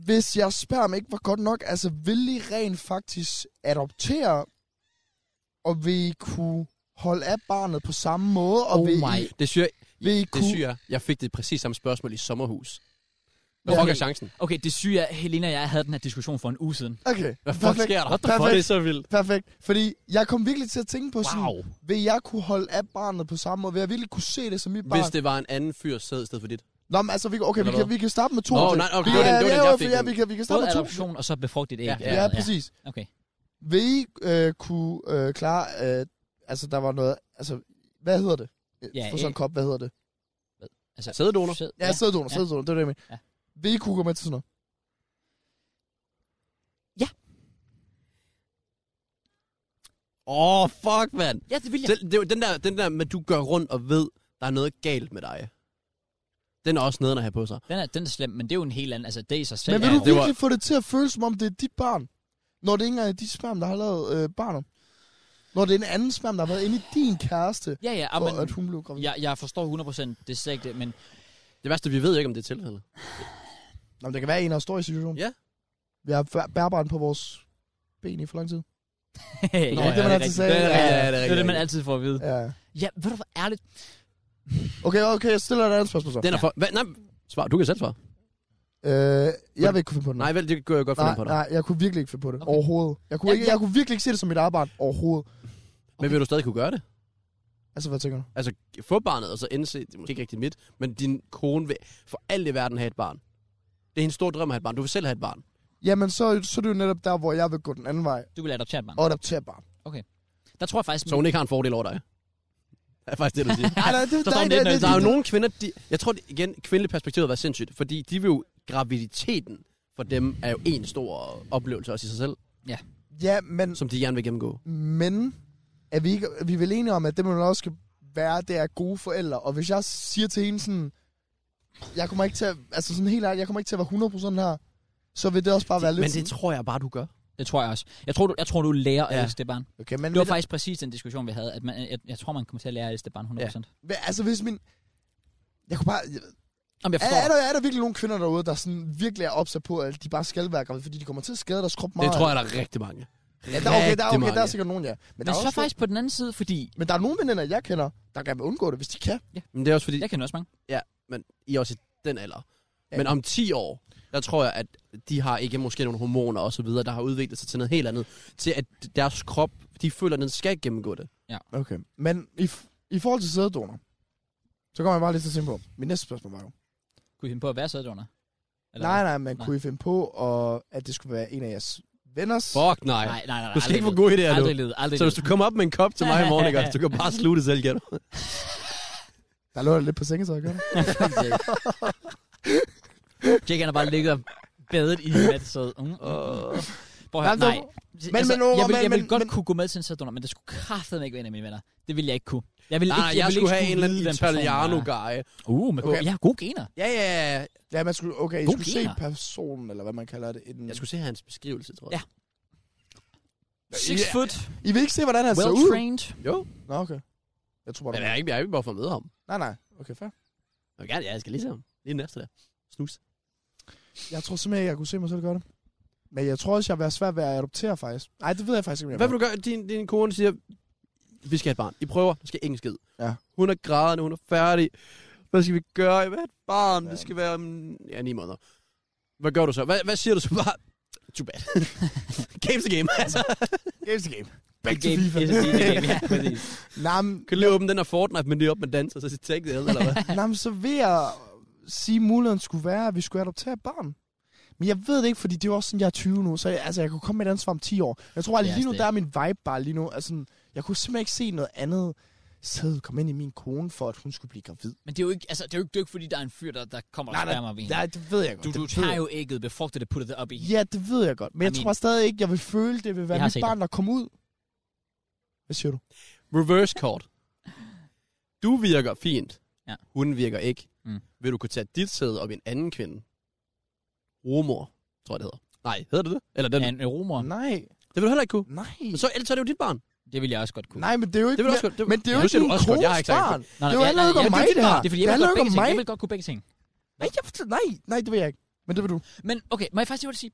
Speaker 3: hvis jeg sperm ikke var godt nok, altså vil I rent faktisk adoptere, og vil I kunne holde af barnet på samme måde, og
Speaker 1: Oh
Speaker 3: vil,
Speaker 1: my.
Speaker 3: I,
Speaker 2: Det syr,
Speaker 3: vil I
Speaker 2: det
Speaker 3: kunne...
Speaker 2: syr jeg. Jeg fik det præcis samme spørgsmål i sommerhus. Hvad
Speaker 1: Ja.
Speaker 2: fuck er chancen?
Speaker 1: Okay, det syge er, Helena og jeg havde den her diskussion for en uge siden.
Speaker 3: Okay,
Speaker 2: Hvad fuck
Speaker 3: perfekt,
Speaker 2: sker der?
Speaker 3: the fuck?
Speaker 2: Perfekt. Det er så vildt.
Speaker 3: perfekt. Fordi jeg kom virkelig til at tænke på sådan,
Speaker 1: Wow.
Speaker 3: vil jeg kunne holde af barnet på samme måde? Vil jeg virkelig kunne se det som mit barn?
Speaker 2: Hvis det var en anden fyr sæd i stedet for dit.
Speaker 3: Nå, men altså, vi, kan- okay, vi
Speaker 2: Eller
Speaker 3: kan, vi kan starte med to.
Speaker 2: Nå,
Speaker 3: ting.
Speaker 2: nej, okay,
Speaker 3: Vi-
Speaker 2: det var den-
Speaker 3: ja,
Speaker 2: det var den,
Speaker 3: ja,
Speaker 2: jeg
Speaker 3: jo,
Speaker 2: fik
Speaker 3: ja,
Speaker 2: nu.
Speaker 3: vi kan, vi kan starte
Speaker 1: Både
Speaker 3: med to.
Speaker 1: adoption og så befrugtet æg.
Speaker 2: Ja,
Speaker 3: Ja, ja, præcis.
Speaker 1: Okay.
Speaker 3: Vil I øh, kunne øh, klare, øh, altså, der var noget, altså, hvad hedder det?
Speaker 1: Ja,
Speaker 3: Ja, For sådan en
Speaker 1: æg.
Speaker 3: kop, hvad hedder det?
Speaker 1: Altså,
Speaker 2: Sæddonor?
Speaker 1: sæd-
Speaker 3: Ja, ja. sæddonor,
Speaker 1: ja.
Speaker 3: sæddonor, det var det, jeg mente.
Speaker 1: Ja.
Speaker 3: Ja. Vil I kunne gå med til sådan noget?
Speaker 2: Åh, oh, fuck, mand.
Speaker 1: ja, det vil jeg.
Speaker 2: Selv, det, er jo den der, den der med, at du går rundt og ved, der er noget galt med dig. Den er også nederen at have på sig.
Speaker 1: Den er, den er slem, men det er jo en helt anden. Altså, det i sig selv.
Speaker 3: Men vil
Speaker 1: er
Speaker 3: du
Speaker 1: jo-
Speaker 2: det var-
Speaker 3: virkelig få det til at føles, som om det er dit barn? Når det ikke engang er dit sperm, der har lavet øh, barnet? Når det er en anden sperm, der har været inde i din kæreste,
Speaker 1: Ja, ja,
Speaker 3: for
Speaker 1: amen,
Speaker 3: at hun blev gravid?
Speaker 1: jeg, jeg forstår 100%, det er slet ikke det, men
Speaker 2: Det værste, vi ved ikke, om det er tilfældet.
Speaker 3: Nå, men det kan være, at en af os står i situationen.
Speaker 2: Ja.
Speaker 3: Vi har bær- bærbaren på vores ben i for lang tid.
Speaker 1: <laughs> ja,
Speaker 3: det, man altid sagde.
Speaker 2: Det er rigtigt, ja, det er
Speaker 1: det er det, man altid får at vide.
Speaker 3: Ja.
Speaker 1: Ja, ved du hvor ærligt?
Speaker 3: Okay, okay, jeg stiller dig et andet spørgsmål så.
Speaker 2: Den er for... Hvad? Nej, svar. Du kan selv svare.
Speaker 3: Øh, jeg vil ikke kunne finde på det.
Speaker 2: Nej, vel, det gør jeg godt
Speaker 3: nej,
Speaker 2: fornemme på dig.
Speaker 3: nej, jeg kunne virkelig ikke finde på det.
Speaker 1: Okay.
Speaker 3: Okay. Overhovedet. Jeg kunne,
Speaker 1: Ja,
Speaker 3: ikke,
Speaker 1: ja.
Speaker 3: jeg kunne virkelig ikke se det som mit arbejde. Overhovedet.
Speaker 2: Men vil du stadig kunne gøre det?
Speaker 3: Altså, hvad tænker du?
Speaker 2: Altså, få barnet, og så indse, det er måske ikke rigtig mit, men din kone vil for alt i verden have et barn. Det er en stor drøm at have et barn. Du vil selv have et barn.
Speaker 3: jamen så, så er det jo netop der, hvor jeg vil gå den anden vej
Speaker 1: Du vil adoptere et barn.
Speaker 3: og adoptere et barn.
Speaker 1: Der tror jeg faktisk...
Speaker 2: Så hun ikke har en fordel over dig. Det er faktisk det, du siger.
Speaker 3: Nej, nej, Altså, det,
Speaker 1: Så står
Speaker 3: nej,
Speaker 1: hun
Speaker 3: nej,
Speaker 1: lidt
Speaker 3: nej,
Speaker 2: Der er jo
Speaker 3: nej.
Speaker 2: nogle kvinder, de, jeg tror det- igen, kvindeligt perspektiv var sindssygt, fordi de vil jo, graviditeten for dem er jo en stor oplevelse også i sig selv,
Speaker 3: Ja, men,
Speaker 2: som de gerne vil gennemgå.
Speaker 3: men er vi, ikke, er vi vel enige om, at det man også skal være, det er gode forældre. Og hvis jeg siger til hende sådan, jeg kommer ikke til at, altså sådan helt ærligt, jeg kommer ikke til at være 100% her, så vil det også bare være lidt
Speaker 2: Men det
Speaker 3: sådan-
Speaker 2: tror jeg bare, du gør.
Speaker 1: Det tror jeg også. Jeg tror, du, jeg tror, du lærer at
Speaker 2: Ja.
Speaker 1: elske det barn.
Speaker 3: Okay, men
Speaker 1: Det var faktisk præcis den diskussion, vi havde. At man, jeg, jeg tror, man kommer til at lære at elske det barn 100%. Ja.
Speaker 3: Hva- Altså, hvis min... Jeg kunne bare...
Speaker 1: Jamen, jeg
Speaker 3: Er,
Speaker 1: forstår.
Speaker 3: er, der, er der virkelig nogle kvinder derude, der sådan virkelig er opsat på, at de bare skal være gravide, fordi de kommer til at skade deres krop meget?
Speaker 2: Det tror jeg, der er rigtig mange.
Speaker 3: Ja, der, er okay, der, er
Speaker 2: Rigtig
Speaker 3: okay, der er
Speaker 2: mange.
Speaker 3: sikkert nogen, ja. Men, der
Speaker 1: Men
Speaker 3: er
Speaker 1: så
Speaker 3: også,
Speaker 1: faktisk på den anden side, fordi...
Speaker 3: men der er nogle veninder, jeg kender, der kan undgå det, hvis de kan.
Speaker 2: Men det er også fordi,
Speaker 1: Jeg kender også mange.
Speaker 2: men I er også i den alder.
Speaker 3: Ja.
Speaker 2: Men om 10 år, der tror jeg, at de har ikke måske nogle hormoner og så videre, der har udviklet sig til noget helt andet. Til at deres krop, de føler, at den skal gennemgå det.
Speaker 3: Okay. Men i, f- i forhold til sæddonor, så kommer jeg bare lige til at tænke på, min næste spørgsmål var jo,
Speaker 1: Kunne I finde på at være sæddoner? Eller
Speaker 3: nej, nej, men
Speaker 1: Nej.
Speaker 3: kunne I finde på, og, at det skulle være en af jeres venners?
Speaker 2: Fuck
Speaker 1: Nej,
Speaker 2: nej.
Speaker 1: nej, nej. nej
Speaker 2: Du skal
Speaker 1: aldrig
Speaker 2: ikke få
Speaker 1: lede.
Speaker 2: gode idéer nu.
Speaker 1: Aldrig lede, aldrig
Speaker 2: Så hvis
Speaker 1: lede.
Speaker 2: du kommer op med en kop til mig i morgen, ikke? også? du kan bare sluge det selv igen.
Speaker 3: Der lå der lidt på sengen, så jeg gør det.
Speaker 1: Jake, han har bare ligget og badet i din mat, så... Mm, mm. Prøv at høre,
Speaker 3: Nej,
Speaker 1: nej.
Speaker 3: du-
Speaker 1: Men, altså,
Speaker 3: men,
Speaker 1: jeg vil, jeg
Speaker 3: men-
Speaker 1: vil godt
Speaker 3: men-
Speaker 1: kunne gå med til en sæddonor, men det skulle kraftedeme ikke være en af mine venner. Det ville jeg ikke kunne. Jeg ville
Speaker 2: Nej,
Speaker 1: ikke,
Speaker 2: nej, jeg
Speaker 1: ville
Speaker 2: skulle
Speaker 1: ikke
Speaker 2: have en eller anden
Speaker 1: vide, hvem personen var.
Speaker 2: Italiano-guy.
Speaker 1: Uh, med
Speaker 3: Okay.
Speaker 1: okay. ja, gode gener.
Speaker 2: Ja, ja, ja.
Speaker 3: Ja, man skulle, okay, I
Speaker 1: God
Speaker 3: skulle se
Speaker 1: gener.
Speaker 3: personen, eller hvad man kalder det. Inden.
Speaker 2: Jeg skulle se hans beskrivelse, tror jeg.
Speaker 1: Ja. Six
Speaker 3: Ja. Altså,
Speaker 1: foot,
Speaker 3: I vil ikke se, hvordan han
Speaker 1: well
Speaker 3: ser ud?
Speaker 1: trained.
Speaker 2: Jo.
Speaker 3: Nå, okay. Jeg tror bare,
Speaker 2: Men
Speaker 3: du
Speaker 2: jeg er ikke, jeg er ikke bare for at møde ham.
Speaker 3: Nej, nej. Okay, fair.
Speaker 2: Jeg vil gerne, ja, jeg skal lige se ham. Lige næste der. Snus.
Speaker 3: Jeg tror simpelthen ikke, jeg kunne se mig selv gøre det. Men jeg tror også, jeg vil være svært ved at adoptere, faktisk. Nej, det ved jeg faktisk ikke, om jeg
Speaker 2: Hvad vil du gøre? Din, din kone siger, vi skal have et barn. I prøver, der skal ingen skid.
Speaker 3: Ja.
Speaker 2: Hun er grædende, hun er færdig. Hvad skal vi gøre? Jeg vil have et barn. Ja.
Speaker 3: Ja.
Speaker 2: Det skal være om ja, ni måneder. Hvad gør du så? Hvad, hvad siger du så bare? Too bad. <laughs> game to game, altså.
Speaker 3: Games to game.
Speaker 1: Back to FIFA. Ja, præcis.
Speaker 3: <laughs> Nej, men,
Speaker 2: Kan lige åbne den her Fortnite, men lige op med dans, og så sige, take det, eller
Speaker 1: <laughs>
Speaker 2: hvad?
Speaker 3: nej, men så vil jeg sige, at muligheden skulle være, at vi skulle adoptere et barn. Men jeg ved det ikke, fordi det er jo også sådan, jeg er 20 nu, så jeg, altså, jeg kunne komme med et ansvar om 10 år. Jeg tror, at
Speaker 1: altså, Det er
Speaker 3: lige nu,
Speaker 1: også
Speaker 3: der er min vibe bare lige nu. Altså, jeg kunne simpelthen ikke se noget andet sæd komme ind i min kone, for at hun skulle blive gravid.
Speaker 1: Men det er jo ikke, altså, det er jo ikke, det er jo ikke fordi, der er en fyr, der, der kommer og
Speaker 3: Nej,
Speaker 1: spørger mig ved hende.
Speaker 3: Nej, det ved jeg godt.
Speaker 1: Du,
Speaker 3: Det
Speaker 1: du
Speaker 3: ved
Speaker 1: tager
Speaker 3: jeg.
Speaker 1: jo ægget, befrugter det, putter det op i.
Speaker 3: Ja, det ved jeg godt. Men jeg,
Speaker 1: I mean-
Speaker 3: tror stadig ikke, jeg vil føle, det vil
Speaker 1: Jeg
Speaker 3: være
Speaker 1: har
Speaker 3: mit
Speaker 1: set
Speaker 3: barn, der kom ud. Hvad siger du?
Speaker 2: Reverse kort. Du virker fint.
Speaker 1: Ja.
Speaker 2: Hun virker ikke.
Speaker 1: Mm.
Speaker 2: Vil du kunne tage dit sæde op i en anden kvinde? Rumor, tror jeg, det hedder. Nej, hedder det det? Eller den?
Speaker 1: Ja, en romer.
Speaker 3: Nej,
Speaker 2: Det vil du heller ikke kunne.
Speaker 3: nej.
Speaker 2: Men så, ellers er det jo dit barn.
Speaker 1: Det ville jeg også godt kunne.
Speaker 3: Nej, men det er jo ikke...
Speaker 2: Det vil du også godt. Det-
Speaker 3: men det er jo
Speaker 2: Ja, nu
Speaker 3: ikke
Speaker 2: siger du
Speaker 3: min
Speaker 2: også godt. Jeg har
Speaker 3: kones
Speaker 2: ikke sagt-
Speaker 3: barn.
Speaker 1: nej,
Speaker 3: det er jo heller ikke om mig, det
Speaker 1: Det
Speaker 3: her.
Speaker 1: er fordi,
Speaker 3: Det
Speaker 1: jeg vil,
Speaker 3: handler
Speaker 1: godt begge
Speaker 3: ikke om
Speaker 1: ting. jeg
Speaker 3: mig.
Speaker 1: vil godt kunne begge ting.
Speaker 3: Nej, jeg, forstår- nej, nej, det vil jeg ikke. Men det vil du.
Speaker 1: Men okay, må jeg faktisk sige, hvad du siger?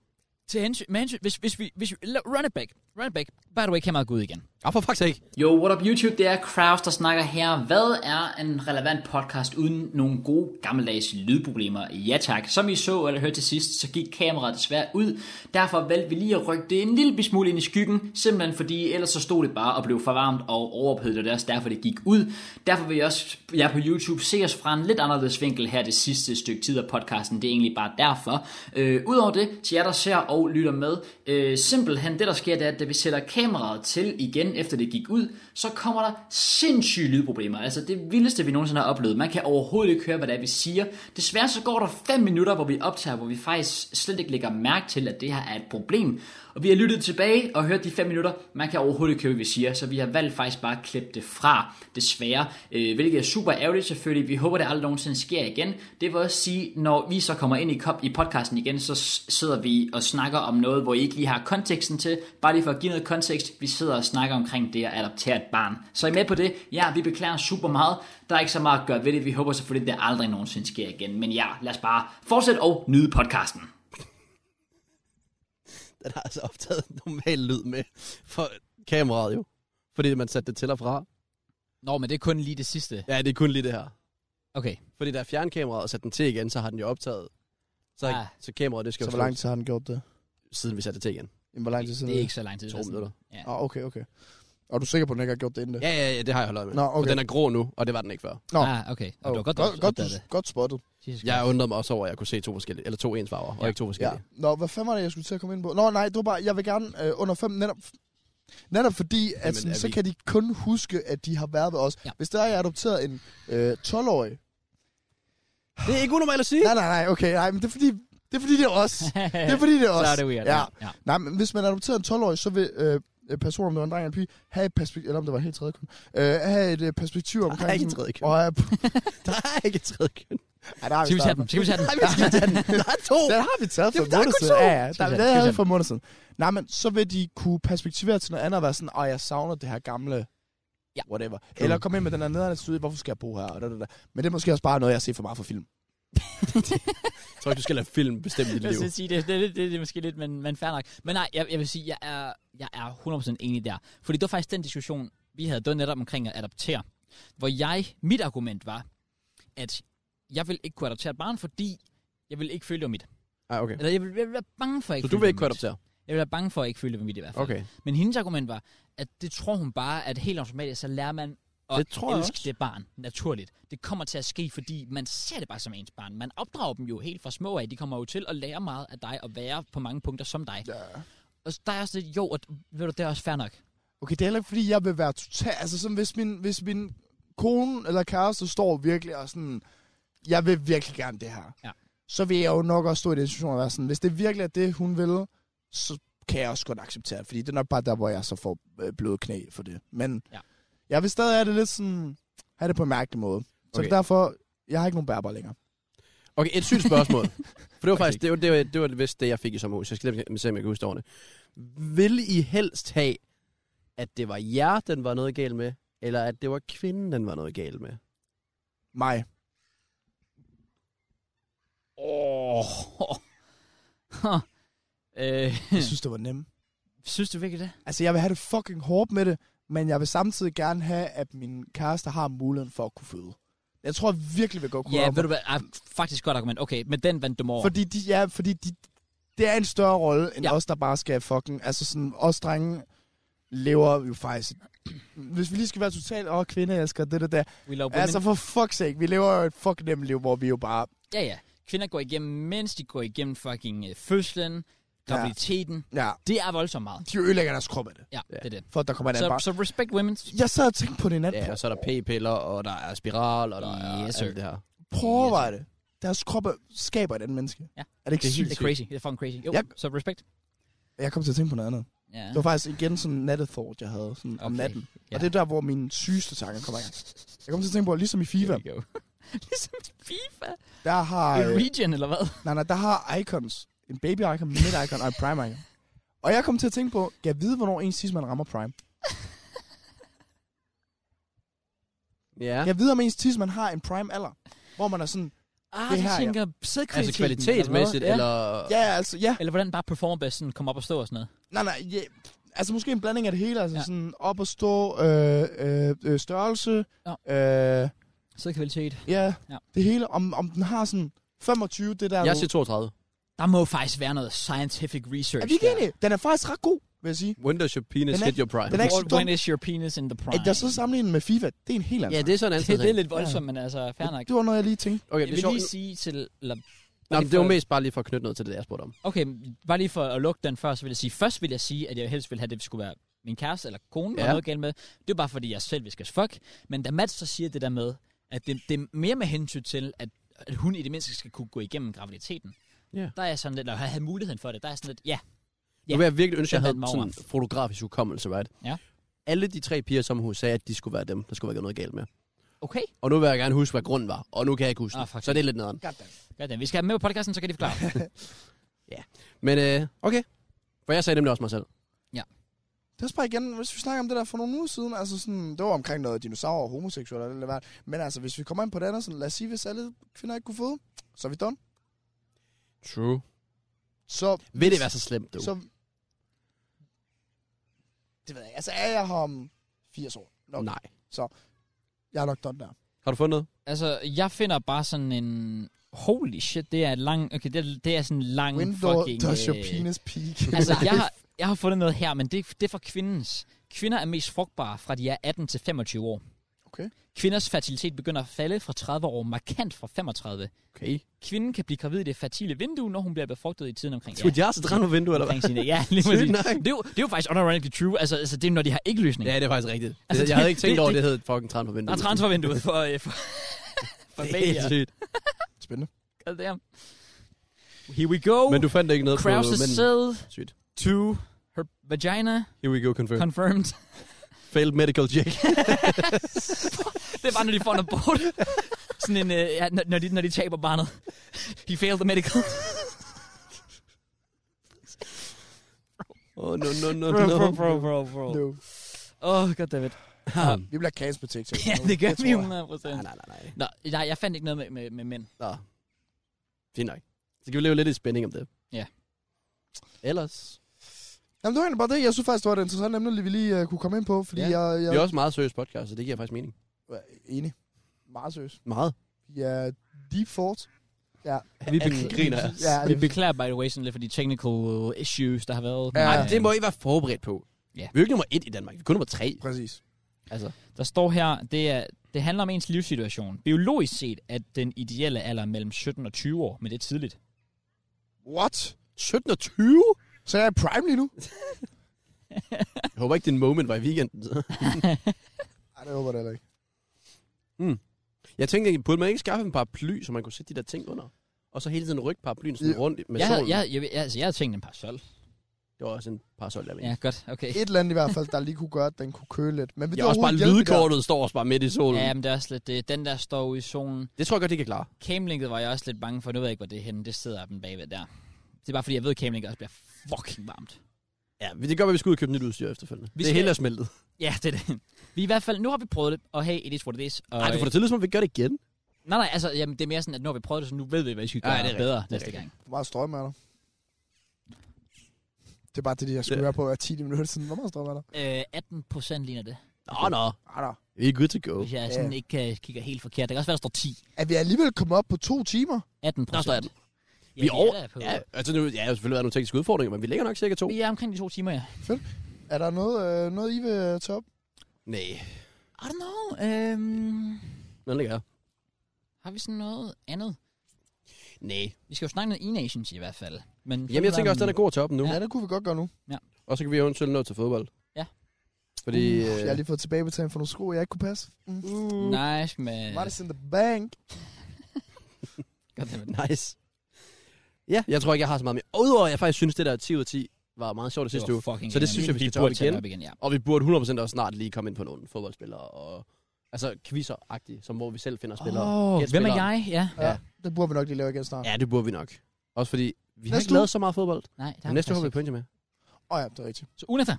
Speaker 1: Til hensyn, med hensyn, hvis, hvis vi, hvis vi, la- run it back, run it back. By the way, kan jeg gå ud igen.
Speaker 2: Ja, for faktisk ikke.
Speaker 1: Yo, what up YouTube? Det er Kraus, der snakker her. Hvad er en relevant podcast uden nogle gode gammeldags lydproblemer? Ja tak. Som I så eller hørte til sidst, så gik kameraet desværre ud. Derfor valgte vi lige at rykke det en lille bit smule ind i skyggen, simpelthen fordi ellers så stod det bare og blev for varmt og overophedet, og det er også derfor det gik ud. Derfor vil jeg også jer på YouTube se os fra en lidt anderledes vinkel her det sidste stykke tid af podcasten. Det er egentlig bare derfor. Øh, Udover det, til jer der ser og lytter med, øh, simpelthen det der sker, det er, at da vi sætter kameraet til igen, efter det gik ud, så kommer der sindssyge lydproblemer. Altså det vildeste, vi nogensinde har oplevet. Man kan overhovedet ikke høre, hvad det er, vi siger. Desværre så går der 5 minutter, hvor vi optager, hvor vi faktisk slet ikke lægger mærke til, at det her er et problem. Og vi har lyttet tilbage og hørt de 5 minutter. Man kan overhovedet ikke høre, hvad vi siger, så vi har valgt faktisk bare at klippe det fra, desværre. Øh, hvilket er super ærgerligt selvfølgelig. Vi håber, det aldrig nogensinde sker igen. Det vil også sige, når vi så kommer ind i, kop- i podcasten igen, så s- sidder vi og snakker om noget, hvor I ikke lige har konteksten til. Bare lige for at give noget kontekst, vi sidder og snakker omkring det at adoptere et barn. Så er I med på det? Ja, vi beklager super meget. Der er ikke så meget at gøre ved det. Vi håber selvfølgelig, det aldrig nogensinde sker igen. Men ja, lad os bare fortsætte og nyde podcasten.
Speaker 2: Den har altså optaget normal lyd med for kameraet jo. Fordi man satte det til og fra.
Speaker 1: Nå, men det er kun lige det sidste.
Speaker 2: Ja, det er kun lige det her.
Speaker 1: Okay.
Speaker 2: Fordi der er fjernkameraet og satte den til igen, så har den jo optaget. Så,
Speaker 1: Ah.
Speaker 2: ah. så kameraet, det skal
Speaker 3: Så
Speaker 2: jo
Speaker 3: hvor lang tid har han gjort det?
Speaker 2: siden vi satte det til igen.
Speaker 3: Jamen, hvor lang tid siden?
Speaker 1: så lang tid.
Speaker 2: To minutter.
Speaker 3: Ah, okay, okay. Og er du sikker på, at den ikke har gjort det inden det?
Speaker 2: Ja, ja, ja, det har jeg holdt øje med.
Speaker 3: Nå,
Speaker 2: For
Speaker 3: okay.
Speaker 2: den er grå nu, og det var den ikke før.
Speaker 3: Nå.
Speaker 5: Ah, okay. Oh, det var godt,
Speaker 3: godt,
Speaker 5: du
Speaker 3: godt,
Speaker 5: opdagede det.
Speaker 3: du- godt spottet.
Speaker 5: Jesus
Speaker 2: Jeg
Speaker 5: Christ.
Speaker 2: undrede mig også over, at jeg kunne se to forskellige, eller to ens farver, ja. og
Speaker 5: Ja.
Speaker 2: ikke to
Speaker 3: Ja.
Speaker 2: forskellige.
Speaker 3: Nå, hvad fanden var det, jeg skulle til at komme ind på? Nå, nej, det var bare, jeg vil gerne øh, under fem, netop, netop fordi, at
Speaker 2: Jamen,
Speaker 3: sådan,
Speaker 2: er
Speaker 3: så
Speaker 2: vi-
Speaker 3: kan de kun huske, at de har været ved os.
Speaker 5: Ja.
Speaker 3: Ja. Hvis der er, jeg har adopteret en øh, 12-årig.
Speaker 2: Ja. Det er ikke unormalt at sige.
Speaker 3: Nej, nej, nej, okay, nej, men det er fordi, det er fordi, det er
Speaker 5: <laughs>
Speaker 3: os. Det er fordi, det er os.
Speaker 5: Så er det weird.
Speaker 3: Ja.
Speaker 5: ja.
Speaker 3: Nej, men hvis man adopterer en 12-årig, så vil øh, personen, om det var en dreng eller en pige, have et perspektiv, eller om det var helt tredje kun, øh, have et øh, perspektiv omkring...
Speaker 2: ikke
Speaker 3: sådan-
Speaker 2: tredje køn.
Speaker 3: Og, øh,
Speaker 2: Der er ikke et tredje køn.
Speaker 3: ej, der har
Speaker 5: Skal vi tage
Speaker 3: startet.
Speaker 5: den? Skal vi tage den?
Speaker 2: Nej, vi skal tage den. Der er to.
Speaker 3: Den har vi taget for
Speaker 2: Jamen, der
Speaker 3: en
Speaker 2: er
Speaker 3: måned
Speaker 2: kun
Speaker 3: siden.
Speaker 2: to.
Speaker 3: Ja, ja,
Speaker 5: Skal
Speaker 3: der,
Speaker 5: vi
Speaker 3: den
Speaker 5: tage den?
Speaker 3: havde
Speaker 5: Skal
Speaker 3: vi
Speaker 5: vi
Speaker 3: for en måned siden. Nej, men så vil de kunne perspektivere til noget andet og være sådan, og jeg savner det her gamle
Speaker 5: Ja.
Speaker 3: whatever. Eller komme ind med den her nederlandske studie, hvorfor skal jeg bo her? Og da, da, da. Men det er måske også bare noget, jeg ser for meget for film.
Speaker 2: Jeg tror ikke, du skal lade film bestemme dit
Speaker 5: <laughs> Jeg
Speaker 2: liv.
Speaker 5: skal sige, det, det, det, det er måske lidt, men, men fair nok. Men nej, jeg, jeg vil sige, jeg er, jeg er 100% enig der. Fordi det var faktisk den diskussion, vi havde, det var netop omkring at adoptere. Hvor jeg, mit argument var, at jeg vil ikke kunne adoptere et barn, fordi jeg vil ikke føle det var mit.
Speaker 2: Ah, okay.
Speaker 5: Eller jeg vil, jeg vil være bange for, at jeg
Speaker 2: Så
Speaker 5: ikke
Speaker 2: du
Speaker 5: følte,
Speaker 2: vil
Speaker 5: det
Speaker 2: ikke
Speaker 5: var
Speaker 2: kunne
Speaker 5: mit.
Speaker 2: adoptere?
Speaker 5: Jeg vil være bange for, at jeg ikke følte det var mit i hvert fald.
Speaker 2: Okay.
Speaker 5: Men hendes argument var, at det tror hun bare, at helt automatisk, så lærer man at
Speaker 2: Det tror jeg
Speaker 5: elske
Speaker 2: også.
Speaker 5: det barn naturligt. Det kommer til at ske, fordi man ser det bare som ens barn. Man opdrager dem jo helt fra små af. De kommer jo til at lære meget af dig og være på mange punkter som dig.
Speaker 3: Ja.
Speaker 5: Og der er også lidt, jo, og ved du, det er også fair nok.
Speaker 3: Okay, det er heller ikke, fordi jeg vil være total... Altså, sådan, hvis, min, hvis min kone eller kæreste står virkelig og sådan... Jeg vil virkelig gerne det her.
Speaker 5: Ja.
Speaker 3: Så vil jeg jo nok også stå i den situation og være sådan, hvis det virkelig er det, hun vil, så kan jeg også godt acceptere det, fordi det er nok bare der, hvor jeg så får øh, bløde knæ for det. Men
Speaker 5: Ja.
Speaker 3: jeg vil stadig have det lidt sådan... Have det på en mærkelig måde. Så
Speaker 2: Okay.
Speaker 3: okay. derfor... Jeg har ikke nogen bærbar længere.
Speaker 2: Okay, et sygt <laughs> spørgsmål. For det var faktisk, det var, det var, det var vist det, jeg fik i sommerhus. Jeg skal nemlig se, om jeg kan huske det ordentligt. Vil I helst have, at det var jer, den var noget galt med, eller at det var kvinden, den var noget galt med?
Speaker 3: Mig.
Speaker 5: Åh. Oh. <laughs> øh, <laughs>
Speaker 3: Jeg synes, det var nemt.
Speaker 5: synes du virkelig det?
Speaker 3: Altså, jeg vil have det fucking hårdt med det, men jeg vil samtidig gerne have, at min kæreste har muligheden for at kunne føde. Jeg tror jeg virkelig, vil godt kunne
Speaker 5: Ja,
Speaker 3: op-
Speaker 5: ved du hvad, ah, faktisk godt argument. Okay, men den vandt dem over.
Speaker 3: Fordi, de, ja, fordi de, det er en større rolle, end
Speaker 5: Ja.
Speaker 3: ja. os, der bare skal fucking... Altså, sådan, os drenge lever jo faktisk... <clears throat> Hvis vi lige skal være totalt, åh, kvinde elsker det, det der.
Speaker 5: We love women.
Speaker 3: Altså, for fuck's sake, vi lever jo et fucking nemt liv, hvor vi jo bare...
Speaker 5: Ja, ja. Kvinder går igennem, mens de går igennem fucking øh, fødslen, graviditeten. Ja.
Speaker 3: Ja,
Speaker 5: Det er voldsomt meget.
Speaker 3: de ødelægger deres krop af det,
Speaker 5: Ja,
Speaker 2: Ja.
Speaker 5: ja. det er det.
Speaker 3: for at der kommer en
Speaker 5: Så,
Speaker 3: anden barn.
Speaker 5: så respect women.
Speaker 3: Jeg sad og tænkte på det i nat.
Speaker 2: Ja,
Speaker 3: Ja,
Speaker 2: og så er der p-piller, og der er spiral, og der er
Speaker 5: Yes,
Speaker 2: yes,
Speaker 5: sir.
Speaker 2: alt det her.
Speaker 3: Prøv at overveje det. Deres kroppe skaber et andet menneske.
Speaker 5: Ja.
Speaker 3: Er det ikke
Speaker 2: Det er helt
Speaker 5: Det er
Speaker 3: sygt?
Speaker 5: crazy. Det er fucking crazy. Jo,
Speaker 3: Ja.
Speaker 5: så respect.
Speaker 3: Jeg kom til at tænke på noget andet.
Speaker 5: Ja.
Speaker 3: Det var faktisk igen sådan en nattethought, jeg havde sådan okay. om
Speaker 5: Okay,
Speaker 3: natten.
Speaker 5: ja.
Speaker 3: Ja. Og det er der, hvor mine sygeste tanker kommer i gang. Jeg kom til at tænke på, at ligesom i FIFA,
Speaker 5: Here we go. <laughs> ligesom i FIFA.
Speaker 3: der har,
Speaker 5: Ej.
Speaker 3: øh,
Speaker 5: Region, eller hvad?
Speaker 3: nej, nej, der har icons. En baby-icon, en mid-icon og en prime-icon. Og jeg kom til at tænke på, kan jeg vide, hvornår en sidst man rammer prime?
Speaker 2: Ja.
Speaker 3: Kan
Speaker 2: Altså,
Speaker 3: jeg vide, om ens sidst man har en prime-alder? Hvor man er sådan,
Speaker 5: Ah,
Speaker 3: Det
Speaker 5: det
Speaker 3: her, ja.
Speaker 5: tænker sædkvaliteten.
Speaker 2: Altså kvalitetsmæssigt,
Speaker 5: eller... hvad?
Speaker 2: eller...
Speaker 3: ja, altså, ja.
Speaker 5: Ja. Eller hvordan bare performer bedst, sådan kommer op og stå og sådan noget.
Speaker 3: Nej, nej, ja. Altså måske en blanding af det hele. Altså
Speaker 5: Ja.
Speaker 3: ja. sådan op og stå, øh, øh, øh, størrelse, ja. øh,
Speaker 5: Sædkvalitet.
Speaker 3: ja,
Speaker 5: Ja.
Speaker 3: ja, det hele. Om, om den har sådan 25, det der...
Speaker 2: Jeg
Speaker 3: du-
Speaker 2: siger 32.
Speaker 5: Der må faktisk være noget scientific research
Speaker 3: er vi ikke
Speaker 5: der.
Speaker 3: enige? Den er faktisk ret god, vil jeg sige.
Speaker 2: When does your penis
Speaker 3: Den er-
Speaker 2: hit your prime?
Speaker 3: den er ikke så
Speaker 5: What-
Speaker 3: dum.
Speaker 5: When is your penis in the prime?
Speaker 3: At jeg så sammenligner den med FIFA, det er en helt anden
Speaker 2: Ja, det er sådan en anden
Speaker 5: det, det er
Speaker 2: ting.
Speaker 5: lidt voldsomt, men altså, fair nok.
Speaker 3: Det var noget, jeg lige tænkte.
Speaker 2: Okay,
Speaker 5: Jeg
Speaker 2: det er
Speaker 5: vil
Speaker 2: sjovt.
Speaker 5: lige sige til... Eller,
Speaker 2: Nå, men det var mest bare lige for at knytte noget til det, jeg spurgte om.
Speaker 5: Okay, bare lige for at lukke den før, så vil jeg sige, først vil jeg sige, at jeg helst ville have, at det skulle være min kæreste eller kone, ja.
Speaker 2: Ja.
Speaker 5: var noget galt med. Det er bare fordi, jeg selv skal fuck. Men da Mads så siger det der med, at det, det er mere med hensyn til, at, at hun i det mindste skal kunne gå igennem graviditeten.
Speaker 2: Ja.
Speaker 5: Der er jeg sådan lidt, eller have muligheden for det, der er jeg sådan lidt, ja, Ja.
Speaker 2: Nu vil jeg virkelig ønske, at jeg
Speaker 5: Den vandt
Speaker 2: havde
Speaker 5: mig
Speaker 2: sådan
Speaker 5: over.
Speaker 2: en fotografisk hukommelse, right?
Speaker 5: Ja.
Speaker 2: Alle de tre piger i sommerhus sagde, at de skulle være dem, der skulle være noget galt med.
Speaker 5: okay.
Speaker 2: Og nu vil jeg gerne huske, hvad grunden var. Og nu kan jeg ikke huske
Speaker 5: Ah,
Speaker 2: ah,
Speaker 5: fuck.
Speaker 2: Så det er lidt nederen.
Speaker 3: Goddamn.
Speaker 5: Goddamn. Vi skal have dem med på podcasten, så kan de forklare.
Speaker 3: <laughs>
Speaker 2: Men øh, okay. For jeg sagde nemlig også mig selv.
Speaker 3: Det er også bare igen, hvis vi snakker om det der for nogle uger siden, altså sådan, det var omkring noget dinosaurer og homoseksuelle eller hvad. Men altså, hvis vi kommer ind på det andet, sådan, lad os sige, hvis alle kvinder ikke kunne føde, så er vi done.
Speaker 2: True.
Speaker 3: Så,
Speaker 2: Vil det være så slemt, du?
Speaker 3: så, det ved jeg ikke. Altså, er jeg her om 80 år? Nok.
Speaker 2: Nej.
Speaker 3: Jeg er nok done der.
Speaker 5: Mm,
Speaker 2: Har du fundet noget?
Speaker 5: altså, jeg finder bare sådan en... holy shit, det er en lang... Okay, det er, det er sådan en lang
Speaker 3: Window
Speaker 5: fucking...
Speaker 3: does your
Speaker 5: øh,
Speaker 3: penis peak.
Speaker 2: <laughs>
Speaker 5: Altså, jeg
Speaker 3: <laughs>
Speaker 5: har, jeg har fundet noget her, men det, det er for kvindens. Kvinder er mest frugtbare fra de er 18 til 25 år.
Speaker 3: Okay.
Speaker 5: Kvinders fertilitet begynder at falde fra 30 år, markant fra 35.
Speaker 2: Okay.
Speaker 5: Kvinden kan blive gravid i det fertile vindue, når hun bliver befrugtet i tiden omkring...
Speaker 2: Skulle de også dræne på vinduet, eller hvad?
Speaker 5: omkring sine,
Speaker 2: <laughs>
Speaker 5: ja, lige
Speaker 2: Sygt
Speaker 5: præcis.
Speaker 2: nok.
Speaker 5: Det er, jo, det er jo faktisk unironically true. Altså, altså, det er når de har ikke løsning.
Speaker 2: Ja, det er faktisk rigtigt.
Speaker 5: Altså,
Speaker 2: Altså, jeg havde ikke
Speaker 5: det-
Speaker 2: tænkt
Speaker 5: det-
Speaker 2: over, at det hed fucking træn på
Speaker 5: Der er
Speaker 2: vinduet.
Speaker 5: transfervinduet for,
Speaker 2: <laughs>
Speaker 5: øh, for, for
Speaker 2: Det er
Speaker 5: Gladia.
Speaker 2: helt sygt.
Speaker 3: Spændende.
Speaker 5: God damn. Here we go.
Speaker 2: Men du fandt ikke noget på
Speaker 5: Krause
Speaker 2: mænden.
Speaker 5: said
Speaker 2: Sygt.
Speaker 5: to her vagina
Speaker 2: Here we go, confirmed.
Speaker 5: confirmed.
Speaker 2: Failed medical check.
Speaker 5: Det er bare, når de får en
Speaker 2: <laughs>
Speaker 5: abort. Sådan en, øh, ja, når, når, de, når de taber barnet. He failed the
Speaker 2: <laughs>
Speaker 5: medical.
Speaker 2: Oh, no,
Speaker 5: <laughs>
Speaker 2: no, no, no.
Speaker 5: bro, bro, bro.
Speaker 3: No.
Speaker 5: Åh, oh, goddammit.
Speaker 3: Vi bliver cancelled på TikTok.
Speaker 5: <laughs> Ja,
Speaker 3: nu.
Speaker 5: det gør
Speaker 3: tror
Speaker 5: vi
Speaker 3: jeg.
Speaker 5: 100
Speaker 2: Ah, Nej,
Speaker 5: procent.
Speaker 2: nej, nej.
Speaker 5: Nå, nej, jeg fandt ikke noget med, med, med mænd.
Speaker 2: Nå. Fint nok. Så kan vi leve lidt i spænding om det.
Speaker 5: Ja.
Speaker 2: Ellers.
Speaker 3: Jamen, det var egentlig bare det. Jeg synes faktisk, det var et interessant emne, vi lige uh, kunne komme ind på, fordi
Speaker 2: Ja.
Speaker 3: ja. jeg, jeg
Speaker 2: Vi er også meget seriøs podcast, så det giver faktisk mening.
Speaker 3: er enig. Meget seriøst.
Speaker 2: Meget.
Speaker 3: Ja, deep thought.
Speaker 2: Vi griner.
Speaker 3: Ja,
Speaker 5: Altså, Vi beklager, by the way, sådan lidt for de technical øh, issues, der har været.
Speaker 3: Ja.
Speaker 2: Nej, Altså, det må I være forberedt på.
Speaker 5: Ja.
Speaker 2: Vi er jo ikke nummer et i Danmark. Vi er kun nummer tre.
Speaker 3: præcis.
Speaker 2: Altså,
Speaker 5: øh, Der står her, det, er, det handler om ens livssituation. Biologisk set er den ideelle alder mellem 17 og 20 år, men det er tidligt.
Speaker 3: What?
Speaker 2: 17 og 20?
Speaker 3: Så er jeg i prime lige nu?
Speaker 2: Jeg håber ikke, din moment var i weekenden. så.
Speaker 3: Nej, det håber jeg da heller ikke.
Speaker 2: jeg tænkte, egentlig, burde man ikke skaffe en paraply, så man kunne sætte de der ting under? Og så hele tiden rykke paraplyen sådan
Speaker 3: Ja.
Speaker 2: rundt med
Speaker 5: Jeg havde,
Speaker 2: solen.
Speaker 5: jeg, jeg, jeg, altså, jeg havde tænkt en parasol.
Speaker 2: Det var også en parasol, der
Speaker 5: Ja,
Speaker 2: ja.
Speaker 5: godt, okay.
Speaker 3: Et eller andet i hvert fald, der lige kunne gøre, at den kunne køle lidt. Men vil
Speaker 2: Jeg
Speaker 3: det
Speaker 2: også bare
Speaker 3: overhovedet hjælpe
Speaker 2: lydkortet står også bare midt i solen.
Speaker 5: Ja, men det er også lidt det. Den der står ude i solen.
Speaker 2: Det tror jeg godt, det kan klare.
Speaker 5: Camlinket var jeg også lidt bange for. Nu ved jeg ikke, hvor det er henne. Det sidder den bagved der. Det er bare fordi, jeg ved, at camlinket også bliver fucking varmt.
Speaker 2: Ja, men det gør, at vi skal ud og købe nyt udstyr efterfølgende. Vi det
Speaker 5: skal-
Speaker 2: hele er smeltet.
Speaker 5: Ja, det er det. Vi er i hvert fald, nu har vi prøvet det, og hey, it is what it is. Og,
Speaker 2: Nej, du får det til, som om vi gør det igen.
Speaker 5: nej, nej, altså, jamen, det er mere sådan, at nu har vi prøvet det, så nu ved vi, hvad vi skal
Speaker 2: Ja,
Speaker 5: gøre
Speaker 2: det er rigtigt.
Speaker 5: bedre
Speaker 2: Det er
Speaker 5: næste
Speaker 2: rigtigt.
Speaker 5: gang.
Speaker 3: der? Hvor meget strøm er der? Det er bare det, jeg skulle
Speaker 2: Ja.
Speaker 3: høre på hver 10 minutter siden. Hvor meget strøm er der?
Speaker 5: Øh, 18 procent ligner det,
Speaker 2: Nå, nå.
Speaker 3: Ah, da.
Speaker 2: Vi er good to go.
Speaker 5: hvis jeg sådan
Speaker 3: Ja.
Speaker 5: ikke øh, kigger helt forkert. Det kan også være, der står 10.
Speaker 3: Er vi alligevel kommet op på to timer?
Speaker 5: 18
Speaker 2: Der står
Speaker 5: procent.
Speaker 2: 18. Vi er over.
Speaker 5: Ja, på.
Speaker 2: Ja, altså nu, ja, der har selvfølgelig været nogle tekniske udfordringer, men vi ligger nok cirka to.
Speaker 5: Vi er omkring de to timer, ja.
Speaker 3: Er der noget, øh, noget I vil øh, tage op?
Speaker 2: Nej,
Speaker 5: I don't know. Øhm,
Speaker 2: den ligger jeg.
Speaker 5: har vi sådan noget andet?
Speaker 2: Nej.
Speaker 5: Vi skal jo snakke noget e-nations i hvert fald. Men
Speaker 2: Jamen, jeg tænker også, den er god at tage op nu.
Speaker 3: Ja,
Speaker 2: Ja.
Speaker 3: det kunne vi godt gøre nu.
Speaker 2: Og så kan vi jo eventuelt nå til fodbold.
Speaker 5: Ja.
Speaker 2: Fordi...
Speaker 3: Øh.
Speaker 2: øh,
Speaker 3: Jeg har lige fået tilbagebetaling for nogle sko, jeg ikke kunne passe. Mm.
Speaker 2: uh,
Speaker 5: Nice, men...
Speaker 3: Money's in the bank.
Speaker 5: Goddammit.
Speaker 2: Nice. Ja, jeg tror ikke, jeg har så meget mere. Og Udover, at jeg faktisk synes, det der 10 ud af 10 var meget sjovt det sidste uge.
Speaker 5: fucking
Speaker 2: Så det
Speaker 5: genialt.
Speaker 2: synes jeg, vi skal tage
Speaker 5: burde
Speaker 2: op igen.
Speaker 5: op igen ja.
Speaker 2: Og vi burde 100% også snart lige komme ind på nogle fodboldspillere og... Altså quizzer-agtigt, som hvor vi selv finder spillere.
Speaker 3: Ah.
Speaker 5: Åh,
Speaker 2: Gæt
Speaker 5: hvem er
Speaker 2: spilleren.
Speaker 5: jeg? Ja.
Speaker 3: Ja. ja. Det burde vi nok lige lave igen snart.
Speaker 2: Ja, det burde vi nok. Også fordi, vi har
Speaker 3: Næste
Speaker 2: ikke lavet så meget fodbold.
Speaker 5: Nej, der
Speaker 2: Men næste uge har vi Pønge med.
Speaker 3: Åh oh, ja, det er rigtigt.
Speaker 5: Så ugen efter,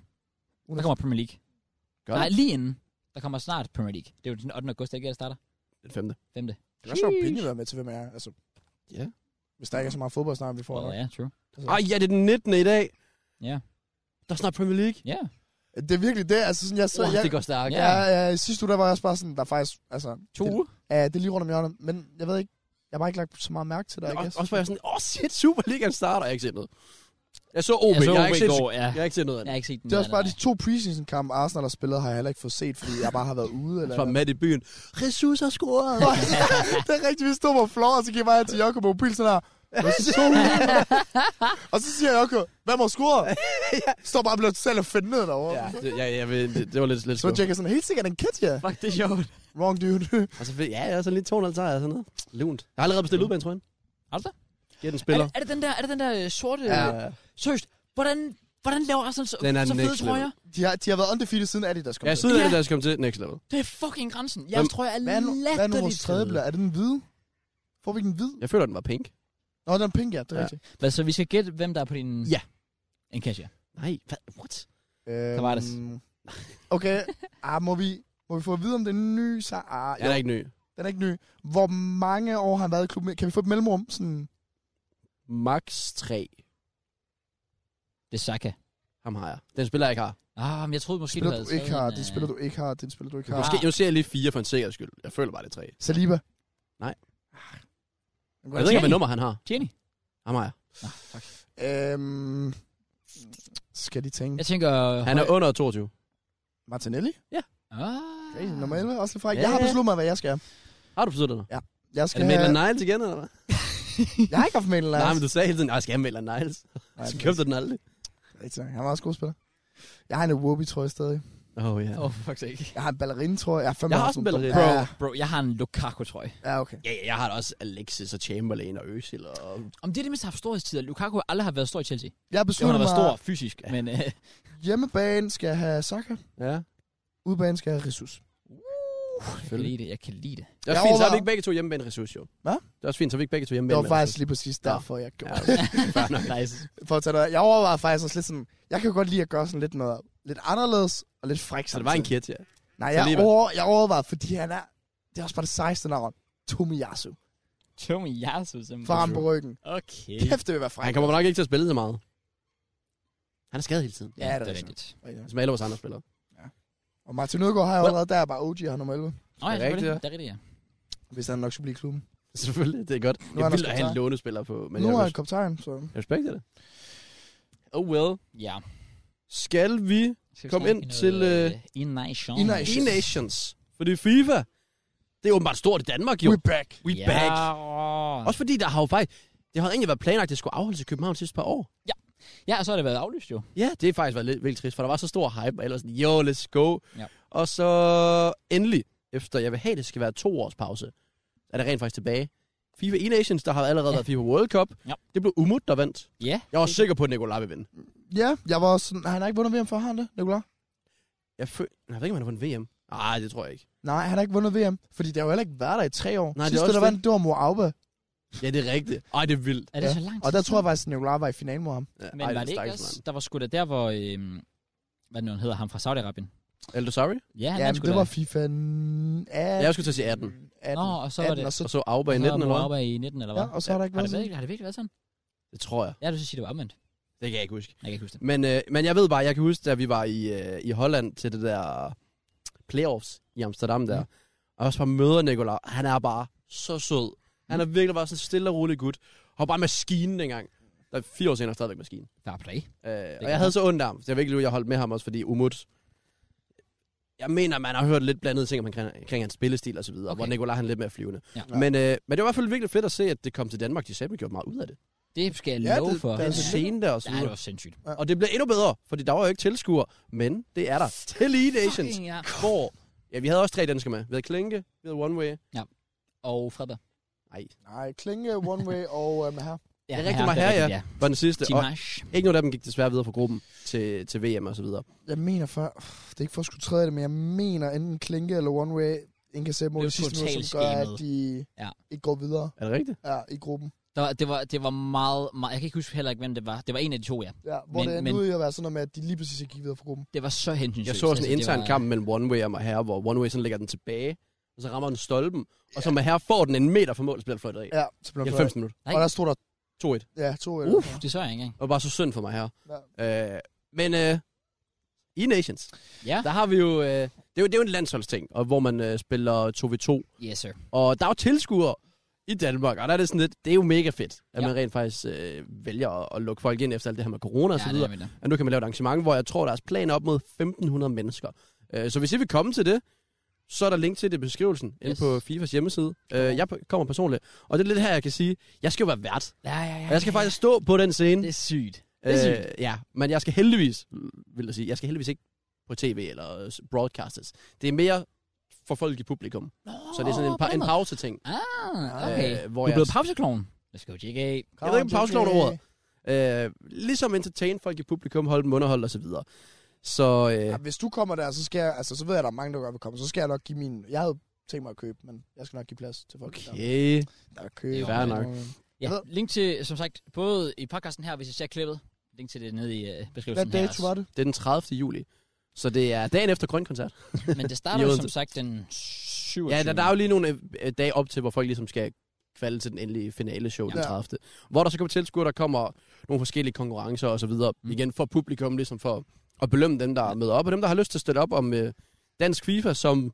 Speaker 5: der kommer Premier League.
Speaker 2: Gør
Speaker 5: Nej,
Speaker 2: det.
Speaker 5: lige inden. Der kommer snart Premier League. Det er jo den 8. august, der ikke er, der starter.
Speaker 2: Den femte.
Speaker 5: 5.
Speaker 3: Det er også sjovt, at Pinje være med til, hvem jeg er. Altså,
Speaker 2: Ja.
Speaker 3: hvis der ikke er så meget fodbold snart, vi får.
Speaker 5: Well,
Speaker 3: nok.
Speaker 5: ja, true.
Speaker 2: Ej, ja, det er den 19. i dag.
Speaker 5: Ja.
Speaker 2: Der er snart Premier League.
Speaker 5: Ja.
Speaker 3: Det er virkelig det. Altså, sådan, jeg, så,
Speaker 2: Så, oh,
Speaker 3: jeg,
Speaker 2: det går stærkt.
Speaker 5: Ja.
Speaker 3: Ja, ja, sidste uge, der var jeg også bare sådan, der er faktisk, altså...
Speaker 2: To
Speaker 3: det,
Speaker 2: uger.
Speaker 3: Ja, det er lige rundt om hjørnet, men jeg ved ikke, jeg har bare ikke lagt så meget mærke til dig,
Speaker 2: Og,
Speaker 3: I guess.
Speaker 2: også var jeg sådan, åh oh, shit, Superligaen starter. Jeg har ikke set noget. Jeg så OB, jeg,
Speaker 5: så
Speaker 2: jeg, har,
Speaker 5: OB
Speaker 2: ikke set,
Speaker 5: går, ja.
Speaker 2: jeg har ikke set noget af
Speaker 5: Jeg
Speaker 2: det.
Speaker 5: har ikke set den.
Speaker 3: Det er også
Speaker 5: der,
Speaker 3: bare
Speaker 5: nej.
Speaker 3: de to preseason-kampe, Arsenal har spillet, har jeg heller ikke fået set, fordi jeg bare har været ude. Eller
Speaker 2: Så var Matt i byen. Jesus har scoret.
Speaker 3: <laughs> det er rigtigt, vi stod på floor, og så gik jeg bare til Jakob på mobil sådan her. "Hvad så
Speaker 2: <laughs>
Speaker 3: du?" og så siger Jakob, hvad må score? Står bare og bliver selv at finde ned derovre.
Speaker 2: ja, det, ja, jeg ved, det, det var lidt, lidt
Speaker 3: Så
Speaker 2: skuffet.
Speaker 3: tjekker sådan, helt sikkert en kid, ja.
Speaker 2: Fuck, det er sjovt.
Speaker 3: Wrong dude.
Speaker 2: Og så fik, ja, jeg er sådan lidt 200 sejr og sådan noget. Lunt. Jeg har allerede bestilt udbanen, tror jeg.
Speaker 5: Har du det?
Speaker 2: Giv den
Speaker 5: Er,
Speaker 2: spiller.
Speaker 5: det- er det den der, er det den der øh, sorte...
Speaker 2: Ja.
Speaker 5: øh, Seriøst, hvordan, hvordan laver Arsenal så,
Speaker 2: Den er
Speaker 5: så fede
Speaker 2: next level.
Speaker 5: trøjer?
Speaker 3: De har, de har været undefeated siden Adidas kom
Speaker 2: Jeg er
Speaker 3: til.
Speaker 2: siden af
Speaker 5: Ja.
Speaker 2: det, der skal komme til next level.
Speaker 5: Det er fucking grænsen. Jeg
Speaker 2: Hvem-
Speaker 5: tror, jeg er
Speaker 3: Hvad er, nu, hvad er nu vores
Speaker 5: latterligt
Speaker 3: tredje
Speaker 5: fed.
Speaker 3: bliver? Er det den hvide? Får vi ikke den hvide?
Speaker 2: Jeg føler, den var pink.
Speaker 3: Nå, den er pink, ja. Det er
Speaker 2: Ja.
Speaker 3: rigtigt.
Speaker 5: Hvad, så vi skal gætte, hvem der er på din...
Speaker 2: Ja.
Speaker 5: En kasse, ja.
Speaker 2: Nej, hvad? What?
Speaker 3: Øhm,
Speaker 5: Tavares.
Speaker 3: Okay, ah, må, vi, må vi få at vide, om den er ny? Så, ah,
Speaker 2: Jeg
Speaker 3: jo,
Speaker 2: er ikke ny.
Speaker 3: den er ikke ny. Hvor mange år har han været i klubben? Kan vi få et mellemrum? Sådan,
Speaker 2: Max 3.
Speaker 5: Det er Saka.
Speaker 2: Ham har jeg. Den spiller jeg ikke har.
Speaker 5: Ah, men jeg troede måske,
Speaker 3: spiller,
Speaker 5: havde
Speaker 3: du ikke
Speaker 5: taget
Speaker 3: har,
Speaker 5: en,
Speaker 3: det
Speaker 5: øh,
Speaker 3: spiller du ikke har, det spiller du ikke
Speaker 5: Ja.
Speaker 3: har.
Speaker 2: Måske, nu ser jeg lige fire for en sikkerheds skyld. Jeg føler bare, det er tre.
Speaker 3: Saliba.
Speaker 2: Nej. Jeg ved ikke, hvad
Speaker 5: Jenny.
Speaker 2: nummer han har.
Speaker 5: Jenny?
Speaker 2: Ham har jeg.
Speaker 3: Øhm, skal de tænke?
Speaker 5: Jeg tænker... øh,
Speaker 2: Han er under 22.
Speaker 3: Martinelli?
Speaker 5: Ah.
Speaker 3: Okay, nummer 11, også lidt fra.
Speaker 2: Ja,
Speaker 3: Jeg har
Speaker 2: ja.
Speaker 3: besluttet mig, hvad jeg skal.
Speaker 2: Har du besluttet dig?
Speaker 3: Jeg
Speaker 2: Er
Speaker 3: skal
Speaker 2: det Maitland
Speaker 3: have...
Speaker 2: Niles igen, eller hvad?
Speaker 3: Jeg har ikke haft Maitland Niles.
Speaker 2: Nej, men du sagde hele tiden, nej, skal jeg have Maitland Niles? Så købte du den aldrig.
Speaker 3: Rigtig nok. Han var også god spiller. Jeg har en Awobi, tror jeg stadig.
Speaker 2: Oh, ja.
Speaker 5: Åh, oh, fuck sake.
Speaker 3: Jeg har en ballerine, tror jeg. Jeg har, fandme
Speaker 2: Jeg har
Speaker 3: haft
Speaker 2: også en
Speaker 3: nogle-
Speaker 5: Bro,
Speaker 3: Ja,
Speaker 5: bro, jeg har en Lukaku-trøje.
Speaker 3: ja, okay.
Speaker 2: Ja, ja, jeg har da også Alexis og Chamberlain og Özil og...
Speaker 5: Om det er det, mest har haft storhedstider. Lukaku har aldrig har været stor i Chelsea.
Speaker 3: Jeg
Speaker 5: Jo, han
Speaker 3: beslutter
Speaker 5: har
Speaker 3: mig,
Speaker 5: været stor fysisk,
Speaker 2: Ja.
Speaker 5: men... Øh,
Speaker 3: hjemmebane skal jeg have Saka,
Speaker 2: Ja.
Speaker 3: udebane skal jeg have Jesus.
Speaker 5: jeg kan lide det, jeg kan lide det.
Speaker 2: Det er
Speaker 3: Jeg
Speaker 2: også fint, så har vi
Speaker 3: overvejer-
Speaker 2: ikke begge to hjemmebane ressource, jo.
Speaker 3: Hvad?
Speaker 2: Det er også fint, så har vi ikke begge to hjemmebane
Speaker 3: Det var faktisk
Speaker 2: ressource.
Speaker 3: lige præcis
Speaker 2: Ja.
Speaker 3: derfor, jeg gjorde
Speaker 2: Ja, <laughs>
Speaker 3: det.
Speaker 5: nice.
Speaker 3: <laughs> For at tage noget. Jeg overvejede faktisk også lidt sådan, jeg kan godt lide at gøre sådan lidt noget lidt anderledes og lidt fræk
Speaker 2: Så det var en kid, ja.
Speaker 3: Nej,
Speaker 2: Så
Speaker 3: jeg,
Speaker 2: alligevel.
Speaker 3: over, jeg overvejede, fordi han er, det er også bare det sejeste navn, Tomiyasu,
Speaker 2: Mm,
Speaker 5: Tommy Yasu, simpelthen.
Speaker 3: fra ham på ryggen.
Speaker 5: Okay.
Speaker 3: Kæft, det vil være
Speaker 2: Han
Speaker 3: fræk.
Speaker 2: kommer nok ikke til at spille så meget. Han er skadet hele tiden.
Speaker 3: Ja, det er rigtigt.
Speaker 5: rigtigt.
Speaker 2: Som alle vores andre spillere. <laughs>
Speaker 3: Og Martin Ødegaard har jeg
Speaker 2: Well-
Speaker 3: allerede der, bare OG har nummer 11,
Speaker 5: Nå, ja,
Speaker 2: Det er rigtigt,
Speaker 5: selvfølgelig. Det er rigtigt, ja.
Speaker 3: hvis han nok skulle blive i klubben.
Speaker 2: Selvfølgelig, det er godt.
Speaker 3: er
Speaker 2: Jeg vil
Speaker 3: han også
Speaker 2: have en
Speaker 3: kaptajn.
Speaker 2: lånespiller på, men
Speaker 3: nu
Speaker 2: jeg,
Speaker 3: er han
Speaker 2: res-
Speaker 3: kaptajn, så...
Speaker 2: jeg respekterer det. Oh well.
Speaker 5: Ja.
Speaker 2: Skal vi
Speaker 5: Skal vi
Speaker 2: Kom
Speaker 5: snakke
Speaker 2: ind til, øh,
Speaker 5: In Nation.
Speaker 3: In
Speaker 2: i
Speaker 3: Nations.
Speaker 2: Nations? Fordi FIFA, det er åbenbart stort i Danmark jo.
Speaker 3: We back.
Speaker 2: We
Speaker 5: ja.
Speaker 2: back.
Speaker 5: åh.
Speaker 2: Også fordi der har jo faktisk... Det har egentlig været planlagt, at det skulle afholdes i København sidste par år.
Speaker 5: Ja, og så har det været aflyst jo.
Speaker 2: Ja, det har faktisk været lidt vildt trist, for der var så stor hype, og ellers sådan, yo, let's go.
Speaker 5: Ja.
Speaker 2: Og så endelig, efter jeg vil have, det skal være to års pause, er det rent faktisk tilbage. FIFA E-Nations, der har allerede
Speaker 5: Ja.
Speaker 2: ja. været FIFA World Cup.
Speaker 5: Ja.
Speaker 2: Det blev Umut, der vandt.
Speaker 5: Ja.
Speaker 2: Jeg var sikker på, at Nicolai ville vinde.
Speaker 3: Ja, jeg var også sådan, han har ikke vundet VM før, har han det, Nicolai?
Speaker 2: Jeg, føl... jeg ved ikke, om han har vundet VM. Nej, det tror jeg ikke.
Speaker 3: Nej, han har ikke vundet VM, fordi det har jo heller ikke været der i tre år.
Speaker 2: det er
Speaker 3: Nej, Sidste,
Speaker 2: også
Speaker 3: der
Speaker 2: det.
Speaker 3: vandt, det var Moaube,
Speaker 2: Ja, det er rigtigt. Ej, det er vildt.
Speaker 5: Er det
Speaker 3: Ja.
Speaker 5: så langt?
Speaker 3: og der tror jeg faktisk, at Nicolai var i finalen mod ham.
Speaker 2: Ja,
Speaker 5: Men
Speaker 2: ej,
Speaker 5: var det
Speaker 2: er
Speaker 5: ikke
Speaker 2: stakkels
Speaker 5: også,
Speaker 2: mand.
Speaker 5: der var sgu da der, hvor... Øhm, hvad nu han hedder ham fra Saudi-Arabien?
Speaker 2: Er du sorry?
Speaker 5: Ja, han
Speaker 3: Ja,
Speaker 5: er
Speaker 3: men
Speaker 5: sgu
Speaker 3: det
Speaker 5: da-
Speaker 3: var FIFA 18.
Speaker 2: Ja, jeg skulle til at sige 18.
Speaker 3: 18.
Speaker 5: Nå, og så var
Speaker 3: 18,
Speaker 5: det-
Speaker 3: Og så,
Speaker 2: Og så Auba i 19, eller hvad?
Speaker 5: hvad? i 19, eller hvad?
Speaker 3: ja, og så har der ikke
Speaker 5: Har
Speaker 3: været
Speaker 5: det,
Speaker 3: sådan.
Speaker 5: virkelig, har det virkelig været sådan?
Speaker 2: Det tror jeg.
Speaker 5: Ja, du skal sige, det var omvendt.
Speaker 2: Det kan jeg ikke huske.
Speaker 5: Jeg kan ikke huske det.
Speaker 2: Men, øh, men jeg ved bare, jeg kan huske, da vi var i, øh, i Holland til det der playoffs i Amsterdam der,
Speaker 3: Mm.
Speaker 2: mm.
Speaker 5: Mhm.
Speaker 2: og også bare møder Nicolai, han er bare så sød. Han er virkelig bare sådan en stille og rolig gut. Og bare maskinen dengang. Der er fire år senere stadigvæk maskinen.
Speaker 5: Fair play.
Speaker 2: Øh, og
Speaker 5: godt.
Speaker 2: jeg havde så ondt af ham, så jeg virkelig, jeg holdt med ham også, fordi Umut... Jeg mener, man har hørt lidt blandede ting omkring omkring hans spillestil og så videre,
Speaker 5: Okay.
Speaker 2: okay. hvor Nicolai han er lidt mere flyvende.
Speaker 5: Ja.
Speaker 2: Ja. Men, øh, men det var i hvert fald virkelig fedt at se, at det kom til Danmark. De sagde, at vi gjorde meget ud af det.
Speaker 5: Det skal jeg
Speaker 3: Ja,
Speaker 5: love
Speaker 3: det-
Speaker 5: for.
Speaker 3: det
Speaker 2: Den
Speaker 3: er
Speaker 5: Ja,
Speaker 2: scene der og så
Speaker 5: det
Speaker 2: videre.
Speaker 5: var sindssygt.
Speaker 2: Og det blev endnu bedre, fordi der var jo ikke tilskuer, men det er der. Til E Nations,
Speaker 5: Fucking ja.
Speaker 2: hvor... Ja, vi havde også tre danskere med. Vi havde Klinke, vi havde One Way. Ja,
Speaker 5: Og Fredberg.
Speaker 3: Nej, Klinge, One Way <laughs> og øhm, her.
Speaker 5: Ja,
Speaker 2: det er rigtig meget her, ja.
Speaker 5: ja.
Speaker 2: Var den sidste,
Speaker 5: Team
Speaker 2: og
Speaker 5: Hash.
Speaker 2: ikke nogen af dem gik desværre videre fra gruppen til, til VM og så videre.
Speaker 3: Jeg mener for, det er ikke for at skulle træde i det, men jeg mener enten Klinke eller One Way, en kan se mod
Speaker 5: Det er
Speaker 3: det sidste
Speaker 5: totalt
Speaker 3: mål, som gør,
Speaker 5: schemet.
Speaker 3: at de
Speaker 5: Ja.
Speaker 3: ikke går videre
Speaker 2: Er det rigtigt?
Speaker 3: ja, i gruppen.
Speaker 5: Der var, det, var, det var meget, meget... Jeg kan ikke huske heller ikke, hvem det var. Det var en af de to, ja.
Speaker 3: Ja, hvor
Speaker 5: Men-
Speaker 3: men, det
Speaker 5: men-
Speaker 3: endte ud i at være sådan noget med, at de lige præcis ikke gik videre fra gruppen.
Speaker 5: Det var så hensynsløst.
Speaker 2: Jeg så sådan en
Speaker 5: altså, det
Speaker 2: intern
Speaker 5: var-
Speaker 2: kamp mellem One Way og Maher, hvor One Way sådan lægger den tilbage, og så rammer den stolpen, og så Maher får den en meter fra mål, så bliver den fløjtet af.
Speaker 3: Ja, så blev
Speaker 2: I
Speaker 3: det
Speaker 2: 90 minutter.
Speaker 5: Nej.
Speaker 3: Og der stod der
Speaker 2: 2-1.
Speaker 3: ja, to
Speaker 5: Uff, det så jeg ikke engang.
Speaker 2: Og bare så synd for Maher. Øh, men øh, i Nations,
Speaker 5: Ja,
Speaker 2: der har vi jo... Øh, det, er jo det er jo en landsholdsting, og hvor man øh, spiller 2v2
Speaker 5: yes sir.
Speaker 2: Og der er jo tilskuere i Danmark, og der er det sådan lidt, det er jo mega fedt, at
Speaker 5: Ja.
Speaker 2: ja. man rent faktisk øh, vælger at, at lukke folk ind efter alt det her med corona og
Speaker 5: Ja,
Speaker 2: så
Speaker 5: det
Speaker 2: videre.
Speaker 5: er med det.
Speaker 2: Og nu kan man lave et arrangement, hvor jeg tror, der er planer op mod 1.500 mennesker. Øh, så hvis I vil komme til det, så er der link til det i beskrivelsen yes. inde
Speaker 5: Yes.
Speaker 2: på FIFAs hjemmeside. Øh, jeg p- kommer personligt, og det er lidt her, jeg kan sige, jeg skal jo være vært.
Speaker 5: Ja, ja, ja.
Speaker 2: Og jeg skal
Speaker 5: ja,
Speaker 2: faktisk stå på den
Speaker 5: ja.
Speaker 2: scene.
Speaker 5: Det er sygt.
Speaker 2: Øh,
Speaker 5: det er
Speaker 2: ja, men jeg skal heldigvis, vil jeg sige, jeg skal heldigvis ikke på tv eller øh, broadcastes. Det er mere for folk i publikum.
Speaker 5: Nå,
Speaker 2: Så det er sådan en,
Speaker 5: på
Speaker 2: pa-
Speaker 5: den
Speaker 2: en
Speaker 5: måde.
Speaker 2: pause-ting.
Speaker 5: Ah, okay.
Speaker 2: Øh,
Speaker 5: Du
Speaker 2: hvor
Speaker 5: er blevet pausekloven. Let's go, JK.
Speaker 2: Jeg ved ikke, om pause er ordet. Øh, ligesom entertain folk i publikum, holde dem underholdt og så videre. Så
Speaker 3: Ja,
Speaker 2: øh,
Speaker 3: hvis du kommer der, så skal jeg, altså, så ved jeg, at der er mange, der godt vil komme. Så skal jeg nok give min... Jeg havde tænkt mig at købe, men jeg skal nok give plads til folk. Der,
Speaker 2: okay.
Speaker 3: der vil købe.
Speaker 5: Fair
Speaker 2: nok.
Speaker 5: Ja,
Speaker 3: Jeg ved-
Speaker 5: link til, som sagt, både i podcasten her, hvis I ser klippet. Link til det nede i øh,
Speaker 3: Hvad
Speaker 5: beskrivelsen her
Speaker 3: dato
Speaker 5: også.
Speaker 3: var det?
Speaker 2: Det er den 30. juli. Så det er dagen efter Grøn Koncert.
Speaker 5: Men det
Speaker 2: I
Speaker 5: starter jo
Speaker 2: Odense.
Speaker 5: som sagt den 27.
Speaker 2: Ja, der, der er jo lige nogle øh, dage op til, hvor folk ligesom skal kvalde til den endelige finale show ja.
Speaker 3: Ja.
Speaker 2: den 30. Hvor der så kommer tilskuere, der kommer nogle forskellige konkurrencer og så videre.
Speaker 5: Mm.
Speaker 2: Mm. Igen for publikum, ligesom for at belønne dem, der møder op, og dem, der har lyst til at støtte op om øh, dansk FIFA, som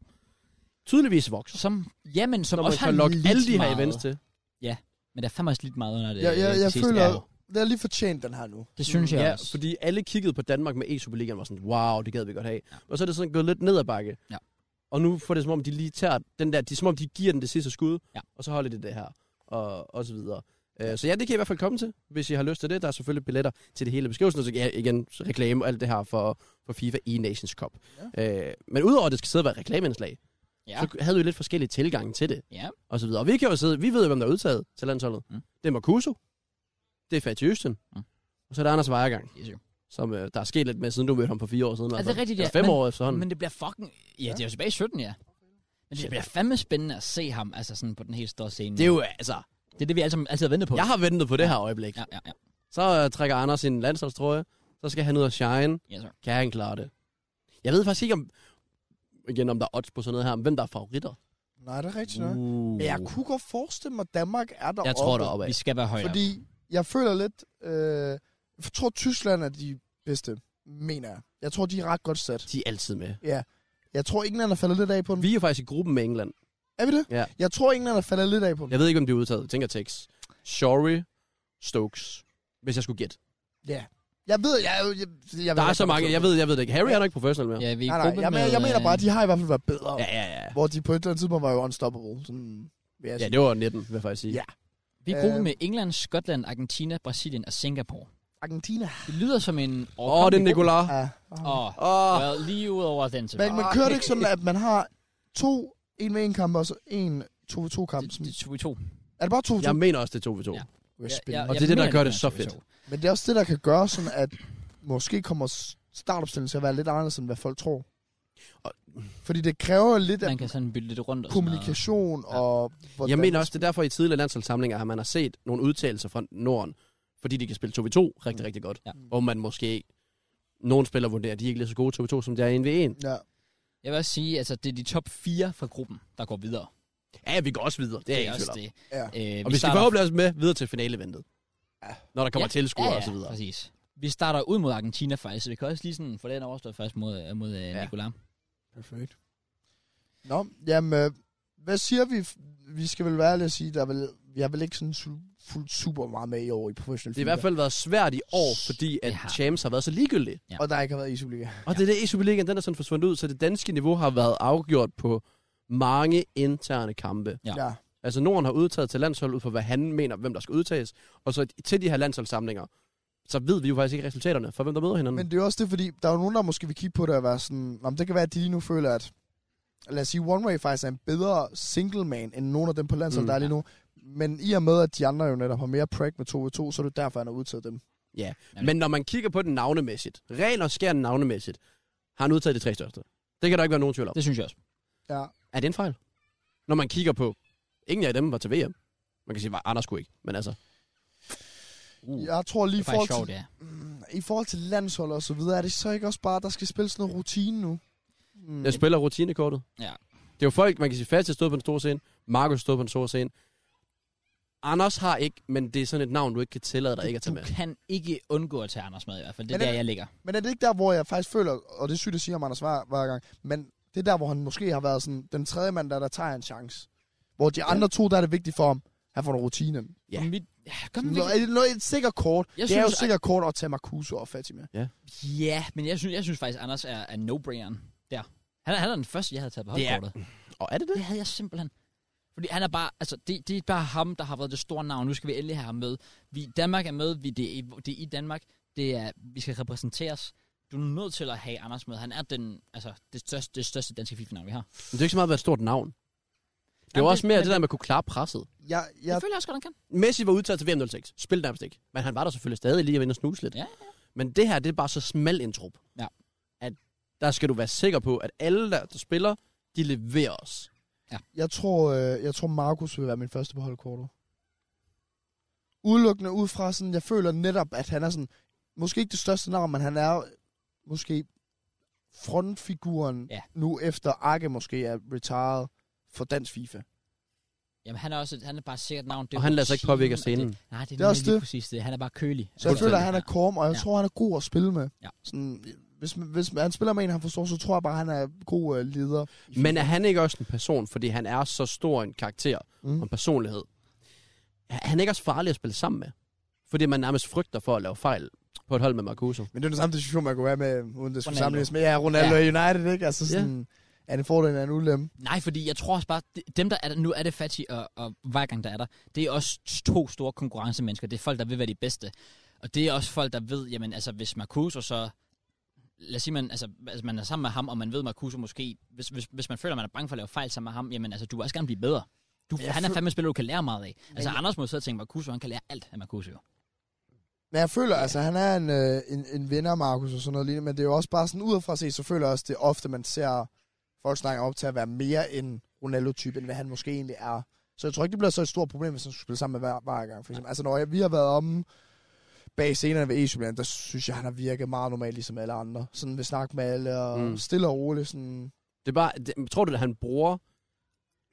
Speaker 2: tydeligvis vokser.
Speaker 5: Som, jamen, som
Speaker 2: Som man
Speaker 5: også har
Speaker 2: kan lokke
Speaker 5: lidt
Speaker 2: alle de her
Speaker 5: meget.
Speaker 2: events til.
Speaker 5: Ja. Men der er fandme også lidt meget under det.
Speaker 3: Jeg,
Speaker 5: øh,
Speaker 3: jeg,
Speaker 5: det
Speaker 3: jeg
Speaker 5: sidste
Speaker 3: føler,
Speaker 5: år.
Speaker 3: det er lige fortjent, den her nu.
Speaker 5: Det synes jeg
Speaker 2: Ja,
Speaker 5: også.
Speaker 2: fordi alle kiggede på Danmark med E-Superligaen og var sådan, wow, det gad vi godt have. Ja. Og så er det sådan gået lidt ned ad bakke.
Speaker 5: Ja.
Speaker 2: Og nu får det som om, de lige tager den der, de, som om de giver den det sidste skud,
Speaker 5: Ja.
Speaker 2: og så holder de det her, og, og så videre. Øh, Så ja, det kan I i hvert fald komme til, hvis I har lyst til det. Der er selvfølgelig billetter til det hele i beskrivelsen, og så ja, igen så reklame og alt det her for, for FIFA i Nations Cup. Ja. Øh, men udover at det skal sidde og være et reklameindslag,
Speaker 5: Ja.
Speaker 2: ja. så havde vi lidt forskellige tilgange til det,
Speaker 5: Ja,
Speaker 2: og så videre. Og vi kan jo sidde, vi ved jo, hvem der er udtaget til landsholdet.
Speaker 5: Mm.
Speaker 2: Mm. Det er Marcuso, det er Fatih Østen,
Speaker 5: Mm.
Speaker 2: mm. og så er der Anders Vejergang
Speaker 5: det er jo.
Speaker 2: som øh, der er sket lidt med, siden du mødte ham for fire år siden.
Speaker 5: det er
Speaker 2: altså.
Speaker 5: rigtigt, ja.
Speaker 2: Eller fem
Speaker 5: Men-
Speaker 2: år efterhånden.
Speaker 5: Men det bliver fucking... Ja, det er jo tilbage i 17, ja. Men det
Speaker 2: Shit.
Speaker 5: bliver fandme spændende at se ham altså sådan på den helt store scene.
Speaker 2: det er jo, altså,
Speaker 5: det, er det vi alle sammen altid har ventet på.
Speaker 2: jeg har ventet på det her øjeblik. Ja.
Speaker 5: Ja, ja, ja.
Speaker 2: Så øh, trækker Anders sin landsholdstrøje, så skal han ud og shine.
Speaker 5: Yes, sir.
Speaker 2: Kan han klare det? Jeg ved faktisk ikke, om, igen, om der er odds på sådan noget her, om hvem der er favoritter.
Speaker 3: Nej, det er rigtigt nok.
Speaker 2: Uh.
Speaker 3: Men jeg kunne godt forestille mig, at Danmark er der
Speaker 2: jeg tror, der er opad.
Speaker 5: Vi skal være højere.
Speaker 3: Fordi jeg føler lidt... Øh, jeg tror, Tyskland er de bedste, mener jeg. Jeg tror, de er ret godt sat.
Speaker 2: De er altid med.
Speaker 3: Jeg tror, England er faldet lidt af på den.
Speaker 2: Vi er jo faktisk i gruppen med England.
Speaker 3: Er vi det?
Speaker 2: Ja.
Speaker 3: Jeg tror, England er faldet lidt af på den.
Speaker 2: Jeg ved ikke, om de er udtaget. Jeg tænker Tex. Sorry, Stokes. Hvis jeg skulle gætte.
Speaker 3: Ja. Jeg ved, jeg, jeg, jeg, jeg
Speaker 2: Der er så mange. Jeg ved, jeg ved det ikke. Harry er nok ikke professionel mere.
Speaker 5: Ja, vi er
Speaker 3: Nej,
Speaker 5: i
Speaker 3: nej,
Speaker 5: gruppe
Speaker 3: jeg, med, jeg
Speaker 5: med,
Speaker 3: mener
Speaker 5: øh,
Speaker 3: bare, at de har i hvert fald været bedre.
Speaker 2: Ja, ja, ja.
Speaker 3: Hvor de på et eller andet tidspunkt var jo unstoppable. Sådan, vil jeg
Speaker 2: Ja,
Speaker 3: sige.
Speaker 2: det var 19, vil jeg faktisk sige.
Speaker 3: Ja.
Speaker 5: Vi er i gruppe
Speaker 3: Øh.
Speaker 5: med England, Skotland, Argentina, Brasilien og Singapore.
Speaker 3: Argentina.
Speaker 5: Det lyder som en...
Speaker 2: Åh, oh, det er Nicolas.
Speaker 3: Ja.
Speaker 2: Ah.
Speaker 5: Og,
Speaker 2: Åh,
Speaker 5: well, lige ud over den til.
Speaker 3: Men, men
Speaker 5: Ah,
Speaker 3: kører det ikke
Speaker 2: <laughs>
Speaker 3: sådan, at man har to en med en kamp, og så en to ved to kamp?
Speaker 5: Ah, det- Det
Speaker 3: Sådan-
Speaker 5: er 2 2.
Speaker 3: Er det bare to ved to?
Speaker 2: jeg mener også, det er 2v2.
Speaker 5: Ja.
Speaker 3: Respekt.
Speaker 2: Og det er det, der gør det så fedt.
Speaker 3: Men det er også det, der kan gøre sådan, at måske kommer s- startopstillingen til at være lidt anderledes, end hvad folk tror.
Speaker 2: Og-
Speaker 3: Fordi det kræver lidt af
Speaker 5: Man kan sådan bytte lidt rundt og sådan noget.
Speaker 3: kommunikation
Speaker 5: Ja.
Speaker 3: og... Hvordan
Speaker 2: Jeg mener også, det er derfor i tidligere landsholdssamlinger, at man har set nogle udtalelser fra Norden, fordi de kan spille 2v2 rigtig,
Speaker 3: Mm.
Speaker 2: rigtig godt.
Speaker 5: Ja.
Speaker 2: Ja. Og man måske... Nogle spillere vurderer, at de er ikke lige så gode 2v2, som de er i 1v1.
Speaker 3: Ja.
Speaker 5: Jeg vil også sige, altså det er de top 4 fra gruppen, der går videre.
Speaker 2: Ja, vi går også videre. Det er,
Speaker 5: Det
Speaker 2: jeg
Speaker 5: er
Speaker 2: ikke
Speaker 5: også
Speaker 2: tvivl om.
Speaker 5: det.
Speaker 3: Ja.
Speaker 5: Øh,
Speaker 2: Og vi skal forhåbentlig også med videre til finaleventet.
Speaker 3: Ja.
Speaker 2: Når der kommer ja. tilskuere og så videre.
Speaker 5: præcis. Vi starter ud mod Argentina faktisk, så vi kan også lige sådan få den overstået først mod, øh, mod ja.
Speaker 2: Ja.
Speaker 5: Nicolas.
Speaker 3: Perfekt. Nå, jamen, øh, hvad siger vi? F- Vi skal vel være ærlige at sige, der er vel, vi har vel ikke sådan su- fuldt super meget med i år i professionel
Speaker 2: Det har i hvert fald været svært i år, fordi at
Speaker 5: Det har-
Speaker 2: Champs har været så ligegyldig.
Speaker 5: Ja.
Speaker 3: Og der ikke har været i Superliga.
Speaker 2: Og det er det, e Superligaen den er sådan forsvundet ud, så det danske niveau har været afgjort på mange interne kampe.
Speaker 5: Ja.
Speaker 3: ja.
Speaker 2: Altså Norden har udtaget til landshold ud fra, hvad han mener, hvem der skal udtages. Og så til de her landsholdssamlinger, så ved vi jo faktisk ikke resultaterne for, hvem der møder hinanden.
Speaker 3: Men det er jo også det, fordi der er jo nogen, der måske vil kigge på det og være sådan, om det kan være, at de lige nu føler, at lad os sige, One Way faktisk er en bedre single man, end nogen af dem på landsholdet,
Speaker 2: Mm.
Speaker 3: mm, der er lige nu. Men i og med, at de andre jo netop har mere prak med 2v2, så er det derfor, han har udtaget dem.
Speaker 2: Men, Men når man kigger på den navnemæssigt, ren og skær navnemæssigt, har han udtaget de tre største. Det kan der ikke være nogen tvivl om.
Speaker 5: Det synes jeg også.
Speaker 3: Ja.
Speaker 2: Er det en fejl? Når man kigger på, ingen af dem var til VM. Man kan sige, at Anders skulle ikke, men altså.
Speaker 5: Uh,
Speaker 3: Jeg tror lige
Speaker 5: det
Speaker 3: i
Speaker 5: er faktisk
Speaker 3: forhold,
Speaker 5: sjovt,
Speaker 3: til,
Speaker 5: ja.
Speaker 3: mm, i forhold til landshold og så videre, er det så ikke også bare, at der skal spilles noget rutine nu? Mm.
Speaker 2: Jeg spiller rutinekortet.
Speaker 5: Ja.
Speaker 2: Det er jo folk, man kan sige, Fatih stod på en stor scene, Markus stod på en stor scene. Anders har ikke, men det er sådan et navn, du ikke kan tillade dig ikke at tage
Speaker 5: Du
Speaker 2: med.
Speaker 5: kan ikke undgå at tage Anders med i hvert fald. Det er
Speaker 3: Men
Speaker 5: der,
Speaker 3: det-
Speaker 5: jeg ligger.
Speaker 3: Men er det ikke der, hvor jeg faktisk føler, og det er sygt at sige om Anders hver, hver gang, men det er der, hvor han måske har været sådan, den tredje mand, der, der tager en chance. Hvor de andre to, der er det vigtigt for ham, han får noget rutine.
Speaker 2: Ja.
Speaker 5: Men Vi, ja, kom, vi,
Speaker 3: Nå, er det noget, et sikkert kort? Jeg det synes, er jo et sikkert kort at tage Marcuso og Fatima.
Speaker 5: ja, men jeg synes, jeg synes faktisk, Anders er, er no-braineren der. Han er, han er den første, jeg havde taget på
Speaker 2: Det er-
Speaker 5: holdkortet.
Speaker 2: Og er det det?
Speaker 5: Det havde jeg simpelthen. Fordi han er bare, altså, det, det er bare ham, der har været det store navn. Nu skal vi endelig have ham med. Vi, Danmark er med, vi, det, er, i- det er i Danmark. Det er, vi skal repræsenteres. Du er nødt til at have Anders med. Han er den, altså, det største, det største danske FIFA-navn, vi har. Det,
Speaker 2: Men det er ikke så meget at være et stort navn. Det er
Speaker 5: Jamen,
Speaker 2: jo
Speaker 5: det-
Speaker 2: også mere
Speaker 5: men
Speaker 2: det, der med at kunne klare presset.
Speaker 3: Jeg, jeg,
Speaker 5: jeg føler jeg også godt, han kan.
Speaker 2: Messi var udtaget til VM06. Spil nærmest ikke. Men han var der selvfølgelig stadig lige at vinde og snuse lidt.
Speaker 5: Ja, ja.
Speaker 2: Men det her, det er bare så smal en trup.
Speaker 5: Ja.
Speaker 2: At der skal du være sikker på, at alle, der, der spiller, de leverer os.
Speaker 3: jeg, tror, øh, jeg tror, Marcus vil være min første på holdkortet. Udelukkende ud fra sådan, jeg føler netop, at han er sådan, måske ikke det største navn, men han er måske frontfiguren
Speaker 5: Ja.
Speaker 3: ja. nu efter Arke måske er retired for dansk FIFA.
Speaker 5: Jamen, han er, også, han er bare et sikkert navn. Det
Speaker 2: Og han lader sig ikke påvirke af
Speaker 5: rutinen, og
Speaker 2: scenen.
Speaker 5: Det, nej, det er,
Speaker 3: Det er også
Speaker 5: nemlig lige
Speaker 3: det.
Speaker 5: præcis det. Han er bare kølig.
Speaker 3: Så jeg
Speaker 5: Altså,
Speaker 3: føler, at han er
Speaker 5: ja.
Speaker 3: korm, og jeg
Speaker 5: Ja.
Speaker 3: ja. tror, han er god at spille med.
Speaker 5: Ja.
Speaker 3: Sådan, hvis, hvis han spiller med en, han forstår, så tror jeg bare, han er god øh, leder. i
Speaker 2: Men er
Speaker 3: FIFA.
Speaker 2: han ikke også en person, fordi han er så stor en karakter
Speaker 3: Mm.
Speaker 2: og en personlighed? han er ikke også farlig at spille sammen med. Fordi man nærmest frygter for at lave fejl på et hold med Marcuso.
Speaker 3: Men det er den samme diskussion, man kunne være med, uden det skulle
Speaker 5: Ronaldo.
Speaker 3: sammenlignes med. Ja, Ronaldo ja. United, ikke? Altså
Speaker 2: Ja.
Speaker 3: sådan, er det en fordel eller en ulempe?
Speaker 5: Nej, fordi jeg tror også bare, de- dem der er der, nu er det Fati og, og hver gang der er der, det er også to store konkurrencemennesker. Det er folk, der vil være de bedste. Og det er også folk, der ved, jamen altså hvis Marcuso så, lad os sige, man, altså, altså man er sammen med ham, og man ved Marcuso måske, hvis, hvis, hvis man føler, man er bange for at lave fejl sammen med ham, jamen altså du vil også gerne blive bedre. Du,
Speaker 3: Jeg
Speaker 5: han er
Speaker 3: føl-
Speaker 5: fandme en spiller, du kan lære meget af. Altså Anders må sidde og tænke, Marcuso, han kan lære alt af Marcuso. jo.
Speaker 3: Men jeg føler, altså, han er en, øh, en, en venner, Markus, og sådan noget lignende, men det er jo også bare sådan, udefra set, så føler jeg også, det er ofte, man ser folk snakke op til at være mere en Ronaldo-type, end hvad han måske egentlig er. Så jeg tror ikke, det bliver så et stort problem, hvis han skulle spille sammen med hver, hver gang, for eksempel. Altså, når jeg, vi har været om bag scenerne ved Esbjerg, der synes jeg, han har virket meget normalt, ligesom alle andre. Sådan ved snak med alle, og
Speaker 2: Mm.
Speaker 3: mm. stille og roligt, sådan...
Speaker 2: Det er bare, det, tror du, at han bruger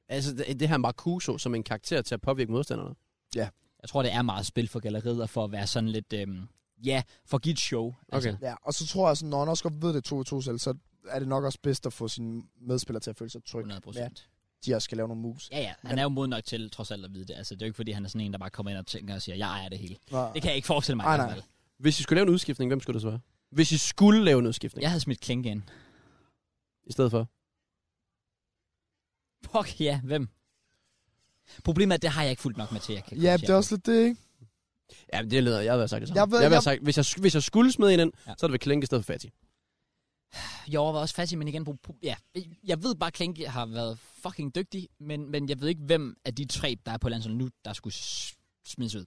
Speaker 2: altså det, det her Marcuso som en karakter til at påvirke modstanderne?
Speaker 5: Jeg tror, det er meget spil for galleriet, og for at være sådan lidt, øhm, ja, for at give et show. Altså,
Speaker 2: Okay.
Speaker 3: Ja, og så tror jeg, sådan, når han også godt ved det 2-2 selv, så er det nok også bedst at få sine medspillere til at føle sig trygge.
Speaker 5: 100
Speaker 3: Ja,
Speaker 5: procent.
Speaker 3: de også skal lave nogle moves.
Speaker 5: Ja, ja. Han
Speaker 3: Men-
Speaker 5: er jo mod nok til trods alt at vide det. Altså, det er jo ikke, fordi han er sådan en, der bare kommer ind og tænker og siger, jeg ejer det hele.
Speaker 3: Ja.
Speaker 5: Det kan jeg ikke forestille mig.
Speaker 3: Ej,
Speaker 5: i hvert
Speaker 3: nej.
Speaker 5: fald.
Speaker 2: Hvis I skulle lave en udskiftning, hvem skulle det så være? Hvis I skulle lave en udskiftning
Speaker 5: Jeg havde smidt Klinke ind.
Speaker 2: i stedet for?
Speaker 5: Fuck ja, hvem? Problemet er, at det har jeg ikke fuldt nok med til, jeg kan
Speaker 3: Ja, det er også lidt det, ikke?
Speaker 2: Ja, men det leder jeg ved sagt det samme.
Speaker 3: Jeg ved-
Speaker 2: jeg ved
Speaker 3: jeg-
Speaker 2: sagt, hvis jeg, hvis jeg skulle smide en ind,
Speaker 5: Ja.
Speaker 2: ja. så er det ved Klinke i stedet for Fati.
Speaker 5: Jeg overvejer også fast i, men igen, pro- ja. jeg ved bare, at Klinke har været fucking dygtig, men, men jeg ved ikke, hvem af de tre, der er på landsholdet nu, der skulle s- smides ud.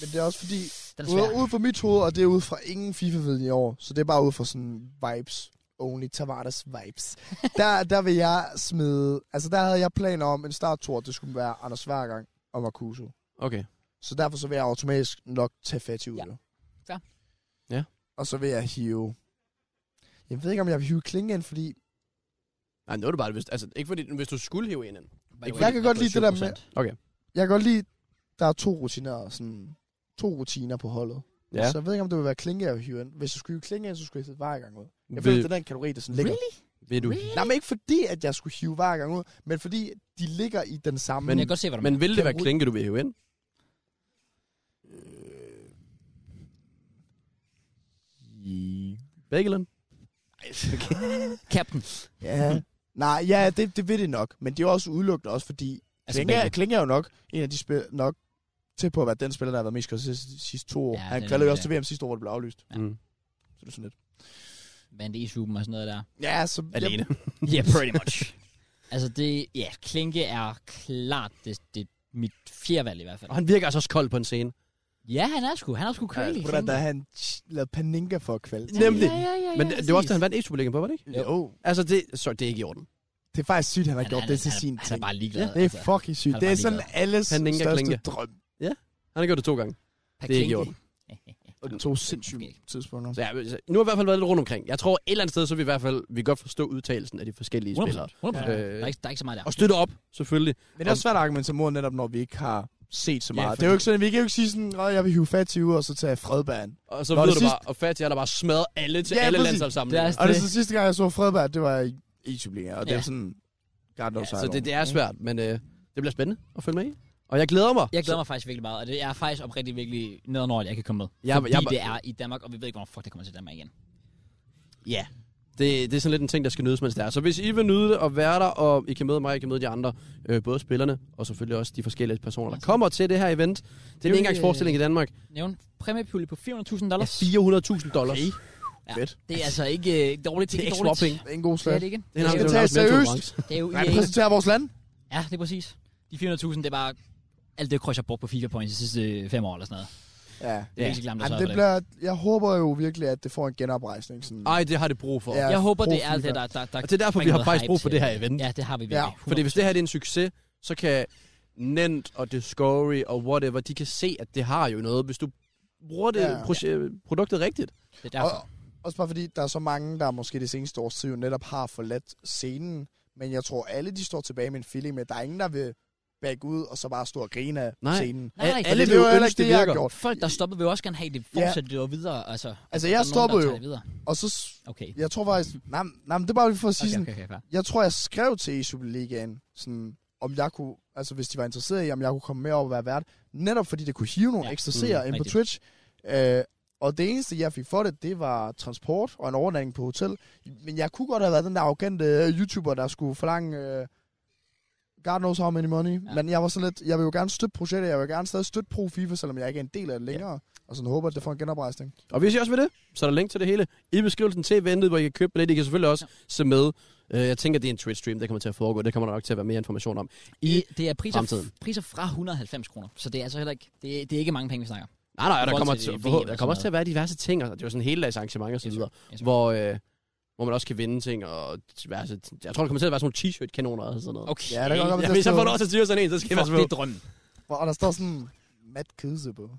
Speaker 3: Men det er også fordi,
Speaker 5: Den er
Speaker 3: ude,
Speaker 5: svær.
Speaker 3: ude fra mit hoved, og det er ude fra ingen FIFA-viden i år, så det er bare ude fra sådan vibes, only Tavares
Speaker 5: <laughs>
Speaker 3: vibes. der, der vil jeg smide, altså der havde jeg planer om en starttor, det skulle være Anders Hvergang og Marcuso.
Speaker 2: Okay.
Speaker 3: Så derfor så vil jeg automatisk nok tage fat i ud.
Speaker 5: Ja. Fair.
Speaker 2: Ja.
Speaker 3: Og så vil jeg hive... Jeg ved ikke, om jeg vil hive Klinge ind, fordi...
Speaker 2: Nej, nu er det bare, hvis, altså, ikke fordi, hvis du skulle hive en ind.
Speaker 5: Bare-
Speaker 3: Jeg kan godt lide det der med-
Speaker 5: 7%.
Speaker 3: Jeg kan godt lide, der er to rutiner, sådan, to rutiner på holdet.
Speaker 2: Ja.
Speaker 3: Så jeg ved ikke, om det vil være Klinge, jeg vil hive ind. Hvis jeg skulle hive Klinge ind, så skulle jeg sætte Hvergang ud. Jeg føler,
Speaker 2: Vil,
Speaker 3: det er den kategori, der sådan ligger.
Speaker 2: vil du?
Speaker 3: Nej, men ikke fordi, at jeg skulle hive hver gang ud, men fordi de ligger i den samme...
Speaker 5: Men jeg kan godt se, hvad du
Speaker 2: Men vil det
Speaker 3: Kan
Speaker 2: være
Speaker 3: Rud-
Speaker 2: Klinke, du vil hive ind? Beggeland?
Speaker 5: Captain.
Speaker 3: Ja. Nej, ja, det, det vil det nok, men det er jo også udelukkende også, fordi altså, Klinge, er,
Speaker 5: begge.
Speaker 3: Klinge er jo nok en af de spil nok til på at være den spiller, der har været mest konsistent de sidste to år.
Speaker 5: Ja,
Speaker 3: Ja,
Speaker 5: det
Speaker 3: han
Speaker 5: er
Speaker 3: kvalder jo
Speaker 5: nemlig
Speaker 3: også
Speaker 5: det.
Speaker 3: til VM sidste år, hvor det blev aflyst.
Speaker 5: Ja.
Speaker 2: Mm.
Speaker 3: Så det er sådan lidt.
Speaker 5: Vandt E-Suben og sådan noget der.
Speaker 3: Ja, så...
Speaker 2: Alene.
Speaker 5: Ja, <laughs> yeah, pretty much. altså det, ja, Klinke er klart det, det mit fjerde valg i hvert fald.
Speaker 2: Og han virker altså også kold på en scene.
Speaker 5: Ja, han er sgu, han er sgu kølig.
Speaker 3: Jamen, der han lavede paninka for at kvalde.
Speaker 5: Ja,
Speaker 2: Nemlig.
Speaker 5: Ja, ja, ja, ja,
Speaker 2: Men det, det var også, da
Speaker 5: præcis.
Speaker 2: han vandt e superligaen på, var det ikke?
Speaker 5: Jo.
Speaker 3: Jo,
Speaker 2: Altså, det, så det er ikke i orden.
Speaker 3: det er faktisk sygt, han har
Speaker 5: Han-
Speaker 3: gjort
Speaker 5: han-
Speaker 3: det til
Speaker 5: han-
Speaker 3: sin
Speaker 5: Han er
Speaker 3: ting.
Speaker 5: bare ligeglad. altså.
Speaker 3: Det er fucking sygt.
Speaker 5: Han er
Speaker 3: Det er sådan
Speaker 5: bare
Speaker 3: alles
Speaker 2: Paninka,
Speaker 3: største
Speaker 2: Klinke.
Speaker 3: drøm.
Speaker 2: Han har gjort det to gange.
Speaker 5: Pat
Speaker 2: det er ikke i
Speaker 5: Klinke.
Speaker 2: orden.
Speaker 3: Og det tog sindssygt tidspunkter.
Speaker 2: Så jeg, så- nu har vi i hvert fald været lidt rundt omkring. Jeg tror, et eller andet sted, så vil vi i hvert fald vi kan godt forstå udtalelsen af de forskellige
Speaker 5: 100%.
Speaker 2: spillere.
Speaker 5: 100%.
Speaker 2: Øh,
Speaker 5: Der, er ikke, der er ikke så meget der.
Speaker 2: Og støtte op, selvfølgelig.
Speaker 3: Men det er også svært at argumentere mod, netop når vi ikke har set så
Speaker 2: Ja,
Speaker 3: meget. Ja,
Speaker 2: fordi-
Speaker 3: Det er jo ikke sådan, at vi kan jo ikke sige sådan, at jeg vil hive fat i ud, og så tage Fredberg.
Speaker 5: Altså,
Speaker 2: Og så
Speaker 3: Nå,
Speaker 2: Nå, ved
Speaker 3: det
Speaker 2: du
Speaker 3: sidste-
Speaker 2: bare, og Fatih har der bare smadret alle til
Speaker 3: Ja,
Speaker 2: alle
Speaker 3: præcis.
Speaker 2: landsholdssamlinger.
Speaker 5: Det er-
Speaker 3: Og det er
Speaker 5: Det-
Speaker 3: så sidste gang, jeg så Fredberg, det var i E Egypten, og det
Speaker 5: Ja.
Speaker 3: er sådan... God
Speaker 2: Ja,
Speaker 3: knows
Speaker 2: så det, det er svært, men øh, det bliver spændende at følge med i. Og jeg glæder mig.
Speaker 5: Jeg glæder mig faktisk virkelig meget, og det er faktisk oprigtigt virkelig nedenover, at jeg kan komme med.
Speaker 2: Jeg-
Speaker 5: fordi
Speaker 2: jeg-
Speaker 5: det er i Danmark, og vi ved ikke, hvornår fuck det kommer til Danmark igen.
Speaker 2: Ja. Det, det er sådan lidt en ting, der skal nydes, mens det er. Så hvis I vil nyde det og være der, og I kan møde mig, I kan møde de andre, øh, både spillerne og selvfølgelig også de forskellige personer, der kommer til det her event. Det er en
Speaker 5: jo,
Speaker 2: engangsforestilling i Danmark.
Speaker 5: Nævn præmiepulje på 400.000
Speaker 2: Ja,
Speaker 5: dollars.
Speaker 2: 400.000 dollars. Okay.
Speaker 5: Ja.
Speaker 3: Fedt.
Speaker 5: Det er altså ikke øh, dårligt til
Speaker 2: Det er ikke
Speaker 5: dårligt.
Speaker 2: småpenge.
Speaker 3: Det er en god
Speaker 5: Det er
Speaker 3: slag.
Speaker 5: det ikke.
Speaker 2: Det er en
Speaker 3: skal
Speaker 2: aftale,
Speaker 3: tages
Speaker 2: der er
Speaker 3: seriøst.
Speaker 2: konkurrence.
Speaker 5: Det er jo
Speaker 3: Man
Speaker 5: EA.
Speaker 3: præsenterer vores land.
Speaker 5: Ja, det er præcis. De 400.000, det er bare alt det kryds, jeg har brugt på FIFA Points de sidste øh, fem år eller sådan noget.
Speaker 3: Ja.
Speaker 5: Det er ikke så glemt, at
Speaker 3: Jamen,
Speaker 5: sørge
Speaker 3: det
Speaker 5: for det. Ah,
Speaker 3: bliver, jeg håber jo virkelig, at det får en genoprejsning. Sådan.
Speaker 2: Ej, det har det brug for.
Speaker 3: Ja.
Speaker 5: Jeg håber, det
Speaker 3: Pro
Speaker 5: er alt det,
Speaker 3: FIFA.
Speaker 5: der, der, der
Speaker 2: Og Altså, det er derfor, vi
Speaker 5: bringer
Speaker 2: har
Speaker 5: noget
Speaker 2: faktisk
Speaker 5: hype
Speaker 2: brug for
Speaker 5: til-
Speaker 2: det her event.
Speaker 5: Ja, det har vi virkelig.
Speaker 3: Ja,
Speaker 2: Fordi hvis det her det er en succes, så kan Nent og Discovery og whatever, de kan se, at det har jo noget, hvis du bruger det
Speaker 3: Ja.
Speaker 2: proje- øh, produktet rigtigt.
Speaker 5: Det er derfor.
Speaker 3: Og, også bare fordi, der er så mange, der måske det seneste års tid jo netop har forladt scenen. Men jeg tror, alle de står tilbage med en feeling med, at der er ingen, der vil bagge ud og så bare stå og grine af
Speaker 2: Nej.
Speaker 3: scenen.
Speaker 5: Nej, nej,
Speaker 2: Alle
Speaker 5: for
Speaker 3: Alle
Speaker 2: vil
Speaker 3: det er
Speaker 2: jo
Speaker 3: jo heller
Speaker 2: ønske,
Speaker 3: ikke det,
Speaker 2: det
Speaker 3: jeg har
Speaker 2: virker.
Speaker 3: gjort.
Speaker 5: folk, der stopper, vil også gerne have, at det fortsætter det jo videre. Altså,
Speaker 3: Altså,
Speaker 5: Der er
Speaker 3: jeg
Speaker 5: nogen, der
Speaker 3: stoppede
Speaker 5: tager
Speaker 3: jo,
Speaker 5: det videre.
Speaker 3: og så... s-
Speaker 5: Okay.
Speaker 3: Jeg tror faktisk... Nej, nej men det er bare lige for at sige
Speaker 5: Okay,
Speaker 3: okay, sådan...
Speaker 5: okay, okay, fair.
Speaker 3: Jeg tror, jeg skrev til E-Superligaen, sådan... om jeg kunne, altså hvis de var interesseret i, om jeg kunne komme med op og være vært. Netop fordi det kunne hive nogle
Speaker 5: Ja,
Speaker 3: ja, ekstra
Speaker 2: mm,
Speaker 3: seere ind på
Speaker 5: rigtigt.
Speaker 3: Twitch. Øh, og det eneste, jeg fik for det, det var transport og en overnatning på hotel. Men jeg kunne godt have været den der arrogante øh, YouTuber, der skulle forlange... Øh, God knows how many money.
Speaker 5: Ja.
Speaker 3: Ja. Men jeg var sådan lidt, jeg vil jo gerne støtte projektet, jeg vil gerne stadig støtte Pro FIFA, selvom jeg ikke er en del af det længere. Ja. Og sådan håber, at det får en genoprejsning.
Speaker 2: Og hvis I også vil det, så er der link til det hele i beskrivelsen til eventet, hvor I kan købe billet. I kan selvfølgelig også se med. Øh, Jeg tænker, det er en Twitch-stream, der kommer til at foregå. Der kommer der nok til at være mere information om. I,
Speaker 5: I, det er priser,
Speaker 2: fremtiden.
Speaker 5: priser fra 190 kroner, så det er altså heller ikke, det, er- det er ikke mange penge, vi snakker.
Speaker 2: nej, nej,
Speaker 5: forhold
Speaker 2: der kommer,
Speaker 5: til
Speaker 2: til,
Speaker 5: VM
Speaker 2: forhåbentlig-
Speaker 5: og
Speaker 2: der
Speaker 5: sådan
Speaker 2: kommer også til at være diverse ting. Og det er jo sådan hele dags arrangement og så
Speaker 5: Yes,
Speaker 2: videre.
Speaker 5: Yes,
Speaker 2: hvor, øh, hvor man også kan vinde ting. Og diverse, jeg tror, der kommer til at være sådan nogle t-shirt-kanoner og sådan noget.
Speaker 5: Okay.
Speaker 3: Ja, det kan godt være, <laughs>
Speaker 2: Ja,
Speaker 3: der
Speaker 2: hvis jeg
Speaker 3: står-
Speaker 2: får lov til at styre sådan en, så skal jeg
Speaker 5: Fuck,
Speaker 2: passe
Speaker 5: det
Speaker 2: på.
Speaker 5: er drømmen.
Speaker 3: Og der står sådan, Matt Kedse på.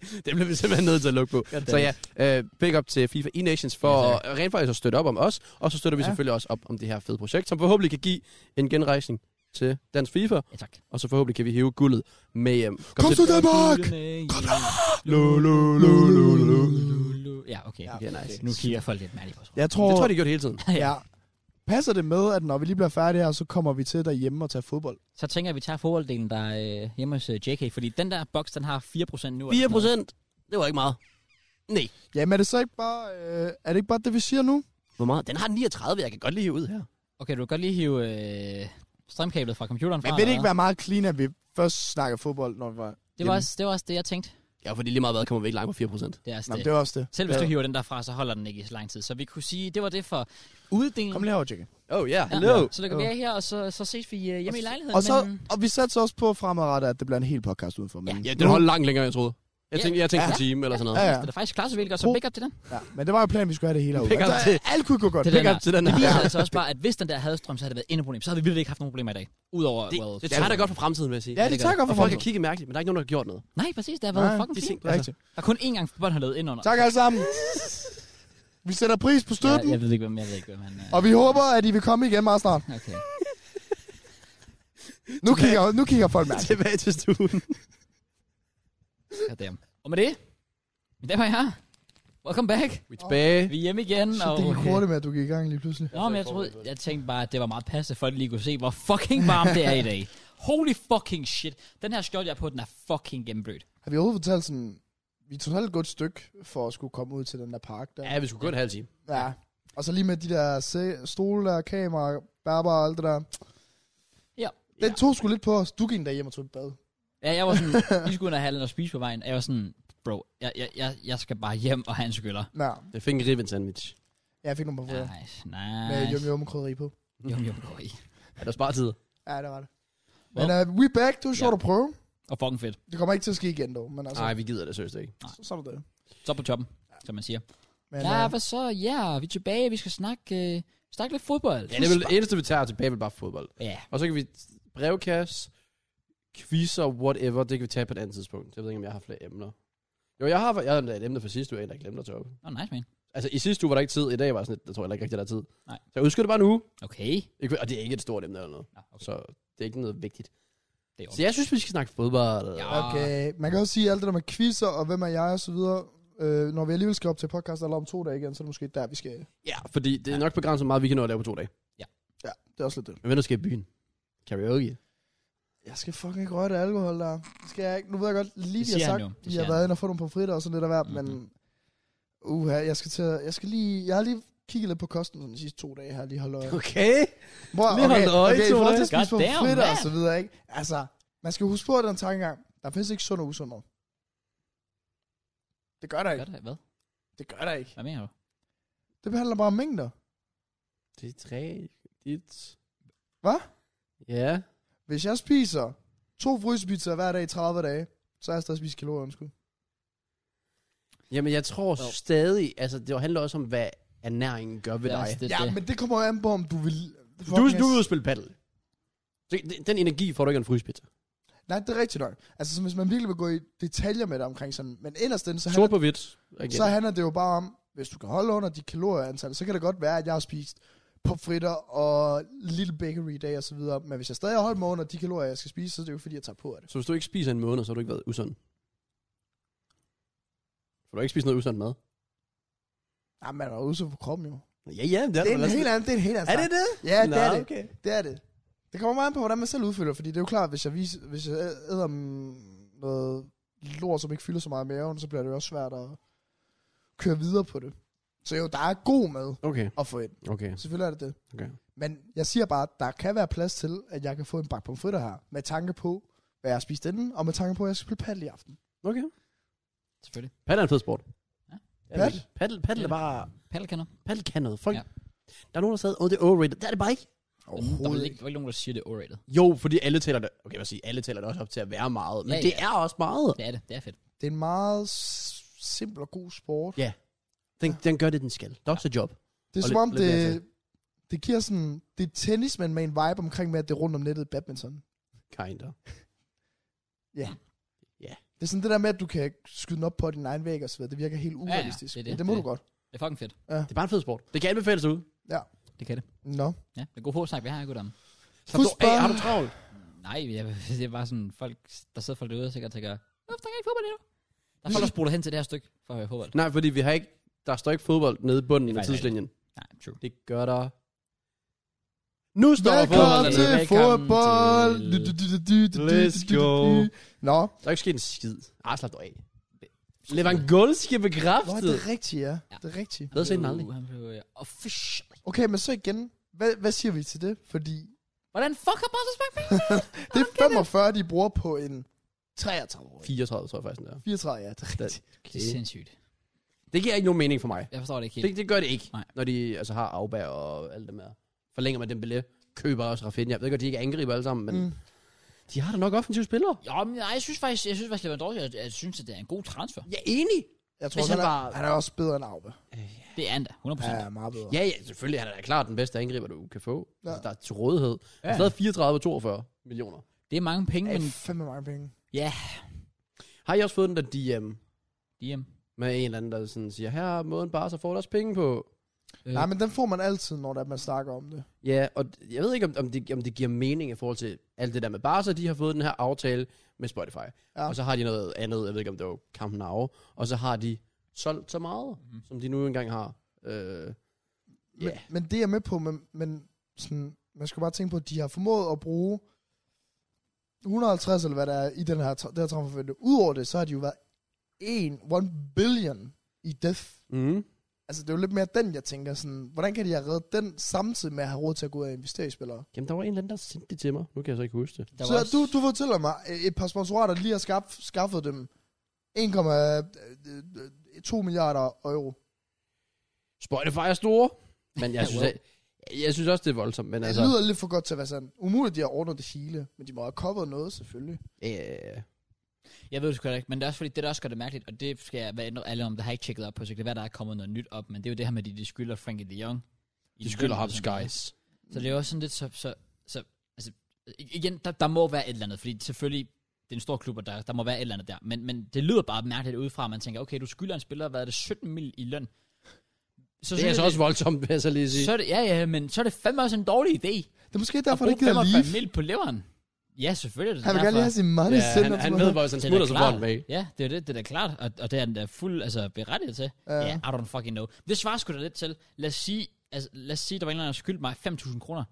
Speaker 2: Det bliver vi simpelthen nødt til at lukke på. Så ja, øh, big up til FIFA E-Nations for
Speaker 5: Ja,
Speaker 2: ja, rent faktisk at støtte op om os, og så støtter vi ja.
Speaker 3: Ja.
Speaker 2: selvfølgelig også op om det her fede projekt, som forhåbentlig kan give en genrejsning til dansk FIFA,
Speaker 5: Ja, tak.
Speaker 2: og så forhåbentlig kan vi hive guldet med hjem.
Speaker 3: Kom til Danmark!
Speaker 2: Lo, lo, lo, lo, lo.
Speaker 5: Ja, okay.
Speaker 3: Ja.
Speaker 2: Okay, nice.
Speaker 5: Nu kigger folk lidt mærkeligt på os.
Speaker 3: Jeg tror,
Speaker 2: Det tror jeg, de har gjort hele tiden.
Speaker 3: Ja. Passer det med, at når vi lige bliver færdige her, så kommer vi til derhjemme og tage fodbold?
Speaker 5: Så tænker jeg, at vi tager fodbolddelen der er, øh, hjemme hos øh, JK, fordi den der boks, den har 4% nu.
Speaker 2: 4 procent, det var ikke meget. Nej.
Speaker 3: Jamen er det så ikke bare, øh, er det ikke bare det, vi siger nu?
Speaker 2: Hvor meget? Den har 39, jeg kan godt lige hive ud her.
Speaker 5: Okay, du kan godt lige hive øh, strømkablet fra computeren fra.
Speaker 3: Men vil det
Speaker 5: eller
Speaker 3: ikke være meget clean, at vi først snakker fodbold, når vi var...
Speaker 5: hvad? det var, også, det var også det, jeg tænkte.
Speaker 2: Ja, fordi lige meget hvad kommer vi ikke langt på 4 procent.
Speaker 5: Det er altså
Speaker 3: Nå,
Speaker 5: det.
Speaker 3: men det var også det.
Speaker 5: Selv hvis
Speaker 3: Ja.
Speaker 5: du hiver den der fra, så holder den ikke i så lang tid. Så vi kunne sige, det var det for uddelingen.
Speaker 3: Kom lige herover, Jekke.
Speaker 2: Oh yeah,
Speaker 5: Ja,
Speaker 2: hello.
Speaker 5: Så lukker vi af her, og så, så ses vi øh, hjemme i lejligheden.
Speaker 3: Og, så,
Speaker 5: men...
Speaker 3: og vi satte så også på fremadrettet, at det bliver en hel podcast udenfor. Men,
Speaker 2: Ja, den holdt langt længere, end jeg troede. Jeg
Speaker 5: Ja.
Speaker 2: tænkte, jeg tænkte
Speaker 5: Ja.
Speaker 2: en time eller sådan noget.
Speaker 3: Ja,
Speaker 5: Det er da faktisk klart, så virkelig godt, så
Speaker 3: Pro-
Speaker 5: big up til den.
Speaker 3: ja. men det var jo planen, vi skulle have det hele herude.
Speaker 2: Pick up til-
Speaker 3: alt kunne gå godt.
Speaker 5: Det
Speaker 2: Pick
Speaker 5: den
Speaker 2: up
Speaker 5: her.
Speaker 2: til den her.
Speaker 5: Det viser altså også bare, at hvis den der havde strøm, så havde det været endnu et problem. Så havde vi virkelig ikke haft nogen problemer i dag. Udover,
Speaker 2: Det,
Speaker 5: well,
Speaker 2: det tager da godt for fremtiden, vil jeg sige.
Speaker 3: Ja, det tager godt for
Speaker 2: Og folk har
Speaker 3: fremtiden.
Speaker 2: kigget mærkeligt, men der er ikke nogen, der har gjort noget.
Speaker 5: Nej, præcis, det har været
Speaker 3: Nej,
Speaker 5: fucking
Speaker 2: De ting,
Speaker 5: fint.
Speaker 2: altså.
Speaker 3: Rigtigt.
Speaker 5: Der er kun én gang, Fodbold har lavet ind under.
Speaker 3: Tak alle sammen. Vi sætter pris på
Speaker 5: Ja,
Speaker 3: støtten,
Speaker 5: jeg ved ikke, hvem jeg ved ikke, hvem han er.
Speaker 3: og vi håber, at I vil komme igen meget snart.
Speaker 5: Okay.
Speaker 3: Nu kigger, nu kigger folk mærke.
Speaker 2: <laughs> Tilbage til stuen.
Speaker 5: Goddamn. Og med det, min damer og herrer, welcome back.
Speaker 2: Vi er tilbage.
Speaker 5: Vi er hjemme igen.
Speaker 3: Så
Speaker 5: og, øh,
Speaker 3: det gik hurtigt med, at du gik i gang lige pludselig.
Speaker 5: Nå, men jeg, troede, jeg tænkte bare, at det var meget passende, for at lige kunne se, hvor fucking varmt det er i dag. Holy fucking shit. Den her skjorte, jeg har på, den er fucking gennemblødt.
Speaker 3: Har vi overhovedet fortalt sådan, vi tog et godt stykke for at skulle komme ud til den der park der.
Speaker 2: Ja, vi skulle gå en halv time.
Speaker 3: ja. Og så lige med de der se- stole der, kamera, bærbar og alt det der.
Speaker 5: Ja.
Speaker 3: Den tog sgu lidt på os. Du gik endda hjem og tog et bad.
Speaker 5: Ja, jeg
Speaker 3: <laughs>
Speaker 5: var sådan, vi skulle ind og have noget at spise på vejen, og jeg var sådan, bro, jeg, jeg, jeg, jeg skal bare hjem og have en skyller.
Speaker 3: Ja,
Speaker 2: Jeg fik en ribben sandwich.
Speaker 3: jeg fik nogle på ja.
Speaker 5: Nice,
Speaker 3: Med
Speaker 5: nice.
Speaker 3: yum yum krydderi på.
Speaker 5: Yum, yum, går i.
Speaker 2: Er der sparet tid?
Speaker 3: Ja, det var det. Men
Speaker 5: Well.
Speaker 3: uh, we back, det var sjovt
Speaker 5: Ja.
Speaker 3: at prøve.
Speaker 5: Og fucking fedt.
Speaker 3: Det kommer ikke til at ske igen dog, men altså,
Speaker 2: Nej, vi gider det seriøst ikke.
Speaker 3: så, så er det det.
Speaker 5: Så på toppen, som man siger.
Speaker 3: Men,
Speaker 5: Ja,
Speaker 3: øh,
Speaker 5: hvad så? Ja, vi er tilbage, vi skal snakke, øh, snakke lidt fodbold.
Speaker 2: Ja, det er vel det eneste, vi tager tilbage, vil bare fodbold.
Speaker 5: Ja,
Speaker 2: Og så kan vi brevkasse, quizzer, whatever, det kan vi tage på et andet tidspunkt. Jeg ved ikke, om jeg har flere emner. Jo, jeg har, jeg havde et emne fra sidste uge, jeg glemte at tage op.
Speaker 5: oh, nice man.
Speaker 2: Altså, i sidste uge var der ikke tid. I dag var jeg sådan lidt, jeg tror heller ikke rigtig, der er tid.
Speaker 5: Nej.
Speaker 2: Så jeg udskyder det bare en uge.
Speaker 5: Okay.
Speaker 2: Ikke- Og det er ikke et stort emne eller noget.
Speaker 5: Nå, okay.
Speaker 2: Så det er ikke noget vigtigt.
Speaker 5: Det er
Speaker 2: Så jeg synes, vi skal snakke fodbold.
Speaker 5: Ja.
Speaker 3: Okay, man kan også sige alt det der med quizzer og hvem er jeg og så videre. Øh, når vi alligevel skal op til podcast eller om to dage igen, så er det måske der, vi skal.
Speaker 2: Ja, fordi det er nok begrænset hvor meget, vi kan nå at lave på to dage.
Speaker 3: Ja, det er også lidt det.
Speaker 2: Men hvad nu skal i byen? Karaoke.
Speaker 3: Jeg skal fucking ikke røre det alkohol der. Det Skal jeg ikke? Nu ved jeg godt, lige
Speaker 5: Det
Speaker 3: vi har
Speaker 5: siger han
Speaker 3: sagt,
Speaker 5: jo. Det
Speaker 3: vi
Speaker 5: siger
Speaker 3: har
Speaker 5: han.
Speaker 3: været inde og fået nogle pomfritter og sådan lidt af hvert,
Speaker 5: Mhm.
Speaker 3: men... Uha, jeg skal til at, jeg skal lige, jeg har lige kigget lidt på kosten sådan de sidste to dage her, lige
Speaker 5: <laughs>
Speaker 3: holdt øje.
Speaker 2: Okay.
Speaker 3: Bror,
Speaker 2: Lige holdt øje
Speaker 3: okay,
Speaker 2: i to
Speaker 3: forhold til
Speaker 2: dage.
Speaker 3: at spise
Speaker 5: Goddamn,
Speaker 3: pomfritter og
Speaker 5: mand.
Speaker 3: så videre, ikke? Altså, man skal huske på den tankegang. Der findes ikke sund og usund mad. Det gør der ikke.
Speaker 5: Gør det, hvad?
Speaker 3: Det gør der ikke.
Speaker 5: Hvad mener du?
Speaker 3: Det behandler bare om mængder.
Speaker 2: Det er tre. Dit.
Speaker 3: Hvad?
Speaker 2: Ja.
Speaker 3: Hvis jeg spiser to frysepizzaer hver dag i 30 dage, så har jeg stadig spist kalorier, undskyld.
Speaker 2: Jamen, jeg tror stadig, altså det handler også om, hvad ernæringen gør ved
Speaker 5: Det er
Speaker 2: dig.
Speaker 5: også det,
Speaker 3: Ja,
Speaker 5: det.
Speaker 3: men det kommer jo an på, om du vil...
Speaker 2: Du, du er ude at spille paddle. Den energi får du ikke af en fryspizza.
Speaker 3: Nej, det er rigtigt nok. Altså, så hvis man virkelig vil gå i detaljer med det omkring sådan... Men inderst inde, så handler,
Speaker 2: Sort på hvidt. igen.
Speaker 3: så handler det jo bare om, hvis du kan holde under de kalorieantal, så kan det godt være, at jeg har spist på fritter og Little Bakery i dag og så videre. Men hvis jeg stadig har holdt mig under de kalorier, jeg skal spise, så er det jo fordi, jeg tager på af det.
Speaker 2: Så hvis du ikke spiser en måned, så har du ikke været usund. For du har ikke spist noget usund mad.
Speaker 3: Nej, Ah, man er jo udsat på kroppen jo.
Speaker 2: Ja, ja,
Speaker 3: Det er, en helt anden, det er en helt anden
Speaker 2: Er det
Speaker 3: snak.
Speaker 2: det?
Speaker 3: Ja, det
Speaker 2: Nå,
Speaker 3: er det.
Speaker 2: Okay.
Speaker 3: Det er det. Det kommer meget an på, hvordan man selv udfylder, fordi det er jo klart, hvis jeg, vis, hvis jeg æder mm, noget lort, som ikke fylder så meget i maven, så bliver det jo også svært at køre videre på det. Så jo, der er god mad
Speaker 2: Okay,
Speaker 3: at få ind.
Speaker 2: okay,
Speaker 3: Selvfølgelig er det det.
Speaker 2: okay.
Speaker 3: Men jeg siger bare, at der kan være plads til, at jeg kan få en bakke pomfritter her, med tanke på, hvad jeg har spist inden, og med tanke på, at jeg skal spille paddle i aften.
Speaker 2: Okay.
Speaker 5: Selvfølgelig.
Speaker 2: Paddle er en fed sport.
Speaker 5: Ja.
Speaker 2: Det er det
Speaker 3: Pat?
Speaker 2: ikke. Paddle, paddle er bare...
Speaker 5: Paddelkanner.
Speaker 2: Paddle kan noget. Folk,
Speaker 5: Ja.
Speaker 2: Der er nogen, der sagde, åh, det er overrated. Det er det bare ikke.
Speaker 5: Der er vel
Speaker 3: Overhovedet
Speaker 5: ikke, der er ikke nogen, der siger, det er overrated.
Speaker 2: Jo, fordi alle tæller det, okay, hvad siger, alle tæller det også op til at være meget. Men
Speaker 5: Ja,
Speaker 2: ja, det
Speaker 5: ja.
Speaker 2: er også meget.
Speaker 5: Det er det. Det er fedt.
Speaker 3: Det er en meget s- simpel og god sport.
Speaker 2: Ja. Den, den gør det, den skal. Det er også et job.
Speaker 3: Det er
Speaker 2: Og
Speaker 3: som
Speaker 2: lidt-
Speaker 3: om,
Speaker 2: lidt mere
Speaker 3: det, det giver sådan... Det er tennis, men med en vibe omkring med, at det er rundt om nettet i badminton.
Speaker 2: Kinda.
Speaker 3: Det er sådan det der med, at du kan skyde den op på din egen væg og så videre. Det virker helt
Speaker 5: ja,
Speaker 3: urealistisk.
Speaker 5: det
Speaker 3: Ja,
Speaker 5: er
Speaker 3: det, det.
Speaker 5: det.
Speaker 3: det må
Speaker 5: Det-
Speaker 3: du godt.
Speaker 5: Det er fucking fedt.
Speaker 2: Det er bare en fed sport. Det kan anbefales ud.
Speaker 5: Det kan det.
Speaker 3: Nå.
Speaker 5: Ja, det er god hårdsnak, vi har, gutter.
Speaker 2: Så du,
Speaker 3: Fodbold.
Speaker 2: hey, har du travlt?
Speaker 5: Nej, jeg, det er <laughs> bare sådan, folk, der sidder folk derude og sikkert tænker, hvorfor kan jeg ikke fodbold endnu? Der er folk, der spoler hen til det her stykke for at høre fodbold.
Speaker 2: Nej, fordi vi har ikke, der står ikke fodbold nede i bunden
Speaker 5: Det er
Speaker 2: af
Speaker 5: faktisk
Speaker 2: tidslinjen.
Speaker 5: Nej, true.
Speaker 2: Det gør der. Nu står
Speaker 3: Velkommen
Speaker 2: fodbold
Speaker 3: til
Speaker 2: dernede.
Speaker 3: fodbold!
Speaker 5: til-
Speaker 3: Du, du, du, du, du, du, du,
Speaker 2: Let's
Speaker 3: du, du, du. Nå.
Speaker 2: Der er ikke sket en skid. Ah, slap dig af. Lewandowski er
Speaker 3: Nå,
Speaker 2: bekræftet.
Speaker 3: det er rigtigt, ja.
Speaker 5: Ja.
Speaker 3: Det er rigtigt.
Speaker 2: Bedre sent end aldrig.
Speaker 5: Han blev øh, official.
Speaker 3: Okay, men så igen. Hvad, hvad siger vi til det? Fordi
Speaker 5: Hvordan fuck har Barca smagt penge?
Speaker 3: det er 45, de bruger på en 33-årig.
Speaker 2: 34, tror jeg faktisk, det er.
Speaker 3: 34, ja, det er rigtigt.
Speaker 5: Det er sindssygt.
Speaker 2: Det giver ikke nogen mening for mig.
Speaker 5: Jeg forstår det ikke helt.
Speaker 2: Det, det gør det ikke,
Speaker 5: Nej.
Speaker 2: Nej. når de altså, har Auba og alt det med. Forlænger man Dembélé, køber også Rafinha. Jeg ved godt, de ikke angriber alle sammen, men mm.
Speaker 3: Mm.
Speaker 2: de har da nok offensive spillere.
Speaker 5: Jo, men nej, jeg synes faktisk, jeg synes faktisk, Lewandowski, jeg, jeg synes, at det er en god transfer.
Speaker 2: Jeg er enig.
Speaker 3: Jeg tror,
Speaker 2: Hvis
Speaker 3: også, han,
Speaker 2: han
Speaker 3: er,
Speaker 2: var-
Speaker 3: han er også bedre end Arve.
Speaker 5: Det er han da, 100%.
Speaker 3: Ja, meget bedre.
Speaker 2: Ja, ja, selvfølgelig. Han er da klart den bedste angriber, du kan få.
Speaker 3: Ja.
Speaker 2: Ja. Altså, der er til rådighed. Ja. Der er stadig 34 42 millioner.
Speaker 5: Det er mange penge,
Speaker 3: Det
Speaker 5: men
Speaker 3: er fandme mange penge.
Speaker 5: ja,
Speaker 2: Har I også fået den der DM
Speaker 5: DM.
Speaker 2: med en eller anden, der sådan siger, her er måden bare, så får deres penge på.
Speaker 5: Øh,
Speaker 3: Nej, men den får man altid, når det er, man snakker om det.
Speaker 2: Ja, og d- jeg ved ikke, om, om, det, om det giver mening i forhold til alt det der med Barca. De har fået den her aftale med Spotify.
Speaker 3: Ja.
Speaker 2: Ja. Og så har de noget andet, jeg ved ikke, om det var Camp Nou. Og så har de solgt så meget,
Speaker 5: Mhm.
Speaker 2: mm. som de nu engang har. Øh,
Speaker 3: Men,
Speaker 2: Ja.
Speaker 3: men det er jeg med på, men, men sådan, man skal bare tænke på, at de har formået at bruge 150 eller hvad der er i den her, tra- det her transfervindue. Udover det, så har de jo været 1, 1 billion i death.
Speaker 2: mm.
Speaker 3: Altså, det er jo lidt mere den, jeg tænker sådan, hvordan kan de have reddet den samtidig med at have råd til at gå ud og investere i spillere?
Speaker 2: Jamen, der var en eller anden, der sendte det til mig. Nu kan jeg så ikke huske det.
Speaker 5: øh, der
Speaker 3: så
Speaker 5: var også-
Speaker 3: du, du fortæller mig, øh, et par sponsorater lige har skaff, skaffet dem 1,2 øh, milliarder euro.
Speaker 2: Spotify er store, men jeg synes,
Speaker 5: Well.
Speaker 2: jeg, jeg synes også, det er voldsomt. Men
Speaker 3: Det
Speaker 2: altså,
Speaker 3: lyder lidt for godt til at være sandt. Umuligt, de har ordnet det hele, men de må have koppet noget, selvfølgelig.
Speaker 2: øh,
Speaker 5: Jeg ved det sgu heller ikke, men det er også fordi, det der også gør det mærkeligt, og det skal jeg være ændret alle om, der har jeg ikke tjekket op på, så det kan være, der er kommet noget nyt op, men det er jo det her med, at de, de skylder Frankie de Jong. I
Speaker 2: de skylder ham
Speaker 5: begyndelsen.
Speaker 2: skies.
Speaker 5: Så det er jo også sådan lidt, så, så, så altså, i- igen, der, der må være et eller andet, fordi selvfølgelig, det er en stor klub, og der, der må være et eller andet der, men, men det lyder bare mærkeligt udefra, at man tænker, okay, du skylder en spiller, hvad er det, 17 mil i løn? Så
Speaker 2: Det er
Speaker 5: synes
Speaker 2: altså
Speaker 5: jeg,
Speaker 2: også voldsomt, vil jeg så lige sige.
Speaker 5: så er det, ja, ja, men så er det fandme også en dårlig idé.
Speaker 3: Det er måske
Speaker 5: at
Speaker 3: derfor, det
Speaker 5: bruge
Speaker 3: ikke hedder
Speaker 5: 45
Speaker 3: Leaf.
Speaker 5: mil på leveren. Ja, selvfølgelig. er det
Speaker 3: Han vil
Speaker 5: derfor.
Speaker 3: gerne lige have sin money
Speaker 2: ja,
Speaker 3: ja, sender.
Speaker 2: han, han ved, hvor hvis han
Speaker 5: Det er
Speaker 2: smutter,
Speaker 5: da
Speaker 2: så får
Speaker 5: klart.
Speaker 2: han væk.
Speaker 5: Ja, det er jo det, det er da klart, og, og det er den der fuld altså, berettiget til. Ja,
Speaker 3: Ja.
Speaker 5: yeah, I don't fucking know. Det svarer sgu da lidt til, lad os sige, altså, lad os sige der var en eller anden, der skyldte mig 5.000 kroner,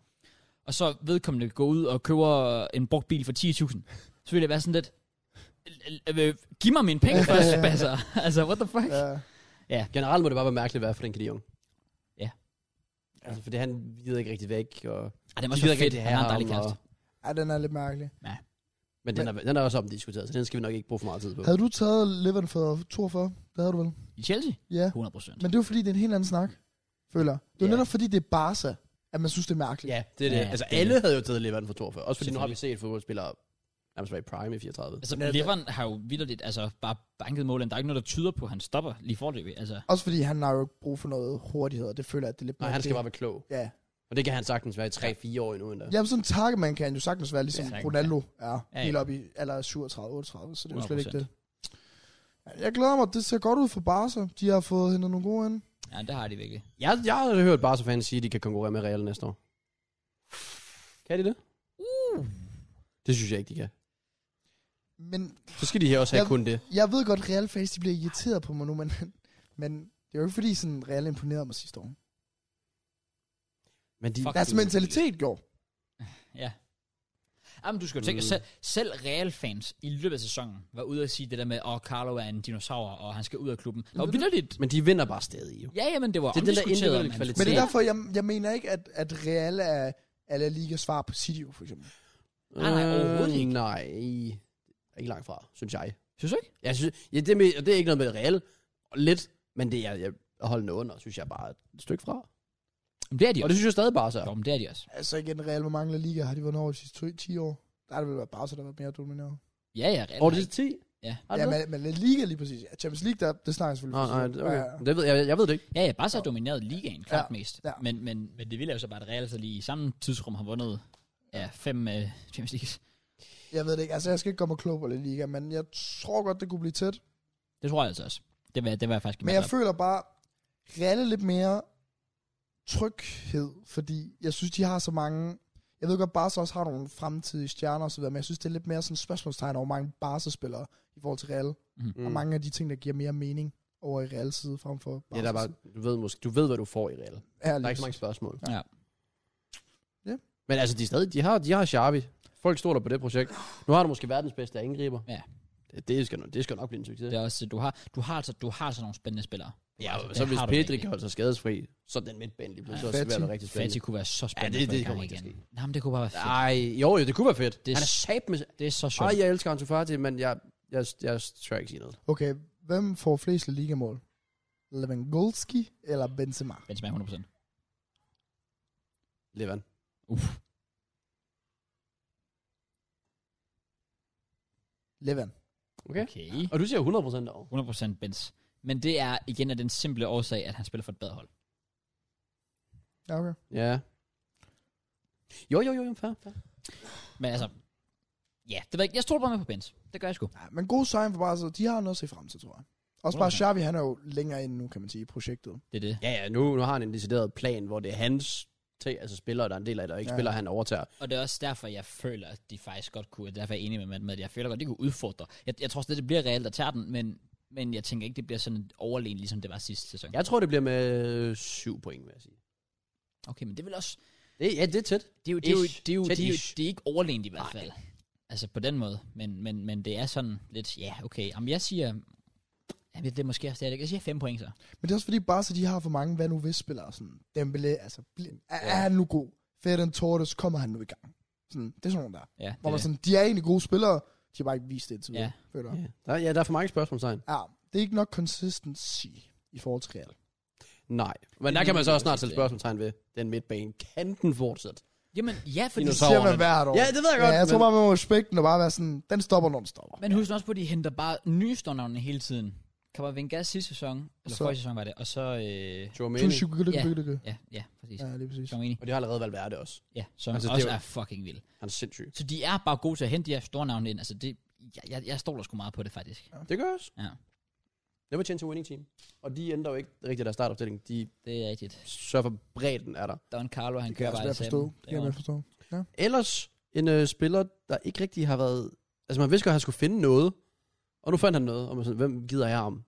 Speaker 5: og så vedkommende går ud og køber en brugt bil for 10.000, så ville det være sådan lidt, "L- l- øh, giv mig mine <laughs> penge først, altså, altså, what the fuck? Ja.
Speaker 3: Ja.
Speaker 2: Generelt må det bare være mærkeligt at være Frenkie de Jong.
Speaker 5: Ja.
Speaker 2: Altså, fordi han gider ikke rigtig væk, og...
Speaker 5: Ej, det
Speaker 2: De
Speaker 5: må også
Speaker 2: ved ikke
Speaker 5: være fedt,
Speaker 2: rigtig
Speaker 5: han har en
Speaker 2: ham,
Speaker 5: dejlig kæreste.
Speaker 2: og-
Speaker 3: ja, den er lidt mærkelig.
Speaker 2: Men den er, den er også omdiskuteret, så den skal vi nok ikke bruge for meget tid på.
Speaker 3: Havde du taget Leven for 42? Det havde du vel?
Speaker 5: I Chelsea?
Speaker 3: Ja.
Speaker 5: 100 procent.
Speaker 3: Men det er jo fordi, det er en helt anden snak, føler jeg. Det er
Speaker 2: Ja.
Speaker 3: jo netop fordi, det er Barca, at man synes, det er mærkeligt.
Speaker 2: Ja, det er det.
Speaker 5: Ja,
Speaker 2: altså,
Speaker 5: det er
Speaker 2: alle
Speaker 5: det.
Speaker 2: havde jo taget Levan for 42. Også fordi nu har vi set fodboldspillere nærmest være i prime i 34.
Speaker 5: Altså,
Speaker 3: Men-
Speaker 5: Leveren har jo vildt altså, bare banket målen. Der er ikke noget, der tyder på, at han stopper lige forløbig. Altså,
Speaker 3: Også fordi han har jo ikke brug for noget hurtighed, og det føler jeg, at det er lidt
Speaker 2: Nej,
Speaker 3: mere
Speaker 2: han skal
Speaker 3: det.
Speaker 2: bare være klog.
Speaker 3: Ja.
Speaker 2: Og det kan han sagtens være i 3-4 år endnu endda.
Speaker 3: Jamen sådan en targetman kan han jo sagtens være, ligesom
Speaker 5: Ja,
Speaker 3: ja,
Speaker 5: sagtens,
Speaker 3: Ronaldo er,
Speaker 5: Ja,
Speaker 3: ja,
Speaker 5: ja.
Speaker 3: ja. helt op i alder 37-38, så det er jo slet ikke
Speaker 5: 100%.
Speaker 3: det. Ja, Jeg glæder mig, det ser godt ud for Barca. De har fået hentet nogle gode ind.
Speaker 5: ja, det har de virkelig.
Speaker 2: Jeg, jeg har hørt Barca-fans sige, at de kan konkurrere med Real næste år. Kan de det?
Speaker 5: Uh.
Speaker 2: Det synes jeg ikke, de kan.
Speaker 3: Men
Speaker 2: Så skal de her også have
Speaker 3: Jeg-
Speaker 2: kun det.
Speaker 3: jeg ved godt, Real fans, de bliver irriteret på mig nu, men, men det er jo ikke fordi, sådan Real imponerede mig sidste år.
Speaker 2: Men de,
Speaker 5: Fuck.
Speaker 3: Deres mentalitet gjorde.
Speaker 5: Ja. Jamen, du skal jo tænke, mm. selv, selv Real-fans i løbet af sæsonen var ude og sige det der med, at oh, Carlo er en dinosaur, og han skal ud af klubben. Det var vildt.
Speaker 2: Men de vinder bare stadig jo.
Speaker 5: Ja, jamen, det var
Speaker 2: Det er den der
Speaker 5: omdiskuteret,
Speaker 2: individuelle
Speaker 5: om han
Speaker 2: kvalitet.
Speaker 5: skulle
Speaker 3: Men det
Speaker 5: være.
Speaker 3: er derfor, jeg, jeg mener ikke, at, at Real er, er La Liga svar på City, for eksempel.
Speaker 5: Nej, nej, overhovedet
Speaker 2: Øh,
Speaker 5: ikke.
Speaker 2: Nej, ikke langt fra, synes jeg.
Speaker 5: Synes du ikke?
Speaker 2: Jeg synes, ja, det, er med, og det er ikke noget med reelt, lidt, men det er jeg, holdende under, synes jeg bare er et stykke fra.
Speaker 5: Jamen, det er de
Speaker 2: Og
Speaker 5: også.
Speaker 2: det synes jeg stadig bare så.
Speaker 5: Jo, men det er de også.
Speaker 3: Altså igen, Real, hvor mange La Liga har de vundet over de sidste to- 10 år? Der har det vel været Barca, der har været mere dominerende.
Speaker 5: Ja, ja, Real.
Speaker 2: Over
Speaker 5: har
Speaker 2: det 10?
Speaker 5: ikke- Ja.
Speaker 2: Har det
Speaker 3: Ja,
Speaker 2: det?
Speaker 3: men, men La Liga lige præcis. Ja, Champions League, der, det snakker jeg selvfølgelig.
Speaker 2: Nej,
Speaker 3: for
Speaker 2: nej,
Speaker 3: sig selv.
Speaker 2: okay.
Speaker 3: Ja, ja.
Speaker 2: Det ved, jeg, jeg ved det ikke.
Speaker 5: Ja, ja, Barca har domineret ligaen klart
Speaker 3: Ja,
Speaker 5: mest.
Speaker 3: ja.
Speaker 5: Men, men, men det vilde er jo så bare, at Real så lige i samme tidsrum har vundet ja, fem uh, Champions League.
Speaker 3: Jeg ved det ikke. Altså, jeg skal ikke komme og klog på La Liga, men jeg tror godt, det kunne blive tæt.
Speaker 5: Det tror jeg altså også. Det var, det var jeg faktisk
Speaker 3: Men jeg
Speaker 2: altså-
Speaker 3: føler bare, Real er lidt mere tryghed, fordi jeg synes, de har så mange... Jeg ved godt, Barca også har nogle fremtidige stjerner osv., men jeg synes, det er lidt mere sådan et spørgsmålstegn over hvor mange Barca-spillere i forhold til Real. Mm.
Speaker 2: Mhm.
Speaker 3: Og mange af de ting, der giver mere mening over i Real side frem for Barca.
Speaker 2: Ja, der er bare, du ved måske, du ved, hvad du får i reelt.
Speaker 3: Ja,
Speaker 2: Der er
Speaker 3: lige
Speaker 2: ikke så mange spørgsmål.
Speaker 5: Ja.
Speaker 3: Ja.
Speaker 2: Men altså, de, er stadig, de har, de har Xavi. Folk stoler på det projekt. Nu har du måske verdens bedste angriber.
Speaker 5: Ja.
Speaker 2: Det, det, skal, nok- det skal nok blive en succes.
Speaker 5: Det er også, du har, du har, altså, du har altså nogle spændende spillere.
Speaker 2: Ja,
Speaker 5: Altså,
Speaker 2: og
Speaker 5: det
Speaker 2: så hvis
Speaker 5: har du
Speaker 2: Pedri
Speaker 5: virkelig.
Speaker 2: kan holde sig skadesfri, så er den midtbane lige pludselig også
Speaker 3: Ja,
Speaker 2: svært
Speaker 3: Fati.
Speaker 2: og rigtig
Speaker 5: Fati
Speaker 2: spændende.
Speaker 5: kunne være så spændende.
Speaker 2: Ja, det- det
Speaker 5: at Ah. få i gang
Speaker 2: kommer ikke til
Speaker 5: igen.
Speaker 2: at
Speaker 5: Nej, men det kunne bare være fedt.
Speaker 2: Nej, jo, jo, det kunne være fedt.
Speaker 5: Det
Speaker 2: Det
Speaker 5: er
Speaker 2: han er sat med...
Speaker 5: Det er så sjovt.
Speaker 2: Ej, jeg elsker Ansu Fati, men jeg, jeg, jeg tør ikke sige noget.
Speaker 3: Okay, hvem får flest La Liga-mål? Lewandowski eller Benzema?
Speaker 5: Benzema 100%.
Speaker 2: Levan.
Speaker 5: Uff.
Speaker 3: Levan.
Speaker 2: Okay.
Speaker 5: Okay.
Speaker 2: Og du siger 100% derovre.
Speaker 5: 100% Benz. Men det er igen af den simple årsag, at han spiller for et bedre hold.
Speaker 3: Ja, okay.
Speaker 2: Ja. Jo, jo, jo, jo, fair, fair.
Speaker 5: Men altså, ja, det ved jeg ikke. Jeg stoler bare med på Benz. Det gør jeg sgu.
Speaker 3: Ja, men god sejr for Barca, de har noget at se frem til, tror jeg. Også bare Xavi, han er jo længere inde nu, kan man sige, i projektet.
Speaker 5: Det er det.
Speaker 2: Ja, ja, nu, nu har han en decideret plan, hvor det er hans ting, altså spillere, der er en del af det, og ikke
Speaker 3: Ja.
Speaker 2: ja. spillere, han overtager.
Speaker 5: Og det er også derfor, jeg føler, at de faktisk godt kunne, og derfor er jeg enig med Matt med, at jeg føler godt, de kunne udfordre. Jeg, jeg tror stadig, det bliver reelt at tage den, men, men jeg tænker ikke, det bliver sådan overlegen, ligesom det var sidste sæson.
Speaker 2: Jeg tror, det bliver med 7 point, vil jeg sige.
Speaker 5: Okay, men det vil også...
Speaker 2: Det, ja, det er tæt.
Speaker 5: Det er jo, det er jo,
Speaker 2: Ish.
Speaker 5: det er jo, det er jo,
Speaker 2: Tæt-ish.
Speaker 5: det er ikke overlegent i hvert
Speaker 2: Nej.
Speaker 5: fald. Altså på den måde, men, men, men det er sådan lidt, ja, okay. Jamen jeg siger, jamen det er måske også det, jeg siger fem point så.
Speaker 3: Men det er også fordi Barca, de har for mange hvad nu hvis spillere. Sådan, Dembélé, altså, bl- er, er han nu god? Ferdinand Torres, kommer han nu i gang? Sådan, det er sådan nogle der.
Speaker 5: Ja,
Speaker 3: Hvor
Speaker 5: det,
Speaker 3: man
Speaker 5: er det.
Speaker 3: sådan, de er egentlig gode spillere, de har bare ikke vist det indtil videre. Ja.
Speaker 5: Ja.
Speaker 3: Føler. jeg.
Speaker 2: Ja. Der, ja, der er for mange spørgsmålstegn.
Speaker 3: ja. det er ikke nok consistency i forhold til Real.
Speaker 2: Nej. Men
Speaker 5: Det er
Speaker 2: der kan man så
Speaker 5: lige
Speaker 2: også snart
Speaker 5: præcis
Speaker 2: sætte
Speaker 5: det.
Speaker 2: spørgsmålstegn ved. Den midtbane, kan den fortsætte?
Speaker 5: Jamen ja, fordi...
Speaker 3: Det
Speaker 2: Dinosaur.
Speaker 3: siger man
Speaker 2: Dinosaurerne.
Speaker 3: hvert år.
Speaker 2: Ja, det ved jeg godt.
Speaker 3: Ja, jeg tror
Speaker 2: men-
Speaker 3: bare, man må respekten og bare være sådan, den stopper, når den stopper.
Speaker 5: Men husk nu også på, at de henter bare nye stornavne hele tiden. Kammervengas sidste sæson, eller
Speaker 3: Så-
Speaker 5: forrige sæson var det, og så... Øh,
Speaker 2: Tchouameni.
Speaker 3: Tusind lykke, lykke,
Speaker 5: Ja.
Speaker 3: lykke, lykke.
Speaker 5: ja, ja, præcis.
Speaker 3: Ja, lige præcis.
Speaker 5: Som enig.
Speaker 2: Og det har allerede valgt værd det også.
Speaker 5: Ja, som
Speaker 2: Altså,
Speaker 5: altså,
Speaker 2: det er
Speaker 5: også
Speaker 2: jo-
Speaker 5: er fucking vild.
Speaker 2: Han er sindssyg.
Speaker 5: Så de er bare gode til at hente de her store navne ind. Altså det, jeg, jeg, jeg stoler sgu meget på det faktisk.
Speaker 2: Det gør også.
Speaker 5: Ja.
Speaker 2: Never change a winning team. Og de ændrer jo ikke rigtig deres startopstilling. De
Speaker 5: Det er rigtigt.
Speaker 2: sørger for bredden er der.
Speaker 5: Don Carlo, han
Speaker 3: Det kan
Speaker 5: kører
Speaker 3: jeg
Speaker 5: bare
Speaker 3: også
Speaker 5: i
Speaker 3: godt forstå.
Speaker 5: sammen.
Speaker 3: Det kan jeg godt forstå.
Speaker 2: Ellers en øh, spiller, der ikke rigtig har været... Altså man vidste godt, at han skulle finde noget. Og nu fandt han noget. Og man er sådan, hvem gider jeg ham?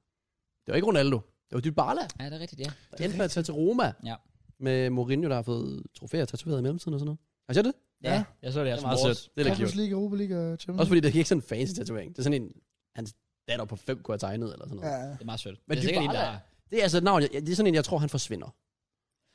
Speaker 2: Det var ikke Ronaldo. Det var Dybala.
Speaker 5: Ja, det er rigtigt, ja.
Speaker 2: Der endte med at tage til Roma.
Speaker 5: Ja.
Speaker 2: Med Mourinho, der har fået trofæer tatoveret i mellemtiden og sådan noget. Har I set det?
Speaker 5: Ja,
Speaker 3: Ja.
Speaker 5: jeg så det her
Speaker 2: er
Speaker 5: som vores.
Speaker 2: sødt. Det er da
Speaker 3: Champions
Speaker 2: cute.
Speaker 3: League, Europa League og Champions
Speaker 2: Også fordi det er ikke sådan en fancy tatovering. Det er sådan en, hans datter på 5 kunne have tegnet eller sådan noget.
Speaker 3: Ja,
Speaker 2: Ja.
Speaker 3: ja.
Speaker 5: Det er meget sødt.
Speaker 2: Men
Speaker 5: Men det er sikkert en, der
Speaker 2: Dybala- Det er altså et navn, jeg, det er sådan en, jeg tror, han forsvinder.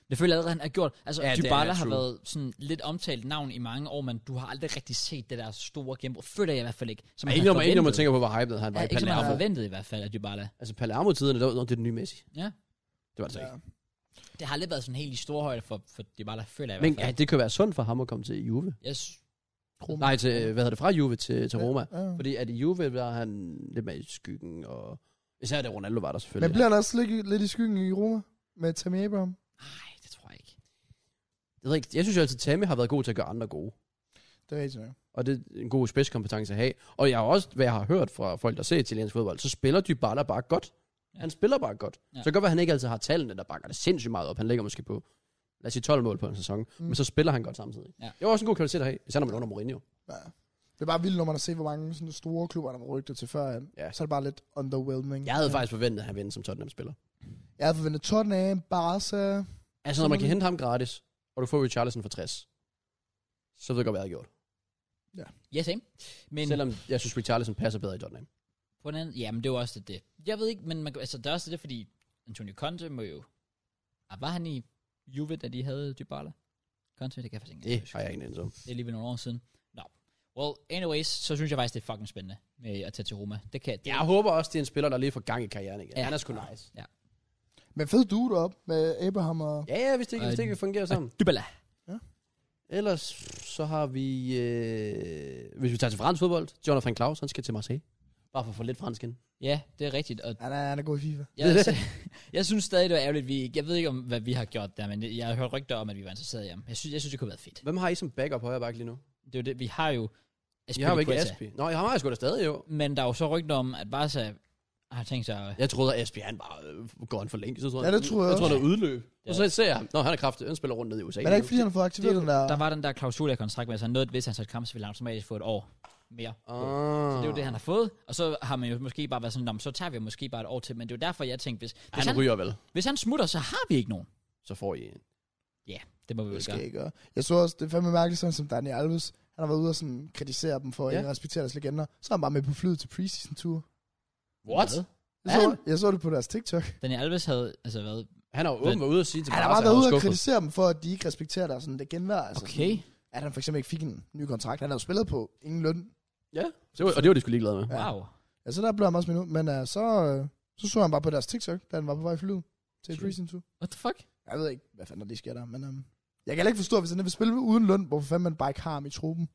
Speaker 5: Det føler jeg allerede, han har gjort. Altså,
Speaker 2: Ja,
Speaker 5: ja,
Speaker 2: det
Speaker 5: Dybala
Speaker 2: er
Speaker 5: har
Speaker 2: true.
Speaker 5: været sådan lidt omtalt navn i mange år, men du har aldrig rigtig set det der store gennembrud. Føler jeg i hvert fald ikke. Som
Speaker 2: Men
Speaker 5: man
Speaker 2: ikke når man, ikke, når man
Speaker 5: forventede.
Speaker 2: tænker på, hvor hyped han var
Speaker 5: Ja,
Speaker 2: i
Speaker 5: ikke som man har
Speaker 2: Palermo.
Speaker 5: forventet i hvert fald af Dybala.
Speaker 2: Altså Palermo-tiderne, der var det er den nye Messi.
Speaker 5: Ja.
Speaker 2: Det var det så ikke.
Speaker 3: Ja.
Speaker 5: Det har aldrig været sådan helt i stor højde for, for Dybala, føler jeg i
Speaker 2: Men
Speaker 5: hvert
Speaker 2: ja,
Speaker 5: fald.
Speaker 2: det kan være sundt for ham at komme til Juve.
Speaker 5: Jeg, s-
Speaker 3: Roma.
Speaker 2: Nej, til, øh, hvad hedder det, fra Juve til, til Roma.
Speaker 3: Ja, ja.
Speaker 2: Fordi at i Juve, der er han lidt mere i skyggen, og især da Ronaldo var der
Speaker 3: Men
Speaker 2: selvfølgelig.
Speaker 3: bliver han også lidt, lidt i skyggen i Roma med Tammy Abraham?
Speaker 5: nej, det tror jeg ikke.
Speaker 2: Jeg, ved ikke, jeg synes jo altid, at Tammy har været god til at gøre andre gode.
Speaker 3: Det er rigtigt nok.
Speaker 2: Og det er en god spidskompetence at have. Og jeg har også, hvad jeg har hørt fra folk, der ser italiensk fodbold, så spiller Dybala bare godt.
Speaker 5: Ja.
Speaker 2: Han spiller bare godt.
Speaker 5: Ja.
Speaker 2: Så kan godt være, at han ikke altid har tallene, der bakker det sindssygt meget op. Han ligger måske på, lad os sige 12 mål på en sæson.
Speaker 3: Mm.
Speaker 2: Mm. Men så spiller han godt samtidig.
Speaker 5: Ja.
Speaker 2: Det var også en god kvalitet at have, især når man er under Mourinho.
Speaker 3: Ja. Det er bare vildt, når man har set, hvor mange sådan store klubber, der var rygtet til før.
Speaker 2: Ja.
Speaker 3: Så er det bare lidt underwhelming.
Speaker 2: Jeg havde faktisk forventet, at han vinde som Tottenham-spiller.
Speaker 3: Jeg havde forventet Tottenham, Barca.
Speaker 2: Altså, når man kan hente ham gratis, og du får Richarlison for 60, så ved jeg godt, hvad jeg havde gjort.
Speaker 3: Ja.
Speaker 5: Ja, same. Men
Speaker 2: Men... Selvom jeg synes, Richarlison passer bedre i Tottenham.
Speaker 5: på den anden, jamen det er jo også lidt det. Jeg ved ikke, men man, kan- altså, det er også det, fordi Antonio Conte må jo... Ah, var han i Juve, da de havde Dybala? Conte, det kan jeg faktisk ikke.
Speaker 2: Det
Speaker 5: engang huske.
Speaker 2: har jeg ingen anelse om.
Speaker 5: Det er alligevel nogle år siden. Nå. Well, anyways, så synes jeg faktisk, det er fucking spændende med at tage til Roma. Det kan det,
Speaker 2: Jeg håber også, det er en spiller, der lige får gang i karrieren igen.
Speaker 5: Ja.
Speaker 2: Ja. Han er sgu nice.
Speaker 3: Men fed du deroppe med Abraham og...
Speaker 2: Ja, ja, hvis det ikke, hvis det ikke fungerer sammen.
Speaker 5: Dybala.
Speaker 2: Ellers så har vi, øh, hvis vi tager til fransk fodbold, Jonathan Klaus, han skal til Marseille. Bare for at få lidt fransk ind.
Speaker 5: Ja, det er rigtigt. Og
Speaker 3: Han er, han er god i FIFA.
Speaker 5: jeg, altså, <laughs> jeg synes stadig, det var ærgerligt. Vi, ikke- jeg ved ikke, om, hvad vi har gjort der, men jeg har hørt rygter om, at vi var interesseret i ham. Jeg synes, jeg synes det kunne have været fedt.
Speaker 2: Hvem har I som backup højre back lige nu?
Speaker 5: Det er jo det, vi har jo...
Speaker 2: Jeg har jo ikke
Speaker 5: Aspilicueta.
Speaker 2: Aspi. Nå, jeg har jeg sgu da stadig jo.
Speaker 5: Men der er jo så rygter om, at Barca har tænkt sig... at-
Speaker 2: Jeg troede, at Aspi, han bare øh, går en for længe. Så troede
Speaker 3: Ja, det tror jeg
Speaker 2: Jeg tror,
Speaker 3: også.
Speaker 2: det er udløb.
Speaker 5: Ja.
Speaker 2: Og så ser jeg ham. Nå, han er kraftig. Han spiller rundt ned i USA.
Speaker 3: Men er det ikke, fordi han har fået aktiveret den der...
Speaker 5: Der var den der klausul i kontrakt med, altså noget, hvis han så et kamp, så ville han automatisk få et år mere. på.
Speaker 2: Ah.
Speaker 5: Så det er jo det, han har fået. Og så har man jo måske bare været sådan, "Nå, men så tager vi måske bare et år til. Men det er jo derfor, jeg tænkte, hvis,
Speaker 2: Han,
Speaker 5: hvis, han,
Speaker 2: ryger vel.
Speaker 5: hvis han smutter, så har vi ikke nogen.
Speaker 2: Så får I en.
Speaker 5: Det må vi jo
Speaker 3: Det skal
Speaker 5: gøre.
Speaker 3: jeg ikke gøre. Jeg så også, det er fandme mærkeligt, sådan som Daniel Alves, han har været ude og sådan kritisere dem for at
Speaker 2: Ja.
Speaker 3: ikke respektere deres legender. Så er han bare med på flyet til preseason tour.
Speaker 2: What?
Speaker 3: Jeg
Speaker 2: Er
Speaker 3: så, jeg så det på deres TikTok.
Speaker 5: Daniel Alves havde altså været...
Speaker 2: Han har jo åben været ude og sige til
Speaker 3: Han har
Speaker 2: Barca,
Speaker 3: bare været
Speaker 2: var
Speaker 3: ude og
Speaker 2: skuffet.
Speaker 3: kritisere dem for, at de ikke respekterer deres sådan, legendvær. Altså,
Speaker 5: Okay.
Speaker 3: sådan, at han for eksempel ikke fik en ny kontrakt. Han har jo spillet på ingen løn.
Speaker 2: Ja, det var, og det var de sgu ligeglade med.
Speaker 3: Ja.
Speaker 5: Wow.
Speaker 3: Ja, så der blev han også minut. Men uh, så, uh, så så han bare på deres TikTok, da han var på vej i flyet til
Speaker 2: True.
Speaker 3: preseason tour.
Speaker 5: What the fuck?
Speaker 3: Jeg ved ikke, hvad fanden der lige sker der, men um, jeg kan heller ikke forstå, hvis han vil spille uden løn, hvorfor fanden man bare ikke har ham i truppen.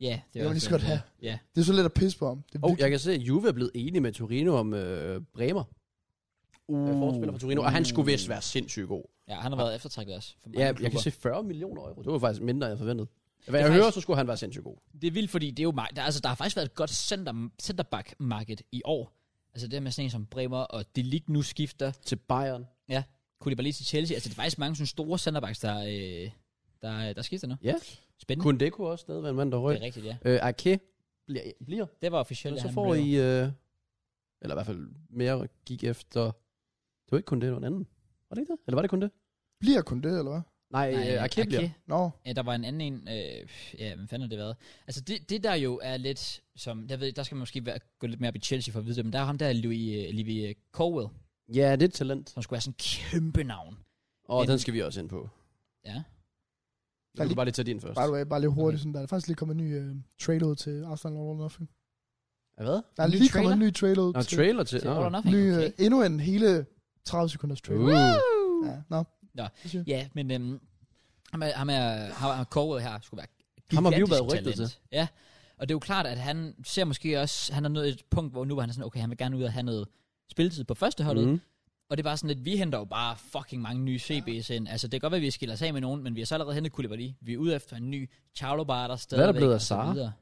Speaker 5: Ja,
Speaker 3: Det kan man lige så godt have.
Speaker 5: Ja.
Speaker 3: Det er så lidt at pisse på ham. Det er
Speaker 2: Og
Speaker 5: Oh,
Speaker 3: virkelig-
Speaker 2: jeg kan se, at Juve er blevet enige med Torino om øh, Bremer, uh. forspiller for Torino, og han skulle vist være sindssygt god.
Speaker 5: Ja, han har været eftertragtet også. For mange
Speaker 2: Ja, jeg
Speaker 5: klubber.
Speaker 2: kan se 40 millioner euro. Det var faktisk mindre, end jeg forventede. Hvad
Speaker 5: er
Speaker 2: jeg
Speaker 5: faktisk-
Speaker 2: hører, så skulle han være sindssygt god.
Speaker 5: Det er vildt, fordi det er jo, mar- der, altså, der har faktisk været et godt center, centerback-marked i år. Altså det her med sådan en som Bremer og Delic nu skifter.
Speaker 2: Til Bayern.
Speaker 5: Koulibaly til Chelsea. Altså det er faktisk mange sådan store centerbacks, der, øh, der, der skifter nu.
Speaker 2: Ja.
Speaker 5: Spændende. Kun.
Speaker 2: Mm. Kun det kunne også stadig være en mand, der røg.
Speaker 5: Det er rigtigt, ja.
Speaker 2: Øh, Ake bliver, bliver.
Speaker 5: Det var officielt,
Speaker 2: Og
Speaker 5: at
Speaker 2: så
Speaker 5: han
Speaker 2: får
Speaker 5: blev-
Speaker 2: I, øh, eller i hvert fald mere gik efter, det var ikke kun det, det var en anden. Var det ikke det? Eller var det kun det?
Speaker 3: Bliver kun det, eller hvad?
Speaker 2: Nej,
Speaker 5: Nej,
Speaker 2: Nej øh, Ake bliver.
Speaker 3: Nå,
Speaker 5: Ja, der var en anden en, øh, ja, hvad fanden har det været? Altså det, det der jo er lidt, som, jeg ved, der skal man måske være, gå lidt mere op i Chelsea for at vide det, men der er ham der, Louis, øh, Louis øh, Colwell,
Speaker 2: Ja, det er et talent.
Speaker 5: som skulle være sådan en kæmpe navn.
Speaker 2: Og
Speaker 5: Men-
Speaker 2: den skal vi også ind på.
Speaker 5: Ja.
Speaker 2: Du kan bare lige tage din først.
Speaker 3: by the way, bare lige hurtigt.
Speaker 5: Okay.
Speaker 3: Sådan, der er faktisk lige kommet en ny uh, trailer ud til Arsenal All or Nothing.
Speaker 2: Hvad?
Speaker 3: Der er
Speaker 5: Ny
Speaker 3: lige kommet
Speaker 5: trailer?
Speaker 3: en ny trailer ud
Speaker 2: Nå,
Speaker 3: til.
Speaker 2: trailer til.
Speaker 5: Det
Speaker 2: Nå.
Speaker 5: er all or nothing,
Speaker 3: ny,
Speaker 5: okay.
Speaker 3: øh, endnu en hele 30 sekunders trailer.
Speaker 2: Uh.
Speaker 3: Ja, nå.
Speaker 5: Nå.
Speaker 3: Det siger jeg.
Speaker 5: Ja, men øhm, ham er, ham er, ham er Corwell her, skulle være
Speaker 2: Ham har vi jo
Speaker 5: gigantisk
Speaker 2: været rygtet
Speaker 5: talent. Ja, og det er jo klart, at han ser måske også, han er nået et punkt, hvor nu var han sådan, okay, han vil gerne ud og have noget spilletid på førsteholdet, mm.
Speaker 2: Mm.
Speaker 5: og det var sådan lidt, vi henter jo bare fucking mange nye CB's ind, altså det kan godt være, at vi skiller os af med nogen, men vi har så allerede hentet Koulibaly, vi er ude efter en ny Charlo Bar, der stadigvæk,
Speaker 2: blevet af
Speaker 5: og så
Speaker 2: Sarr?
Speaker 5: videre.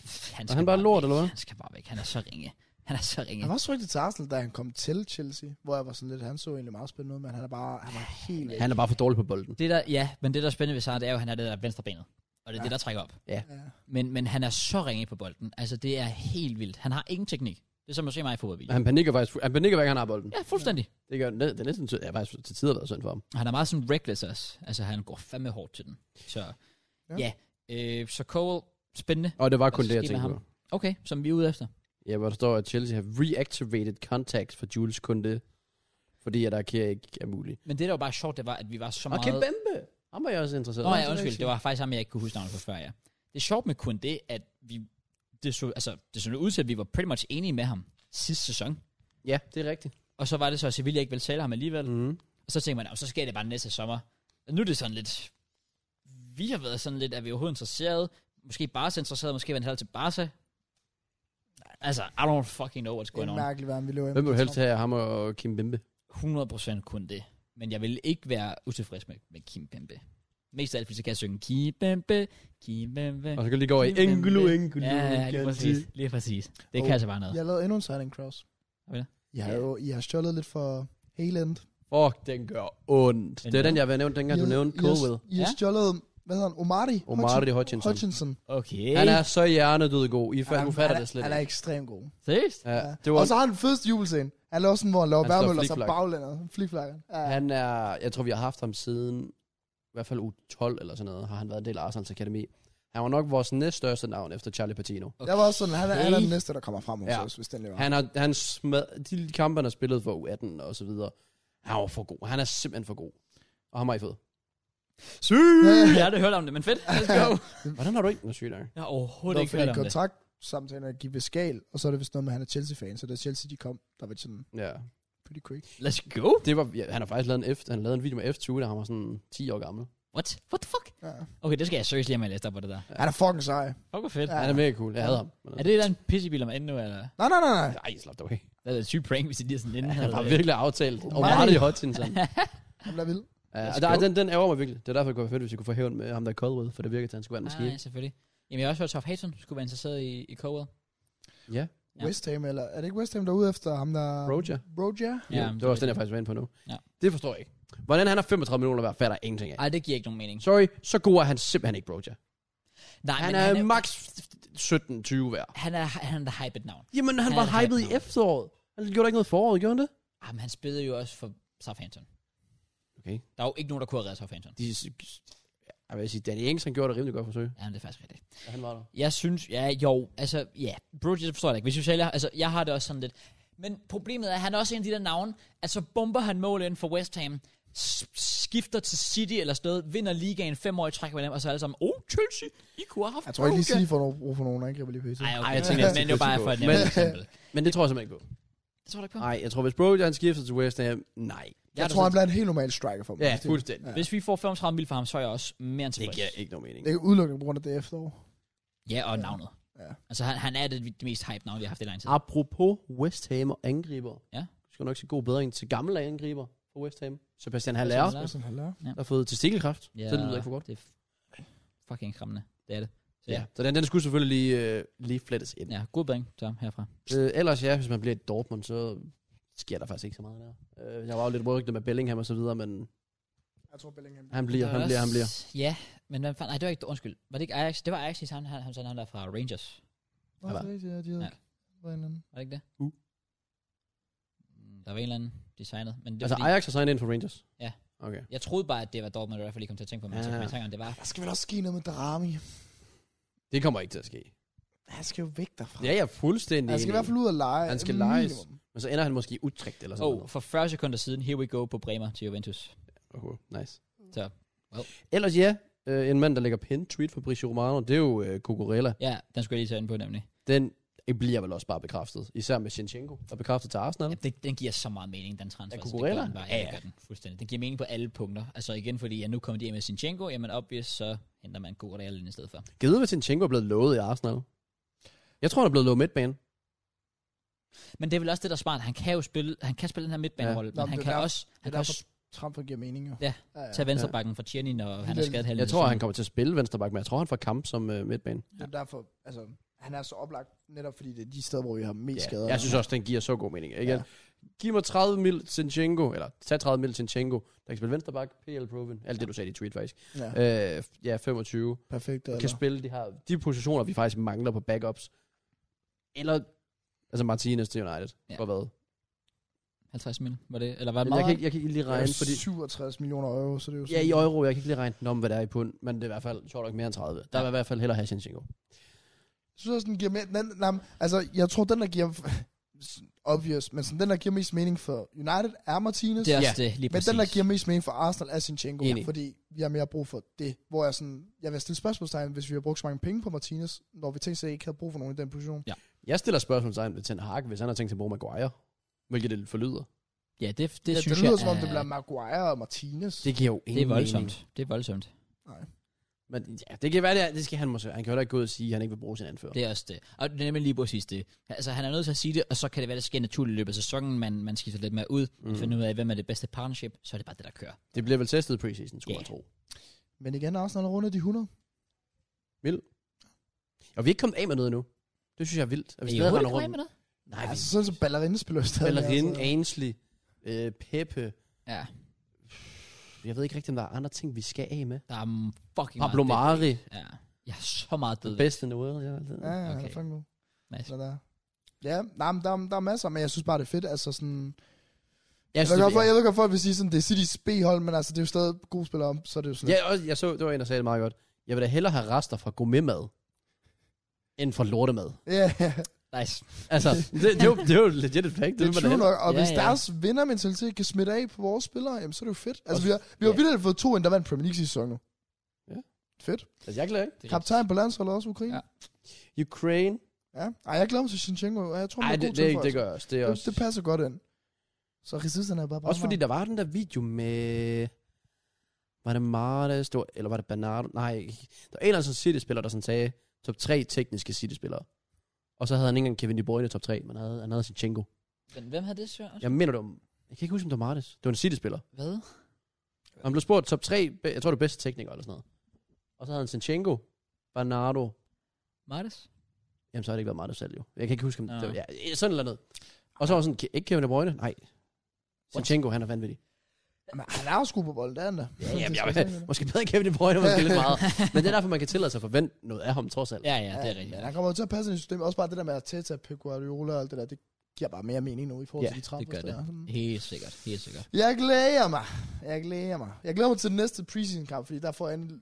Speaker 5: Pff, Han,
Speaker 2: Er
Speaker 5: skal
Speaker 2: han bare lort,
Speaker 5: væk.
Speaker 2: eller hvad?
Speaker 5: Han skal bare væk, han er så ringe. Han er så ringe.
Speaker 3: Han var så rigtig til Arsenal, da han kom til Chelsea, hvor jeg var sådan lidt, han så egentlig meget spændende ud, men han er bare, han var helt...
Speaker 2: Han er bare for dårlig på bolden.
Speaker 5: Det der, ja, men det der er spændende ved Sarr, det er jo, at han er det der venstrebenet, og det er ja. det, der trækker op.
Speaker 3: Ja.
Speaker 5: Men, men han er så ringe på bolden. Altså, det er helt vildt. Han har ingen teknik. Det er som at se mig i fodboldvideo.
Speaker 2: Han panikker faktisk. fu- Han panikker hver gang, han har bolden.
Speaker 5: Ja, fuldstændig.
Speaker 2: Det gør det, det er næsten til, ja, faktisk til tider været synd for ham.
Speaker 5: Og Han er meget sådan reckless også. Altså, han går fandme hårdt til den. Så, ja.
Speaker 3: Ja.
Speaker 5: ja. Øh, så Cole, spændende.
Speaker 2: Og det var
Speaker 5: Hvad
Speaker 2: kun
Speaker 5: skal
Speaker 2: det, jeg
Speaker 5: ske med
Speaker 2: tænkte
Speaker 5: ham?
Speaker 2: på.
Speaker 5: Okay, som vi er ude efter.
Speaker 2: Ja, hvor der står, at Chelsea har reactivated contacts for Jules Kunde, fordi at Akira ikke er mulig.
Speaker 5: Men det, der var bare sjovt, det var, at vi var så
Speaker 2: Og
Speaker 5: meget...
Speaker 2: Kebembe! Ham var jeg også interesseret
Speaker 5: Nå
Speaker 2: i.
Speaker 5: ja, undskyld. Det var faktisk ham, jeg ikke kunne huske navnet på før, ja. Det er sjovt med kun det, at vi... Det så, altså, det så ud til, at vi var pretty much enige med ham sidste sæson.
Speaker 2: Ja, det er rigtigt.
Speaker 5: Og så var det så, at Sevilla ikke ville sælge ham alligevel.
Speaker 2: Mm.
Speaker 5: Og så tænker man, "Nå, så sker det bare næste sommer. Og nu er det sådan lidt, vi har været sådan lidt, er vi overhovedet interesseret? Måske Barca interesseret, måske var han til Barca. Altså, I don't fucking know what's
Speaker 3: Det
Speaker 5: going
Speaker 3: er
Speaker 5: on.
Speaker 3: mærkeligt, hvad han ville leve
Speaker 2: Hvem vil du helst have, ham og Kim Bembe?
Speaker 5: 100% kun det. Men jeg vil ikke være utilfreds med, med Kim Pembe. Mest af alt, fordi så kan jeg synge Kim Pembe, Kim Pembe.
Speaker 2: Og så kan du lige gå over i
Speaker 5: Kim Bembe.
Speaker 2: Engulu, Engulu.
Speaker 5: Ja, ja, lige præcis. Lige præcis. Det kan
Speaker 3: Og
Speaker 5: altså bare noget.
Speaker 3: Jeg lavede endnu en signing, Kraus.
Speaker 5: Har vi det?
Speaker 3: Jeg har jo I har stjålet lidt for Haaland.
Speaker 2: Fuck, den gør ondt. Det er
Speaker 5: Den
Speaker 2: den, jeg har været nævnt, dengang
Speaker 3: I
Speaker 2: du
Speaker 3: har-
Speaker 2: nævnte
Speaker 3: I har-
Speaker 2: Colwell.
Speaker 3: I har
Speaker 5: Ja.
Speaker 3: stjålet, hvad hedder han, Omari?
Speaker 2: Omari Hutchinson.
Speaker 3: Hutchinson.
Speaker 5: Okay.
Speaker 2: Han er så hjernedød god. I fa-
Speaker 3: Han-
Speaker 2: du fatter
Speaker 3: han er-
Speaker 2: det slet
Speaker 3: Han er
Speaker 2: ikke.
Speaker 3: ekstremt god.
Speaker 5: Seriøst?
Speaker 2: Ja,
Speaker 3: Ja.
Speaker 2: det var,
Speaker 3: Og så har han den fedeste jubelscene. Han laver sådan, hvor han laver
Speaker 2: Han slår
Speaker 3: værmøller, og så
Speaker 2: flikflak.
Speaker 3: baglænder. Flikflakken. Ja.
Speaker 2: han er, jeg tror, vi har haft ham siden i hvert fald u 12 eller sådan noget, har han været en del af Arsenals Akademi. Han var nok vores næststørste navn efter Charlie Patino.
Speaker 3: Okay. Jeg var også sådan, han er, han er
Speaker 5: Okay.
Speaker 3: den næste, der kommer frem hos
Speaker 2: Ja.
Speaker 3: ja. os, hvis den lever. <laughs>
Speaker 2: Han har, han smad, de kampe, han har spillet for U18 og så videre, han var for god. Han er simpelthen for god. Og ham har I fået.
Speaker 5: Syg! Jeg har aldrig hørt om det, men fedt. Let's go.
Speaker 2: Hvordan har du ikke den syg der?
Speaker 5: Jeg har overhovedet
Speaker 3: Det
Speaker 5: ikke
Speaker 3: var
Speaker 5: hørt
Speaker 3: fordi
Speaker 5: om det.
Speaker 3: kontrakt samtidig er give skal, og så er det vist noget med, at han er Chelsea-fan, så da Chelsea de kom, der var det sådan
Speaker 2: Ja.
Speaker 3: pretty quick.
Speaker 5: Let's go.
Speaker 2: Det var, ja, han har faktisk lavet en, F, han lavede en video med F20, da han var sådan 10 år gammel.
Speaker 5: What? What the fuck?
Speaker 3: Ja.
Speaker 5: Okay, det skal jeg seriøst lige have med at læse op på det der.
Speaker 3: Han er fucking sej.
Speaker 5: Fuck, hvor fedt.
Speaker 3: Ja.
Speaker 5: Ja.
Speaker 2: Han er mega cool. Jeg hader ham.
Speaker 5: Er det den pissebil om endnu, eller?
Speaker 3: Nej, nej, nej, nej.
Speaker 2: Ej, slap dig af.
Speaker 5: Det er et sygt prank, hvis de lige sådan inden.
Speaker 2: Han var
Speaker 5: havde-
Speaker 2: virkelig aftalt. Og
Speaker 3: Nej.
Speaker 2: meget i Hutchinson.
Speaker 3: Han bliver vild.
Speaker 2: Ja,
Speaker 5: Let's
Speaker 2: og der,
Speaker 5: go.
Speaker 2: den, den ærger mig virkelig. Det er derfor, det kunne være fedt, hvis vi kunne få hævn med ham der Coldwell, for det virker til, at han skulle være en
Speaker 5: Nej,
Speaker 2: maskine.
Speaker 5: selvfølgelig. Jamen, jeg har også hørt, at Toff Hayton skulle være interesseret i, i Cowell.
Speaker 2: Ja,
Speaker 5: Ja.
Speaker 3: West Ham, eller er det ikke West Ham, der er ude efter ham, der...
Speaker 2: Roger.
Speaker 3: Roger?
Speaker 2: Ja, det
Speaker 5: Øhm,
Speaker 2: var også den, jeg faktisk var inde på nu.
Speaker 5: Ja.
Speaker 2: Det forstår jeg ikke. Hvordan han har 35 millioner værd, fatter jeg ingenting af.
Speaker 5: Ej, det giver ikke nogen mening.
Speaker 2: Sorry, så god er han simpelthen ikke, Roger.
Speaker 5: Nej,
Speaker 2: Han
Speaker 5: men
Speaker 2: er,
Speaker 5: han er,
Speaker 2: max 17-20 værd.
Speaker 5: han er, han er the hyped navn.
Speaker 2: Jamen, han,
Speaker 5: Han
Speaker 2: var
Speaker 5: er et
Speaker 2: hyped i
Speaker 5: hype navn.
Speaker 2: efteråret. Han gjorde da ikke noget i foråret, gjorde han det?
Speaker 5: Jamen, han spillede jo også for Southampton.
Speaker 2: Okay.
Speaker 5: Der er jo ikke nogen, der kunne have reddet Southampton.
Speaker 2: De, jeg vil sige, Danny Ings, han gjorde det rimelig godt forsøg.
Speaker 5: Jamen, det er faktisk rigtigt.
Speaker 2: Ja, han var der.
Speaker 5: Jeg synes, ja, jo, altså, ja, Bridges det forstår jeg da ikke. Hvis vi sælger, altså, jeg har det også sådan lidt. Men problemet er, at han er også en af de der navne, at så bomber han mål ind for West Ham, s- skifter til City eller sådan noget, vinder ligaen fem år i træk med dem, og så er alle sammen, oh, Chelsea, I kunne have haft
Speaker 3: Jeg tror ikke lige,
Speaker 5: Roger."
Speaker 3: City får nogen brug for nogen angriber lige pludselig.
Speaker 5: Ej, okay,
Speaker 2: Ej,
Speaker 5: jeg
Speaker 2: jeg
Speaker 5: tænker,
Speaker 2: tænker,
Speaker 5: men det er jo bare for et nemt
Speaker 2: Men-
Speaker 5: eksempel.
Speaker 2: Men det tror jeg simpelthen ikke på.
Speaker 5: Det tror du ikke på?
Speaker 2: Nej, jeg tror, hvis Broger han skifter til West Ham, nej.
Speaker 5: Jeg
Speaker 3: Jeg
Speaker 5: er
Speaker 3: tror,
Speaker 5: da
Speaker 3: han bliver en helt normal striker for mig.
Speaker 2: Ja, fuldstændig.
Speaker 3: Ja.
Speaker 5: Hvis vi får 35 mil for ham, så er jeg også mere end
Speaker 2: Det
Speaker 5: tilfreds.
Speaker 2: giver ikke nogen mening.
Speaker 3: Det er udelukkende på grund af det efterår.
Speaker 5: Ja, og navnet.
Speaker 3: Ja.
Speaker 5: Altså, han, han er det, det mest hype navn, vi har haft i lang
Speaker 2: Ah,
Speaker 5: tid.
Speaker 2: Apropos West Ham og angriber.
Speaker 5: Ja.
Speaker 2: Du skal nok se god bedring til gamle angriber for West Ham. Sebastian
Speaker 5: Sebastian
Speaker 2: Haller,
Speaker 5: Haller.
Speaker 3: Det er sådan, han lærer.
Speaker 2: der har fået testikelkræft. Ja. Det lyder ikke for godt.
Speaker 5: Det er f- fucking skræmmende. Det er det.
Speaker 2: Ja. ja. Så den, den skulle selvfølgelig lige, øh, lige flettes ind. Ja.
Speaker 5: Ja, god bring, Tom, herfra.
Speaker 2: Øh, ellers ja, hvis man bliver i Dortmund, så sker der faktisk ikke så meget der. Øh, jeg var jo lidt rygtet med Bellingham og så videre, men
Speaker 3: Jeg tror, Bellingham.
Speaker 2: han bliver,
Speaker 5: Der er
Speaker 2: han bliver, han
Speaker 5: også-
Speaker 2: bliver.
Speaker 5: Ja, men hvad fanden, nej, det var ikke, undskyld. Var det ikke Ajax? Det var Ajax i sammen, han, han, han der fra Rangers.
Speaker 3: Nå, det er rigtigt, ja, de havde
Speaker 5: Ja.
Speaker 3: ikke været en eller anden.
Speaker 5: Var det ikke det?
Speaker 2: Uh.
Speaker 5: Mm, Der var en eller anden designet, men det
Speaker 2: Altså
Speaker 5: altså, fordi,
Speaker 2: Ajax har signet ind for Rangers?
Speaker 5: Ja.
Speaker 2: Okay.
Speaker 5: jeg troede bare, at det var Dortmund, og derfor lige kom til at tænke på, men altså,
Speaker 2: Ja.
Speaker 5: ja. tænker, det var
Speaker 3: Der skal vel også ske noget med Drami.
Speaker 2: Det kommer ikke til at ske.
Speaker 3: Han skal jo væk derfra.
Speaker 2: Ja, ja, fuldstændig.
Speaker 3: Han skal i
Speaker 2: enig.
Speaker 3: hvert fald ud og lege.
Speaker 2: Han skal
Speaker 3: minimum.
Speaker 2: lejes. Men så ender han måske i Utrecht eller sådan
Speaker 5: Oh,
Speaker 2: noget.
Speaker 5: for 40 sekunder siden, here we go på Bremer til Juventus.
Speaker 2: Oh, nice.
Speaker 5: Så, well.
Speaker 2: Ellers ja, øh, en mand, der lægger pin tweet for Brice Romano, det er jo øh, Cucurella.
Speaker 5: Ja, den skulle jeg lige tage ind på, nemlig.
Speaker 2: Den bliver vel også bare bekræftet. Især med Shinchenko, der er bekræftet til Arsenal.
Speaker 5: Ja, det, den giver så meget mening, den transfer.
Speaker 2: Ja,
Speaker 5: altså,
Speaker 2: Cucurella?
Speaker 5: Det gør den bare. Ja, det gør den fuldstændig. Den giver mening på alle punkter. Altså igen, fordi jeg nu kommer de af med Sinchenko, jamen obvious, så henter man Cucurella ind i stedet for.
Speaker 2: Kan du vide, hvad Shinchenko er blevet lovet i Arsenal? Jeg tror, han er blevet lovet midtbane.
Speaker 5: Men det er vel også det, der er smart. Han kan jo spille, han kan spille den her midtbanerolle,
Speaker 3: Ja.
Speaker 5: ja.
Speaker 3: Nå, men
Speaker 5: men han
Speaker 3: det er
Speaker 5: kan
Speaker 3: derfor-
Speaker 5: også, han
Speaker 3: det er
Speaker 5: kan også
Speaker 3: Tramfer giver mening jo.
Speaker 5: Ja,
Speaker 3: ja.
Speaker 5: tage venstrebakken fra Tierney, når han er
Speaker 3: den-
Speaker 5: skadet halv
Speaker 2: Jeg tror, han kommer til at spille venstreback, men jeg tror, han får kamp som øh, midtbane.
Speaker 3: Det er derfor, altså, han er så oplagt, netop fordi det er de steder, hvor vi har mest skader.
Speaker 2: Jeg synes også, den giver så god mening. Ikke?
Speaker 3: Ja.
Speaker 2: Giv mig 30 mil Shinchenko, eller tag 30 mil Shinchenko, der kan spille venstreback, PL Proven, alt det, du sagde i dit tweet faktisk.
Speaker 3: Ja,
Speaker 2: Øh, ja, 25.
Speaker 3: perfekt. Eller?
Speaker 2: kan spille de her de positioner, vi faktisk mangler på backups. Eller, altså Martinez til United,
Speaker 5: Ja.
Speaker 2: ja. for hvad?
Speaker 5: 50 mil, var det? Eller var
Speaker 2: Jeg
Speaker 5: det meget?
Speaker 2: kan, ikke, jeg kan ikke lige
Speaker 3: Det er
Speaker 2: regne,
Speaker 3: jo
Speaker 2: fordi...
Speaker 3: 67 millioner euro, så det er jo
Speaker 2: Ja,
Speaker 3: sådan-
Speaker 2: i euro, jeg kan ikke lige regne den om, hvad der er i pund, men det er i hvert fald sjovt nok mere end 30. Der
Speaker 5: Ja.
Speaker 2: vil i hvert fald hellere have Shinchenko.
Speaker 3: Jeg synes også, den giver mere... Den, nej, men, altså, jeg tror, den, der giver... <laughs> obvious, men sådan, den, der giver mest mening for United, er Martinez.
Speaker 5: Det er
Speaker 2: Ja.
Speaker 5: også det, lige
Speaker 3: men
Speaker 5: præcis.
Speaker 3: den, der giver mest mening for Arsenal, er Sinchenko,
Speaker 2: Enig.
Speaker 3: fordi vi har mere brug for det. Hvor jeg sådan... Jeg vil stille spørgsmålstegn, hvis vi har brugt så mange penge på Martinez, når vi tænkte sig ikke havde brug for nogen i den position.
Speaker 2: Jeg stiller spørgsmålstegn ved Ten Hag, hvis han har tænkt sig at bruge Maguire. Hvilket det forlyder.
Speaker 5: Ja, det, det,
Speaker 3: Det, ja,
Speaker 5: synes
Speaker 3: det lyder,
Speaker 5: jeg,
Speaker 3: som om
Speaker 5: er-
Speaker 3: det bliver Maguire og Martinez.
Speaker 2: Det giver jo ingen
Speaker 5: det er voldsomt.
Speaker 2: Mening.
Speaker 5: Det er voldsomt.
Speaker 2: Men ja, det kan være, det, er, det skal han måske. Han kan jo heller ikke gå ud og sige, at han ikke vil bruge sin anfører.
Speaker 5: Det er også det. Og det er nemlig lige præcis det. Altså, han er nødt til at sige det, og så kan det være, det sker naturligt i løbet af sæsonen, man, man skifter lidt mere ud, mm.
Speaker 2: Mm.
Speaker 5: finder ud af, hvem er det bedste partnership, så er det bare det, der kører.
Speaker 2: Det bliver vel testet i preseason, skulle
Speaker 5: Ja.
Speaker 2: yeah. jeg tro.
Speaker 3: Men igen, Arsenal har rundet de 100.
Speaker 2: Og vi er ikke kommet af med noget endnu. Det synes jeg er vildt. At vi
Speaker 5: Er I
Speaker 2: stadig
Speaker 5: overhovedet
Speaker 2: render
Speaker 5: ikke
Speaker 2: rundt.
Speaker 5: med noget?
Speaker 2: Nej, vi
Speaker 3: Altså, sådan så ballerinde spiller jo stadig.
Speaker 2: Ballerin,
Speaker 3: altså.
Speaker 2: Ainsley, øh, Peppe.
Speaker 5: Ja,
Speaker 2: Jeg ved ikke rigtig, om der er andre ting, vi skal af med.
Speaker 5: der er fucking
Speaker 2: Pablo
Speaker 5: meget
Speaker 2: Mari,
Speaker 5: dødt. Ja, jeg er så meget død.
Speaker 2: den bedste noget. Jeg altid.
Speaker 3: Ja, ja, okay.
Speaker 5: Okay.
Speaker 3: han er fucking god.
Speaker 5: Nice.
Speaker 3: Så der. Ja, nej, men der, er- der er masser, men jeg synes bare, det er fedt. Altså sådan,
Speaker 2: jeg,
Speaker 3: jeg,
Speaker 2: synes,
Speaker 3: ved godt,
Speaker 2: det,
Speaker 3: for,
Speaker 2: jeg,
Speaker 3: jeg ved altså, godt, folk vil sige sådan, det er City's B-hold, men altså, det er jo stadig gode spillere om, så er det jo sådan.
Speaker 2: jeg, jeg, så, det var en, der sagde det meget godt. Jeg vil da hellere have rester fra gourmetmad, end fra lortemad.
Speaker 3: Ja, ja.
Speaker 5: Nice.
Speaker 2: Altså, det, det, er jo, det er jo legit et fact. Det, vil
Speaker 3: Det er
Speaker 2: man da
Speaker 3: true
Speaker 2: hellere.
Speaker 3: nok, og
Speaker 5: Ja,
Speaker 3: hvis
Speaker 5: ja.
Speaker 3: deres vindermentalitet kan smitte af på vores spillere, jamen, så er det jo fedt. Altså,
Speaker 2: Også-
Speaker 3: vi har, vi har
Speaker 2: ja.
Speaker 3: vildt fået to ind, der vandt Premier League sidste sæson nu.
Speaker 2: Ja.
Speaker 3: Fedt.
Speaker 2: altså, jeg glæder ikke.
Speaker 5: Det er
Speaker 3: Kaptajn på landsholdet også, Ukraine.
Speaker 5: Ja.
Speaker 3: Ja.
Speaker 2: Ukraine.
Speaker 3: ja. Ej, jeg glæder mig til Shinchenko, og jeg tror, han
Speaker 2: Nej,
Speaker 3: er god
Speaker 2: det,
Speaker 3: til
Speaker 2: det, det gør jeg også. Det er
Speaker 3: det,
Speaker 2: også,
Speaker 3: det passer godt ind. Så resisterne er bare bare
Speaker 2: også fordi der var den der video med... Var det Martes, det var- eller var det Bernardo? Nej, ikke. der var en eller anden sådan City-spiller, der sådan sagde top 3 tekniske City-spillere. Og så havde han ikke engang Kevin De Bruyne i top 3, men han havde, han havde Sinchenko.
Speaker 5: Men hvem havde det, Søren?
Speaker 2: Jeg mener, det var, jeg kan ikke huske, om det var Martes. Det var en City-spiller.
Speaker 5: Hvad?
Speaker 2: Og Han blev spurgt top 3, be- jeg tror det er bedste tekniker eller sådan noget. Og så havde han Sinchenko, Bernardo.
Speaker 5: Martes?
Speaker 2: Jamen, så har det ikke været Martes selv jo. Jeg kan ikke huske, om
Speaker 5: Nå.
Speaker 2: det var, ja, sådan eller noget. Og så var sådan, "Ke- ikke Kevin De Bruyne? Nej. Sinchenko, han er vanvittig.
Speaker 3: Men han er også god på bolden, det er han da.
Speaker 2: Ja, jamen,
Speaker 3: Det
Speaker 2: jeg,
Speaker 3: skal jeg sige.
Speaker 2: måske bedre Kevin De Bruyne, måske lidt <laughs> meget. Men det er derfor, man kan tillade sig at forvente noget af ham, trods alt.
Speaker 5: Ja, ja, det er rigtigt.
Speaker 3: Men han kommer jo til at passe ind i systemet. Også bare det der med at tætte af Pep Guardiola og alt det der, det giver bare mere mening nu i forhold
Speaker 2: Ja,
Speaker 3: til de trapper.
Speaker 5: gør det. Helt sikkert, helt sikkert.
Speaker 3: Hmm. Jeg glæder mig. Jeg glæder mig. Jeg glæder mig til den næste preseason-kamp, fordi der får jeg endelig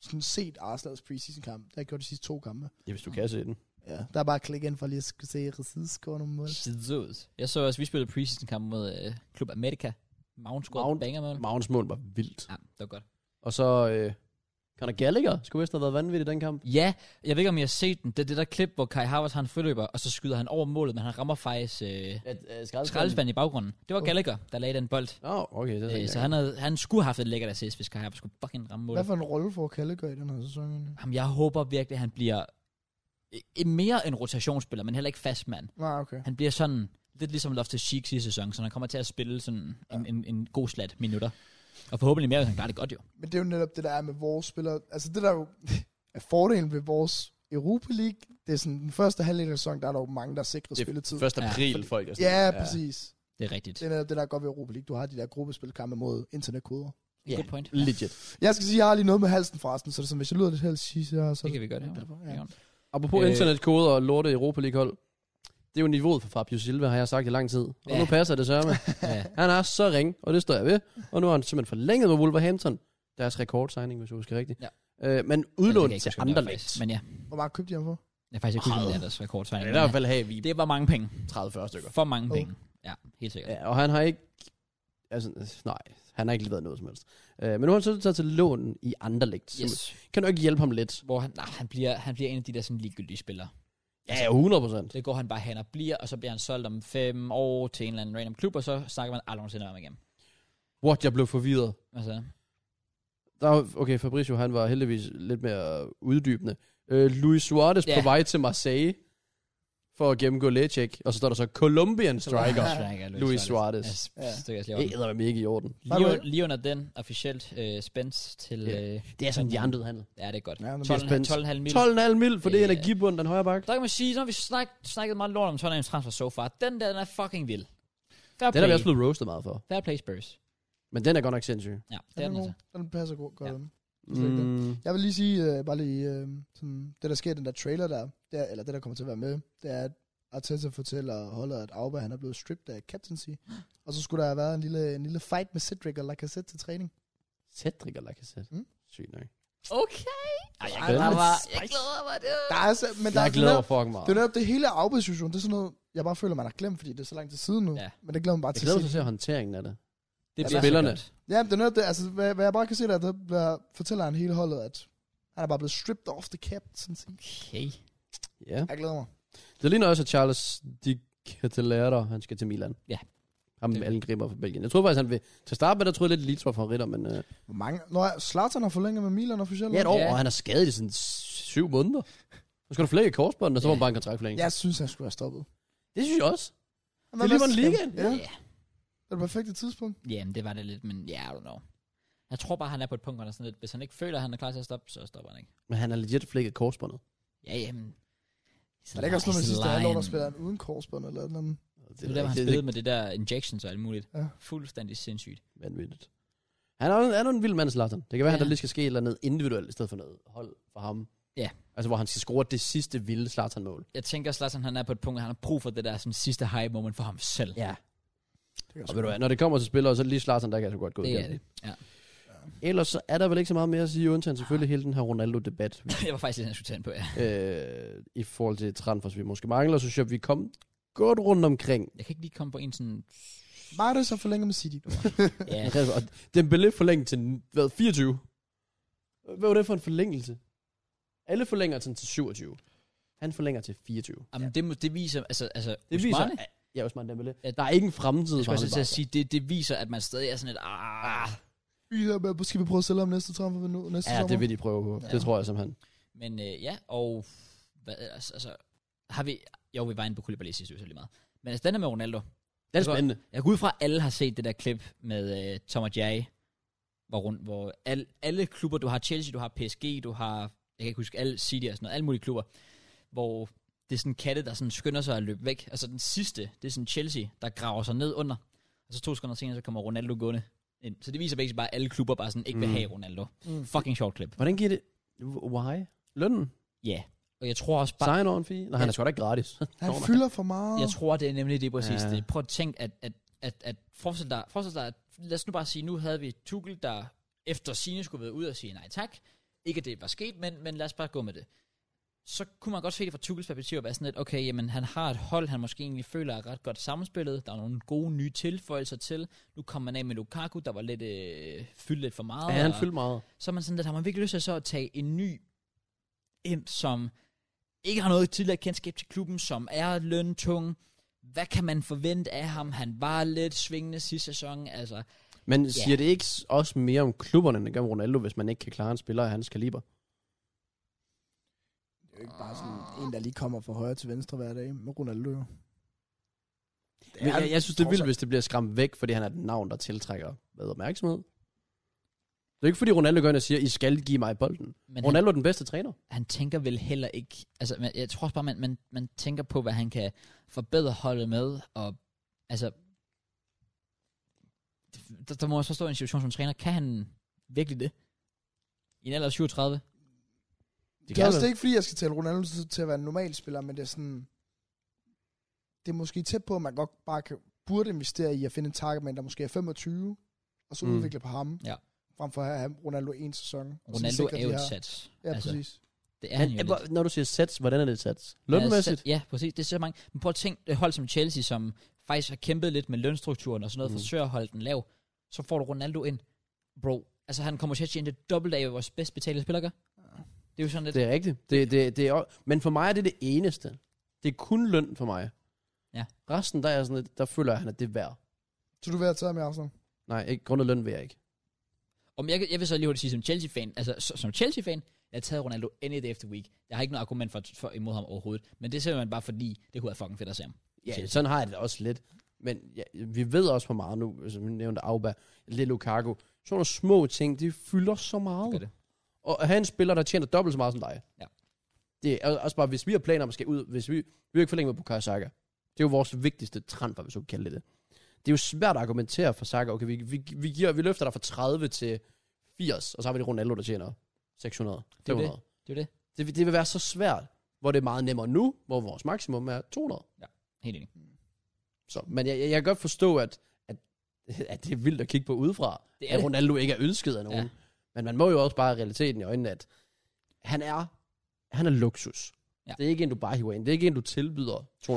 Speaker 3: sådan set Arsenals preseason-kamp. Det har jeg gjort de sidste to kampe.
Speaker 2: Ja, hvis du kan se den.
Speaker 3: Ja. Der er bare klik ind for lige at skulle se Ressis score nogle mål.
Speaker 5: Jesus. Jeg så også, vi spillede preseason-kamp mod øh, Klub America. Mount scorede
Speaker 2: Mount-
Speaker 5: Mount. banger mål.
Speaker 2: Magnus mål var vildt.
Speaker 5: Ja, det var godt.
Speaker 2: Og så... Øh, Conor Gallagher skulle vist have været vanvittig i den kamp.
Speaker 5: Ja, jeg ved ikke, om I har set den. Det er det der klip, hvor Kai Havertz har en friløber, og så skyder han over målet, men han rammer faktisk øh, skraldespanden i baggrunden. Det var Gallagher, der lagde den bold.
Speaker 2: Nå, oh, okay. Det er
Speaker 5: Øh,
Speaker 2: øh,
Speaker 5: så han, havde, han skulle have haft et lækkert assist, hvis Kai Havertz skulle fucking ramme
Speaker 3: Hvad
Speaker 5: målet.
Speaker 3: for en rolle får Kallegør i den her sæson egentlig?
Speaker 5: Jamen, jeg håber virkelig, at han bliver øh, mere en rotationsspiller, men heller ikke fast mand.
Speaker 3: Nej, okay.
Speaker 5: Han bliver sådan lidt ligesom Loftus Cheek sidste sæson, så han kommer til at spille sådan en, en, en god slat minutter. Og forhåbentlig mere, hvis han klarer det godt jo.
Speaker 3: Men det er jo netop det, der er med vores spillere. Altså det, der jo <laughs> er fordelen ved vores Europa League, det er sådan den første halvdel af sæsonen, der er der jo mange, der er sikret spilletid.
Speaker 2: 1.
Speaker 5: Ja,
Speaker 2: april, folk. Er
Speaker 3: Ja, præcis.
Speaker 5: Det er rigtigt.
Speaker 3: Det er netop det, der er godt ved Europa League. Du har de der gruppespilkampe mod internetkoder.
Speaker 5: Ja, Good point.
Speaker 2: Legit.
Speaker 3: Jeg skal sige, jeg har lige noget med halsen forresten, så det er som, hvis jeg lyder lidt helt sidst, ja, så
Speaker 5: Det
Speaker 3: er
Speaker 5: kan
Speaker 3: det
Speaker 5: vi godt have.
Speaker 3: Ja.
Speaker 2: <laughs> Apropos
Speaker 5: Øh.
Speaker 2: øh. internetkoder og lorte Europa League-hold. Det er jo niveauet for Fabio Silva, har jeg sagt i lang tid. Og
Speaker 5: Ja.
Speaker 2: nu passer det sørme.
Speaker 5: Ja.
Speaker 2: Han er så ring, og det står jeg ved. Og nu har han simpelthen forlænget med Wolverhampton. Deres rekordsigning, hvis jeg husker rigtigt.
Speaker 5: Ja.
Speaker 2: Øh, men
Speaker 5: Eller det kan
Speaker 2: udlånt
Speaker 5: jeg ikke
Speaker 2: til
Speaker 5: huske, om det var,
Speaker 2: Anderlecht.
Speaker 5: faktisk. Men ja,
Speaker 3: Hvor meget købte de ham for?
Speaker 5: jeg er faktisk ikke kunne deres rekordtegning.
Speaker 2: i hvert fald have vi
Speaker 5: Det var mange penge.
Speaker 2: 30-40 stykker.
Speaker 5: For mange
Speaker 3: Oh.
Speaker 5: penge. Ja, helt sikkert.
Speaker 2: Ja, og han har ikke... Altså, øh, nej, han har ikke leveret noget som helst. Øh, men nu har han så taget til lån i Anderlecht.
Speaker 5: Yes.
Speaker 2: Yes. Kan du ikke hjælpe ham lidt?
Speaker 5: Hvor han, nej, han, bliver, han bliver en af de der sådan ligegyldige spillere.
Speaker 2: Ja, 100 procent.
Speaker 5: Det går han bare hen og bliver, og så bliver han solgt om fem år til en eller anden random klub, og så snakker man aldrig nogensinde om ham igen.
Speaker 2: What, jeg blev forvirret.
Speaker 5: Altså,
Speaker 2: Der, var- okay, Fabricio, han var heldigvis lidt mere uddybende. Øh, Luis Suarez
Speaker 5: Ja.
Speaker 2: på vej til Marseille for at gennemgå lægecheck. Og så står der så Colombian Striker.
Speaker 5: Striker,
Speaker 2: Luis Suarez. E-
Speaker 5: Yes,
Speaker 3: Ja.
Speaker 5: det er også lige
Speaker 2: Det
Speaker 5: orden.
Speaker 2: æder mig ikke i orden.
Speaker 5: lige, under, lige under den officielt øh, spændt til...
Speaker 2: Ja.
Speaker 5: Øh,
Speaker 2: Det er sådan en jernbød handel.
Speaker 5: ja, det er godt.
Speaker 3: Ja, men-
Speaker 5: 12,5 12,5 mil.
Speaker 2: 12,5 mil for det
Speaker 5: Ja.
Speaker 2: yeah. energibund, den højre bak.
Speaker 5: Der kan man sige, så har vi snak, snakket meget lort om Tottenhams transfer so far. Den der, den er fucking vild. Fair
Speaker 2: Den er vi
Speaker 5: play.
Speaker 2: også blevet roastet meget for.
Speaker 5: Fair play Spurs.
Speaker 2: Men den er godt nok sindssyg.
Speaker 5: Ja, det
Speaker 3: Den,
Speaker 5: er
Speaker 3: er
Speaker 5: den
Speaker 3: god.
Speaker 5: altså.
Speaker 3: den passer godt, godt
Speaker 5: Ja.
Speaker 3: ja. den.
Speaker 2: Mm.
Speaker 3: Jeg vil lige sige, øh, bare lige, øh, sådan, det der sker i den der trailer der, det er, eller det der kommer til at være med, det er, at Arteta fortæller holder, at Auba han er blevet stripped af captaincy. Og så skulle der have været en lille, en lille fight med Cedric og Lacazette til træning.
Speaker 2: Cedric og Lacazette.
Speaker 3: Mm.
Speaker 2: Mm. Sygt nok.
Speaker 5: Okay. Ej, jeg
Speaker 3: Ej,
Speaker 5: glæder
Speaker 3: lidt
Speaker 5: mig. Jeg
Speaker 3: spicy.
Speaker 5: glæder mig. Det
Speaker 3: Der er, så- men der
Speaker 2: Jeg
Speaker 3: er
Speaker 2: glæder
Speaker 3: sådan
Speaker 2: mig fucking meget.
Speaker 3: Det er jo netop det hele arbejdssituation, det er sådan noget, jeg bare føler, man har glemt, fordi det er så lang tid siden nu.
Speaker 5: Ja.
Speaker 3: Ja. Men det glemmer man bare
Speaker 2: Jeg
Speaker 3: til
Speaker 2: glæder mig
Speaker 3: at
Speaker 2: til
Speaker 3: se.
Speaker 2: at se håndteringen af det.
Speaker 5: Altså, det
Speaker 2: Ja,
Speaker 5: bliver
Speaker 2: spillerne.
Speaker 5: så godt.
Speaker 3: Ja, men det er netop det, altså hvad, hvad jeg bare kan se der, der bliver, fortæller han hele holdet, at han er bare blevet stripped off the cap, sådan set.
Speaker 5: Okay.
Speaker 2: Ja.
Speaker 3: Jeg glæder mig.
Speaker 2: Det ligner også, at Charles Di Catalera, han skal til Milan.
Speaker 5: Ja.
Speaker 2: Ham
Speaker 5: Det-
Speaker 2: med angriber fra Belgien. Jeg troede faktisk, han vil... Til at starte med, der troede jeg lidt, Leeds var favoritter, men... Øh,
Speaker 3: Hvor mange? Nå, ja, Zlatan har forlænget med Milan officielt.
Speaker 2: ja, et år,
Speaker 5: Ja.
Speaker 2: ja. og han er skadet i sådan syv måneder. Så skal du flække korsbåndet, og så
Speaker 5: Ja.
Speaker 2: var han bare en kontraktforlængelse.
Speaker 3: Jeg synes, han skulle have stoppet.
Speaker 2: Det synes jeg også.
Speaker 3: Han
Speaker 2: Det er lige var en ligaen.
Speaker 3: Ja,
Speaker 5: Ja.
Speaker 3: det er det perfekte tidspunkt.
Speaker 5: Jamen, det var det lidt, men ja, yeah, I don't know. Jeg tror bare, han er på et punkt, hvor han er sådan lidt, hvis han ikke føler, at han er klar til at stoppe, så stopper han ikke.
Speaker 2: Men han er legit flækket korsbåndet.
Speaker 5: Ja, jamen.
Speaker 3: Der er ikke også noget med
Speaker 5: He's
Speaker 3: sidste halvår, der
Speaker 5: lying.
Speaker 3: spiller han uden korsbånd eller noget.
Speaker 5: Det er der, hvor han spillede med det der injections og alt muligt.
Speaker 3: Ja.
Speaker 5: Fuldstændig sindssygt.
Speaker 2: Vanvittigt. Han er, jo- han er jo en vild mand, Zlatan. Det kan være,
Speaker 5: Ja.
Speaker 2: ja. der lige skal ske et eller andet individuelt, i stedet for noget hold for ham.
Speaker 5: Ja.
Speaker 2: Altså, hvor han skal score det sidste vilde Zlatan-mål.
Speaker 5: Jeg tænker, at Zlatan, han er på et punkt, hvor han har brug for det der sådan, sidste high moment for ham selv.
Speaker 2: Ja. Og ved du hvad, når det kommer til spillere, så er det lige Zlatan, der kan så godt gå
Speaker 5: Det
Speaker 2: igen.
Speaker 5: er det. Ja.
Speaker 2: Ellers så er der vel ikke så meget mere at sige, undtagen selvfølgelig hele den her Ronaldo-debat,
Speaker 5: <laughs> jeg var faktisk lidt, jeg skulle tage den på, ja.
Speaker 2: øh, i forhold til transfers, vi måske mangler, så synes jeg, vi kom godt rundt omkring.
Speaker 5: Jeg kan ikke lige komme på en sådan...
Speaker 3: Var det så forlænget med City?
Speaker 5: Ja,
Speaker 2: <laughs> Og den blev forlænget til, hvad, 24? Hvad var det for en forlængelse? Alle forlænger sådan til 27. Han forlænger til 24.
Speaker 5: Jamen, det, må- det viser... Altså, altså,
Speaker 2: Det viser,
Speaker 5: Usmani?
Speaker 2: at, ja, Usman Dembélé.
Speaker 5: At-
Speaker 2: Der er ikke en fremtid
Speaker 5: Jeg
Speaker 2: for
Speaker 5: skulle også
Speaker 2: ham.
Speaker 5: til at sige, det, det viser, at man stadig er sådan et... Ah,
Speaker 3: Ja. Skal vi prøve at sælge ham næste transfer nu? Næste
Speaker 2: Ja,
Speaker 3: sommer?
Speaker 2: det vil de prøve på. Ja.
Speaker 5: Ja.
Speaker 2: Det tror jeg simpelthen.
Speaker 5: men øh, ja, og... Hvad, ellers, altså, har vi... Jo, vi var inde på Koulibaly sidst, det var så lige meget. Men altså, den der med Ronaldo.
Speaker 2: Det er spændende.
Speaker 5: Jeg går ud fra, at alle har set det der klip med øh, Tom og Jerry, hvor, rundt, hvor al, alle klubber, du har Chelsea, du har PSG, du har, jeg kan ikke huske, alle City og sådan noget, alle mulige klubber, hvor det er sådan katte, der sådan skynder sig at løbe væk. Altså den sidste, det er sådan Chelsea, der graver sig ned under. Og så to sekunder senere, så kommer Ronaldo gående ind. Så det viser basically bare, at alle klubber bare sådan ikke vil
Speaker 2: Mm.
Speaker 5: have Ronaldo.
Speaker 3: Mm.
Speaker 5: Fucking sjovt klip.
Speaker 2: Hvordan giver det? Why? Lønnen?
Speaker 5: Ja. Yeah. Og jeg tror også bare,
Speaker 2: Sign on fee? Nej, han er sgu da ikke <laughs> gratis.
Speaker 3: Han
Speaker 2: Nå, nej.
Speaker 3: fylder for meget.
Speaker 5: Jeg tror, det er nemlig det præcis ja.
Speaker 2: Ja.
Speaker 5: det. Prøv at tænke, at, at, at, at forestil dig, forestil dig, at, lad os nu bare sige, nu havde vi Tuchel, der efter sine skulle være ud og sige nej tak. Ikke at det var sket, men, men lad os bare gå med det. Så kunne man godt se det fra Tuchels perspektiv, at være sådan lidt, okay, jamen han har et hold, han måske egentlig føler er ret godt sammenspillet. Der er nogle gode nye tilføjelser til. Nu kommer man af med Lukaku, der var lidt øh, fyldt lidt for meget.
Speaker 2: Ja, han
Speaker 5: og-
Speaker 2: fyldte meget.
Speaker 5: så er man sådan lidt, har man virkelig lyst til så at tage en ny ind, som ikke har noget tidligere kendskab til klubben, som er løntung. Hvad kan man forvente af ham? Han var lidt svingende sidste sæson. Altså,
Speaker 2: Men siger det ikke s- også mere om klubberne, end det gør om Ronaldo, hvis man ikke kan klare en spiller af hans kaliber?
Speaker 6: Det er jo
Speaker 3: ikke bare sådan en, der lige kommer fra højre til venstre hver dag med Ronaldo. jo. Det
Speaker 2: Men
Speaker 3: er-
Speaker 2: jeg, jeg synes, det er
Speaker 3: trods
Speaker 2: vildt,
Speaker 3: alt-
Speaker 2: hvis det bliver skræmt væk, fordi han er et navn, der tiltrækker hvad, opmærksomhed. Det er ikke, fordi Ronaldo går ind og siger, I skal give mig bolden.
Speaker 5: men han,
Speaker 2: Ronaldo er den bedste træner.
Speaker 5: han, tænker vel heller ikke... Altså, man, jeg tror også bare, man, man, man tænker på, hvad han kan forbedre holdet med. Og, altså, det- der, der må også forstå en situation som træner. Kan han virkelig det? I en alder af 37?
Speaker 2: De
Speaker 3: Det er
Speaker 2: kan
Speaker 3: også det
Speaker 2: det.
Speaker 3: ikke, fordi jeg skal tale Ronaldo til- til at være en normal spiller, men det er sådan... Det er måske tæt på, at man godt bare kan, burde investere i at finde en targetman, der måske er 25, og så
Speaker 2: Mm.
Speaker 3: mm. udvikle på ham,
Speaker 5: Ja.
Speaker 3: frem for at have Ronaldo en sæson. og så
Speaker 5: Ronaldo
Speaker 3: sikre
Speaker 5: er
Speaker 3: de
Speaker 5: jo et
Speaker 3: her-
Speaker 5: sats.
Speaker 3: Ja, altså, præcis.
Speaker 5: det er han jo
Speaker 2: Han,
Speaker 5: lidt.
Speaker 2: hvor- når du siger sats, hvordan er det sats?
Speaker 5: Ja,
Speaker 2: Lønmæssigt?
Speaker 5: så- ja, præcis. Det er så mange. Men prøv at tænke, det hold som Chelsea, som faktisk har kæmpet lidt med lønstrukturen og sådan noget, mm.
Speaker 2: Mm.
Speaker 5: forsøger at holde den lav, så får du Ronaldo ind. Bro, altså han kommer til at tjene det dobbelt af, hvad vores bedst betalte spiller gør. Det er jo sådan lidt...
Speaker 2: Det er rigtigt. Det, det, det er, o- men for mig er det det eneste. Det er kun løn for mig.
Speaker 5: Ja.
Speaker 2: Resten, der, er jeg sådan lidt, der føler jeg, at han er det værd.
Speaker 3: Så du vil have taget med Arsenal?
Speaker 2: Nej, ikke, grundet løn vil jeg ikke.
Speaker 5: Om jeg, kan- jeg vil så lige hurtigt sige som Chelsea-fan, altså så- som Chelsea-fan, jeg har taget Ronaldo any day of the week. Jeg har ikke noget argument for, for imod ham overhovedet, men det er simpelthen bare fordi, det kunne være fucking fedt at se ham.
Speaker 2: Ja,
Speaker 5: Chelsea.
Speaker 2: sådan har jeg det også lidt. Men ja, vi ved også for meget nu, som vi nævnte Auba, lidt Lukaku. Sådan nogle små ting, det fylder så meget.
Speaker 5: Det gør det.
Speaker 2: Og at have en spiller, der tjener dobbelt så meget som dig.
Speaker 5: Ja.
Speaker 2: Det er også bare, hvis vi har planer om at skal ud, hvis vi, vi er jo ikke forlænget med Bukayo Saka. Det er jo vores vigtigste transfer, hvis du kan kalde det det. Det er jo svært at argumentere for Saka. Okay, vi, vi, vi, giver, vi løfter dig fra 30 til 80, og så har vi det Ronaldo, der tjener 600,
Speaker 5: Det er jo det.
Speaker 2: 500.
Speaker 5: Det er jo det.
Speaker 2: Det, vil- det vil være så svært, hvor det er meget nemmere nu, hvor vores maksimum er 200.
Speaker 5: Helt enig.
Speaker 2: Så, men jeg, jeg, jeg kan godt forstå, at, at, at det er vildt at kigge på udefra,
Speaker 5: Det
Speaker 2: det
Speaker 5: er
Speaker 2: er at
Speaker 5: det.
Speaker 2: Ronaldo ikke er ønsket af nogen.
Speaker 5: Ja.
Speaker 2: Ja. Men man må jo også bare have realiteten i øjnene, at han er, han er luksus.
Speaker 5: Ja.
Speaker 2: Ja. Det er ikke en, du bare hiver ind. Det er ikke en, du tilbyder 250.000 om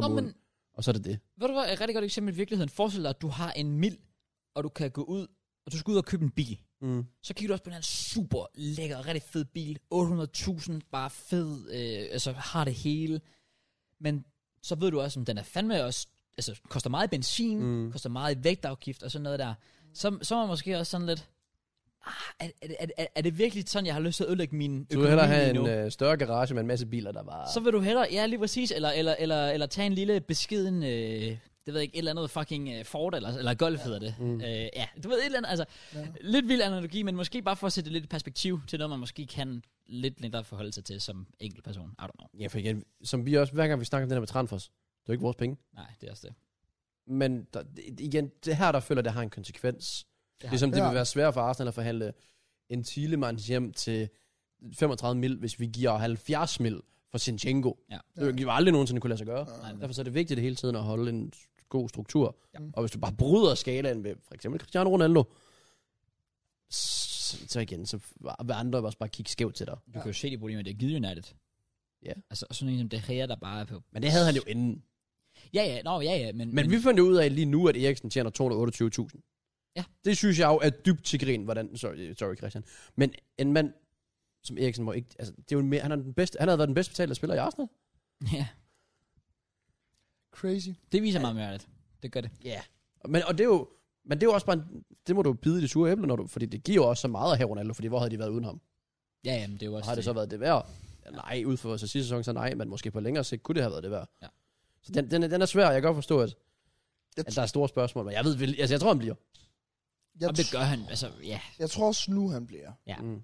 Speaker 2: Nå, ugen.
Speaker 5: men-
Speaker 2: Men... Og så er det det.
Speaker 5: Ved du hvad, et rigtig godt eksempel i virkeligheden. Forestil dig, at du har en mil, og du kan gå ud, og du skal ud og købe en bil.
Speaker 2: Mm.
Speaker 5: Så kigger du også på den her super lækker, rigtig fed bil. 800.000, bare fed, øh, altså har det hele. Men så ved du også, om den er fandme også, altså koster meget i benzin, mm.
Speaker 2: Mm.
Speaker 5: koster meget i vægtafgift og sådan noget der. Så, så er man måske også sådan lidt, ah, er, er, er, er, er det virkelig sådan, jeg har lyst til at ødelægge min økonomi
Speaker 2: Du vil hellere have
Speaker 5: lige nu?
Speaker 2: en øh, større garage med en masse biler, der bare...
Speaker 5: Så vil du hellere, ja lige præcis, eller, eller, eller, eller tage en lille beskeden, øh, det ved jeg ikke, et eller andet fucking øh, Ford, eller, eller Golf hedder det. Mm.
Speaker 2: Mm.
Speaker 5: Øh, ja, du ved et eller andet, altså ja.
Speaker 3: Ja.
Speaker 5: lidt vild analogi, men måske bare for at sætte det lidt i perspektiv til noget, man måske kan lidt lettere forholde sig til som enkelt person. I don't know.
Speaker 2: Ja, for igen, som vi også, hver gang vi snakker om det der med transfers, det er jo ikke vores penge.
Speaker 5: Nej, det er også det.
Speaker 2: Men der, det- igen, det her, der føler, det har en konsekvens.
Speaker 5: det har
Speaker 2: Ligesom det
Speaker 3: Ja.
Speaker 2: vil være svært for Arsenal at forhandle en Thielemans hjem til 35 mil, hvis vi giver 70 mil for Sinchenko.
Speaker 5: Ja.
Speaker 2: Det vil aldrig nogensinde kunne lade sig gøre.
Speaker 5: Nej, men-
Speaker 2: Derfor så er det vigtigt hele tiden at holde en god struktur.
Speaker 5: Ja.
Speaker 2: Og hvis du bare bryder skalaen ved for eksempel Cristiano Ronaldo, så, så igen, så vil andre også bare kigge skævt til dig.
Speaker 5: Du kan jo se de problemer, det har givet United.
Speaker 2: Ja.
Speaker 5: Altså sådan en som det her, der bare er på...
Speaker 2: Men det havde han jo inden.
Speaker 5: Ja, ja, nå, ja, ja, men...
Speaker 2: Men, men vi fandt jo ud af lige nu, at Eriksen tjener 228.000.
Speaker 5: Ja.
Speaker 2: Det synes jeg jo er dybt til grin, hvordan... Sorry, sorry Christian. Men en mand som Eriksen må ikke... Altså, det er jo mere, han, er den bedste, han havde været den bedst betalte spiller i Arsenal.
Speaker 5: <laughs> ja,
Speaker 3: Crazy.
Speaker 5: det viser meget mere det. Det gør det.
Speaker 2: Ja. Men, og det er jo, men det er jo også bare... En, det må du jo bide i det sure æble, når du, fordi det giver jo også så meget af her Ronaldo, fordi hvor havde de været uden ham?
Speaker 5: Ja, ja, men det er jo
Speaker 2: Og
Speaker 5: også...
Speaker 2: har det så været det værd? Ja, nej, ud for så sidste sæson, så nej, men måske på længere sigt kunne det have været det værd.
Speaker 5: Ja.
Speaker 2: Så den, den, er- den er svær, jeg kan godt forstå, at,
Speaker 3: Jeg
Speaker 2: at der er store spørgsmål, men jeg ved, vel- altså jeg tror, han bliver.
Speaker 3: Jeg,
Speaker 5: Jamen, det gør han, altså, ja.
Speaker 3: jeg tror også nu, han bliver.
Speaker 5: Ja.
Speaker 2: Mm.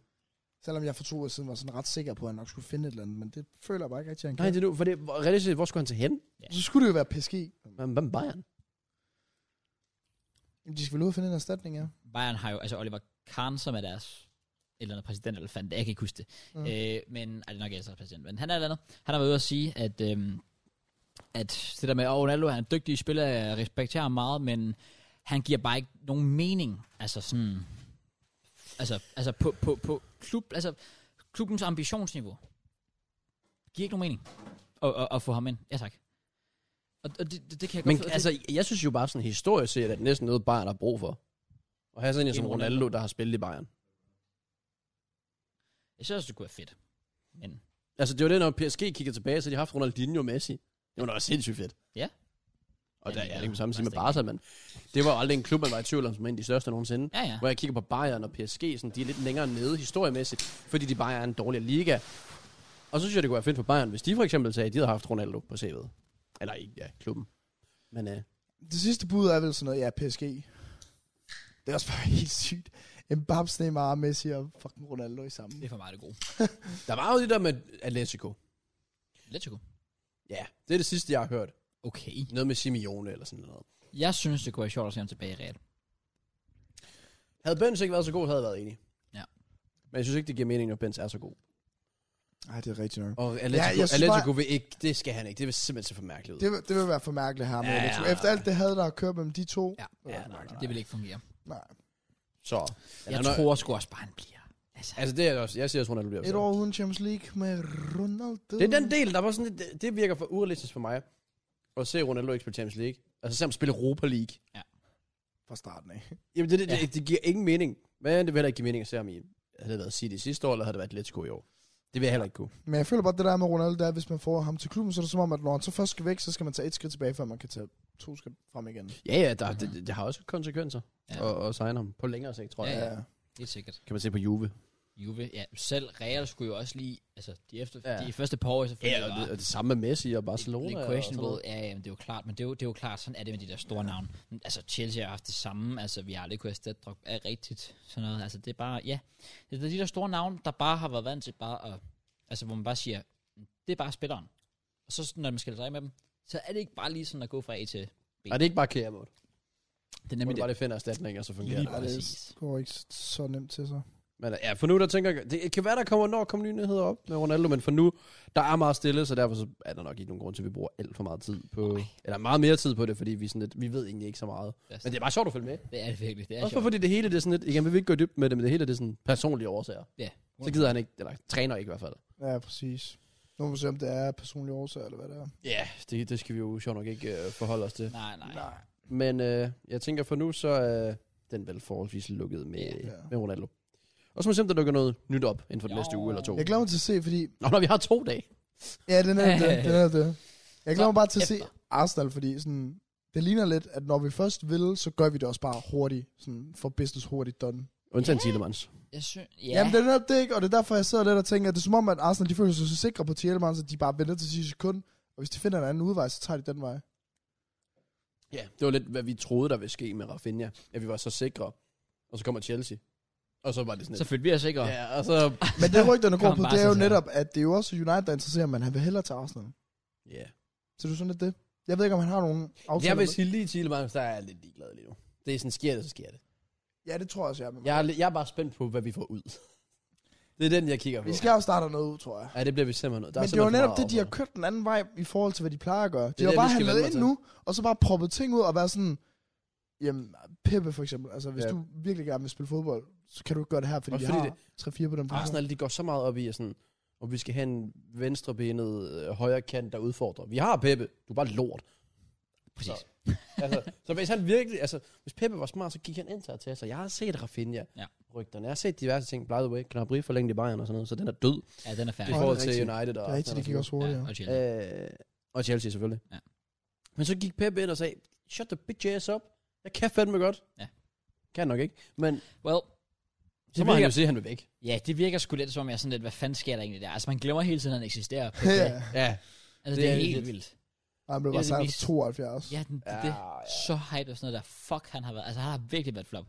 Speaker 3: Selvom jeg for to år siden var sådan ret sikker på, at han nok skulle finde et eller andet, men det føler jeg bare ikke rigtig, at han
Speaker 2: Nej,
Speaker 3: kan.
Speaker 2: det er nu, for det, hvor- reelt set, hvor skulle han til hen?
Speaker 3: Så skulle det jo være PSG.
Speaker 2: Hvem- Hvem Bayern?
Speaker 3: Jamen, de skal vel ud og finde en erstatning, ja.
Speaker 5: Bayern har jo, altså Oliver Kahn, som er deres et eller andet præsident, eller fandt, jeg kan ikke huske det.
Speaker 3: Mm.
Speaker 5: Mm. Øh, men, ej, det er nok ikke deres præsident, men han er et eller andet. Han har været ude at sige, at, øhm, at det der med, at Ronaldo han er en dygtig spiller, jeg respekterer ham meget, men han giver bare ikke nogen mening, altså sådan, altså, altså på, på, på klub, altså klubbens ambitionsniveau. Giver ikke nogen mening at, at, at få ham ind. Ja tak. Og, og det, det, det kan jeg
Speaker 2: Men
Speaker 5: godt for-
Speaker 2: altså, jeg synes jo bare sådan historisk set, at det er næsten noget Bayern har brug for. Og have sådan en som
Speaker 5: En Ronaldo.
Speaker 2: Ronaldo, der har spillet i Bayern.
Speaker 5: Jeg synes også, det kunne være fedt. Men
Speaker 2: Altså, det var det, når PSG kigger tilbage, så har de haft Ronaldinho og Messi. Det var da også sindssygt fedt.
Speaker 5: Ja.
Speaker 2: Og
Speaker 5: Ja,
Speaker 2: der
Speaker 5: men
Speaker 2: er
Speaker 5: ja,
Speaker 2: det ikke samme sige med
Speaker 5: altså,
Speaker 2: Barca, men det var jo aldrig en klub, man var i tvivl om, som en af de største nogensinde.
Speaker 5: ja, ja.
Speaker 2: Hvor jeg kigger på Bayern og PSG, sådan, de er lidt længere nede historiemæssigt, fordi de bare er en dårligere liga. Og så synes jeg, det kunne være fedt for Bayern, hvis de for eksempel sagde, at de havde haft Ronaldo på CV'et. Eller i ja, klubben. Men øh,
Speaker 3: Det sidste bud er vel sådan noget, ja, PSG. Det er også bare <laughs> helt sygt. Mbappé, Neymar, Messi og fucking Ronaldo i sammen.
Speaker 5: Det er for mig det gode.
Speaker 2: der var jo det der med Atletico.
Speaker 5: Atletico.
Speaker 2: Ja, det er det sidste, jeg har hørt.
Speaker 5: Okay.
Speaker 2: Noget med Simeone eller sådan noget.
Speaker 5: Jeg synes, det kunne være sjovt at se ham tilbage i Real.
Speaker 2: Havde Benz ikke været så god, havde jeg været enig.
Speaker 5: Ja.
Speaker 2: Men jeg synes ikke, det giver mening, når Benz er så god.
Speaker 3: Nej, det er rigtigt nok.
Speaker 2: Og Atletico, ja,
Speaker 3: jeg synes
Speaker 2: Atletico vil ikke, det skal han ikke. Det vil simpelthen se for mærkeligt ud.
Speaker 3: Det, vil- det vil være for mærkeligt her med
Speaker 2: Ja.
Speaker 3: ja, Efter alt det havde der at køre mellem de to.
Speaker 5: Ja.
Speaker 3: det vil
Speaker 2: Ja,
Speaker 3: være
Speaker 2: nej,
Speaker 3: mærkeligt.
Speaker 5: Det vil ikke fungere.
Speaker 3: Nej.
Speaker 2: Så.
Speaker 5: Jeg
Speaker 2: han er-
Speaker 5: tror sgu også bare, han bliver. Altså,
Speaker 2: Altså, det er også, jeg siger også, Ronaldo bliver
Speaker 3: Et
Speaker 2: så.
Speaker 3: år uden Champions League med Ronaldo.
Speaker 2: Det er den del, der var sådan lidt, det, det virker for urealistisk for mig. At se Ronaldo ikke spille Champions League. Altså, se ham spille Europa League.
Speaker 3: Fra starten af.
Speaker 2: Jamen, det, det,
Speaker 5: Ja.
Speaker 2: det, det giver ingen mening. Men det vil heller ikke give mening at se ham i, havde det været City sidste år, eller havde det været Atletico i år. Det vil jeg heller ikke kunne.
Speaker 3: <laughs> Men jeg føler bare, at det der med Ronaldo, det er, at hvis man får ham til klubben, så er det som om, at når han så først skal væk, så skal man tage et skridt tilbage, før man kan tage to skridt frem igen.
Speaker 2: Ja, ja, der, det, det, det, har også konsekvenser
Speaker 5: Ja.
Speaker 2: ja. at, at signe ham på længere sigt, tror jeg.
Speaker 5: Ja, ja.
Speaker 2: Ja.
Speaker 5: det er sikkert.
Speaker 2: Kan man se på Juve.
Speaker 5: Juve, ja, selv Real skulle jo også lige, altså de, efter,
Speaker 2: Ja.
Speaker 5: de første par år, selvfølgelig
Speaker 2: Ja, og
Speaker 5: var
Speaker 2: det, og det samme med Messi og
Speaker 5: lidt-
Speaker 2: Barcelona.
Speaker 5: lidt
Speaker 2: og sådan
Speaker 5: questionable.
Speaker 2: noget.
Speaker 5: Ja, ja, men det er jo klart, men det er jo, det er jo klart, sådan er det med de der store navne. Men, Altså Chelsea har haft det samme, altså vi har aldrig kunnet erstatte Drogba er rigtigt, sådan noget. Altså det er bare, ja, det er de der store navne, der bare har været vant til bare at, altså hvor man bare siger, det er bare spilleren. Og så sådan, når man skal sig af med dem, så er det ikke bare lige sådan at gå fra A til B.
Speaker 2: Nej, det er ikke bare Kea mod.
Speaker 5: Det er
Speaker 2: Hvor
Speaker 5: nemlig
Speaker 2: du
Speaker 5: det.
Speaker 2: bare det finder erstatning, og så fungerer
Speaker 5: Lige
Speaker 2: det.
Speaker 3: Ja,
Speaker 5: præcis.
Speaker 3: det går ikke så nemt til sig.
Speaker 2: Men øh, ja, for nu der tænker jeg, det kan være, der kommer, når kommer nye nyheder op med Ronaldo, men for nu, der er meget stille, så derfor så er der nok ikke nogen grund til, at vi bruger alt for meget tid på,
Speaker 5: Nej.
Speaker 2: eller meget mere tid på det, fordi vi, sådan lidt, vi ved egentlig ikke så meget.
Speaker 5: Det er,
Speaker 2: Men det er bare sjovt at følge med.
Speaker 5: Altså, det er det virkelig. Det er
Speaker 2: Også bare
Speaker 5: sjovt.
Speaker 2: fordi det hele, det er sådan lidt, igen, vi vil ikke gå i dybt med det, men det hele, det er sådan personlige årsager.
Speaker 5: Ja.
Speaker 2: Så gider han ikke, eller træner ikke i hvert fald.
Speaker 3: Ja, præcis. Nu må vi se, om det er personlige årsager, eller hvad det er.
Speaker 2: Ja, yeah, det, det skal vi jo sjovt nok ikke øh, forholde os til.
Speaker 5: Nej, nej.
Speaker 3: Nej.
Speaker 2: Men øh, jeg tænker for nu, så er øh, den vel forholdsvis lukket med,
Speaker 5: Ja.
Speaker 2: yeah. med Ronaldo. Og så må vi se, om der dukker noget nyt op inden for den
Speaker 5: Jo.
Speaker 2: næste uge eller to.
Speaker 3: Jeg glæder mig til at se, fordi...
Speaker 2: Nå, når vi har to dage.
Speaker 3: Ja, det er netop det. det, er netop det. Jeg glæder mig bare til at se
Speaker 5: efter.
Speaker 3: Arsenal, fordi sådan... Det ligner lidt, at når vi først vil, så gør vi det også bare hurtigt. Sådan, for business hurtigt done.
Speaker 2: Undtagen yeah. Thielemans.
Speaker 5: Jeg synes, ja.
Speaker 3: Ja. Jamen, det er netop det, ikke? Og det er derfor, jeg sidder lidt og tænker, at det er som om, at Arsenal, de føler sig så sikre på Tielemans, at de bare venter til sidste sekund. Og hvis de finder en anden udvej, så tager de den vej.
Speaker 2: Ja, det var lidt, hvad vi troede, der ville ske med Rafinha. At vi var så sikre. Og så kommer Chelsea. Og så var det sådan
Speaker 5: Så følte vi os ikke op.
Speaker 2: Ja, og så...
Speaker 3: Men det rygterne går
Speaker 5: Kom
Speaker 3: på,
Speaker 5: bare
Speaker 3: det er
Speaker 5: så
Speaker 3: jo
Speaker 5: selv.
Speaker 3: netop, at det er jo også United, der interesserer, men han vil hellere til Arsenal.
Speaker 2: Ja.
Speaker 3: Så det er sådan lidt det. Jeg ved ikke, om han har nogen aftaler.
Speaker 2: Jeg vil
Speaker 3: med-
Speaker 2: sige lige Thielemans, der er jeg lidt ligeglad lige nu. Det er sådan, sker det, så sker det.
Speaker 3: Ja, det tror jeg også, jeg er med.
Speaker 2: Jeg er, li- jeg er bare spændt på, hvad vi får ud. Det er den, jeg kigger på.
Speaker 3: Vi skal jo starte noget ud, tror jeg.
Speaker 2: Ja, det bliver vi simpelthen nødt.
Speaker 3: Men det var netop det, de har kørt den anden vej i forhold til, hvad de plejer at gøre.
Speaker 2: er
Speaker 3: De har
Speaker 2: det,
Speaker 3: bare
Speaker 2: vi skal
Speaker 3: handlet
Speaker 2: vende
Speaker 3: ind
Speaker 2: mig
Speaker 3: nu, og så bare proppet ting ud og været sådan... Jamen, Peppe for eksempel. Altså, hvis
Speaker 2: Ja.
Speaker 3: du virkelig gerne vil spille fodbold, så kan du ikke gøre det her, fordi
Speaker 2: Også
Speaker 3: vi
Speaker 2: fordi
Speaker 3: har 3-4 på den position.
Speaker 2: Arsenal, de går så meget op i, at sådan, og vi skal have en venstrebenet øh, højre kant, der udfordrer. Vi har Peppe, du er bare lort.
Speaker 5: Præcis.
Speaker 2: Så, <laughs> altså, så hvis han virkelig, altså, hvis Peppe var smart, så gik han ind til Arteta. Jeg har set Rafinha
Speaker 5: Ja.
Speaker 2: rygterne. Jeg har set diverse ting. By the way, Gnabry forlængt i Bayern og sådan noget, så den er død
Speaker 5: Ja, den er
Speaker 2: i
Speaker 5: færdig.
Speaker 3: det er
Speaker 2: forhold til
Speaker 3: rigtigt.
Speaker 2: United. Og
Speaker 3: Det er rigtigt, det gik også hurtigt.
Speaker 5: Ja,
Speaker 3: Ja.
Speaker 5: og Chelsea.
Speaker 2: Øh, og Chelsea selvfølgelig.
Speaker 5: Ja.
Speaker 2: Men så gik Pep ind og sagde, shut the bitch ass up. Jeg kan fandme godt.
Speaker 5: Ja.
Speaker 2: Kan han nok ikke. Men
Speaker 5: well,
Speaker 2: så må
Speaker 5: virker-
Speaker 2: han jo sige, at han vil væk.
Speaker 5: ja, det virker sgu lidt som om, jeg er sådan lidt, hvad fanden sker der egentlig der? Altså, man glemmer hele tiden, at han
Speaker 3: <laughs>
Speaker 5: eksisterer. På
Speaker 3: Ja.
Speaker 5: det.
Speaker 2: Ja.
Speaker 5: Altså,
Speaker 2: Det
Speaker 5: det, er
Speaker 2: er
Speaker 5: helt
Speaker 2: lidt-
Speaker 5: vildt.
Speaker 3: Ej, men det
Speaker 5: Ja,
Speaker 3: var
Speaker 5: det
Speaker 3: sejt
Speaker 5: viste-
Speaker 3: for 72.
Speaker 5: Ja, den, det, det,
Speaker 2: Ja, Ah, ja.
Speaker 5: så hype og sådan noget der. Fuck, han har været. Altså, han har virkelig været flop.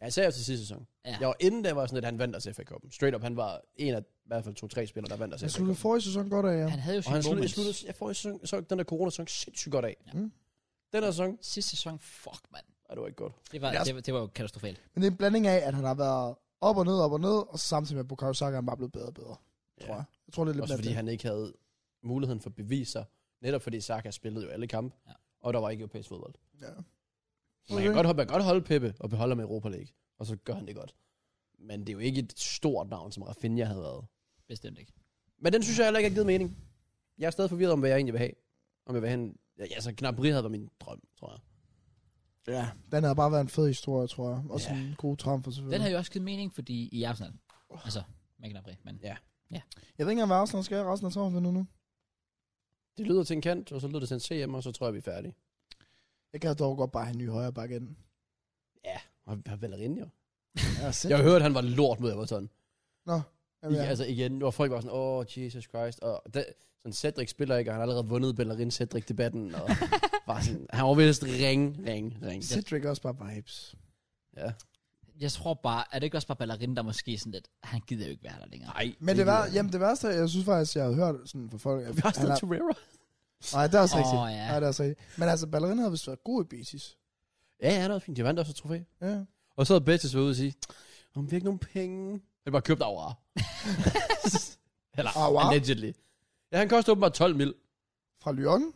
Speaker 2: Ja, især efter sidste sæson.
Speaker 5: Ja.
Speaker 2: Ja. Jeg var inden der var sådan, at han vandt os FA Cup'en. Straight up, han var en af i hvert fald to-tre spillere, der vandt os FA
Speaker 3: Jeg sluttede
Speaker 2: Cup'en.
Speaker 3: forrige sæson godt af, ja.
Speaker 5: Han havde jo
Speaker 2: Og han
Speaker 5: sin
Speaker 2: sluttede,
Speaker 5: moment.
Speaker 2: jeg sluttede, jeg får sæson, så den der corona-sæson sindssygt godt af.
Speaker 5: Ja.
Speaker 2: Ja.
Speaker 3: Mm.
Speaker 2: Den der sæson,
Speaker 5: Sidste sæson, fuck, mand.
Speaker 2: ej, det var ikke godt.
Speaker 5: Det var,
Speaker 3: Ja.
Speaker 5: det, var- det var jo katastrofalt.
Speaker 3: Men det er en blanding af, at han har været op og ned, op og ned, og samtidig med at Bukayo Saka er bare blevet bedre og bedre,
Speaker 2: Ja.
Speaker 3: tror jeg. Jeg tror, det er lidt
Speaker 2: Også
Speaker 3: blandt
Speaker 2: fordi
Speaker 3: det.
Speaker 2: han ikke havde muligheden for beviser. Netop fordi Saka spillede jo alle kampe.
Speaker 5: Ja.
Speaker 2: Ja. Og der var ikke europæisk fodbold.
Speaker 3: Ja.
Speaker 2: Man kan, godt, man kan godt holde Peppe og beholde ham i Europa League, og så gør han det godt. Men det er jo ikke et stort navn, som Rafinha havde været.
Speaker 5: Bestemt ikke.
Speaker 2: Men den synes jeg heller ikke har givet mening. Jeg er stadig forvirret om, hvad jeg egentlig vil have. Om jeg vil have en... Ja, altså, Gnabry havde været min drøm, tror jeg.
Speaker 3: Ja, den havde bare været en fed historie, tror jeg. Også
Speaker 2: Ja.
Speaker 3: en god tramfer,
Speaker 2: Mm.
Speaker 5: Den
Speaker 3: selvfølgelig.
Speaker 5: har jo også givet mening, fordi i Arsenal. Altså, man kan ikke men...
Speaker 3: Jeg ved ikke engang, hvad Arsenal skal resten af sommervinduet nu.
Speaker 2: Det lyder til en kant, og så lyder det til en CM, og så tror jeg, vi er færdige.
Speaker 3: Jeg kan dog godt bare have en ny højre bakke ind.
Speaker 2: Og vi har Valerian jo.
Speaker 3: Ja,
Speaker 2: Jeg hørte, han var lort mod Everton.
Speaker 3: Jamen,
Speaker 2: Ikke,
Speaker 3: ja.
Speaker 2: altså igen, hvor folk var sådan, åh, oh, Jesus Christ. Og det, sådan Cedric spiller ikke, og han har allerede vundet Bellerin Cedric-debatten.
Speaker 3: <laughs>
Speaker 2: Og var sådan, han var vist ring, ring, ring.
Speaker 3: Cedric er også bare vibes.
Speaker 2: Ja.
Speaker 5: Jeg tror bare, er det ikke også bare Ballerin, der måske sådan lidt, han gider jo ikke være der længere.
Speaker 2: Nej.
Speaker 3: Men det, var,
Speaker 2: gider jeg
Speaker 3: jamen, det værste, jeg synes faktisk, jeg havde hørt sådan fra folk. At
Speaker 2: <laughs> ikke. Vi har
Speaker 3: han
Speaker 2: stadig
Speaker 3: er-
Speaker 2: Torreira.
Speaker 3: Nej, det er også
Speaker 5: Åh,
Speaker 3: rigtigt.
Speaker 5: ja.
Speaker 3: Nej, det er også rigtigt. Men altså, ballerina havde vist været god i Betis.
Speaker 2: Ja, ja, det var fint. De vandt også et trofæ.
Speaker 3: Ja.
Speaker 2: Og så havde Betis været ude og sige, om vi har ikke nogen penge. Han bare købt Aura. Eller
Speaker 3: Aouar?
Speaker 2: Aura? allegedly. Ja, han koster åbenbart 12 mil.
Speaker 3: Fra Lyon?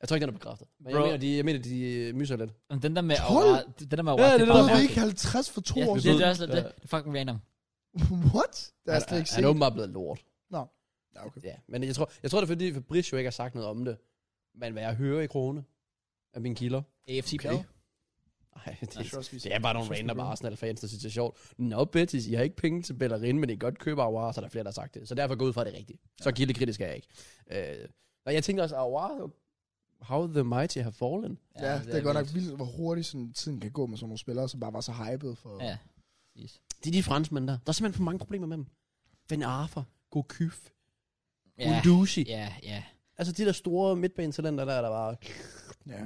Speaker 2: Jeg tror ikke, den er bekræftet. Men jeg
Speaker 5: Bro.
Speaker 2: mener, de, jeg mener, de øh, myser lidt.
Speaker 5: Men den der med
Speaker 3: 12?
Speaker 5: Aura, den der med Aura,
Speaker 2: Ja,
Speaker 5: det
Speaker 2: det
Speaker 5: er
Speaker 3: Lød
Speaker 5: bare
Speaker 2: ved
Speaker 3: vi
Speaker 5: mærkeligt.
Speaker 3: ikke 50 for to
Speaker 5: Ja,
Speaker 3: år
Speaker 5: det,
Speaker 3: siden?
Speaker 5: det er også lidt
Speaker 2: Ja.
Speaker 5: det. Det er fucking random.
Speaker 3: <laughs> What? Det er jeg
Speaker 2: Han,
Speaker 3: slet ikke
Speaker 2: han er
Speaker 3: set.
Speaker 2: åbenbart blevet lort.
Speaker 3: Ja, okay.
Speaker 2: Ja, men jeg tror, jeg tror det er fordi, Fabricio ikke har sagt noget om det. Men hvad jeg hører i krone af mine kilder.
Speaker 5: AFC
Speaker 2: Okay.
Speaker 5: Bell.
Speaker 2: Ej, det,
Speaker 3: Jeg tror også, vi
Speaker 2: det, er bare nogle
Speaker 3: Jeg synes,
Speaker 2: random
Speaker 3: vi-
Speaker 2: Arsenal-fans, der synes, det er sjovt. Nå, Betis, I har ikke penge til Bellerin, men I kan godt købe Aouar, så er der flere, der har sagt det. Så derfor går jeg ud fra, at det er rigtigt. Så kildekritisk er jeg ikke. Øh, og jeg tænkte også, Aouar, how the mighty have fallen.
Speaker 3: Ja, det er godt nok
Speaker 5: vildt.
Speaker 3: vildt, hvor hurtigt sådan, tiden kan gå med sådan nogle spillere, som bare var så hyped for...
Speaker 5: Ja, præcis.
Speaker 2: Det er de franskmænd der. Der er simpelthen for mange problemer med dem. Ben Arfa, Gokyf,
Speaker 5: Ja,
Speaker 2: Guendouzi.
Speaker 5: ja, ja.
Speaker 2: Altså de der store midtbanetalenter der, der var...
Speaker 3: Ja.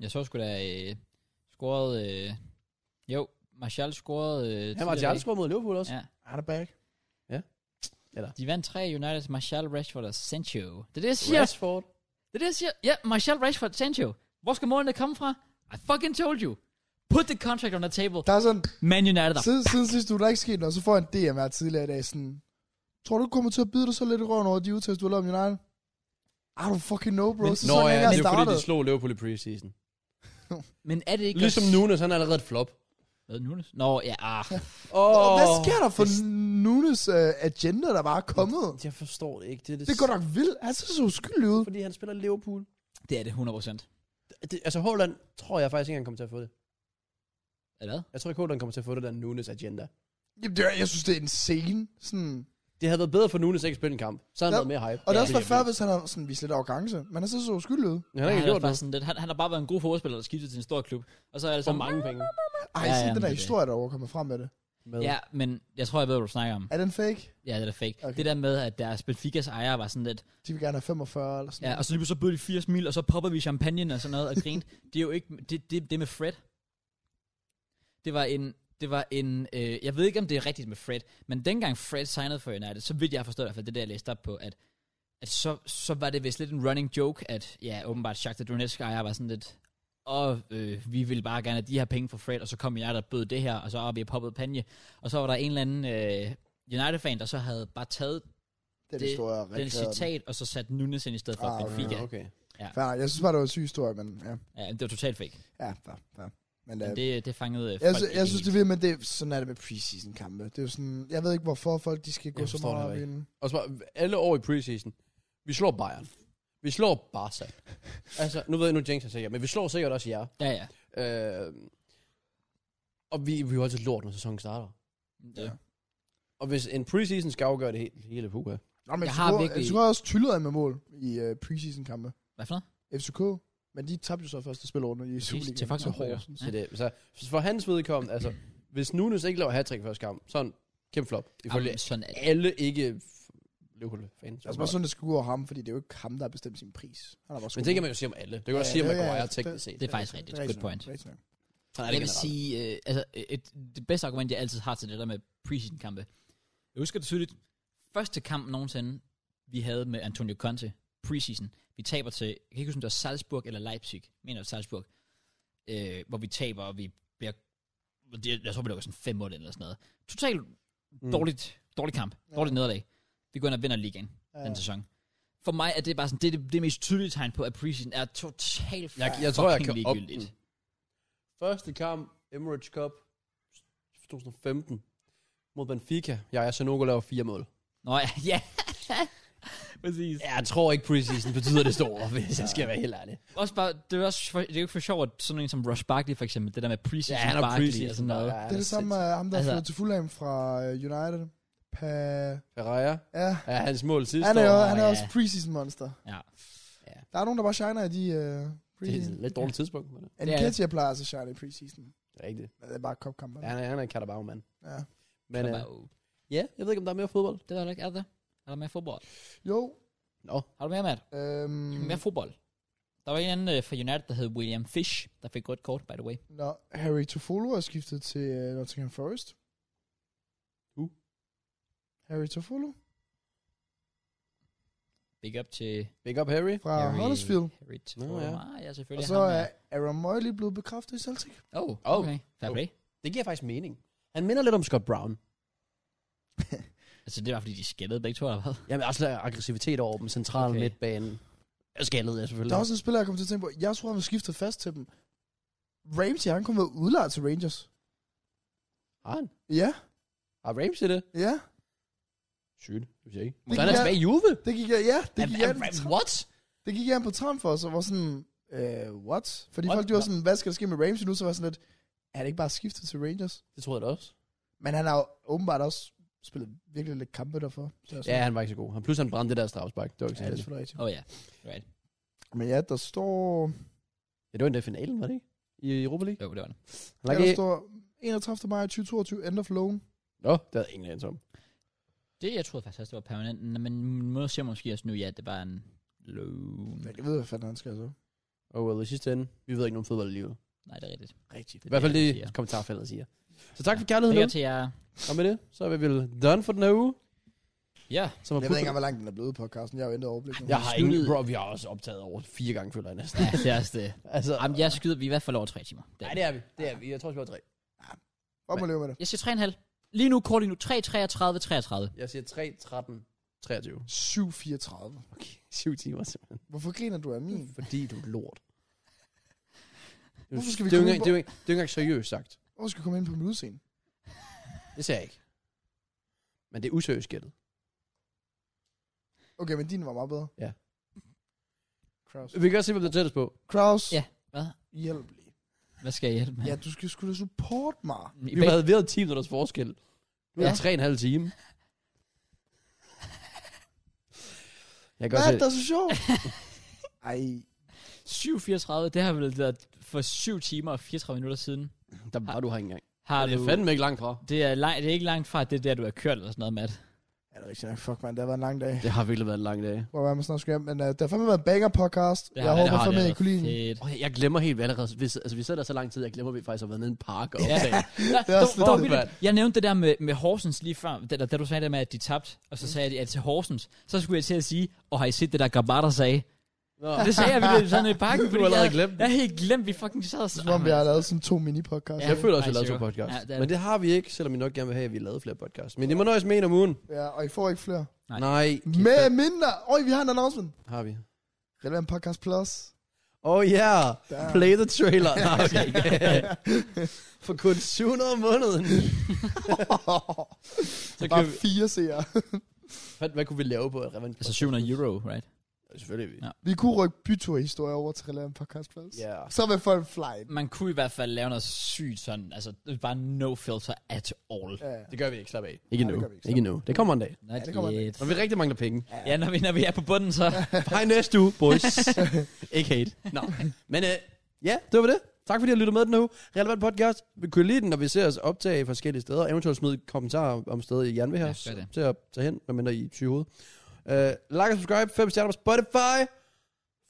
Speaker 5: Jeg så sgu da øh, scoret... Øh, jo, Martial scorede... Øh,
Speaker 2: Han
Speaker 5: tidligere
Speaker 2: var
Speaker 5: i
Speaker 2: til
Speaker 5: dag.
Speaker 2: scoret mod Liverpool også.
Speaker 5: Ja.
Speaker 3: Han er back.
Speaker 5: De vandt tre United, Martial, Rashford og Sancho. Det er det, jeg siger.
Speaker 2: Rashford.
Speaker 5: Det er det, jeg siger. Ja, Martial, Rashford, Sancho. Hvor skal målene komme fra? I fucking told you. Put the contract on the table.
Speaker 3: Der er sådan,
Speaker 5: Man United er
Speaker 3: siden, siden sidst du der er ikke sket noget, så får jeg en DM her tidligere i dag sådan, tror du, du kommer til at bide dig så lidt i røven over de udtalelser, du har lavet om United? I don't fucking know, bro.
Speaker 2: Men,
Speaker 3: så
Speaker 2: Nå
Speaker 3: sådan,
Speaker 2: ja,
Speaker 3: jeg
Speaker 2: det er fordi,
Speaker 3: startede.
Speaker 2: de slog Liverpool i preseason.
Speaker 5: Men er det ikke...
Speaker 2: Ligesom Nunes, han er allerede et flop.
Speaker 5: Hvad, Nunes? Nå, ja, ah.
Speaker 3: Og Hvad sker der for Nunes øh, agenda, der bare er kommet?
Speaker 2: Jeg forstår det ikke. Det, er det,
Speaker 3: Det går nok vildt. Han ser så uskyldig ud.
Speaker 2: Fordi han spiller Liverpool.
Speaker 5: Det er det 100%.
Speaker 2: Det, altså Haaland tror jeg faktisk ikke, han kommer til at få det.
Speaker 5: Er det hvad?
Speaker 2: Jeg tror ikke, Haaland kommer til at få det der Nunes agenda.
Speaker 3: Jamen, det er, jeg synes, det er en scene. Sådan.
Speaker 2: Det havde været bedre for Nunes at ikke at spille en kamp. Så havde han
Speaker 3: Ja.
Speaker 2: været mere hype.
Speaker 3: Og det er
Speaker 2: Ja,
Speaker 3: også været før, hvis han har sådan, vist lidt arrogance. Men han ser så uskyldig ud.
Speaker 2: Han har ikke
Speaker 5: er
Speaker 2: gjort
Speaker 5: faktisk
Speaker 2: noget.
Speaker 5: sådan lidt, han, han har bare været en god fodboldspiller, der skiftede til en stor klub. Og så er det
Speaker 2: For
Speaker 5: så
Speaker 2: mange penge.
Speaker 3: Ej,
Speaker 5: Ja,
Speaker 3: ja, sådan
Speaker 5: ja,
Speaker 3: den der
Speaker 5: men det-
Speaker 3: historie, der overkommer frem med det.
Speaker 2: Med.
Speaker 5: Ja, men jeg tror, jeg ved, hvad du snakker om.
Speaker 3: Er den fake?
Speaker 5: Ja, det er da fake. Okay.
Speaker 3: Okay.
Speaker 5: Det der med, at deres Benficas ejer var sådan lidt...
Speaker 3: De vil gerne have 45 eller sådan
Speaker 5: Ja, og så lige pludselig så bød de 80 mil, og så popper vi champagne og sådan noget og grinte. det er jo ikke... Det, det, det med Fred. Det var en... Det var en... Øh, jeg ved ikke, om det er rigtigt med Fred, men dengang Fred signede for United, så vidt jeg har forstået, i hvert fald det der, jeg læste op på, at, at så, så var det vist lidt en running joke, at ja, åbenbart Shakhtar Donetsk ejer var sådan lidt... Og øh, vi ville bare gerne have de her penge for Fred, og så kom jeg der bød det her, og så har vi har poppet panje. Og så var der en eller anden øh, United-fan, der så havde bare taget
Speaker 3: Den
Speaker 5: det-
Speaker 3: historie er
Speaker 5: den
Speaker 3: rigtig
Speaker 5: citat, og så sat Nunes ind i stedet for
Speaker 3: Ah,
Speaker 5: ah, Benfica.
Speaker 2: okay.
Speaker 3: Fair nok. Jeg synes bare, det var en syg historie, men ja.
Speaker 5: Ja, det var totalt fake.
Speaker 3: Ja, fair, fair. Men,
Speaker 5: Men
Speaker 3: øh,
Speaker 5: det, det fangede øh, folk
Speaker 3: jeg, sy-
Speaker 5: ikke
Speaker 3: jeg synes,
Speaker 5: helt.
Speaker 3: det er vildt, men det, er- sådan er det med preseason-kampe. Det er jo sådan, jeg ved ikke, hvorfor folk de skal gå
Speaker 2: Jeg
Speaker 3: så
Speaker 2: forstår
Speaker 3: meget
Speaker 2: det
Speaker 3: op i
Speaker 2: heller
Speaker 3: den.
Speaker 2: Og så bare, alle år i preseason, vi slår Bayern. Vi slår Barca. altså, nu ved jeg nu, Jinx er sikker, men vi slår sikkert også jer.
Speaker 5: Ja, ja.
Speaker 2: Øh, og vi, vi er jo altid lort, når sæsonen starter.
Speaker 5: ja.
Speaker 2: Og hvis en preseason skal afgøre det hele, hele puha.
Speaker 3: Nå, men
Speaker 5: Jeg
Speaker 3: jeg
Speaker 5: har
Speaker 3: har
Speaker 5: virkelig-
Speaker 3: virkelig... FCK har også tyllet af med mål i uh, preseason-kampe.
Speaker 5: Hvad for noget?
Speaker 3: FCK, men de tabte jo så første spilordner i Superligaen. Altså,
Speaker 5: til Faxe
Speaker 3: Så
Speaker 5: Hår.
Speaker 3: Horsens.
Speaker 2: Så, det, så for hans vedkommende, altså, hvis Nunes ikke laver hat første kamp, sådan kæmpe flop. Ifølge
Speaker 5: Jamen, sådan er det.
Speaker 2: alle ikke Liverpool fans.
Speaker 3: Altså bare sådan, det skal gå over ham, fordi det er jo ikke ham, der har bestemt sin pris. Han har bare
Speaker 2: men det kan man jo sige om alle. Det kan man også
Speaker 3: Ja,
Speaker 2: sige om
Speaker 3: ja, ja,
Speaker 2: Maguire
Speaker 3: ja.
Speaker 2: teknisk set.
Speaker 5: Det er faktisk rigtigt. Good point.
Speaker 2: Sådan er det
Speaker 5: Jeg vil
Speaker 2: generelt.
Speaker 5: sige, øh, altså, et, det bedste argument, jeg altid har til det der med preseason-kampe. Jeg husker det tydeligt. Første kamp nogensinde, vi havde med Antonio Conte, preseason. Vi taber til, jeg kan ikke huske, om det var Salzburg eller Leipzig. Jeg mener, det var Salzburg. Øh, hvor vi taber, og vi bliver... Jeg, jeg tror, vi lukker sådan fem mål ind eller sådan noget. Totalt
Speaker 2: Mm.
Speaker 5: dårligt, dårlig kamp.
Speaker 3: Ja.
Speaker 5: Dårligt nederlag. Vi går ind og vinder ligaen
Speaker 3: Ja.
Speaker 5: den sæson. For mig er det bare sådan, det, er det, det mest tydelige tegn på, at preseason er totalt
Speaker 2: Jeg, jeg tror, jeg
Speaker 5: fucking
Speaker 2: kan op
Speaker 5: ligegyldigt.
Speaker 2: den. Første kamp, Emirates Cup, 2015, mod Benfica. Jeg er Sanogo laver fire mål.
Speaker 5: Nå ja, <laughs> ja. Præcis.
Speaker 2: Ja, Jeg tror ikke, preseason betyder det store, <laughs> hvis jeg skal være helt ærlig.
Speaker 5: Også bare, det er, også for, det er jo ikke for sjovt, at sådan en som Rush Barkley for eksempel, det der med
Speaker 2: Ja,
Speaker 5: preseason
Speaker 2: han er
Speaker 5: Barkley
Speaker 2: preseason.
Speaker 5: og sådan noget.
Speaker 2: Ja,
Speaker 3: Det er det samme med ham, der
Speaker 5: Altså-
Speaker 3: altså, flyttede til Fulham fra øh, United. Pa...
Speaker 2: Ferreira.
Speaker 3: Ja,
Speaker 2: Ja, hans mål sidste
Speaker 3: han er, jo,
Speaker 2: år.
Speaker 3: han er
Speaker 5: ja.
Speaker 3: også preseason-monster.
Speaker 5: Ja.
Speaker 3: Der er nogen, der bare shiner i de
Speaker 2: Det
Speaker 3: uh,
Speaker 2: er et
Speaker 3: preseason.
Speaker 2: lidt dårligt tidspunkt. Men
Speaker 5: Det er
Speaker 3: Enketia plejer altså at shine i preseason.
Speaker 2: det er ikke det.
Speaker 3: Men det er bare kopkampen.
Speaker 2: Ja, han er, han er en katabagmand.
Speaker 3: Ja.
Speaker 2: Men
Speaker 5: Men,
Speaker 2: øh,
Speaker 5: bare, oh,
Speaker 2: ja, jeg ved ikke, om der er mere fodbold.
Speaker 5: det er der ikke, er der? Er der mere fodbold?
Speaker 3: Jo.
Speaker 2: Nå,
Speaker 5: Har du mere, Matt?
Speaker 3: Øhm,
Speaker 5: Mm. Mere fodbold? Der var en anden øh, fra United, der hed William Fish, der fik rødt kort, by the way.
Speaker 3: Nå, Harry Toffolo er skiftet til uh, Nottingham Forest.
Speaker 2: Who?
Speaker 3: Harry Toffolo
Speaker 5: Big up til
Speaker 2: big up Harry.
Speaker 3: fra
Speaker 5: Harry-
Speaker 3: Huddersfield.
Speaker 5: Harry
Speaker 2: Nå,
Speaker 5: Nå,
Speaker 2: ja.
Speaker 5: ja. ja,
Speaker 3: Og
Speaker 5: selvfølgelig.
Speaker 3: så
Speaker 5: ham,
Speaker 3: er
Speaker 5: ja.
Speaker 3: Aaron Moyley blevet bekræftet i Celtic.
Speaker 5: Oh,
Speaker 2: Oh.
Speaker 5: okay. Fair
Speaker 2: Oh.
Speaker 5: play.
Speaker 2: Det giver faktisk mening. Han minder lidt om Scott Brown.
Speaker 5: Altså, det var fordi, de skældede begge to, eller hvad?
Speaker 2: Jamen, også der aggressivitet over dem, central
Speaker 5: Okay.
Speaker 2: okay. midtbanen. Skaldet, ja, selvfølgelig.
Speaker 3: Der er også en spiller, jeg kom til at tænke på. Jeg tror, han var skiftet fast til dem. Ramsey, han kom ved udlejet til Rangers.
Speaker 2: Har han?
Speaker 3: Ja,
Speaker 2: Har Ramsey det?
Speaker 3: ja.
Speaker 2: Sygt, det siger jeg ikke.
Speaker 3: Det
Speaker 2: Så han er
Speaker 3: kan-
Speaker 2: tilbage i Juve?
Speaker 3: Det gik jeg, ja, det gik jeg,
Speaker 2: Am-
Speaker 3: an
Speaker 2: am-
Speaker 3: på,
Speaker 2: what?
Speaker 3: det gik jeg an på Trump for, og så var sådan, øh, what? Fordi
Speaker 2: What?
Speaker 3: folk, de var
Speaker 2: Nå.
Speaker 3: sådan, hvad skal der ske med Ramsey nu? Så var jeg sådan lidt, er det ikke bare skiftet til Rangers?
Speaker 2: Det troede jeg da også.
Speaker 3: Men han har jo åbenbart også spillet virkelig lidt kampe derfor. Så jeg er
Speaker 2: Ja,
Speaker 3: sådan,
Speaker 2: han var ikke så god. Han pludselig han brændte det der strafspark. Det var ikke
Speaker 3: ja,
Speaker 2: så
Speaker 3: det er
Speaker 2: heldigt.
Speaker 3: selvfølgelig rigtigt.
Speaker 5: Oh ja.
Speaker 3: Men ja, der står,
Speaker 2: Ja, det var endda finalen, var det ikke? I Europa League?
Speaker 5: Jo, det var det.
Speaker 2: Han
Speaker 3: ja,
Speaker 2: lagde
Speaker 3: der
Speaker 2: i-
Speaker 3: står 31. maj 2022, end of loan.
Speaker 2: Nå, det havde ingen anelse om.
Speaker 5: Det, jeg troede faktisk også, det var permanent, men man siger måske også nu, ja, det var en loan.
Speaker 3: Men Jeg ved, hvad fanden han skal så.
Speaker 2: Og Oh well, i sidste ende, vi ved ikke nogen fodbold i livet.
Speaker 5: Nej, det er rigtigt.
Speaker 3: Rigtigt.
Speaker 2: I hvert fald
Speaker 5: det,
Speaker 2: det,
Speaker 5: jeg siger.
Speaker 2: kommentarfeltet siger. Så tak for kærligheden.
Speaker 5: Big
Speaker 2: Ja.
Speaker 5: up til jer.
Speaker 2: Og med det, så er vi vel done for den her uge.
Speaker 5: Ja.
Speaker 2: Som er
Speaker 3: Jeg ved ikke engang, hvor langt den er blevet på, Carsten. Jeg har jo ændret overblik nu.
Speaker 2: jeg har
Speaker 5: Skyd.
Speaker 2: ingen, bro, vi har også optaget over fire gange, føler jeg næsten.
Speaker 5: Ja, det er også det.
Speaker 2: <laughs> altså,
Speaker 5: Jamen, jeg skyder, vi er i hvert fald over tre timer. Det
Speaker 2: nej,
Speaker 5: er vi.
Speaker 2: det er vi. Det er vi. Jeg tror, vi var tre.
Speaker 3: Op og leve med det.
Speaker 5: Jeg siger 3,5. Lige nu, kort lige nu. 3, 33, 33.
Speaker 2: Jeg siger 3, 13, <laughs> 23.
Speaker 3: 7.34.
Speaker 2: Okay, 7 timer simpelthen.
Speaker 3: Hvorfor griner du af min?
Speaker 2: Fordi du er <laughs> lort.
Speaker 3: Hvorfor skal vi
Speaker 2: det er jo
Speaker 3: komme
Speaker 2: ikke,
Speaker 3: ind
Speaker 2: det er jo ikke, det er jo ikke engang seriøst sagt.
Speaker 3: Hvorfor skal jeg komme ind på min udseende?
Speaker 2: Det sagde jeg ikke. Men det er useriøst gættet.
Speaker 3: Okay, men din var meget bedre.
Speaker 2: Ja.
Speaker 3: Kraus.
Speaker 2: Vi kan også se, hvem der er tættest på.
Speaker 3: Kraus,
Speaker 5: Ja. Hvad?
Speaker 3: hjælp lige.
Speaker 5: Hvad skal jeg hjælpe med?
Speaker 3: Ja, du skal sgu da support mig.
Speaker 5: I
Speaker 2: Vi
Speaker 5: bag-
Speaker 2: har været ved at 10 minutters forskel. Nu er
Speaker 5: Ja.
Speaker 2: det tre og en halv time. Jeg kan
Speaker 3: Hvad er
Speaker 2: godt
Speaker 3: det,
Speaker 2: se,
Speaker 3: der er så sjovt? Ej,
Speaker 5: 7,34, det har vel været for 7 timer og 34 minutter siden.
Speaker 2: der var du her ikke engang.
Speaker 5: Har
Speaker 2: Det er
Speaker 5: du...
Speaker 2: fandme ikke langt fra.
Speaker 5: Det er, lang, det er ikke langt fra, at det er der, du har kørt eller sådan noget, Matt.
Speaker 3: er det rigtigt nok? Fuck, man, det har været en lang dag.
Speaker 2: Det har virkelig været en lang dag.
Speaker 3: Hvor var man snart skal hjem. Men uh, det har fandme været en banger podcast.
Speaker 5: Det
Speaker 3: jeg
Speaker 5: har-
Speaker 3: håber
Speaker 5: det har
Speaker 3: fandme,
Speaker 5: det altså.
Speaker 3: at I kunne lide den.
Speaker 5: Fedt.
Speaker 2: Oh, jeg glemmer helt, vi allerede... Vi, altså, vi sad der så lang tid, jeg glemmer, at vi faktisk har været nede i en park og
Speaker 5: Ja.
Speaker 2: opdaget.
Speaker 5: Nå,
Speaker 3: Det er også
Speaker 5: dog- dog
Speaker 2: lidt-
Speaker 5: vildt. Jeg nævnte det der med, med Horsens lige før, da, da, da du sagde det med, at de tabte, og
Speaker 3: Mm.
Speaker 5: så sagde jeg, at til Horsens, så skulle jeg til at sige, og har I set det der Gabata sagde?
Speaker 2: <laughs> Nå.
Speaker 5: Det sagde jeg virkelig sådan i
Speaker 3: <laughs>
Speaker 5: pakken,
Speaker 2: Du
Speaker 5: fordi
Speaker 2: har allerede
Speaker 5: jeg,
Speaker 2: glemt det.
Speaker 5: jeg havde helt glemt, vi fucking sad og
Speaker 3: Som om vi har lavet sådan to mini-podcasts.
Speaker 5: Ja.
Speaker 2: Jeg føler også, at
Speaker 5: Nej,
Speaker 2: vi lavede to
Speaker 5: zero.
Speaker 2: podcasts.
Speaker 5: Ja, det er
Speaker 2: Men det har vi ikke, selvom vi nok gerne vil have, at vi lavede flere podcasts. Men I må nøjes med en om ugen.
Speaker 3: Ja, og I får ikke flere.
Speaker 5: Nej.
Speaker 2: Nej.
Speaker 3: Med mindre. Øj, vi har en announcement.
Speaker 2: Har vi.
Speaker 3: Relevant Podcast Plus.
Speaker 2: Oh yeah,
Speaker 3: Damn. <laughs>
Speaker 2: play the <laughs> trailer. Nå, okay. For kun 700 om måneden. så
Speaker 3: Bare
Speaker 2: kan vi,
Speaker 3: fire seere.
Speaker 2: hvad, hvad kunne vi lave på et revenge?
Speaker 1: Altså 700 euro, right?
Speaker 2: Selvfølgelig.
Speaker 1: Ja.
Speaker 3: Vi kunne rykke bytur-historie over til Relevant Podcast Plus.
Speaker 2: Ja.
Speaker 3: Så vil folk fly.
Speaker 1: Man kunne i hvert fald lave noget sygt sådan, altså det er bare no filter at all.
Speaker 3: Ja.
Speaker 2: Det gør vi ikke, slap af. Ikke
Speaker 3: Nej, det
Speaker 2: nu.
Speaker 3: gør vi ikke, slap
Speaker 2: Ikke nu. Det kommer en dag.
Speaker 1: Not
Speaker 3: det kommer
Speaker 1: yet.
Speaker 2: Når vi rigtig mangler penge.
Speaker 1: Ja, når vi, når vi er på bunden,
Speaker 3: <laughs>
Speaker 1: så...
Speaker 2: <laughs> Hej næste uge,
Speaker 1: <laughs>
Speaker 2: boys. ikke hate. Nå. Men øh, ja, det var det. Tak fordi I har lyttet med den nu. Relevant podcast. Vi kunne lide den, når vi ser os optage forskellige steder. Eventuelt smid kommentarer om stedet I gerne vil have
Speaker 1: Ja,
Speaker 2: os.
Speaker 1: gør det.
Speaker 2: Til at tage hen, medmindre I er syge i hovedet. Øh, like og subscribe. 5 stjerner på Spotify.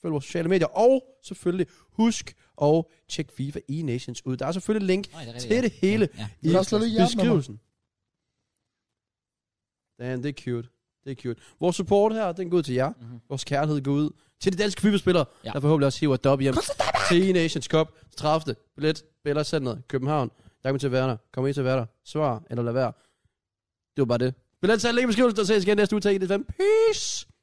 Speaker 2: Følg vores sociale medier. Og selvfølgelig husk og tjek FIFA E-Nations ud. Der er selvfølgelig link
Speaker 1: Nej, det er
Speaker 2: til det hele
Speaker 1: Ja.
Speaker 2: i
Speaker 3: Lad os slå det ihjel med mig.
Speaker 2: beskrivelsen. Damn, det er cute. Det er cute. Vores support her, den går ud til jer.
Speaker 1: Mhm.
Speaker 2: Vores kærlighed går ud til de danske FIFA-spillere,
Speaker 1: Ja.
Speaker 2: ja. der forhåbentlig også hiver et dub hjem til E-Nations Cup. 30. Billet, Bella Center, København. Jeg kommer til at være der. Kommer I til at være der? Svar eller lad være. Det var bare det. Billet til link i beskrivelsen, og ses igen næste uge. Tag i det E Peace!